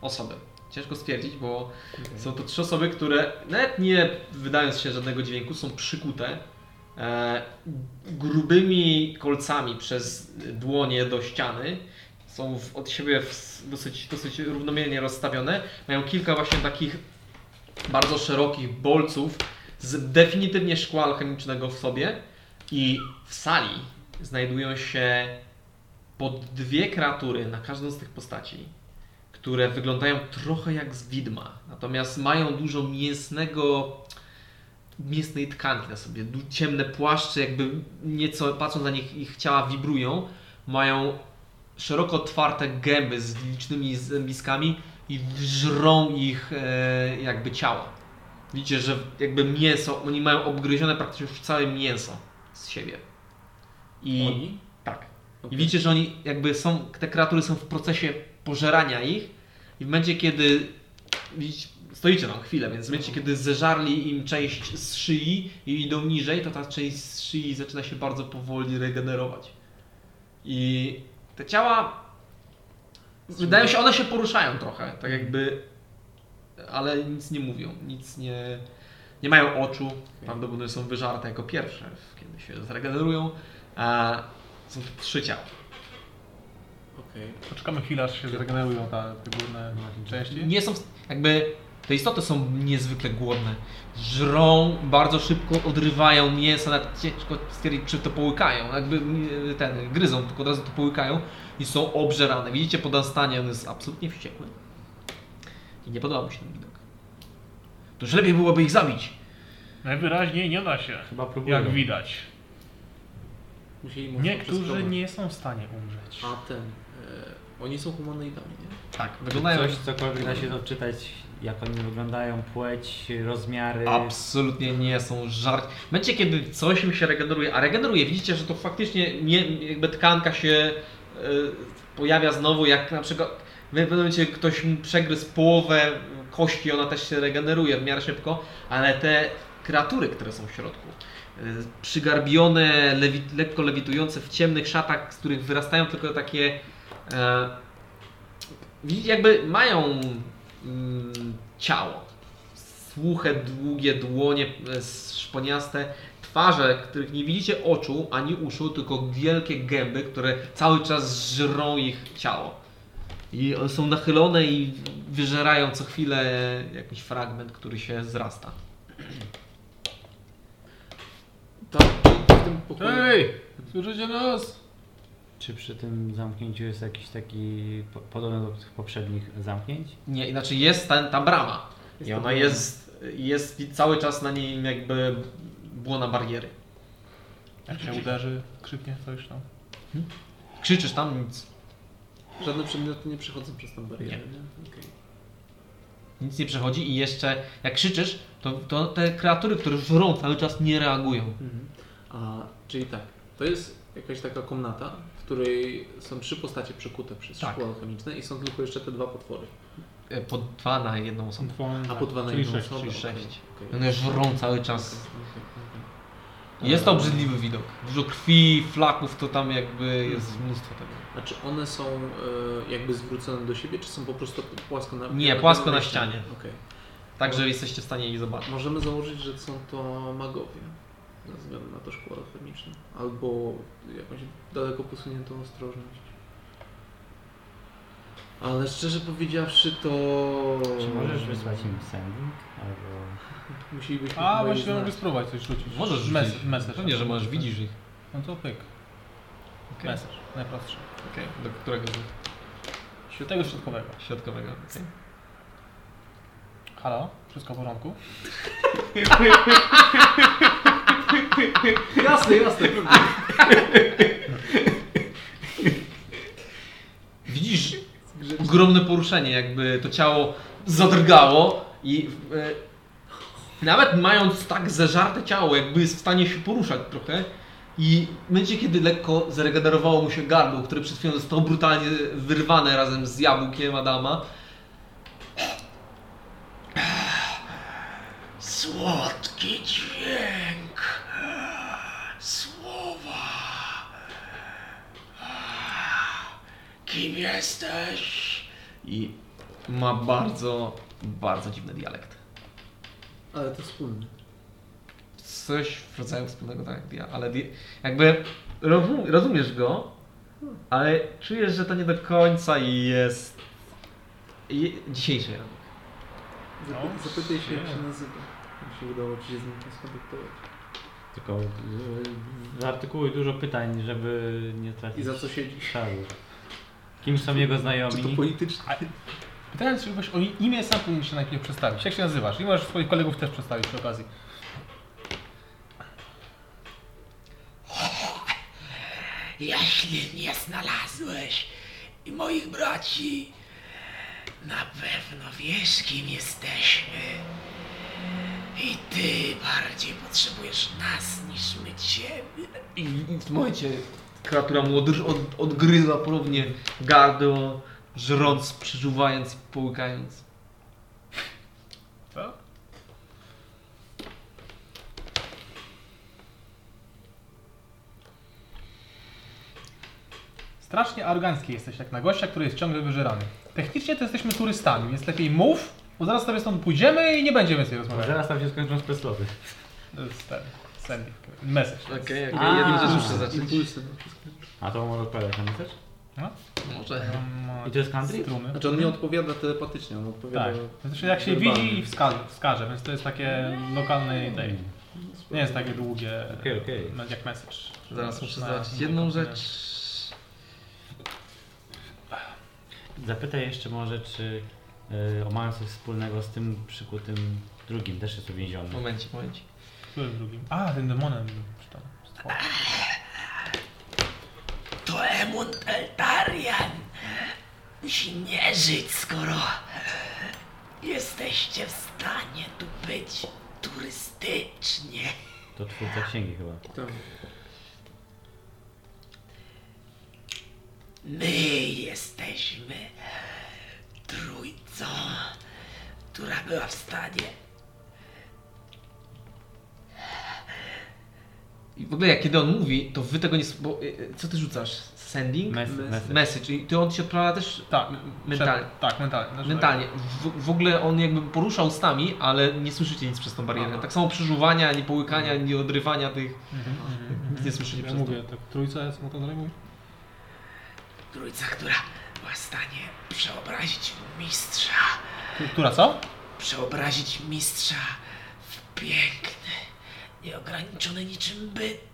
Speaker 1: osoby. Ciężko stwierdzić, bo są to trzy osoby, które nawet nie wydając się żadnego dźwięku są przykute e, grubymi kolcami przez dłonie do ściany są w, od siebie w, s- dosyć, dosyć równomiernie rozstawione. Mają kilka właśnie takich bardzo szerokich bolców z definitywnie szkła alchemicznego w sobie i w sali znajdują się po dwie kreatury na każdą z tych postaci, które wyglądają trochę jak z widma, natomiast mają dużo mięsnego mięsnej tkanki na sobie, du- ciemne płaszcze, jakby nieco patrząc na nich ich ciała wibrują, mają szeroko otwarte gęby z licznymi zębiskami i żrą ich e, jakby ciała. Widzicie, że jakby mięso, oni mają obgryzione praktycznie już całe mięso z siebie. I
Speaker 3: Oni?
Speaker 1: tak. I
Speaker 3: Okej.
Speaker 1: widzicie, że oni jakby są, te kreatury są w procesie pożerania ich i w momencie, kiedy widzicie, stoicie tam chwilę, więc w momencie, kiedy zeżarli im część z szyi i idą niżej, to ta część z szyi zaczyna się bardzo powoli regenerować. I te ciała, wydają się, one się poruszają trochę, tak jakby, ale nic nie mówią, nic nie, nie mają oczu, prawdopodobnie są wyżarte jako pierwsze, kiedy się zregenerują. A są to trzy ciała.
Speaker 4: Okej.
Speaker 8: Poczekamy chwilę, aż się zregenerują te, te górne części.
Speaker 1: Nie są, jakby te istoty są niezwykle głodne. Żrą bardzo szybko, odrywają mięso, nawet ciężko stwierdzić, czy to połykają. Jakby y, ten, gryzą, tylko od razu to połykają i są obżerane. Widzicie, podastanie on jest absolutnie wściekły. I nie podoba mu się ten widok. To już lepiej byłoby ich zabić.
Speaker 8: Najwyraźniej nie da się,
Speaker 3: Chyba próbują.
Speaker 8: jak widać.
Speaker 4: Musieli mocno
Speaker 8: Niektórzy
Speaker 4: przeskrobować.
Speaker 8: nie są w stanie umrzeć.
Speaker 4: A ten... E, oni są humanoidami, nie?
Speaker 1: Tak,
Speaker 8: no
Speaker 1: wyglądają
Speaker 3: Coś, cokolwiek da się odczytać, jak oni wyglądają, płeć, rozmiary.
Speaker 1: Absolutnie nie są żart. W momencie, kiedy coś im się regeneruje, a regeneruje, widzicie, że to faktycznie nie, jakby tkanka się e, pojawia znowu, jak na przykład w pewnym momencie ktoś mu przegryzł połowę kości, ona też się regeneruje w miarę szybko, ale te kreatury, które są w środku, e, przygarbione, lewi, lekko lewitujące w ciemnych szatach, z których wyrastają tylko takie e, widzicie, jakby mają mm, ciało, suche, długie dłonie e, szponiaste, twarze, których nie widzicie oczu ani uszu, tylko wielkie gęby, które cały czas żrą ich ciało. I one są nachylone i wyżerają co chwilę jakiś fragment, który się zrasta.
Speaker 4: Tam, w tym pokoju...
Speaker 8: Ej! Słyszycie nas?
Speaker 3: Czy przy tym zamknięciu jest jakiś taki po- podobny do tych poprzednich zamknięć?
Speaker 1: Nie, inaczej jest ten, ta brama. I ona jest, jest cały czas na niej jakby błona bariery.
Speaker 8: Jak się uderzy, krzyknie coś tam.
Speaker 1: Krzyczysz tam, nic,
Speaker 8: Tak.
Speaker 4: Żadne przedmioty nie przechodzą przez tą barierę, nie? Okej.
Speaker 1: nic nie przechodzi i jeszcze jak krzyczysz, to, to te kreatury, które żrą cały czas nie reagują.
Speaker 4: Mhm. A, czyli tak, to jest jakaś taka komnata, w której są trzy postacie przekute przez
Speaker 1: Tak.
Speaker 4: szkło alchemiczne i są tylko jeszcze te dwa potwory.
Speaker 1: E, Po dwa na jedną osobę.
Speaker 4: A po dwa na
Speaker 2: Czyli
Speaker 4: jedną
Speaker 2: sześć,
Speaker 4: osobę.
Speaker 1: Tak. czyli
Speaker 4: okej,
Speaker 1: sześć. No
Speaker 4: okej.
Speaker 1: One żrą cały czas.
Speaker 4: Okej, okej.
Speaker 1: Jest to obrzydliwy widok. Dużo krwi, flaków, to tam jakby jest mnóstwo tego.
Speaker 4: A czy one są e, jakby zwrócone do siebie, czy są po prostu płasko na
Speaker 1: Nie, płasko na ścianie.
Speaker 4: Okej.
Speaker 1: Także jesteście w stanie je zobaczyć.
Speaker 4: Możemy założyć, że są to magowie, ze względu na to szkło alchemiczne, albo jakąś daleko posuniętą ostrożność. Ale szczerze powiedziawszy, to.
Speaker 3: Czy możesz wysłać im sending? Albo...
Speaker 4: Musielibyśmy.
Speaker 8: A,
Speaker 4: chyba je
Speaker 8: właśnie mogę
Speaker 4: znaleźć.
Speaker 8: spróbować coś rzucić.
Speaker 1: Możesz rzucić.
Speaker 8: Mes- Message.
Speaker 1: Pewnie, że możesz, widzisz ich.
Speaker 8: No to pyk.
Speaker 1: Okej.
Speaker 8: Message, najprostszy.
Speaker 1: Okej, do którego? z-
Speaker 8: Tego środkowego.
Speaker 1: Środkowego. okej.
Speaker 8: Halo? Wszystko w porządku?
Speaker 4: Jasne, jasne.
Speaker 1: Widzisz ogromne poruszenie, jakby to ciało zadrgało i e, nawet mając tak zeżarte ciało, jakby jest w stanie się poruszać trochę i w momencie, kiedy lekko zregenerowało mu się gardło, które przed chwilą zostało brutalnie wyrwane razem z jabłkiem Adama. Słodki dźwięk słowa. Kim jesteś? I ma bardzo, bardzo dziwny dialekt.
Speaker 4: Ale to wspólne.
Speaker 1: Coś w rodzaju wspólnego tak jak ja, ale di- jakby rozum, rozumiesz go, ale czujesz, że to nie do końca jest je, dzisiejszy Jan.
Speaker 4: Zapy-
Speaker 13: No,
Speaker 4: Zapytaj się, jak
Speaker 13: nie.
Speaker 4: się nazywa. Mi się udało ci się z nim skontaktować.
Speaker 3: Tylko y, zaartykułuj dużo pytań, żeby nie tracić
Speaker 4: I za co siedzi?
Speaker 3: czasu. Kim są jego
Speaker 4: Czy to
Speaker 3: znajomi?
Speaker 4: polityczne?
Speaker 2: Pytając się o imię, sam powinien się najpierw przedstawić. Jak się nazywasz? I możesz swoich kolegów też przedstawić przy okazji.
Speaker 7: Jeśli nie znalazłeś moich braci, na pewno wiesz, kim jesteśmy. I ty bardziej potrzebujesz nas niż my ciebie.
Speaker 1: I, i w tym momencie kreatura mu od, od, odgryza ponownie gardło, żrąc, przeżuwając i połykając.
Speaker 2: Co? Strasznie arogancki jesteś, jak na gościa, który jest ciągle wyżerany. Technicznie to jesteśmy turystami, więc lepiej mów, bo zaraz sobie stąd pójdziemy i nie będziemy sobie
Speaker 3: Może
Speaker 2: rozmawiać.
Speaker 3: Zaraz tam się skończą spesloty.
Speaker 2: To jest ten, Sandy, message.
Speaker 1: Okej,
Speaker 3: okej, ja wiem, że
Speaker 1: muszę zacząć.
Speaker 4: Impulsy. no, wszystko.
Speaker 3: A to może odpowiadać na też?
Speaker 1: Może.
Speaker 3: I to jest country?
Speaker 2: Mm, Strumy.
Speaker 4: Znaczy on nie odpowiada telepatycznie, on odpowiada...
Speaker 2: Tak, to znaczy jak się
Speaker 4: Werbalnie.
Speaker 2: widzi i wskaże, wskaże, więc to jest takie lokalne, tej, nie jest takie długie
Speaker 3: Okej, okej.
Speaker 2: jak message.
Speaker 1: Zaraz muszę
Speaker 2: Na-
Speaker 1: zobaczyć
Speaker 2: na
Speaker 1: jedną
Speaker 2: komputerze.
Speaker 1: rzecz.
Speaker 3: Zapytaj jeszcze może, czy y, o mają coś wspólnego z tym przykutym drugim, też jest uwięziony.
Speaker 1: Momencik, momencik.
Speaker 2: Którym drugim? A, tym demonem. był, czy tam, stworem.
Speaker 7: To Emund Eltarian musi nie żyć, skoro jesteście w stanie tu być turystycznie.
Speaker 3: To twórca księgi chyba.
Speaker 4: Tak.
Speaker 7: My jesteśmy trójcą, która była w stanie
Speaker 1: I w ogóle jak kiedy on mówi, to wy tego nie... s- Bo, y, y, co ty rzucasz? Sending?
Speaker 3: Mes- mes-
Speaker 1: Message. I ty on się odprawia też
Speaker 2: Tak,
Speaker 1: Mentalnie.
Speaker 2: przed- Tak, mentalnie. Znaczy,
Speaker 1: mentalnie. W, w ogóle on jakby porusza ustami, ale nie słyszycie nic przez tą barierę.
Speaker 2: Aha.
Speaker 1: Tak samo przeżuwania, ani połykania, ani odrywania tych...
Speaker 2: Mhm.
Speaker 1: Nic nie słyszycie
Speaker 2: Ja
Speaker 1: przez to.
Speaker 2: mówię, tak w trójce, co mu to dalej mówi?
Speaker 7: trójca, która była w stanie przeobrazić mistrza,
Speaker 2: Która co?
Speaker 7: przeobrazić mistrza w piękny, nieograniczony niczym byt.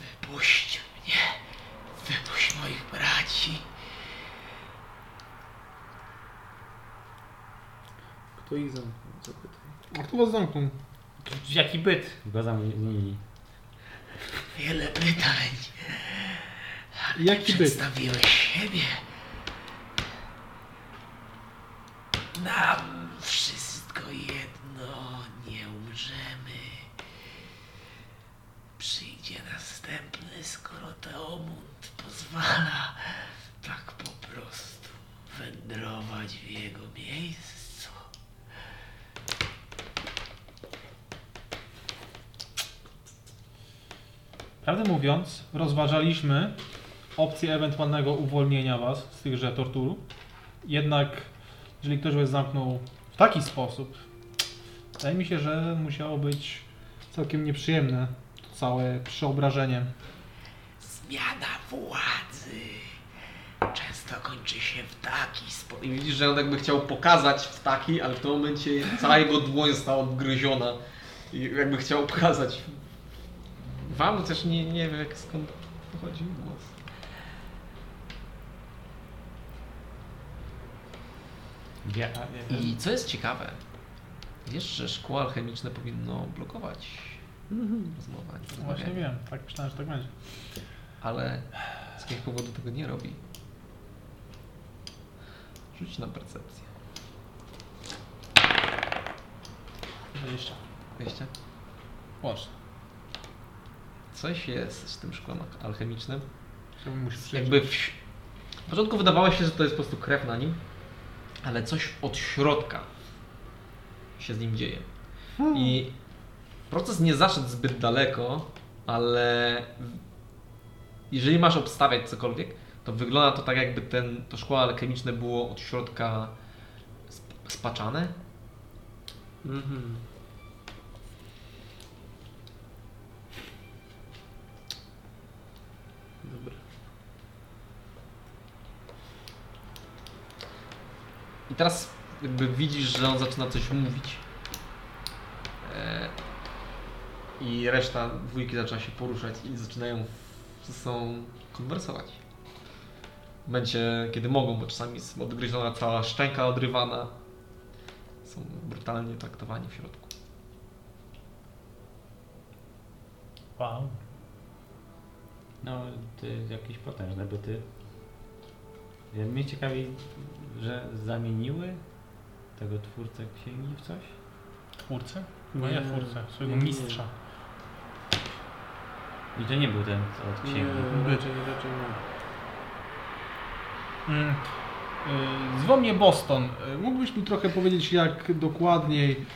Speaker 7: Wypuść mnie, wypuść moich braci.
Speaker 4: Kto ich zamknął? Zapytaj.
Speaker 2: A kto was zamknął?
Speaker 3: Jaki byt? Go zamienili.
Speaker 7: Wiele pytań.
Speaker 14: Jaki byt?
Speaker 7: Przedstawiłeś siebie. Nam wszystko jedno, nie umrzemy. Przyjdzie następny, skoro Teomund pozwala tak po prostu wędrować w jego miejscu.
Speaker 2: Prawdę mówiąc, rozważaliśmy opcję ewentualnego uwolnienia was z tychże tortur. Jednak, jeżeli ktoś was zamknął w taki sposób, wydaje mi się, że musiało być całkiem nieprzyjemne to całe przeobrażenie.
Speaker 7: Zmiana władzy często kończy się w taki sposób.
Speaker 1: I widzisz, że on jakby chciał pokazać w taki, ale w tym momencie cała jego dłoń została odgryziona. I jakby chciał pokazać. Wam też nie, nie wiem jak skąd pochodzi głos.
Speaker 3: Ja,
Speaker 1: I co jest ciekawe, wiesz, że szkło alchemiczne powinno blokować rozmowę.
Speaker 2: No Właśnie
Speaker 1: rozmawianie,
Speaker 2: wiem, tak myślałem, że tak będzie.
Speaker 1: Ale z jakiegoś powodu tego nie robi. Rzuć na percepcję.
Speaker 2: 20.
Speaker 1: Wiecie?
Speaker 2: Łącznie.
Speaker 1: Coś jest z tym szkłem ak- alchemicznym.
Speaker 2: Chciałbym mu się przyjrzeć.
Speaker 1: Jakby w... w początku wydawało się, że to jest po prostu krew na nim, ale coś od środka się z nim dzieje. I proces nie zaszedł zbyt daleko, ale w- jeżeli masz obstawiać cokolwiek, to wygląda to tak, jakby ten, to szkło alchemiczne było od środka sp- spaczane.
Speaker 4: Mhm. Dobra.
Speaker 1: I teraz jakby widzisz, że on zaczyna coś mówić. E, I reszta dwójki zaczyna się poruszać i zaczynają ze sobą konwersować. W momencie, kiedy mogą, bo czasami jest odgryziona cała szczęka odrywana. Są brutalnie traktowani w środku.
Speaker 2: Wow.
Speaker 3: No, ty jakieś potężne byty. Ja- Mnie ciekawi, że zamieniły tego twórcę księgi w coś?
Speaker 2: Twórcę? Chyba nie twórcę, swojego
Speaker 4: nie.
Speaker 2: mistrza.
Speaker 3: I to nie był ten od
Speaker 4: Nie,
Speaker 3: księgi.
Speaker 4: raczej, raczej nie.
Speaker 2: Mm. Y, Zwą mnie Boston. Y, Mógłbyś mi trochę powiedzieć, jak dokładniej,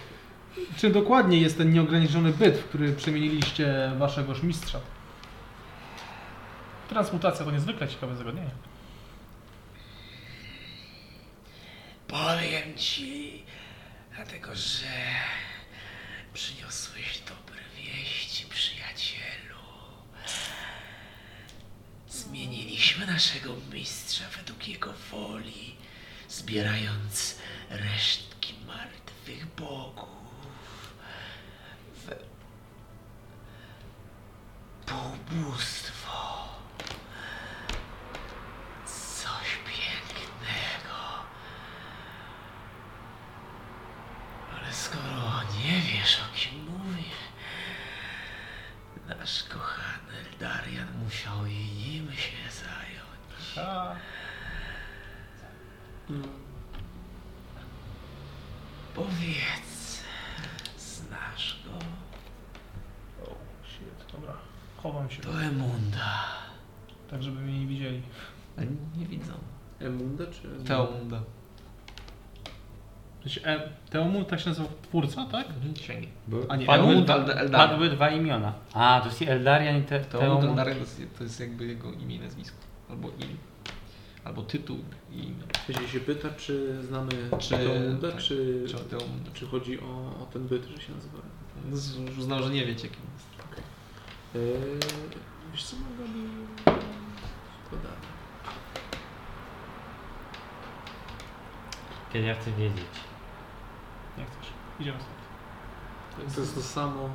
Speaker 2: czy dokładnie jest ten nieograniczony byt, w który przemieniliście waszego mistrza? Transmutacja to niezwykle ciekawe zagadnienie.
Speaker 7: Powiem ci, dlatego że przyniosłeś dobre wieści, przyjacielu. Zmieniliśmy naszego mistrza według jego woli, zbierając resztki martwych bogów. W półbóstwo. Coś pięknego. Ale skoro nie wiesz o kim mówię, nasz kochany Darian musiał i nim się zająć.
Speaker 2: A,
Speaker 7: Powiedz, znasz go?
Speaker 2: shit, dobra. Chowam się,
Speaker 7: To Emunda.
Speaker 2: tak żeby mnie nie widzieli.
Speaker 1: Ale nie widzą.
Speaker 4: Emunda E, czy Emunda?
Speaker 1: Teomunda.
Speaker 2: Znaczy, e, Teomu tak się nazywał twórca, tak?
Speaker 1: Księgi.
Speaker 3: Były-
Speaker 1: mhm, A nie,
Speaker 3: padły,
Speaker 1: Elmund
Speaker 3: dwa,
Speaker 1: Eld- Eldarian.
Speaker 3: padły dwa imiona. A, to jest i Eldarian i te,
Speaker 1: Teomund
Speaker 3: Teomund.
Speaker 1: Eldarian to jest- to jest jakby jego imię i nazwisko. Albo imię. Albo tytuł i imię.
Speaker 4: Jeśli się pyta, czy znamy
Speaker 1: Czy-
Speaker 4: czy, Teomunda,
Speaker 1: tak.
Speaker 4: czy,
Speaker 1: Czy Teomunda.
Speaker 4: czy chodzi o, o ten byt, że się nazywa. E,
Speaker 1: Z- Uznał, że nie wiecie kim jest.
Speaker 4: Eee, wiesz co, mogę mi podać.
Speaker 3: Kiedy ja chcę wiedzieć.
Speaker 2: Nie chcesz. Idziemy stąd.
Speaker 4: To jest to samo,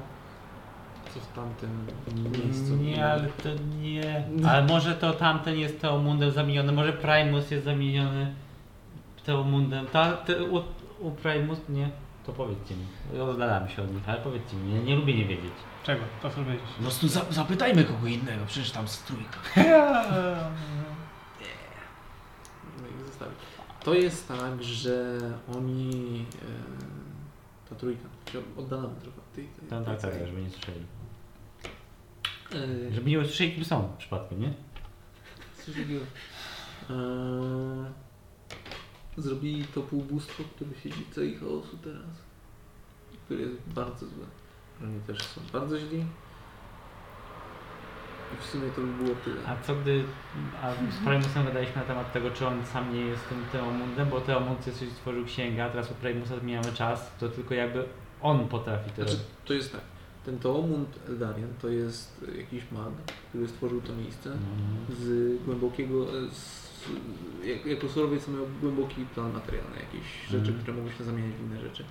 Speaker 4: co w tamtym miejscu.
Speaker 3: Nie, ale to nie. Ale może to tamten jest Teomundem zamieniony, może Primus jest zamieniony Teomundem. Ta, te, u, u Primus, nie. To powiedzcie mi. Oddalam się od nich, ale powiedzcie mi, ja nie lubię nie wiedzieć.
Speaker 2: Czego? To chcesz wiedzieć.
Speaker 15: Po prostu za, zapytajmy kogo innego, przecież tam strójka.
Speaker 4: No i zostawić. To jest tak, że oni. E, ta trójka, się oddalamy trochę od tej. tej
Speaker 3: Tam tak, tak,
Speaker 4: tej-
Speaker 3: żeby nie słyszeli.
Speaker 4: E,
Speaker 3: Żeby nie usłyszeli, kim są przypadkiem, nie?
Speaker 4: Coś takiego. Eee, zrobili to półbóstwo, które siedzi w celi chaosu teraz. Które jest bardzo złe. Oni też są bardzo źli. I w sumie to by było tyle.
Speaker 3: A co gdy. A z Primusem gadaliśmy na temat tego, czy on sam nie jest tym Teomundem, bo Teomund jest, stworzył księgę, a teraz u Primusa zmieniamy czas, to tylko jakby on potrafi to
Speaker 4: Znaczy,
Speaker 3: robić.
Speaker 4: to jest tak. Ten Toomund Eldarian to jest e, jakiś mag, który stworzył to miejsce.
Speaker 3: Mm.
Speaker 4: z głębokiego, e, z, jak, jako surowiec miał głęboki plan materialny, jakieś
Speaker 3: Mhm.
Speaker 4: rzeczy, które mogły się zamieniać w inne rzeczy.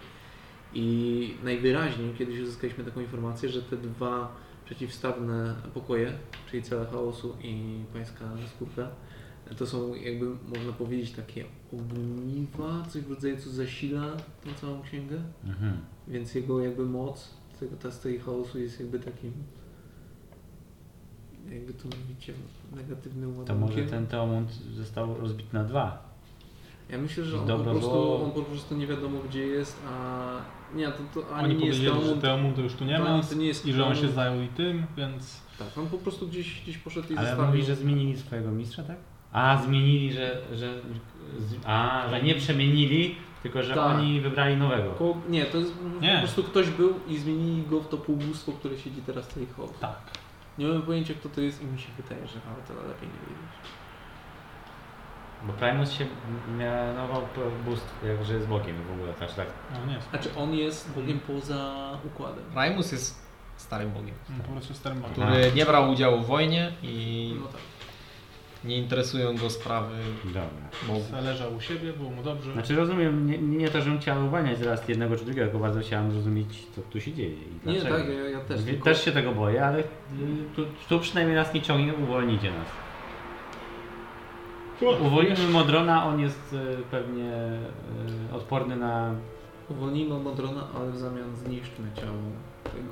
Speaker 4: I najwyraźniej kiedyś uzyskaliśmy taką informację, że te dwa przeciwstawne pokoje, czyli cele chaosu i pańska skórka, to są jakby można powiedzieć takie ogniwa, coś w rodzaju co zasila tą całą księgę,
Speaker 3: Mhm.
Speaker 4: więc jego jakby moc, tego, ta z tej chaosu jest jakby takim jakby to mówicie, negatywnym
Speaker 3: To
Speaker 4: ładunkiem.
Speaker 3: może ten Teomund został rozbity na dwa.
Speaker 4: Ja myślę, że on po,
Speaker 3: Dobra,
Speaker 4: prostu,
Speaker 3: bo-
Speaker 4: on po prostu nie wiadomo gdzie jest, a nie, to, to ani
Speaker 8: Oni
Speaker 4: nie jest
Speaker 8: powiedzieli, że
Speaker 4: Teomund,
Speaker 8: Teomundu już tu nie ma
Speaker 4: to nie jest
Speaker 8: i że on się
Speaker 4: Teomund.
Speaker 8: zajął i tym, więc...
Speaker 4: Tak, on po prostu gdzieś, gdzieś poszedł i
Speaker 3: Ale
Speaker 4: zostawił.
Speaker 3: mówi, że zmienili swojego mistrza, tak? A, zmienili, że... że z- a, że nie przemienili, tylko że
Speaker 4: Tak.
Speaker 3: oni wybrali nowego.
Speaker 4: Ko- nie, to jest
Speaker 8: Nie.
Speaker 4: po prostu ktoś był i zmienili go w to półbóstwo, które siedzi teraz w tej chowie.
Speaker 8: Tak.
Speaker 4: Nie mam pojęcia kto to jest i mi się wydaje, że ale to lepiej nie wiedzieć.
Speaker 3: Bo Primus się mianował bóstw, że jest Bogiem w ogóle, znaczy tak.
Speaker 8: No nie,
Speaker 4: A czy on jest Bogiem poza układem?
Speaker 1: Primus jest starym bogiem,
Speaker 8: on No, po prostu starym bagiem.
Speaker 1: który nie brał udziału w wojnie i
Speaker 4: No tak.
Speaker 1: nie interesują go sprawy
Speaker 3: Dobra.
Speaker 1: bogów.
Speaker 2: Tak.
Speaker 8: Leżał u siebie, było mu dobrze.
Speaker 3: Znaczy rozumiem, nie, nie to, żebym chciał uwalniać zaraz jednego czy drugiego, tylko bardzo chciałem zrozumieć, co tu się dzieje i
Speaker 4: Nie,
Speaker 3: dlaczego.
Speaker 4: tak, ja, ja też.
Speaker 3: też,
Speaker 4: Tylko,
Speaker 3: się tego boję, ale y, tu, tu przynajmniej nas nie ciągnie, uwolnicie nas. Uwolnimy Modrona, on jest y, pewnie y, odporny na...
Speaker 4: Uwolnijmy Modrona, ale w zamian zniszczmy ciało tego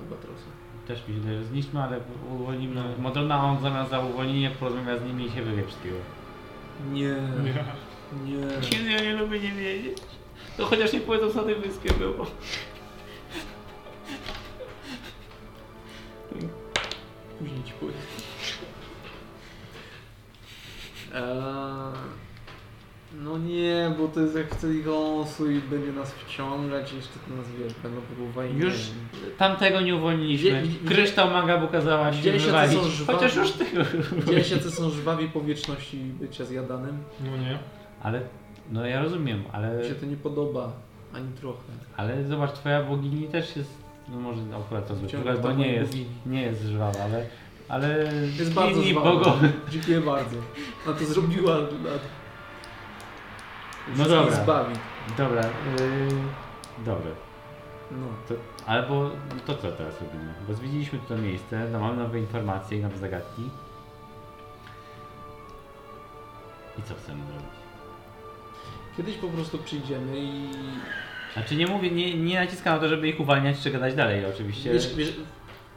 Speaker 4: albatrosa.
Speaker 3: Też mi się wydaje, że zniszczmy, ale uwolnimy Modrona, a on zamiast za uwolnienie porozmawia z nimi i się wywie wszystkiego.
Speaker 4: Nie, nie.
Speaker 3: Kiedy ja nie lubię nie wiedzieć. To chociaż nie powiedzą co na tej wyspie było.
Speaker 4: Później ci powiem. Eee, no nie, bo to jest jak w celi chaosu i będzie nas wciągać i jeszcze to nas wie, będą próbowali... nie
Speaker 3: Już
Speaker 4: wiem.
Speaker 3: Tamtego nie
Speaker 4: Gdzie-
Speaker 3: uwolniliśmy.
Speaker 4: gdzie-
Speaker 3: Kryształ maga pokazała się
Speaker 4: Widzieliście, co
Speaker 3: wywalić.
Speaker 4: są żwawe?
Speaker 3: Chociaż już tego.
Speaker 4: Widzieliście, co są żwawi po wieczności bycia zjadanym?
Speaker 8: No nie.
Speaker 3: Ale, no ja rozumiem, ale,
Speaker 4: Mi się to nie podoba, ani trochę.
Speaker 3: ale zobacz, twoja bogini też jest, no może akurat to zły
Speaker 4: Ciągle
Speaker 3: przykład, bo
Speaker 4: tam
Speaker 3: nie
Speaker 4: moje
Speaker 3: jest,
Speaker 4: bogini.
Speaker 3: nie jest żwawa, ale, ale
Speaker 4: Jest bardzo
Speaker 3: inni
Speaker 4: żwawa. tak.
Speaker 3: bogowie,
Speaker 4: Dziękuję bardzo. A to zrobiła... Na...
Speaker 3: No dobra.
Speaker 4: Zbawi.
Speaker 3: Dobra, yy, dobra.
Speaker 4: No.
Speaker 3: To, albo to co teraz robimy? Bo zwiedziliśmy to miejsce, no mamy nowe informacje i nowe zagadki. I co chcemy zrobić?
Speaker 4: Kiedyś po prostu przyjdziemy i...
Speaker 3: Znaczy nie mówię, nie, nie naciskam na to, żeby ich uwalniać czy gadać dalej oczywiście.
Speaker 4: Wiesz, wiesz,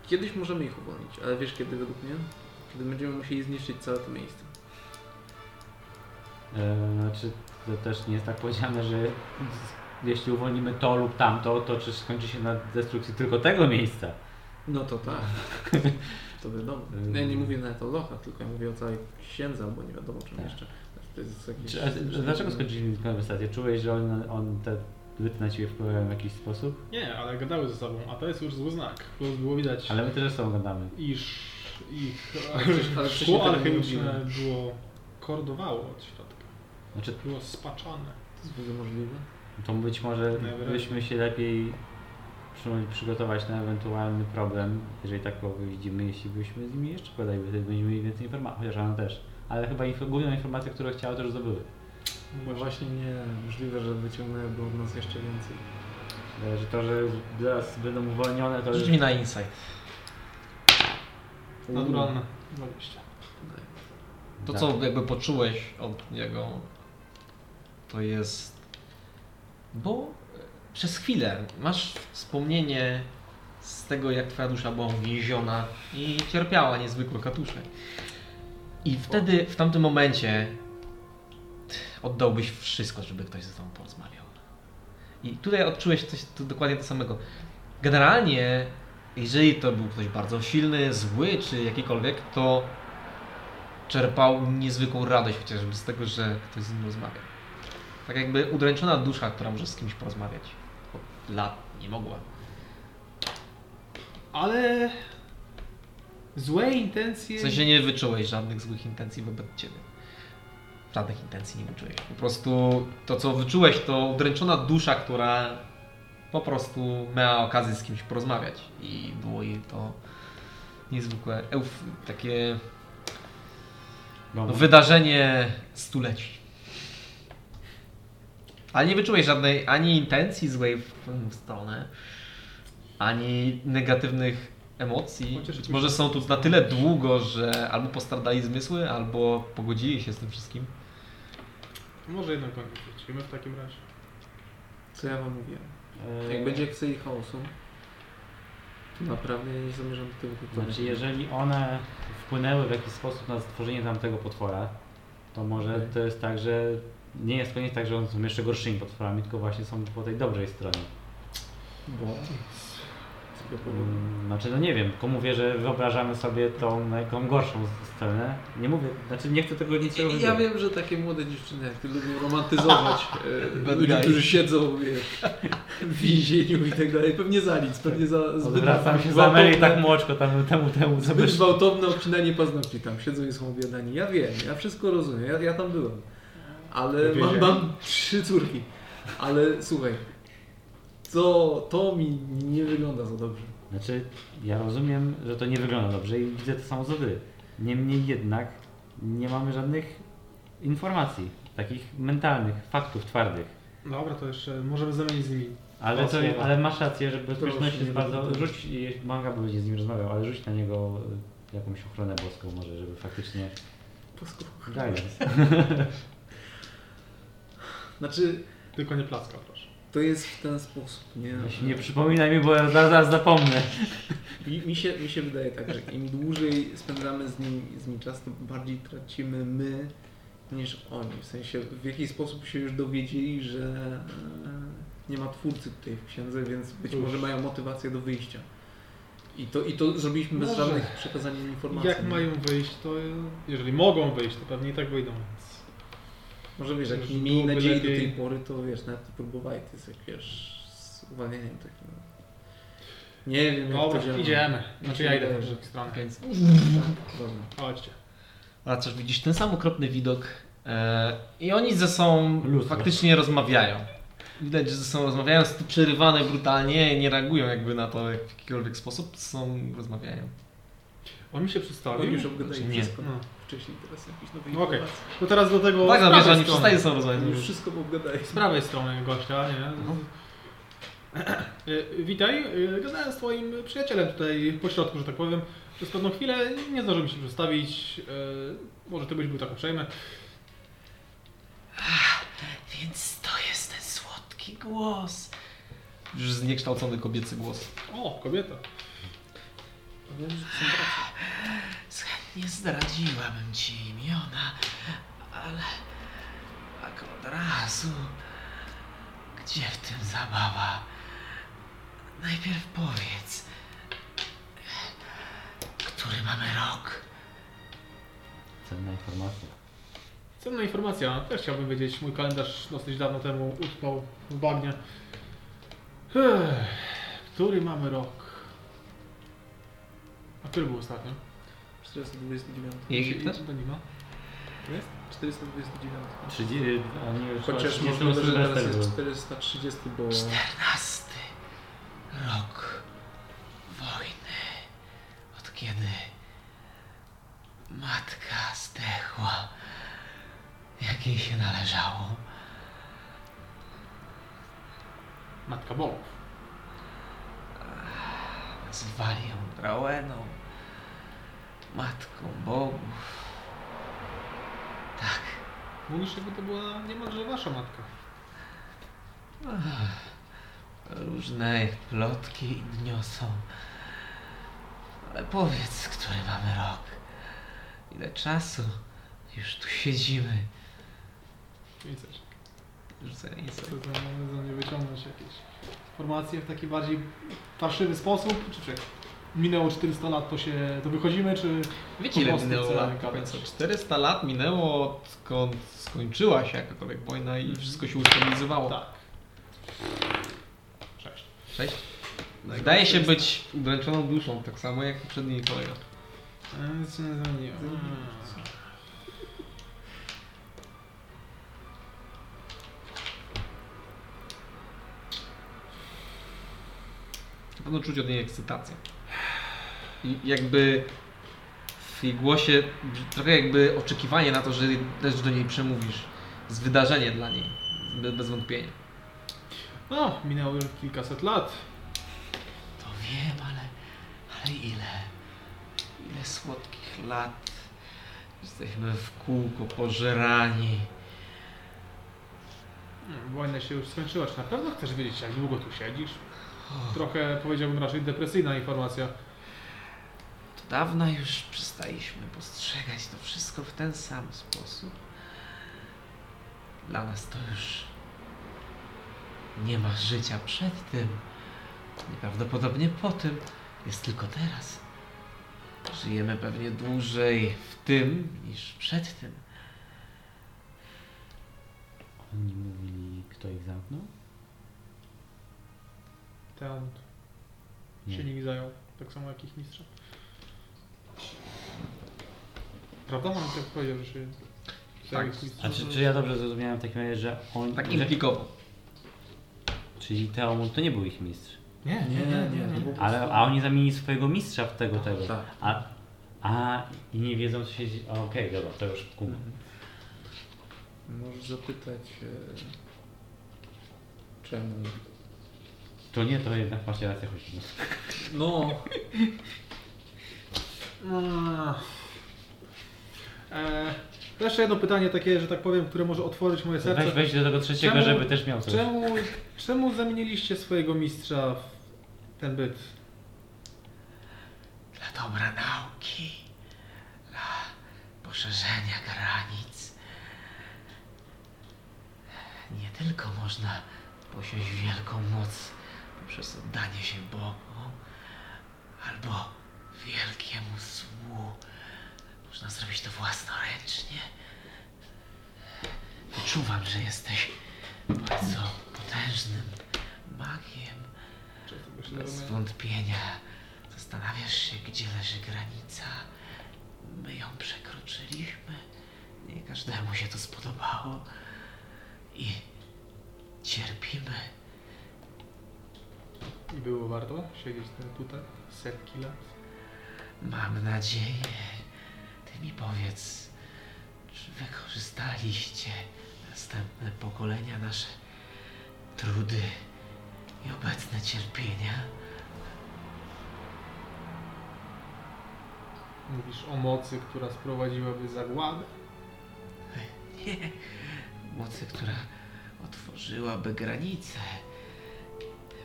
Speaker 4: kiedyś możemy ich uwolnić, ale wiesz kiedy według mnie? Kiedy będziemy musieli zniszczyć całe to miejsce.
Speaker 3: E, Znaczy to też nie jest tak powiedziane, że jeśli uwolnimy to lub tamto, to czy skończy się na destrukcji tylko tego miejsca?
Speaker 4: No to tak. To wiadomo.
Speaker 3: Ym.
Speaker 4: Ja nie mówię nawet o lochach, tylko ja mówię o całej księdza, bo nie wiadomo czym jeszcze. To jest jakieś...
Speaker 3: Tak. Czy, a, dlaczego skończyliśmy tę konwersację? Czułeś, że on, on te byty na ciebie wpływają w jakiś sposób?
Speaker 8: Nie, ale gadały ze sobą, a to jest już zły znak. Plus było widać,
Speaker 3: Ale my też ze sobą gadamy.
Speaker 8: iż ich
Speaker 4: przecież- ale wcześniej
Speaker 8: szkło
Speaker 4: tego nie
Speaker 8: alchemiczne
Speaker 4: robiłem.
Speaker 8: było kordowało od środka.
Speaker 3: Znaczy
Speaker 8: Było spaczane.
Speaker 4: To jest bardzo możliwe.
Speaker 3: to być może
Speaker 8: Najwyraźniej.
Speaker 3: byśmy się lepiej przy- przygotować na ewentualny problem, jeżeli takowy widzimy, jeśli byśmy z nimi jeszcze podali, wtedy będziemy mieli więcej informacji, chociaż one też. Ale chyba info, główną informację, którą chciały, to już zdobyły.
Speaker 4: No właśnie nie, możliwe, że wyciągnęłyby od nas jeszcze więcej.
Speaker 3: E, Że to, że zaraz będą uwolnione, to
Speaker 1: Rzuć
Speaker 3: już...
Speaker 1: mi na insight.
Speaker 8: Naturalne. 20.
Speaker 1: To
Speaker 3: Tak.
Speaker 1: co jakby poczułeś od niego to jest... Bo przez chwilę masz wspomnienie z tego jak twoja dusza była uwięziona i cierpiała niezwykłe katusze. I wtedy, w tamtym momencie oddałbyś wszystko, żeby ktoś ze tobą porozmawiał. I tutaj odczułeś coś tu dokładnie to samego. Generalnie, jeżeli to był ktoś bardzo silny, zły czy jakikolwiek, to czerpał niezwykłą radość chociażby z tego, że ktoś z nim rozmawia. Tak jakby udręczona dusza, która może z kimś porozmawiać. Od lat nie mogła.
Speaker 2: Ale złe intencje.
Speaker 1: W sensie nie wyczułeś żadnych złych intencji wobec ciebie. Żadnych intencji nie wyczułeś. Po prostu to, co wyczułeś, to udręczona dusza, która po prostu miała okazję z kimś porozmawiać. I było jej to niezwykłe, euf, takie
Speaker 3: No,
Speaker 1: No, wydarzenie stuleci. Ale nie wyczułeś żadnej ani intencji złej w twoją stronę, ani negatywnych emocji.
Speaker 8: Chociaż
Speaker 1: Być
Speaker 8: jakoś-
Speaker 1: może są tu na tyle długo, że albo postradali zmysły, albo pogodzili się z tym wszystkim.
Speaker 8: Może jednak go nie wrócimy w takim razie.
Speaker 4: Co ja wam mówiłem?
Speaker 3: e,
Speaker 4: Jak będzie chce i chaosu, to naprawdę ja nie zamierzam do tego wrócić.
Speaker 3: Znaczy, jeżeli one wpłynęły w jakiś sposób na stworzenie tamtego potwora, to może
Speaker 4: Okej.
Speaker 3: to jest tak, że nie jest to nie tak, że one są jeszcze gorszymi potworami, tylko właśnie są po tej dobrej stronie.
Speaker 4: Bo... Z tego powodu.
Speaker 3: Mm, Znaczy, no nie wiem, tylko mówię, że wyobrażamy sobie tą, no, tą gorszą s- stronę. Nie mówię, znaczy nie chcę tego niczego
Speaker 4: I Ja
Speaker 3: wybrać.
Speaker 4: wiem, że takie młode dziewczyny, jak ty lubią romantyzować e,
Speaker 1: Bad
Speaker 4: ludzi,
Speaker 1: guy.
Speaker 4: którzy siedzą wiesz, w więzieniu i tak dalej. Pewnie za nic, pewnie za zbyt
Speaker 3: Odwracam się za
Speaker 4: gwałtowne-
Speaker 3: Ameli tak młoczko tam temu, temu, co
Speaker 4: Zbyt
Speaker 3: byś...
Speaker 4: gwałtowne obcinanie paznokci tam siedzą i są obiadani. Ja wiem, ja wszystko rozumiem, ja, ja tam byłem. Ale mam, mam trzy córki. Ale słuchaj, to, to mi nie wygląda za dobrze.
Speaker 3: Znaczy, ja rozumiem, że to nie wygląda dobrze i widzę to samo co wy. Niemniej jednak nie mamy żadnych informacji, takich mentalnych, faktów twardych.
Speaker 2: Dobra, to jeszcze możemy zamienić z nimi.
Speaker 3: Ale,
Speaker 2: O,
Speaker 3: to,
Speaker 2: słowa.
Speaker 3: ale masz rację, że
Speaker 4: To
Speaker 3: bezpieczność
Speaker 4: już nie
Speaker 3: jest bardzo.
Speaker 4: rozumiem.
Speaker 3: Rzuć, i manga bo będzie z nim rozmawiał, ale rzuć na niego y, jakąś ochronę boską, może, żeby faktycznie.
Speaker 4: Boską.
Speaker 3: Guidance.
Speaker 4: Znaczy,
Speaker 2: Tylko nie placka, proszę.
Speaker 4: to jest w ten sposób, nie?
Speaker 3: Właśnie nie przypominaj mi, bo ja zaraz, zaraz zapomnę.
Speaker 4: Mi, mi, się, mi się wydaje tak, że im dłużej spędzamy z nim, z nim czas, tym bardziej tracimy my niż oni. W sensie w jakiś sposób się już dowiedzieli, że e, nie ma twórcy tutaj w księdze, więc być może mają motywację do wyjścia. I to, i to zrobiliśmy bez
Speaker 2: Może.
Speaker 4: żadnych przekazania im informacji.
Speaker 2: Jak
Speaker 4: nie?
Speaker 2: mają wyjść, to jeżeli mogą wyjść, to pewnie i tak wyjdą. Więc...
Speaker 4: Może wiesz, jak
Speaker 2: Może
Speaker 4: mieli
Speaker 2: byłoby
Speaker 4: nadziei do
Speaker 2: lepiej-
Speaker 4: tej pory, to wiesz, nawet nie próbowali, to jest jak wiesz, z uwalnieniem takim. Nie wiem, jak to
Speaker 2: Dobra,
Speaker 4: działa.
Speaker 2: idziemy. Znaczy ja idę
Speaker 4: Idziemy.
Speaker 2: w drugą stronę.
Speaker 1: Więc
Speaker 4: Tak, dobra.
Speaker 2: Chodźcie.
Speaker 1: A cóż, widzisz ten sam okropny widok e, i oni ze sobą
Speaker 3: Lustro.
Speaker 1: faktycznie rozmawiają. Widać, że ze sobą rozmawiają, są tu przerywane brutalnie, nie reagują jakby na to w jakikolwiek sposób, są, rozmawiają.
Speaker 2: On mi się
Speaker 4: Oni
Speaker 2: przedstawił.
Speaker 4: już obgadali
Speaker 1: Nie.
Speaker 4: wszystko.
Speaker 2: No.
Speaker 4: wcześniej, teraz jakieś nowe
Speaker 2: No okej.
Speaker 4: informacje.
Speaker 2: To teraz do tego.
Speaker 1: Tak,
Speaker 2: z
Speaker 1: no wiesz,
Speaker 2: prawej
Speaker 1: oni
Speaker 2: strony.
Speaker 1: przestają ze sobą rozmawiać.
Speaker 4: Już wszystko obgadaj.
Speaker 2: Z prawej strony gościa, nie? Y, Witaj, y, gadałem z twoim przyjacielem tutaj po środku, że tak powiem. Przez pewną chwilę nie zdążyłem się przedstawić. y, Może ty byś był tak uprzejmy.
Speaker 16: Więc to jest ten słodki głos.
Speaker 1: Już zniekształcony kobiecy głos.
Speaker 2: O, kobieta.
Speaker 4: Wiem, że są bracia.
Speaker 16: Z- Nie zdradziłabym ci imiona, ale tak od razu. Gdzie w tym zabawa? Najpierw powiedz, który mamy rok?
Speaker 3: Cenna informacja.
Speaker 2: Cenna informacja, też chciałbym wiedzieć. Mój kalendarz dosyć dawno temu utknął w bagnie. Ech, który mamy rok? A który był ostatnio?
Speaker 4: 429.
Speaker 1: Egipter?
Speaker 2: To nie ma.
Speaker 4: 429.
Speaker 3: Trzydzie- e, Oni już
Speaker 4: Chociaż
Speaker 3: nie
Speaker 4: możliwe, że
Speaker 3: Sylwester
Speaker 4: teraz
Speaker 3: był.
Speaker 4: jest 430, bo...
Speaker 16: Nasty rok wojny, od kiedy matka zdechła, jak jej się należało.
Speaker 2: Matka Bogów.
Speaker 16: Zwali ją Raueną, matką bogów. Tak,
Speaker 2: Mówisz, jakby to była niemalże wasza matka.
Speaker 16: różne plotki niosą. Ale powiedz, który mamy rok? Ile czasu już tu siedzimy?
Speaker 2: Widzę, że
Speaker 1: Rzucaj na insight.
Speaker 2: to za- za mnie wyciągnąć jakieś informacje w taki bardziej parszywy sposób. Czy, czy minęło 400 lat, to się to wychodzimy, czy
Speaker 1: Wiecie ile
Speaker 2: Po prostu
Speaker 1: minęło
Speaker 2: chcę
Speaker 1: lat?
Speaker 2: gadać.
Speaker 1: Powiedzmy, 400 lat minęło odkąd skończyła się jakakolwiek wojna
Speaker 16: Mhm.
Speaker 1: i wszystko się ustabilizowało.
Speaker 2: tak. Cześć.
Speaker 1: Cześć. Wydaje się być udręczoną duszą, tak samo jak poprzedni kolega.
Speaker 2: A, Nic się nie zmieniło.
Speaker 1: Na pewno czuć od niej ekscytację. I jakby w jej głosie brz- trochę jakby oczekiwanie na to, że też do niej przemówisz. Z wydarzenie dla niej. Be- Bez wątpienia.
Speaker 2: No, minęło już kilkaset lat.
Speaker 16: To wiem, ale, ale ile? Ile słodkich lat jesteśmy w kółko pożerani.
Speaker 2: Mm, Wojna się już skończyła. Czy na pewno chcesz wiedzieć, jak długo tu siedzisz? Trochę powiedziałbym raczej depresyjna informacja.
Speaker 16: Od dawna już przestaliśmy postrzegać to wszystko w ten sam sposób.
Speaker 17: Dla nas to już nie ma życia przed tym. Nieprawdopodobnie po tym. Jest tylko teraz. Żyjemy pewnie dłużej w tym niż przed tym.
Speaker 3: Oni mówili, kto ich zamknął?
Speaker 2: Ten się nimi zajął, tak samo jak ich mistrza. Prawda? Mam tak powiedział, że się zajął
Speaker 4: Tak.
Speaker 2: ich mistrza.
Speaker 3: A
Speaker 4: Znaczy,
Speaker 3: czy, czy ja dobrze zrozumiałem w takim razie, że on...
Speaker 18: Tak
Speaker 3: że,
Speaker 18: implikowo.
Speaker 3: czyli Teomund to nie był ich mistrz.
Speaker 2: Nie,
Speaker 4: Nie, nie, nie.
Speaker 3: Ale, a oni zamienili swojego mistrza w tego, tego.
Speaker 1: Tak.
Speaker 3: A, a i nie wiedzą co się dzieje. A, Okej, dobra, to już kumam.
Speaker 1: Możesz zapytać, e, czemu.
Speaker 3: To nie, to jednak macie rację choć.
Speaker 1: No,
Speaker 2: Eee, to jeszcze jedno pytanie takie, że tak powiem, które może otworzyć moje serce.
Speaker 3: Weź, weź do tego trzeciego,
Speaker 2: Czemu-
Speaker 3: żeby też miał coś.
Speaker 2: Czemu, czemu zamieniliście swojego mistrza w ten byt?
Speaker 4: Dla dobra nauki, dla poszerzenia granic. Nie tylko można posiąść wielką moc poprzez oddanie się Bogu, albo wielkiemu złu. Można zrobić to własnoręcznie. Wyczuwam, że jesteś bardzo potężnym magiem. Bez wątpienia zastanawiasz się, gdzie leży granica. My ją przekroczyliśmy. Nie każdemu się to spodobało. I cierpimy.
Speaker 2: I było warto siedzieć ten tutaj setki lat?
Speaker 4: Mam nadzieję, ty mi powiedz, czy wykorzystaliście następne pokolenia nasze trudy i obecne cierpienia?
Speaker 2: Mówisz o mocy, która sprowadziłaby zagładę?
Speaker 4: Nie. Mocy, która otworzyłaby granice.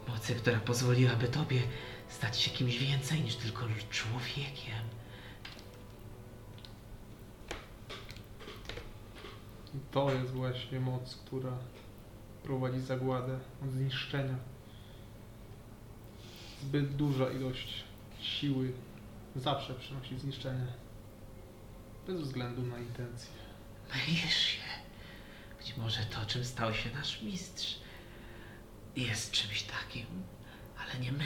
Speaker 4: Mocy, która pozwoliłaby tobie stać się kimś więcej niż tylko człowiekiem.
Speaker 2: I to jest właśnie moc, która prowadzi zagładę od zniszczenia. Zbyt duża ilość siły zawsze przynosi zniszczenie. Bez względu na intencje.
Speaker 4: Mylisz się. Być może to, czym stał się nasz mistrz, jest czymś takim, ale nie my.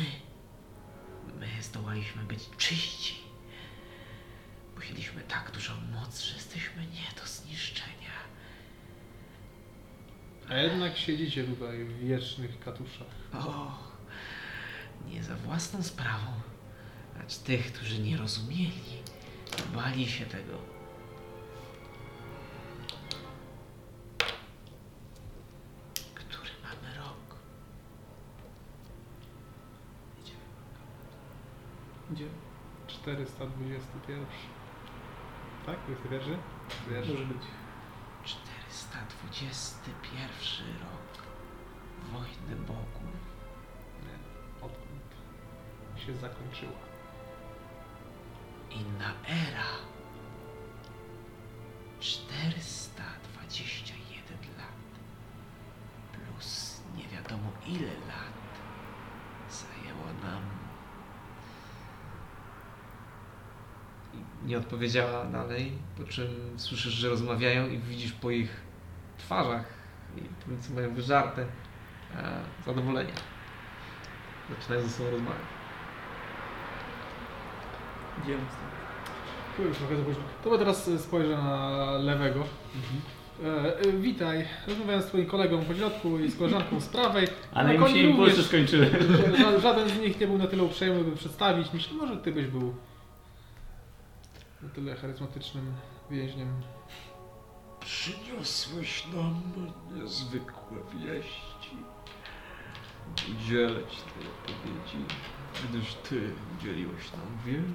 Speaker 4: My zdołaliśmy być czyści. Posiedliśmy tak dużą moc, że jesteśmy nie do zniszczenia.
Speaker 2: A jednak siedzicie tutaj w wiecznych katuszach.
Speaker 4: O, nie za własną sprawą, lecz tych, którzy nie rozumieli, bali się tego. Który mamy rok?
Speaker 2: Gdzie? 421. Tak? 21?
Speaker 1: może być.
Speaker 4: 421 rok wojny Bogów.
Speaker 2: Odkąd się zakończyła.
Speaker 4: Inna era. 421 lat. Plus nie wiadomo ile lat zajęło nam
Speaker 18: Nie odpowiedziała dalej, po czym słyszysz, że rozmawiają i widzisz po ich twarzach, i tym, co mają wyżarte, e, zadowolenie. Zaczynają ze sobą rozmawiać.
Speaker 1: Idziemy stąd.
Speaker 2: Tu już trochę za późno. To ja teraz y, spojrzę na lewego. E, y, witaj. Rozmawiałem z twoim kolegą po środku i z koleżanką z prawej.
Speaker 3: Ale
Speaker 2: Na
Speaker 3: im
Speaker 2: koniu
Speaker 3: się impulsy
Speaker 2: również
Speaker 3: skończyły.
Speaker 2: ża- Żaden z nich nie był na tyle uprzejmy, by przedstawić mi się. Może ty byś był na tyle charyzmatycznym więźniem.
Speaker 1: Przyniosłeś nam niezwykłe wieści. Udzielę ci tej odpowiedzi, gdyż ty udzieliłeś nam wielu.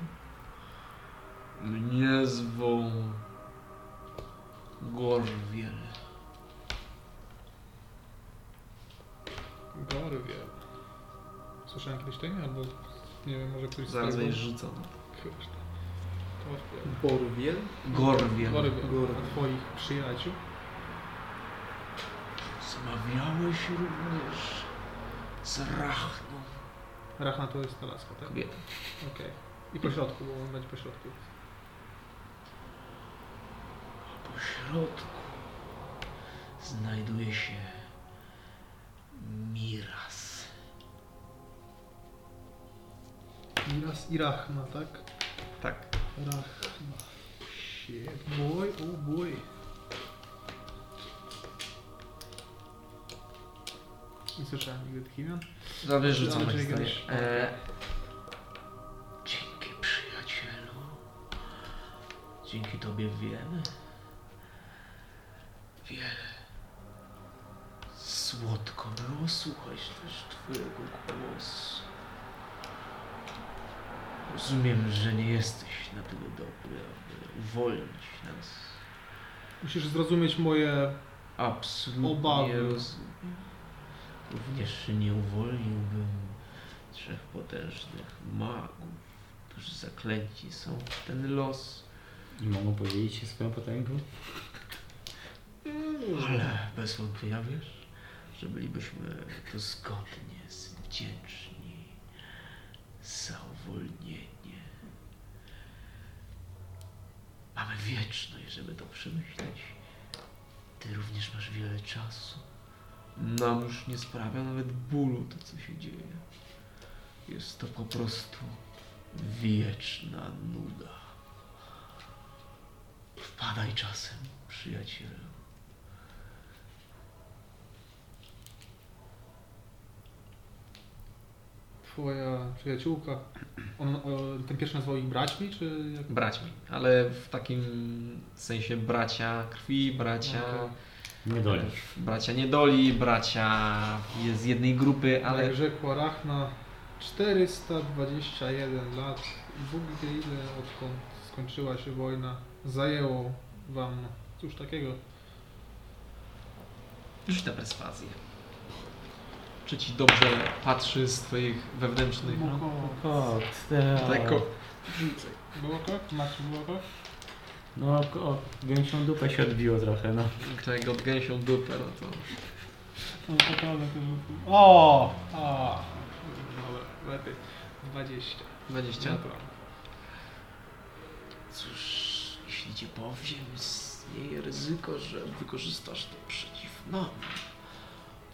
Speaker 1: Mnie zwą Gorwiel.
Speaker 2: Gorwie. Słyszałem kiedyś ten, albo nie wiem, może któryś z
Speaker 18: Zaraz
Speaker 2: tego-
Speaker 18: będziesz rzucony.
Speaker 2: Chyba, że tak. Gorwie.
Speaker 1: Borwiel?
Speaker 18: Gorwiel.
Speaker 2: Gorwie.
Speaker 1: Gorwie.
Speaker 2: A twoich przyjaciół?
Speaker 12: Zmawiałeś również z Rachną.
Speaker 2: Rachna to jest ta laska, tak?
Speaker 12: Kobieta.
Speaker 2: Okej. I po środku, bo on będzie po środku.
Speaker 12: Po środku znajduje się Miras.
Speaker 2: Miras i Rachna, tak?
Speaker 1: Tak.
Speaker 2: Rachna. Shit, boy, oh boy. Nie słyszałem nigdy tych imion.
Speaker 1: Dobrze, rzucam na
Speaker 2: Dobrze,
Speaker 1: historię.
Speaker 2: Grzegorz.
Speaker 1: E,
Speaker 12: Dzięki przyjacielu. Dzięki tobie wiemy. Wiele. Słodko było słuchać też twojego głosu. Rozumiem, że nie jesteś na tyle dobry, aby uwolnić nas.
Speaker 2: Musisz zrozumieć moje...
Speaker 12: Absolutnie
Speaker 2: Obawy.
Speaker 12: rozumiem. Również nie uwolniłbym trzech potężnych magów, którzy zaklęci są w ten los.
Speaker 3: I mogą podzielić się swoją potęgą?
Speaker 12: Ale bez wątpienia wiesz, że bylibyśmy to zgodnie z wdzięczni za uwolnienie. Mamy wieczność, żeby to przemyśleć. Ty również masz wiele czasu. Nam już nie sprawia nawet bólu to, co się dzieje. Jest to po prostu wieczna nuda. Wpadaj czasem, przyjacielu.
Speaker 2: Twoja przyjaciółka. On, o, ten pierwszy nazwał ich braćmi, czy jak?
Speaker 1: braćmi, ale w takim sensie bracia krwi, bracia,
Speaker 3: Nie doli.
Speaker 1: bracia niedoli, bracia z jednej grupy, ale
Speaker 2: Jak rzekła Rachna, 421 lat i Bóg wie ile odkąd skończyła się wojna, zajęło wam cóż takiego.
Speaker 1: rzuć na perswazję. Czy ci dobrze patrzy z twoich wewnętrznych...
Speaker 3: No. Kot,
Speaker 1: Tak, ko-
Speaker 2: Było kot? Macie było tak? kot?
Speaker 3: No, o, gęsią dupę się odbiło trochę, no.
Speaker 1: tak od gęsią dupę, no to...
Speaker 2: No, to prawda, to było- O! A! Dobra, No, lepiej. No 20.
Speaker 1: 20.
Speaker 2: Dobra.
Speaker 12: Cóż, jeśli cię powiem, istnieje ryzyko, że wykorzystasz to przeciw nam.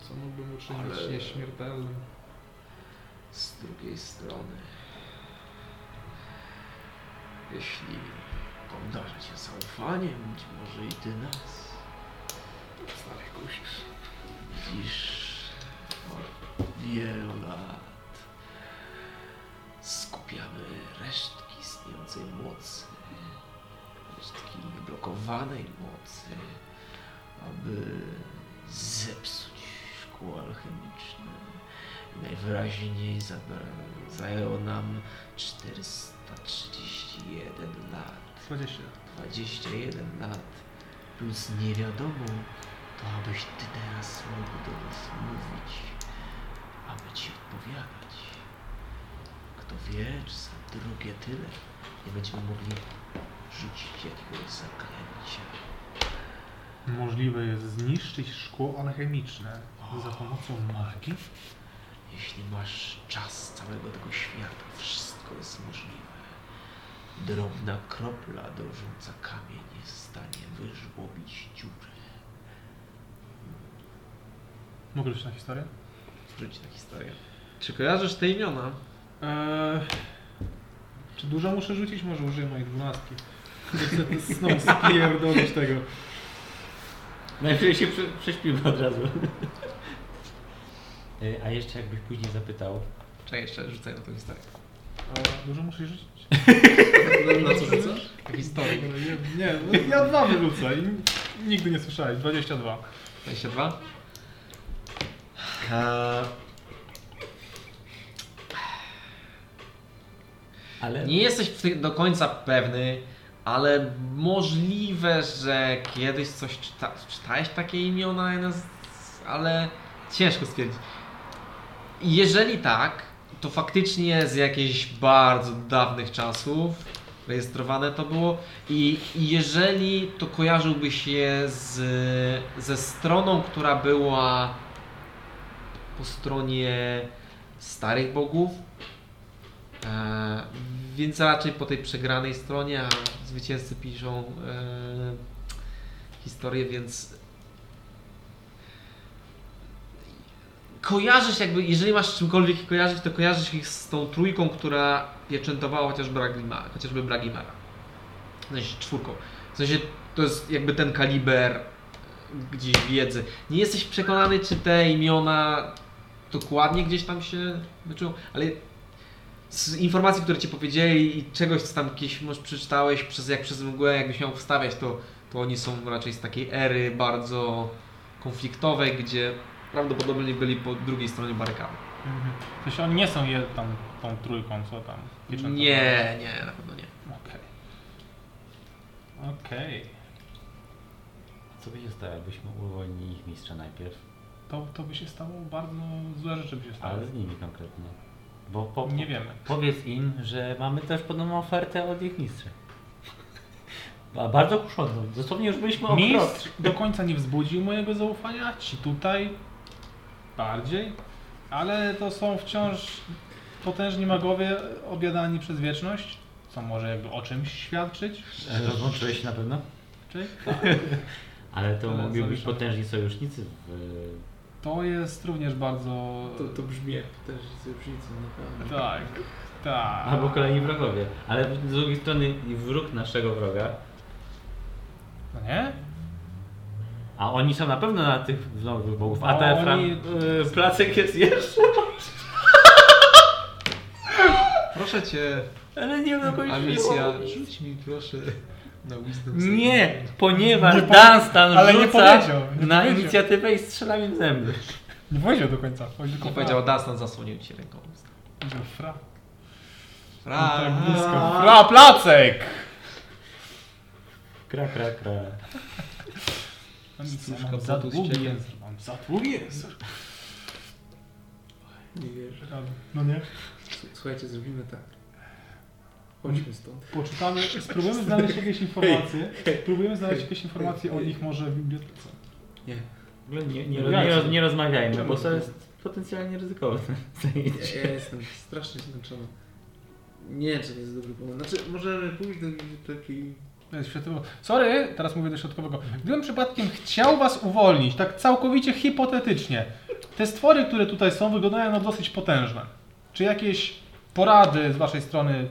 Speaker 2: Co mógłbym uczynić
Speaker 12: Ale-
Speaker 2: nieśmiertelnym?
Speaker 12: Z drugiej strony, jeśli obdarza cię zaufaniem, być może i ty nas. Widzisz, od wielu lat skupiamy resztki istniejącej mocy, resztki blokowanej mocy, aby zepsuć szkło alchemiczne. Najwyraźniej zabra- zajęło nam 431 lat.
Speaker 2: 20.
Speaker 12: 21 lat plus nie wiadomo, to abyś ty teraz mógł do nas mówić, aby ci odpowiadać. Kto wie, czy za drugie tyle nie będziemy mogli rzucić jakiegoś zaklęcia.
Speaker 2: Możliwe jest zniszczyć szkło alchemiczne za pomocą magii?
Speaker 12: Jeśli masz czas całego tego świata, wszystko jest możliwe. Drobna kropla drżąca kamień jest w stanie wyżłobić dziurę.
Speaker 2: Mogę już na historię?
Speaker 1: Rzuć na historię. Czy kojarzysz te imiona?
Speaker 2: Eee, czy dużo muszę rzucić? Może użyję mojej dwunastki. Chcę sną spierdolić tego.
Speaker 3: Najpierw się prze, prześpimy od razu. Y, A jeszcze jakbyś później zapytał.
Speaker 1: Czekaj, jeszcze rzucaj na tą historię.
Speaker 2: Eee, dużo muszę rzucić?
Speaker 19: Na co rzucasz?
Speaker 1: Historię.
Speaker 2: Nie, nie no ja dwa wyrzucę i nigdy nie słyszałeś. 22.
Speaker 1: 22. Eee,
Speaker 3: Ale
Speaker 1: Nie jesteś w tych do końca pewny, ale możliwe, że kiedyś coś czyta, czytałeś takie imiona, ale ciężko stwierdzić. Jeżeli tak, to faktycznie z jakichś bardzo dawnych czasów rejestrowane to było. I i jeżeli to kojarzyłby się z, ze stroną, która była po stronie starych bogów, e, więc raczej po tej przegranej stronie, a zwycięzcy piszą e, historię, więc kojarzysz jakby, jeżeli masz z czymkolwiek ich kojarzyć, to kojarzysz ich z tą trójką, która pieczętowała chociaż Bragima, chociażby Bragimara. W sensie czwórką. W sensie to jest jakby ten kaliber e, gdzieś wiedzy. Nie jesteś przekonany, czy te imiona dokładnie gdzieś tam się wyczują, ale z informacji, które ci powiedzieli i czegoś, co tam gdzieś może przeczytałeś, przez, jak przez mgłę, jakbyś miał wstawiać, to, to oni są raczej z takiej ery bardzo konfliktowej, gdzie prawdopodobnie byli po drugiej stronie barykady.
Speaker 2: Mhm. W sensie oni nie są je tam tą trójką, co tam? pieczętowa-
Speaker 1: Nie, tak nie, na pewno nie.
Speaker 2: Okej. Okej.
Speaker 3: Co by się stało, jakbyśmy uwolnili ich mistrza najpierw,
Speaker 2: To, to by się stało bardzo złe rzeczy by się stały.
Speaker 3: ale z nimi konkretnie. Bo po,
Speaker 2: Nie wiemy.
Speaker 3: powiedz im, że mamy też podobną ofertę od ich mistrza. A bardzo kuszoną. Dosłownie już byliśmy o krok.
Speaker 2: Mistrz do końca nie wzbudził mojego zaufania, ci tutaj bardziej, ale to są wciąż potężni magowie obiadani przez wieczność, co może jakby o czymś świadczyć.
Speaker 3: E, Rozłączyłeś się na pewno?
Speaker 2: Czy?
Speaker 3: Ale to
Speaker 2: Ale
Speaker 3: mogli być
Speaker 2: zawieszam.
Speaker 3: potężni sojusznicy w
Speaker 2: To jest również bardzo...
Speaker 4: To, to brzmi jak potężni sojusznicy, naprawdę.
Speaker 2: Tak, tak.
Speaker 3: Albo kolejni wrogowie. Ale z drugiej strony i wróg naszego wroga,
Speaker 2: No nie?
Speaker 3: a oni są na pewno na tych nowych bogów, a
Speaker 2: Oni- e,
Speaker 3: ten fran... y, placek jest jeszcze.
Speaker 1: Proszę cię,
Speaker 3: Ale nie dokończyło.
Speaker 1: Amicia, rzuć mi proszę na wisdom save.
Speaker 3: Nie, ponieważ Dunstan
Speaker 2: ale nie
Speaker 3: rzuca
Speaker 2: powiedział, nie
Speaker 3: na
Speaker 2: powiedział.
Speaker 3: inicjatywę i strzela mi w zęby.
Speaker 2: Nie powiedział do końca. Powiedział
Speaker 1: Nie
Speaker 2: tylko
Speaker 1: powiedział, Dunstan zasłonił ci ręką. usta.
Speaker 2: fra. Powiedział fra.
Speaker 1: Fra.
Speaker 2: Tak blisko. Fra, placek!
Speaker 3: Kra, kra, kra.
Speaker 1: Stróżka
Speaker 2: Mam za
Speaker 1: potu z
Speaker 2: długi
Speaker 1: ciebie.
Speaker 2: język. Mam za długi język.
Speaker 4: Nie wierzę.
Speaker 2: No nie?
Speaker 4: Słuchajcie, zrobimy tak. Chodźmy stąd.
Speaker 2: Poczytamy, spróbujemy znaleźć jakieś informacje. Spróbujemy znaleźć jakieś informacje o nich może w bibliotece.
Speaker 3: W ogóle Nie, nie,
Speaker 2: No
Speaker 3: nie,
Speaker 2: jak?
Speaker 3: roz, nie rozmawiajmy, bo
Speaker 4: Czemu
Speaker 3: to
Speaker 4: to?
Speaker 3: jest potencjalnie ryzykowne.
Speaker 4: Ja, ja jestem strasznie zmęczony. Nie wiem, czy to jest dobry pomysł. Znaczy, możemy pójść do biblioteki.
Speaker 2: To jest światowo. Sorry, teraz mówię do środkowego. Gdybym przypadkiem chciał was uwolnić, tak całkowicie hipotetycznie, te stwory, które tutaj są, wyglądają na dosyć potężne. Czy jakieś porady z waszej strony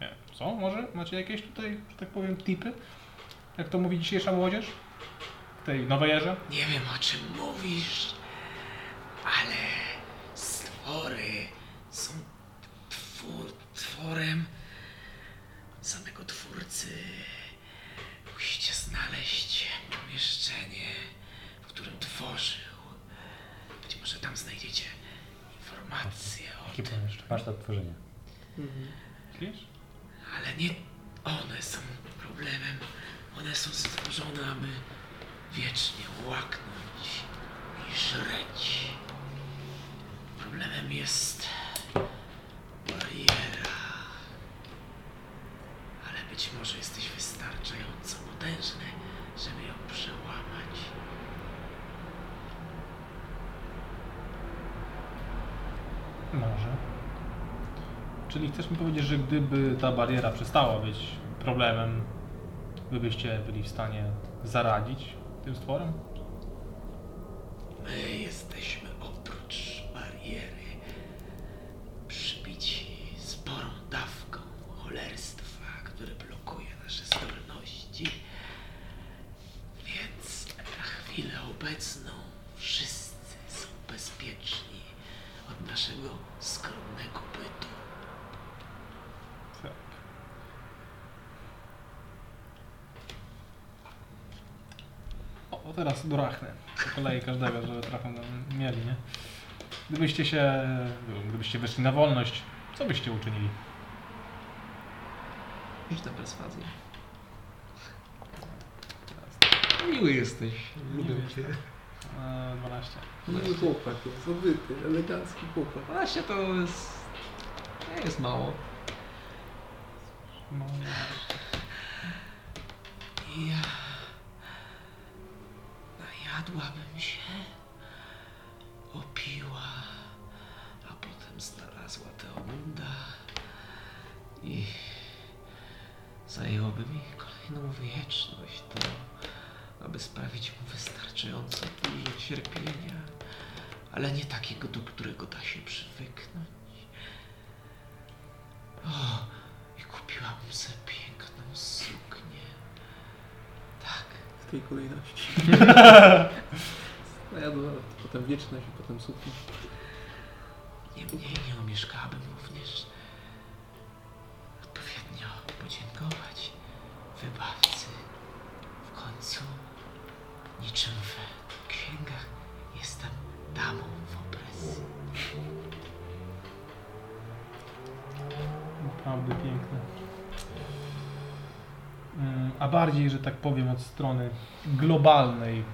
Speaker 2: nie, są może? Macie jakieś tutaj, że tak powiem, tipy? Jak to mówi dzisiejsza młodzież? W tej nowej erze?
Speaker 12: Nie wiem o czym mówisz, ale stwory są twór, tworem samego twórcy. Musicie znaleźć pomieszczenie, w którym tworzył. Być może tam znajdziecie informacje o tym,
Speaker 3: Masz to tworzenie.
Speaker 2: Wiesz?
Speaker 12: ale nie one są problemem. One są stworzone, aby wiecznie łaknąć i żreć. Problemem jest bariera. Ale być może jesteś wystarczająco potężny, żeby ją przełamać.
Speaker 2: Może. Czyli chcesz mi powiedzieć, że gdyby ta bariera przestała być problemem, wy byście byli w stanie zaradzić tym stworom?
Speaker 12: My jesteśmy oprócz bariery przybici sporą dawką cholerstwa, które blokuje nasze zdolności. Więc na chwilę obecną wszyscy są bezpieczni od naszego skromnego bytu.
Speaker 2: Tak. O, teraz dorachnę. Po kolei każdego, żeby trochę tam mieli, nie? Gdybyście się... Gdybyście wyszli na wolność, co byście uczynili?
Speaker 1: Rzuć na perswazję. Miły jesteś, lubię cię.
Speaker 2: Eee, 12.
Speaker 4: Miły chłopak jest, obyty, elegancki chłopak.
Speaker 1: Właśnie to jest... nie jest mało.
Speaker 2: No,
Speaker 12: Ja... Najadłabym się, opiła, a potem znalazła tę obłęda i zajęłoby mi kolejną wieczność to, aby sprawić mu wystarczająco dużo cierpienia, ale nie takiego, do którego da się przywyknąć. O, i kupiłam sobie piękną suknię. Tak,
Speaker 4: w tej kolejności. Jadła, potem wieczność, potem sutki.
Speaker 12: niemniej nie omieszkałabym również odpowiednio podziękować wybawcy. W końcu, niczym w księgach, jestem damą w opresji.
Speaker 2: Naprawdę piękne. Mm, A bardziej, że tak powiem, od strony globalnej,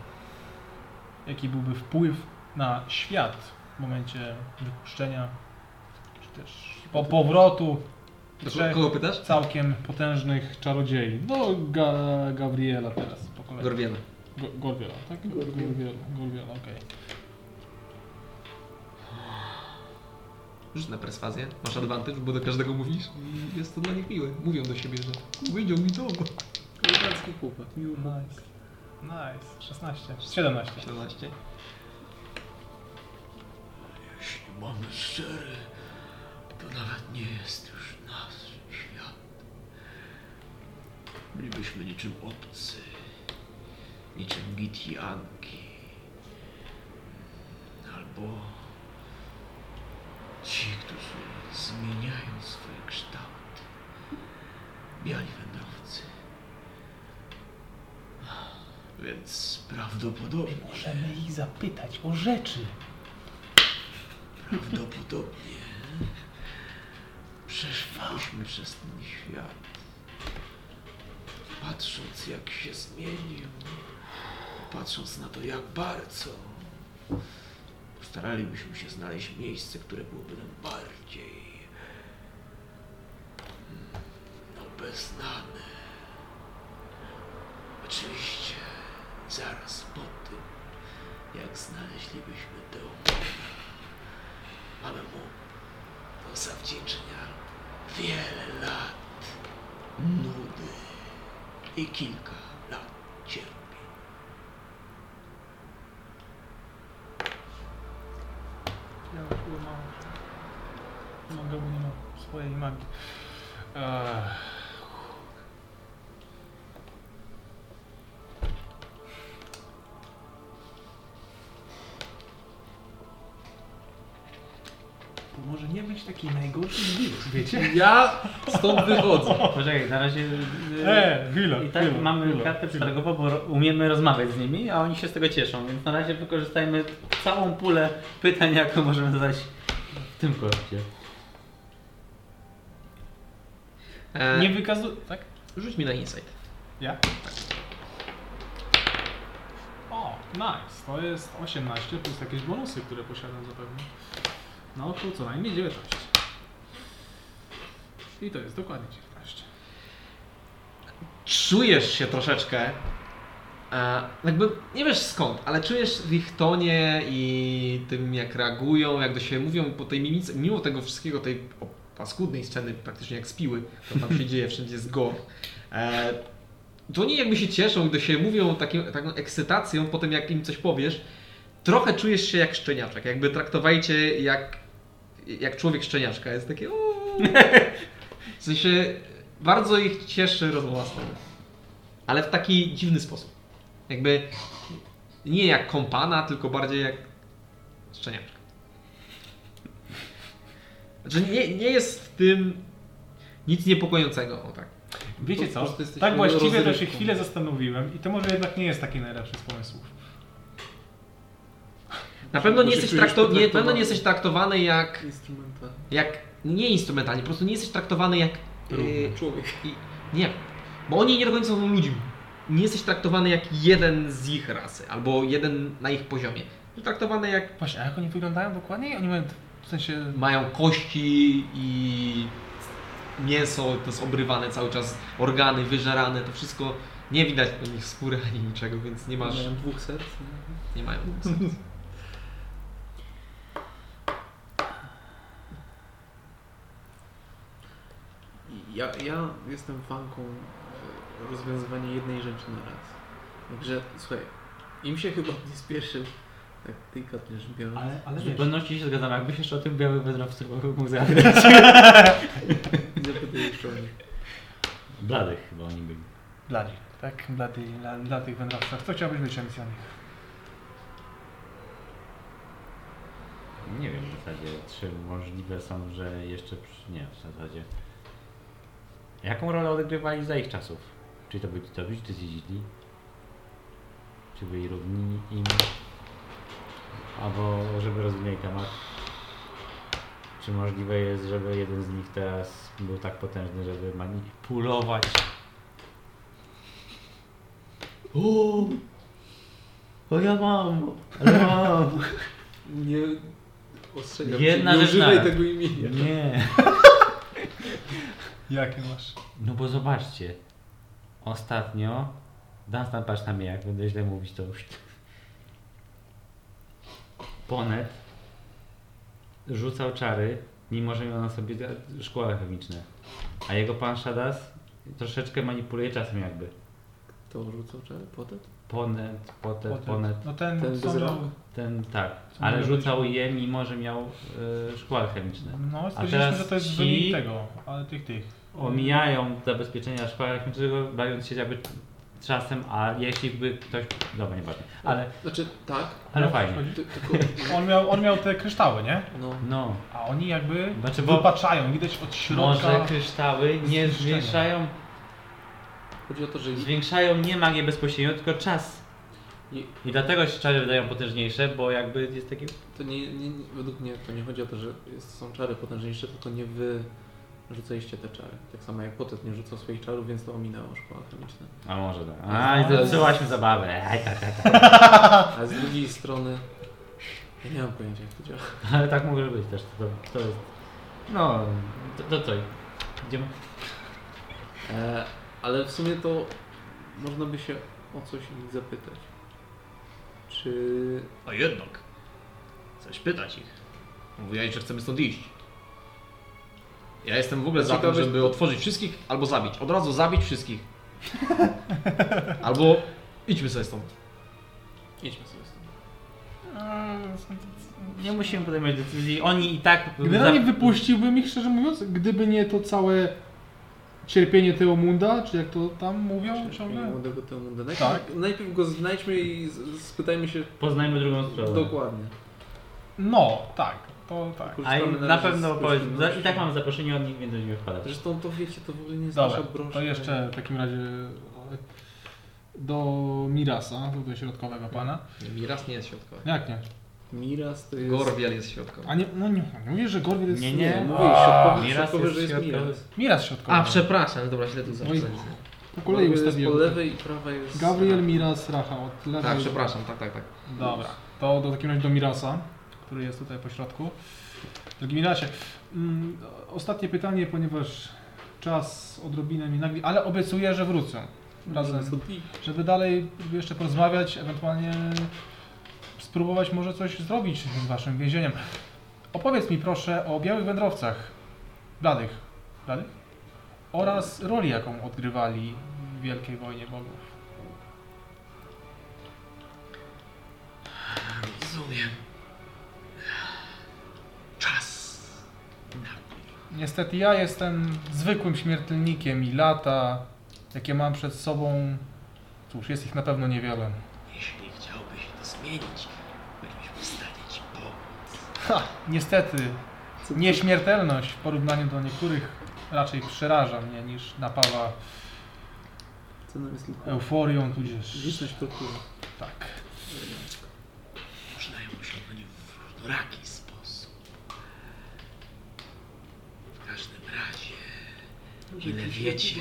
Speaker 2: jaki byłby wpływ na świat w momencie wypuszczenia, czy też po powrotu
Speaker 1: Do
Speaker 2: trzech
Speaker 1: kogo pytasz?
Speaker 2: całkiem potężnych czarodziei. No, Ga Gabriela teraz po kolei.
Speaker 1: Gorwiela.
Speaker 2: Go- Gorwiela, tak? Gorwiela, Gorwiela okej.
Speaker 1: Rzuć na perswazję. Masz advantage, bo do każdego mówisz i jest to dla nich miłe. Mówią do siebie, że wyjdział mi to.
Speaker 4: Kozacki chłopak, miły
Speaker 2: Nice. Nice. 16. 17.
Speaker 1: 17.
Speaker 12: Jeśli mamy szczery, to nawet nie jest już nasz świat. Bylibyśmy niczym obcy, niczym Gitianki, albo ci, którzy zmieniają swoje kształty, biali wędrowcy. Więc prawdopodobnie
Speaker 2: Możemy ich zapytać o rzeczy.
Speaker 12: Prawdopodobnie przeszliśmy przez ten świat. Patrząc jak się zmienił, patrząc na to jak bardzo, staralibyśmy się znaleźć miejsce, które byłoby nam bardziej mm, obeznane. Oczywiście zaraz po tym, jak znaleźlibyśmy tę Mamy mu do zawdzięczenia wiele lat nudy i kilka lat cierpień.
Speaker 2: Ja już chyba mam. Mogę, bo nie mam swojej magii. Eee.
Speaker 20: To może nie być taki najgorszy wirus, wiecie?
Speaker 4: Ja stąd wychodzę.
Speaker 3: Poczekaj, na razie... y,
Speaker 2: Eee, chwila,
Speaker 3: I tak
Speaker 2: chwila,
Speaker 3: mamy
Speaker 2: chwila,
Speaker 3: kartę
Speaker 2: chwila.
Speaker 3: przetargową, bo ro- umiemy rozmawiać z nimi, a oni się z tego cieszą, więc na razie wykorzystajmy całą pulę pytań, jaką możemy zadać w tym koszcie.
Speaker 1: E,
Speaker 2: Nie wykazuj. Tak?
Speaker 1: Rzuć mi na insight.
Speaker 2: Ja? O, nice. To jest 18 plus jakieś bonusy, które posiadam zapewne. No to co najmniej 19. I to jest dokładnie 19.
Speaker 1: czujesz się troszeczkę, e, jakby nie wiesz skąd, ale czujesz w ich tonie i tym jak reagują, jak do siebie mówią po tej mimice, mimo tego wszystkiego, tej o, paskudnej sceny praktycznie jak spiły, to tam się dzieje, wszędzie jest gore. E, to oni jakby się cieszą i do siebie mówią takim, taką ekscytacją po tym jak im coś powiesz. Trochę czujesz się jak szczeniaczek, jakby traktowali cię jak, jak człowiek szczeniaczka, jest takie "Uuu". W sensie bardzo ich cieszy rozmowa z tobą. Ale w taki dziwny sposób. Jakby nie jak kompana, tylko bardziej jak szczeniaczka. Znaczy nie, nie jest w tym nic niepokojącego, o tak.
Speaker 2: Wiecie
Speaker 4: Po
Speaker 2: co?
Speaker 4: prostu jesteś
Speaker 2: Tak właściwie to się
Speaker 4: rozrywką.
Speaker 2: chwilę zastanowiłem i to może jednak nie jest taki najlepszy z pomysłów.
Speaker 1: Na pewno nie
Speaker 4: Bo się
Speaker 1: jesteś,
Speaker 4: czujesz
Speaker 1: trakto- nie, na pewno
Speaker 4: potraktowany.
Speaker 1: nie jesteś traktowany jak,
Speaker 4: Instrumenta.
Speaker 1: jak nie instrumentalnie, po prostu nie jesteś traktowany jak yy,
Speaker 4: Y, Człowiek.
Speaker 1: I nie, bo oni nie do końca są ludźmi. Nie jesteś traktowany jak jeden z ich rasy, albo jeden na ich poziomie. Jesteś Traktowany jak
Speaker 2: Właśnie, a jak oni wyglądają dokładnie? Oni mają w sensie...
Speaker 1: mają kości i mięso to jest obrywane cały czas, organy wyżerane, to wszystko nie widać po nich skóry ani niczego, więc nie masz,
Speaker 4: Miałem dwóch serc. no.
Speaker 1: nie mają sensu.
Speaker 4: Ja, ja jestem fanką e, rozwiązywania jednej rzeczy na raz. Także słuchaj, im się chyba nie spieszył, tak delikatnie rzecz biorąc.
Speaker 2: Ale, ale
Speaker 21: W
Speaker 2: wiesz,
Speaker 21: zupełności się zgadzam, jakbyś jeszcze o tym białym wędrowcu mógł zagrać.
Speaker 4: Zapytaj jeszcze o nich.
Speaker 3: Bladych chyba oni byli.
Speaker 2: dla nich, tak? Dla, tej, dla, dla tych wędrowców. Co chciałbyś być misją nich?
Speaker 3: Nie wiem w zasadzie, czy możliwe są, że jeszcze. przy- Nie, w zasadzie. Jaką rolę odgrywali za ich czasów? Czy to byli Titowici, czy źli? Czy byli równi im? Albo żeby rozumieli temat. Czy możliwe jest, żeby jeden z nich teraz był tak potężny, żeby manipulować? O! O ja mam! Ale mam!
Speaker 4: Nie ostrzegam
Speaker 21: Jedna
Speaker 4: cię, nie
Speaker 21: rzecz na
Speaker 4: używaj
Speaker 21: raz.
Speaker 4: tego imienia.
Speaker 3: Nie!
Speaker 2: Jakie masz?
Speaker 3: No bo zobaczcie, ostatnio, Dunstan patrz na mnie, jak będę źle mówić to już. Ponet rzucał czary, mimo że miał na sobie te- szkła chemiczne. A jego pan Shadas troszeczkę manipuluje czasem jakby.
Speaker 4: To rzucał czar, potem?
Speaker 3: Ponet, potet,
Speaker 2: Potem-
Speaker 3: ponet,
Speaker 2: No ten,
Speaker 4: Ten
Speaker 2: ten
Speaker 4: bez rąk?
Speaker 3: ten tak.
Speaker 2: Co
Speaker 3: Ale
Speaker 2: miał
Speaker 3: rzucał je, mimo że miał y, szkła chemiczne.
Speaker 2: No, stwierdziliśmy,
Speaker 3: teraz
Speaker 2: że to jest
Speaker 3: ci-
Speaker 2: wynik tego, ale tych, tych.
Speaker 3: Omijają zabezpieczenia szkła chemicznego, bawiąc się jakby czasem, a jeśli by ktoś... Dobra, nieważne. Ale
Speaker 4: Znaczy tak,
Speaker 3: Ale
Speaker 2: No,
Speaker 3: fajnie.
Speaker 2: chodzi-
Speaker 4: ty- tylko
Speaker 2: On miał, on miał te kryształy, nie?
Speaker 4: no,
Speaker 3: No,
Speaker 2: A oni jakby
Speaker 3: Znaczy, bo-
Speaker 2: wypaczają, widać od środka.
Speaker 3: może kryształy nie
Speaker 2: zniszczenia.
Speaker 3: zwiększają,
Speaker 4: chodzi o to, że
Speaker 3: zwiększają nie magię bezpośrednio, tylko czas.
Speaker 4: I-
Speaker 3: I dlatego się czary wydają potężniejsze, bo jakby jest taki...
Speaker 4: To nie, nie, nie, według mnie to nie chodzi o to, że jest, są czary potężniejsze, tylko nie wy rzucaliście te czary. Tak samo jak potet nie rzucał swoich czarów, więc to ominęło szkoła chemiczna.
Speaker 3: A może tak. A, i zepsułaś mi zabawę. Aj, tak, tak, tak.
Speaker 4: A z drugiej strony, ja nie mam pojęcia jak to działa.
Speaker 3: Ale tak może być też. To, to jest... No, to, to co? Idziemy?
Speaker 4: E, ale w sumie to można by się o coś ich zapytać. Czy
Speaker 22: A jednak. Chcesz pytać ich. Mówiłeś, że chcemy stąd iść. Ja jestem w ogóle za tym,
Speaker 4: Ciekawe-
Speaker 22: żeby otworzyć wszystkich albo zabić. Od razu zabić wszystkich. albo idźmy sobie stąd.
Speaker 4: idźmy sobie z tym.
Speaker 3: Nie musimy podejmować decyzji. Oni i tak...
Speaker 2: Generalnie
Speaker 3: za-
Speaker 2: wypuściłbym ich, szczerze mówiąc, gdyby nie to całe cierpienie Teomunda, czy jak to tam mówią ciągle?
Speaker 4: Młodego Teomunda. Najpierw, najpierw go znajdźmy i z- spytajmy się
Speaker 3: Poznajmy drugą stronę.
Speaker 4: dokładnie.
Speaker 2: No, tak, to tak.
Speaker 3: A
Speaker 4: Korzystamy
Speaker 3: i na
Speaker 4: razie z
Speaker 3: pewno powiedzmy, za- i tak
Speaker 4: gościnności.
Speaker 3: mamy zaproszenie od nich, więc będziemy wpadać.
Speaker 4: Zresztą to wiecie, to w ogóle nie jest
Speaker 2: Dobra,
Speaker 4: nasza broszka.
Speaker 2: to jeszcze w takim razie do Mirasa, do środkowego pana.
Speaker 1: Mi raz nie jest środkowy.
Speaker 2: Jak nie?
Speaker 4: Miras to jest...
Speaker 1: Gorwiel jest środkowy.
Speaker 2: A nie, no nie, nie mówię, że Gorwiel jest...
Speaker 3: Nie,
Speaker 4: Nie,
Speaker 3: nie.
Speaker 4: mówiłeś środkowy,
Speaker 3: Miras
Speaker 4: środkowy,
Speaker 3: jest
Speaker 4: że jest
Speaker 3: środkowy.
Speaker 4: Miras.
Speaker 2: Miras środkowy.
Speaker 1: A, przepraszam, dobra, źle tu zapisałem.
Speaker 2: Po kolei
Speaker 4: Gorwiel jest
Speaker 2: ustawiłem.
Speaker 4: po lewej i prawa jest...
Speaker 2: Gabriel Miras Racha od lewej.
Speaker 1: Tak, przepraszam, tak, tak, tak.
Speaker 2: Dobra, to do takim razie do Mirasa, który jest tutaj po środku. Drogi Mirasie, mm, ostatnie pytanie, ponieważ czas odrobinę mi nagli, ale obiecuję, że wrócę razem, żeby dalej jeszcze porozmawiać, ewentualnie spróbować może coś zrobić z waszym więzieniem. Opowiedz mi proszę o białych wędrowcach, bladych, bladych? Oraz roli, jaką odgrywali w Wielkiej Wojnie Bogów.
Speaker 12: Rozumiem. Czas.
Speaker 2: Niestety ja jestem zwykłym śmiertelnikiem i lata, jakie mam przed sobą, cóż, jest ich na pewno niewiele.
Speaker 12: Jeśli chciałbyś to zmienić, byliśmy w stanie ci pomóc.
Speaker 2: Ha, niestety, nieśmiertelność w porównaniu do niektórych raczej przeraża mnie niż napawa
Speaker 4: Ceną jest tylko
Speaker 2: euforią, tudzież...
Speaker 4: liczność tortury.
Speaker 2: Tak.
Speaker 12: Można ją osiągnąć w różnoraki sposób. W każdym razie, ile wiecie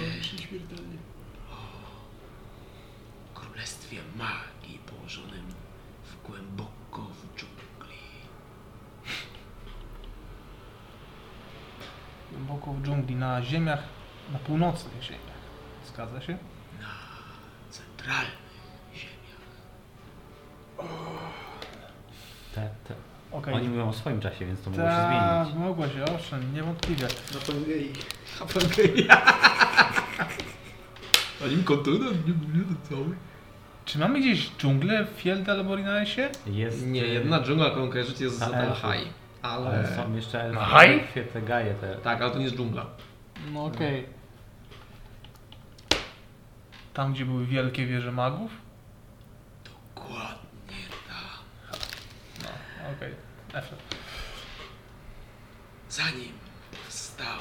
Speaker 12: o królestwie magii położonym w głęboko w dżungli.
Speaker 2: Głęboko około dżungli, na ziemiach, na północnych ziemiach. Zgadza się?
Speaker 23: Centralny.
Speaker 3: Te, te.
Speaker 2: Okej.
Speaker 3: Oni mówią o swoim czasie, więc to mogło się
Speaker 2: Tak,
Speaker 3: zmienić.
Speaker 2: mogło się, owszem, niewątpliwie.
Speaker 12: A nim kontynent nie mówię to cały.
Speaker 2: Czy mamy gdzieś dżunglę w Field albo Rinaesie?
Speaker 3: Jest,
Speaker 1: Nie,
Speaker 3: y,
Speaker 1: jedna dżungla, którą kojarzycie jest z
Speaker 3: Na
Speaker 1: zatem
Speaker 3: elfy.
Speaker 1: High.
Speaker 3: Ale
Speaker 1: Ale...
Speaker 3: są jeszcze elfy,
Speaker 1: Haj?
Speaker 3: elfie, te gaje te.
Speaker 1: Tak, ale to nie jest dżungla.
Speaker 2: No okej. Tam, gdzie były wielkie wieże magów? Dokładnie tam. No, okej. Efra.
Speaker 12: Zanim powstał.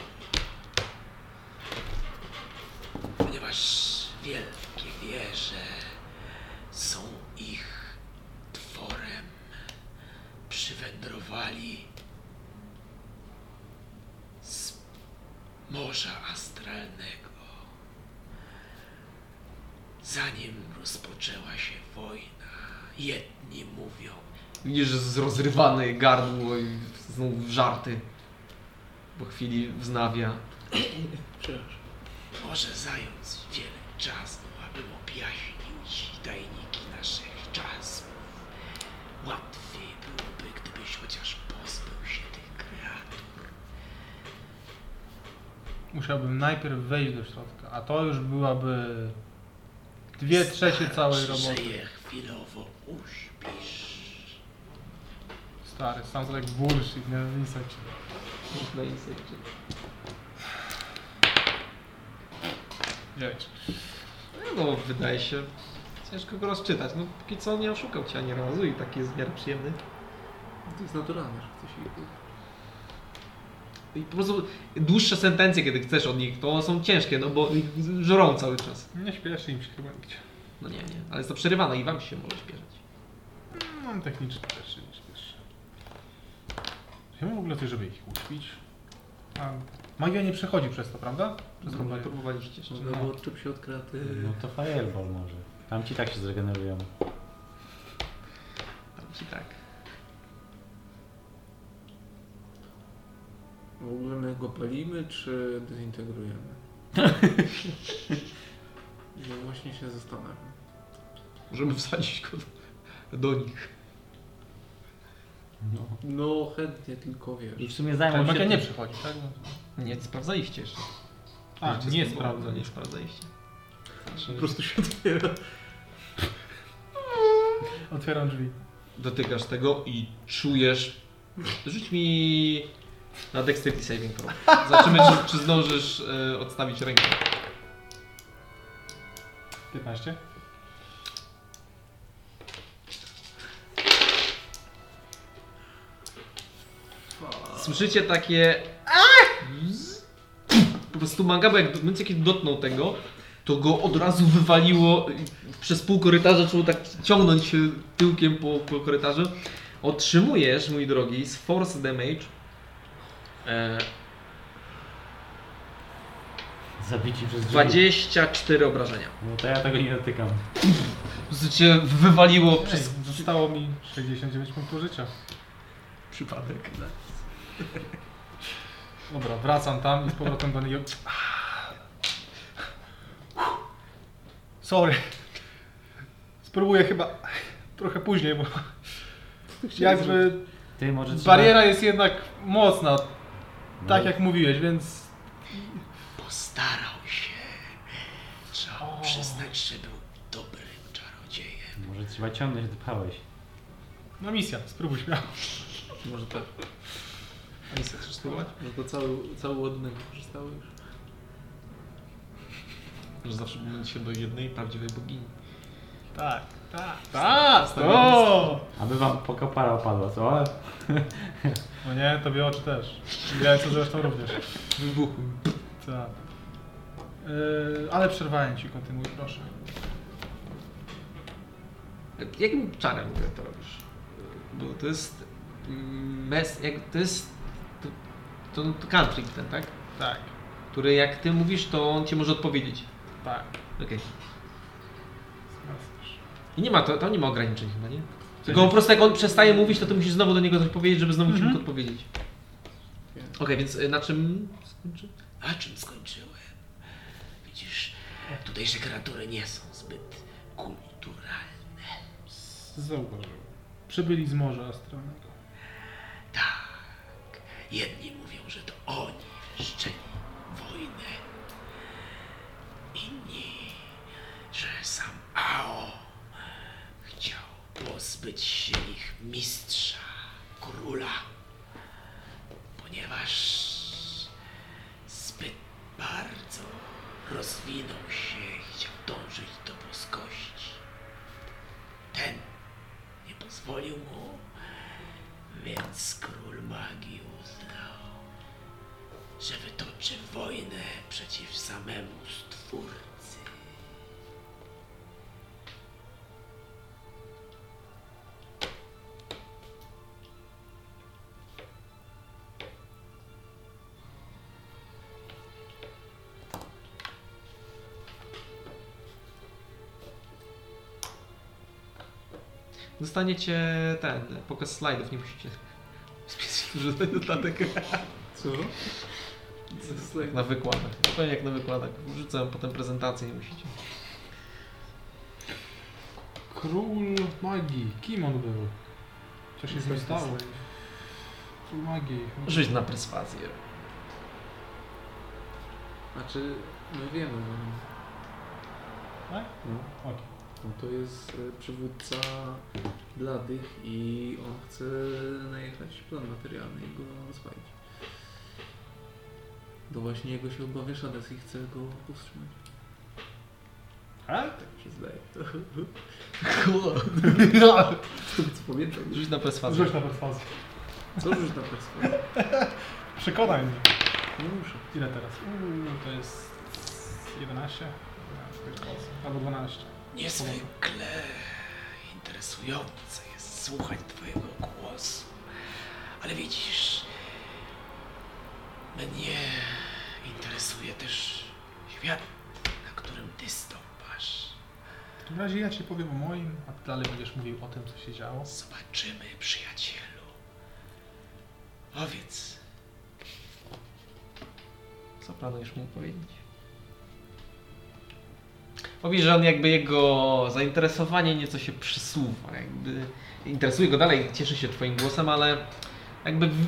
Speaker 12: Ponieważ wielkie wieże są ich tworem, przywędrowali z morza astralnego. Zanim rozpoczęła się wojna, jedni mówią,
Speaker 1: Widzisz z rozrywane gardło i znów żarty. Po chwili wznawia.
Speaker 12: Może zająć wiele czasu, abym objaśnił ci tajniki naszych czasów. Łatwiej byłoby, gdybyś chociaż pozbył się tych kreatur.
Speaker 2: Musiałbym najpierw wejść do środka, a to już byłaby dwie trzecie całej
Speaker 12: Starczy, że
Speaker 2: roboty.
Speaker 12: je chwilowo uśpisz.
Speaker 2: Stary, sounds like bullshit, nie wiem, insekcie. Dziewięć.
Speaker 1: No, wydaje się. Ciężko go rozczytać. No, póki co nie oszukał cię ani razu i taki jest w miarę przyjemny.
Speaker 12: To jest naturalne, że ktoś ich...
Speaker 1: I po prostu dłuższe sentencje, kiedy chcesz od nich, to są ciężkie, no bo ich żrą cały czas.
Speaker 2: Nie śpieszy im się chyba nigdzie.
Speaker 1: No nie, nie. Ale jest to przerywane i wam się może śpiewać.
Speaker 2: No, technicznie też się nie śpieszy. Wiemy w ogóle coś, żeby ich uśpić? A magia nie przechodzi przez to, prawda? Przez tą
Speaker 1: Próbowali-
Speaker 2: barierę.
Speaker 1: Próbowaliście jeszcze.
Speaker 12: No bo odczep się od kraty.
Speaker 3: No to fireball może. Tam ci tak się zregenerują.
Speaker 1: Tam ci tak.
Speaker 12: W ogóle my go palimy, czy dezintegrujemy? No właśnie się zastanawiam.
Speaker 1: Możemy wsadzić go do, do nich.
Speaker 3: No.
Speaker 12: No chętnie, tylko wiesz.
Speaker 3: I w sumie
Speaker 2: Ale
Speaker 3: zajmą się
Speaker 2: magia
Speaker 3: tym.
Speaker 2: nie przechodzi, tak?
Speaker 1: No. Nie sprawdzaliście jeszcze.
Speaker 2: A,
Speaker 1: Jeszcze
Speaker 2: nie
Speaker 1: z-
Speaker 2: sprawdzę.
Speaker 1: Nie sprawdzaliście.
Speaker 12: Po prostu się otwiera.
Speaker 2: Otwieram drzwi.
Speaker 1: Dotykasz tego i czujesz. Rzuć mi na Dexterity Saving Pro. Zobaczymy, czy, czy zdążysz e, odstawić rękę.
Speaker 2: 15.
Speaker 1: Słyszycie takie. Po prostu Mangaba, jak w momencie, kiedy dotknął tego, to go od razu wywaliło i przez pół korytarza, zaczął tak ciągnąć się tyłkiem po, po korytarzu. Otrzymujesz, mój drogi, z Force Damage. E,
Speaker 3: Zabici przez drzwi.
Speaker 1: 24 obrażenia.
Speaker 3: No to ja tego nie dotykam.
Speaker 1: Cię wywaliło
Speaker 2: Ej,
Speaker 1: przez
Speaker 2: zostało mi 69 punktów życia.
Speaker 1: przypadek.
Speaker 12: No.
Speaker 2: Dobra, wracam tam i z powrotem do niego. Sorry. Spróbuję chyba trochę później, bo jakby
Speaker 3: Ty może trzeba...
Speaker 2: bariera jest jednak mocna,
Speaker 1: No.
Speaker 2: tak jak mówiłeś, więc
Speaker 12: Postarał się. Trzeba przyznać, że był dobrym czarodziejem.
Speaker 3: Może trzeba ciągnąć, dopchałeś.
Speaker 2: no misja, spróbuj śmiało.
Speaker 12: Może tak.
Speaker 1: Nie chcesz spróbować?
Speaker 12: Może to cały, cały ładny korzystały już.
Speaker 1: Że zawsze pomylić się do jednej prawdziwej bogini.
Speaker 2: Tak, tak, tak, to!
Speaker 3: Aby wam pokapara opadła, co?
Speaker 2: No nie, tobie oczy też. Ja co zresztą również.
Speaker 1: Wybuchły.
Speaker 2: Tak. Yy, ale przerwałem ci, kontynuuj proszę.
Speaker 1: Jakim czarem w ogóle to robisz? Bo to jest... mm, Mes, jak, to jest... To, to, to country ten, tak?
Speaker 2: Tak,
Speaker 1: Który jak ty mówisz, to on cię może odpowiedzieć.
Speaker 2: tak.
Speaker 1: Okej. I nie ma, to, tam nie ma ograniczeń chyba, nie? Tylko po prostu jak on przestaje mówić, to ty musisz znowu do niego coś powiedzieć, żeby znowu ci mógł odpowiedzieć.
Speaker 12: Wiem.
Speaker 1: Okej, więc y, na czym skończy?
Speaker 12: Na czym skończyłem? Widzisz, tutejsze kreatury nie są zbyt kulturalne.
Speaker 2: Zauważył. Przybyli z Morza Astralnego.
Speaker 12: Jedni mówią, że to oni wszczęli wojnę. Inni, że sam Ao chciał pozbyć się ich mistrza, króla, ponieważ zbyt bardzo rozwinął się i chciał dążyć do boskości. Ten nie pozwolił mu, więc król magii uznał, że wytoczy wojnę przeciw samemu stwórcy.
Speaker 1: Dostaniecie ten, pokaz slajdów, nie musicie spisać żaden dodatek.
Speaker 4: Co? Co jest
Speaker 1: Jak na wykładach. Zupełnie jak na wykładach. Wrzucam potem prezentację, nie musicie.
Speaker 2: Król magii. Kim on był? Co się z nim stało? Król magii.
Speaker 1: Żyć na perswazję.
Speaker 4: Znaczy, my wiemy. no.
Speaker 2: Tak?
Speaker 4: No.
Speaker 2: Okej.
Speaker 4: No to jest y, przywódca bladych i on chce najechać plan materialny i go rozwalić. To właśnie jego się obawia Shades i chce go powstrzymać.
Speaker 2: Ale
Speaker 4: Tak mi się zdaje. Kurde.
Speaker 2: No.
Speaker 4: Co pamiętam?
Speaker 1: Żyć na perswazję.
Speaker 2: Rzuć na perswazję.
Speaker 4: Co rzuć na perswazję?
Speaker 2: Przekonaj mnie.
Speaker 4: Nie muszę.
Speaker 2: Ile teraz? Uuu, to jest 11? Albo 12.
Speaker 12: Niezwykle interesujące jest słuchać Twojego głosu. Ale widzisz, mnie interesuje też świat, na którym Ty stąpasz.
Speaker 2: W takim razie ja ci powiem o moim, a ty dalej będziesz mówił o tym, co się działo.
Speaker 12: Zobaczymy, przyjacielu. Powiedz,
Speaker 1: Co planujesz mu powiedzieć? Mówi, że on jakby jego zainteresowanie nieco się przesuwa. Jakby interesuje go dalej, cieszy się twoim głosem, ale jakby w...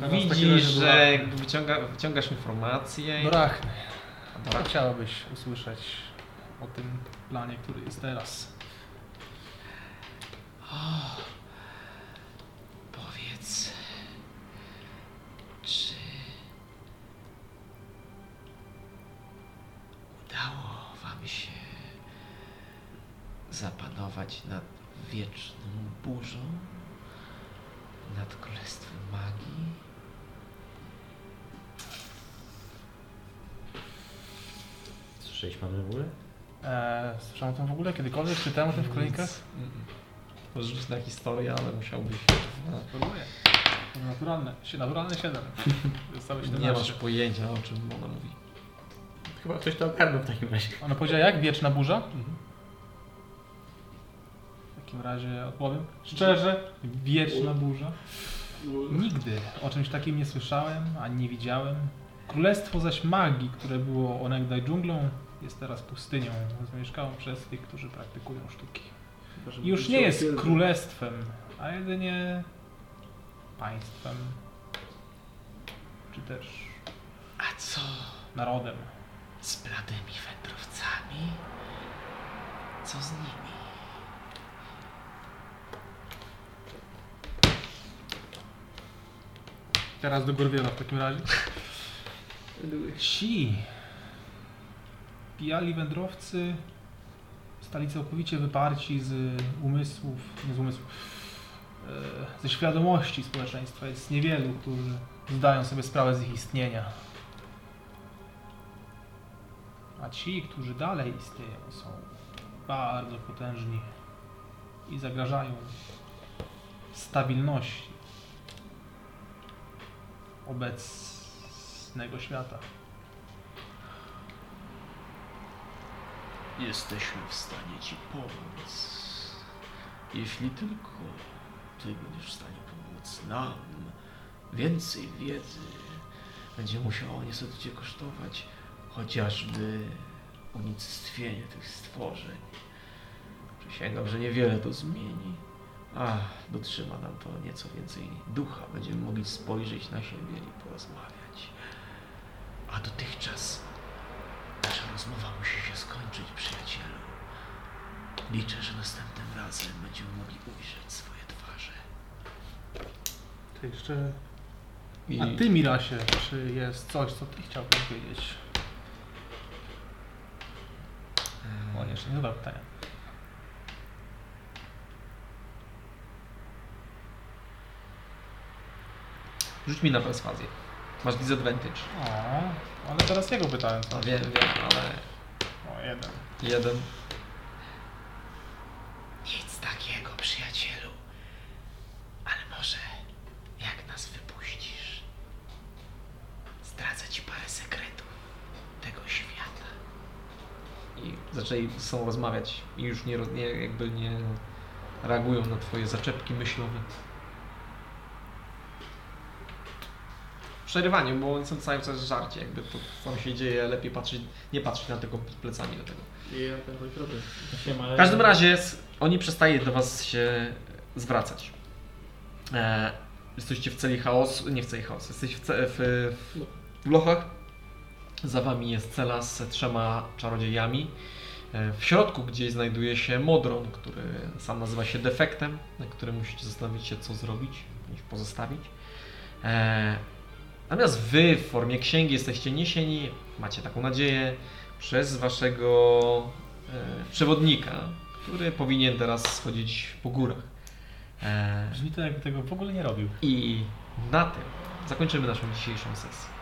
Speaker 2: Teraz taki
Speaker 1: widzi,
Speaker 2: razie No
Speaker 1: że
Speaker 2: brak.
Speaker 1: jakby wyciąga, wyciągasz informacje. i-
Speaker 2: Brachny.
Speaker 1: Dobra.
Speaker 2: Co chciałabyś usłyszeć o tym planie, który jest teraz?
Speaker 12: powiedz, czy udało Wam się zapanować nad wieczną burzą, nad królestwem magii?
Speaker 3: Słyszeliśmy o tym w ogóle?
Speaker 2: Eee, słyszałem tam w ogóle kiedykolwiek? Czytałem o tym w kolejkach?
Speaker 1: Możesz rzucić na historię, ale musiałbyś.
Speaker 2: Spróbuję. Naturalne. Sie- Naturalne 7. Zostały
Speaker 1: Nie
Speaker 2: 17.
Speaker 1: masz pojęcia o czym ona mówi.
Speaker 3: Chyba ktoś to ogarnął w takim razie.
Speaker 2: Ona powiedziała jak? Wieczna burza? W takim razie odpowiem. Szczerze, wieczna burza. Nigdy o czymś takim nie słyszałem, ani nie widziałem. Królestwo zaś magii, które było onegdaj dżunglą, jest teraz pustynią, zamieszkałą przez tych, którzy praktykują sztuki.
Speaker 4: Chyba, żeby
Speaker 2: I Już nie
Speaker 4: wróciła
Speaker 2: jest
Speaker 4: wielka.
Speaker 2: królestwem, a jedynie państwem. Czy też
Speaker 12: A co
Speaker 2: narodem.
Speaker 12: z blademi wędrowcami? Co z nimi?
Speaker 2: Teraz do Gorwiela w takim razie. Ci pijali wędrowcy stali całkowicie wyparci z umysłów, nie z umysłów, e, ze świadomości społeczeństwa. Jest niewielu, którzy zdają sobie sprawę z ich istnienia. A ci, którzy dalej istnieją, są bardzo potężni i zagrażają stabilności obecnego świata.
Speaker 12: Jesteśmy w stanie ci pomóc. Jeśli tylko ty będziesz w stanie pomóc nam, więcej wiedzy będzie musiało niestety cię kosztować chociażby unicestwienie tych stworzeń. Przysięgam, że niewiele to zmieni. Ach, dotrzyma nam to nieco więcej ducha. Będziemy mogli spojrzeć na siebie i porozmawiać. A dotychczas nasza rozmowa musi się skończyć, przyjacielu. Liczę, że następnym razem będziemy mogli ujrzeć swoje twarze.
Speaker 2: To jeszcze...
Speaker 1: I
Speaker 2: A ty, Mirasie, czy jest coś, co ty chciałbyś wiedzieć? O, nie, jeszcze nie zadałem pytania.
Speaker 1: rzuć mi na perswazję. Masz disadvantage.
Speaker 2: O, ale teraz jego pytałem, co?
Speaker 1: No wiem, wiem, ale
Speaker 2: O, jeden.
Speaker 1: jeden.
Speaker 24: Nic takiego, przyjacielu. Ale może, jak nas wypuścisz, zdradzę ci parę sekretów tego świata.
Speaker 1: I zaczęli ze sobą rozmawiać i już nie, roz- nie, jakby nie reagują na twoje zaczepki myślowe. W Przerywaniu, bo oni są cały czas żarcie, jakby to co się dzieje, lepiej patrzeć, nie patrzeć na tego plecami do tego.
Speaker 4: I ja ten mój problem.
Speaker 1: W każdym razie s- oni przestaje do was się zwracać. E, jesteście w celi chaosu, nie w celi chaosu, jesteście w, ce, w, w, w lochach. Za wami jest cela z trzema czarodziejami. E, w środku gdzieś znajduje się Modron, który sam nazywa się defektem, na którym musicie zastanowić się co zrobić, niż pozostawić. E, natomiast wy w formie księgi jesteście niesieni, macie taką nadzieję, przez waszego e, przewodnika, który powinien teraz schodzić po górach. E,
Speaker 2: Brzmi to, jakby tego w ogóle nie robił.
Speaker 1: I na tym zakończymy naszą dzisiejszą sesję.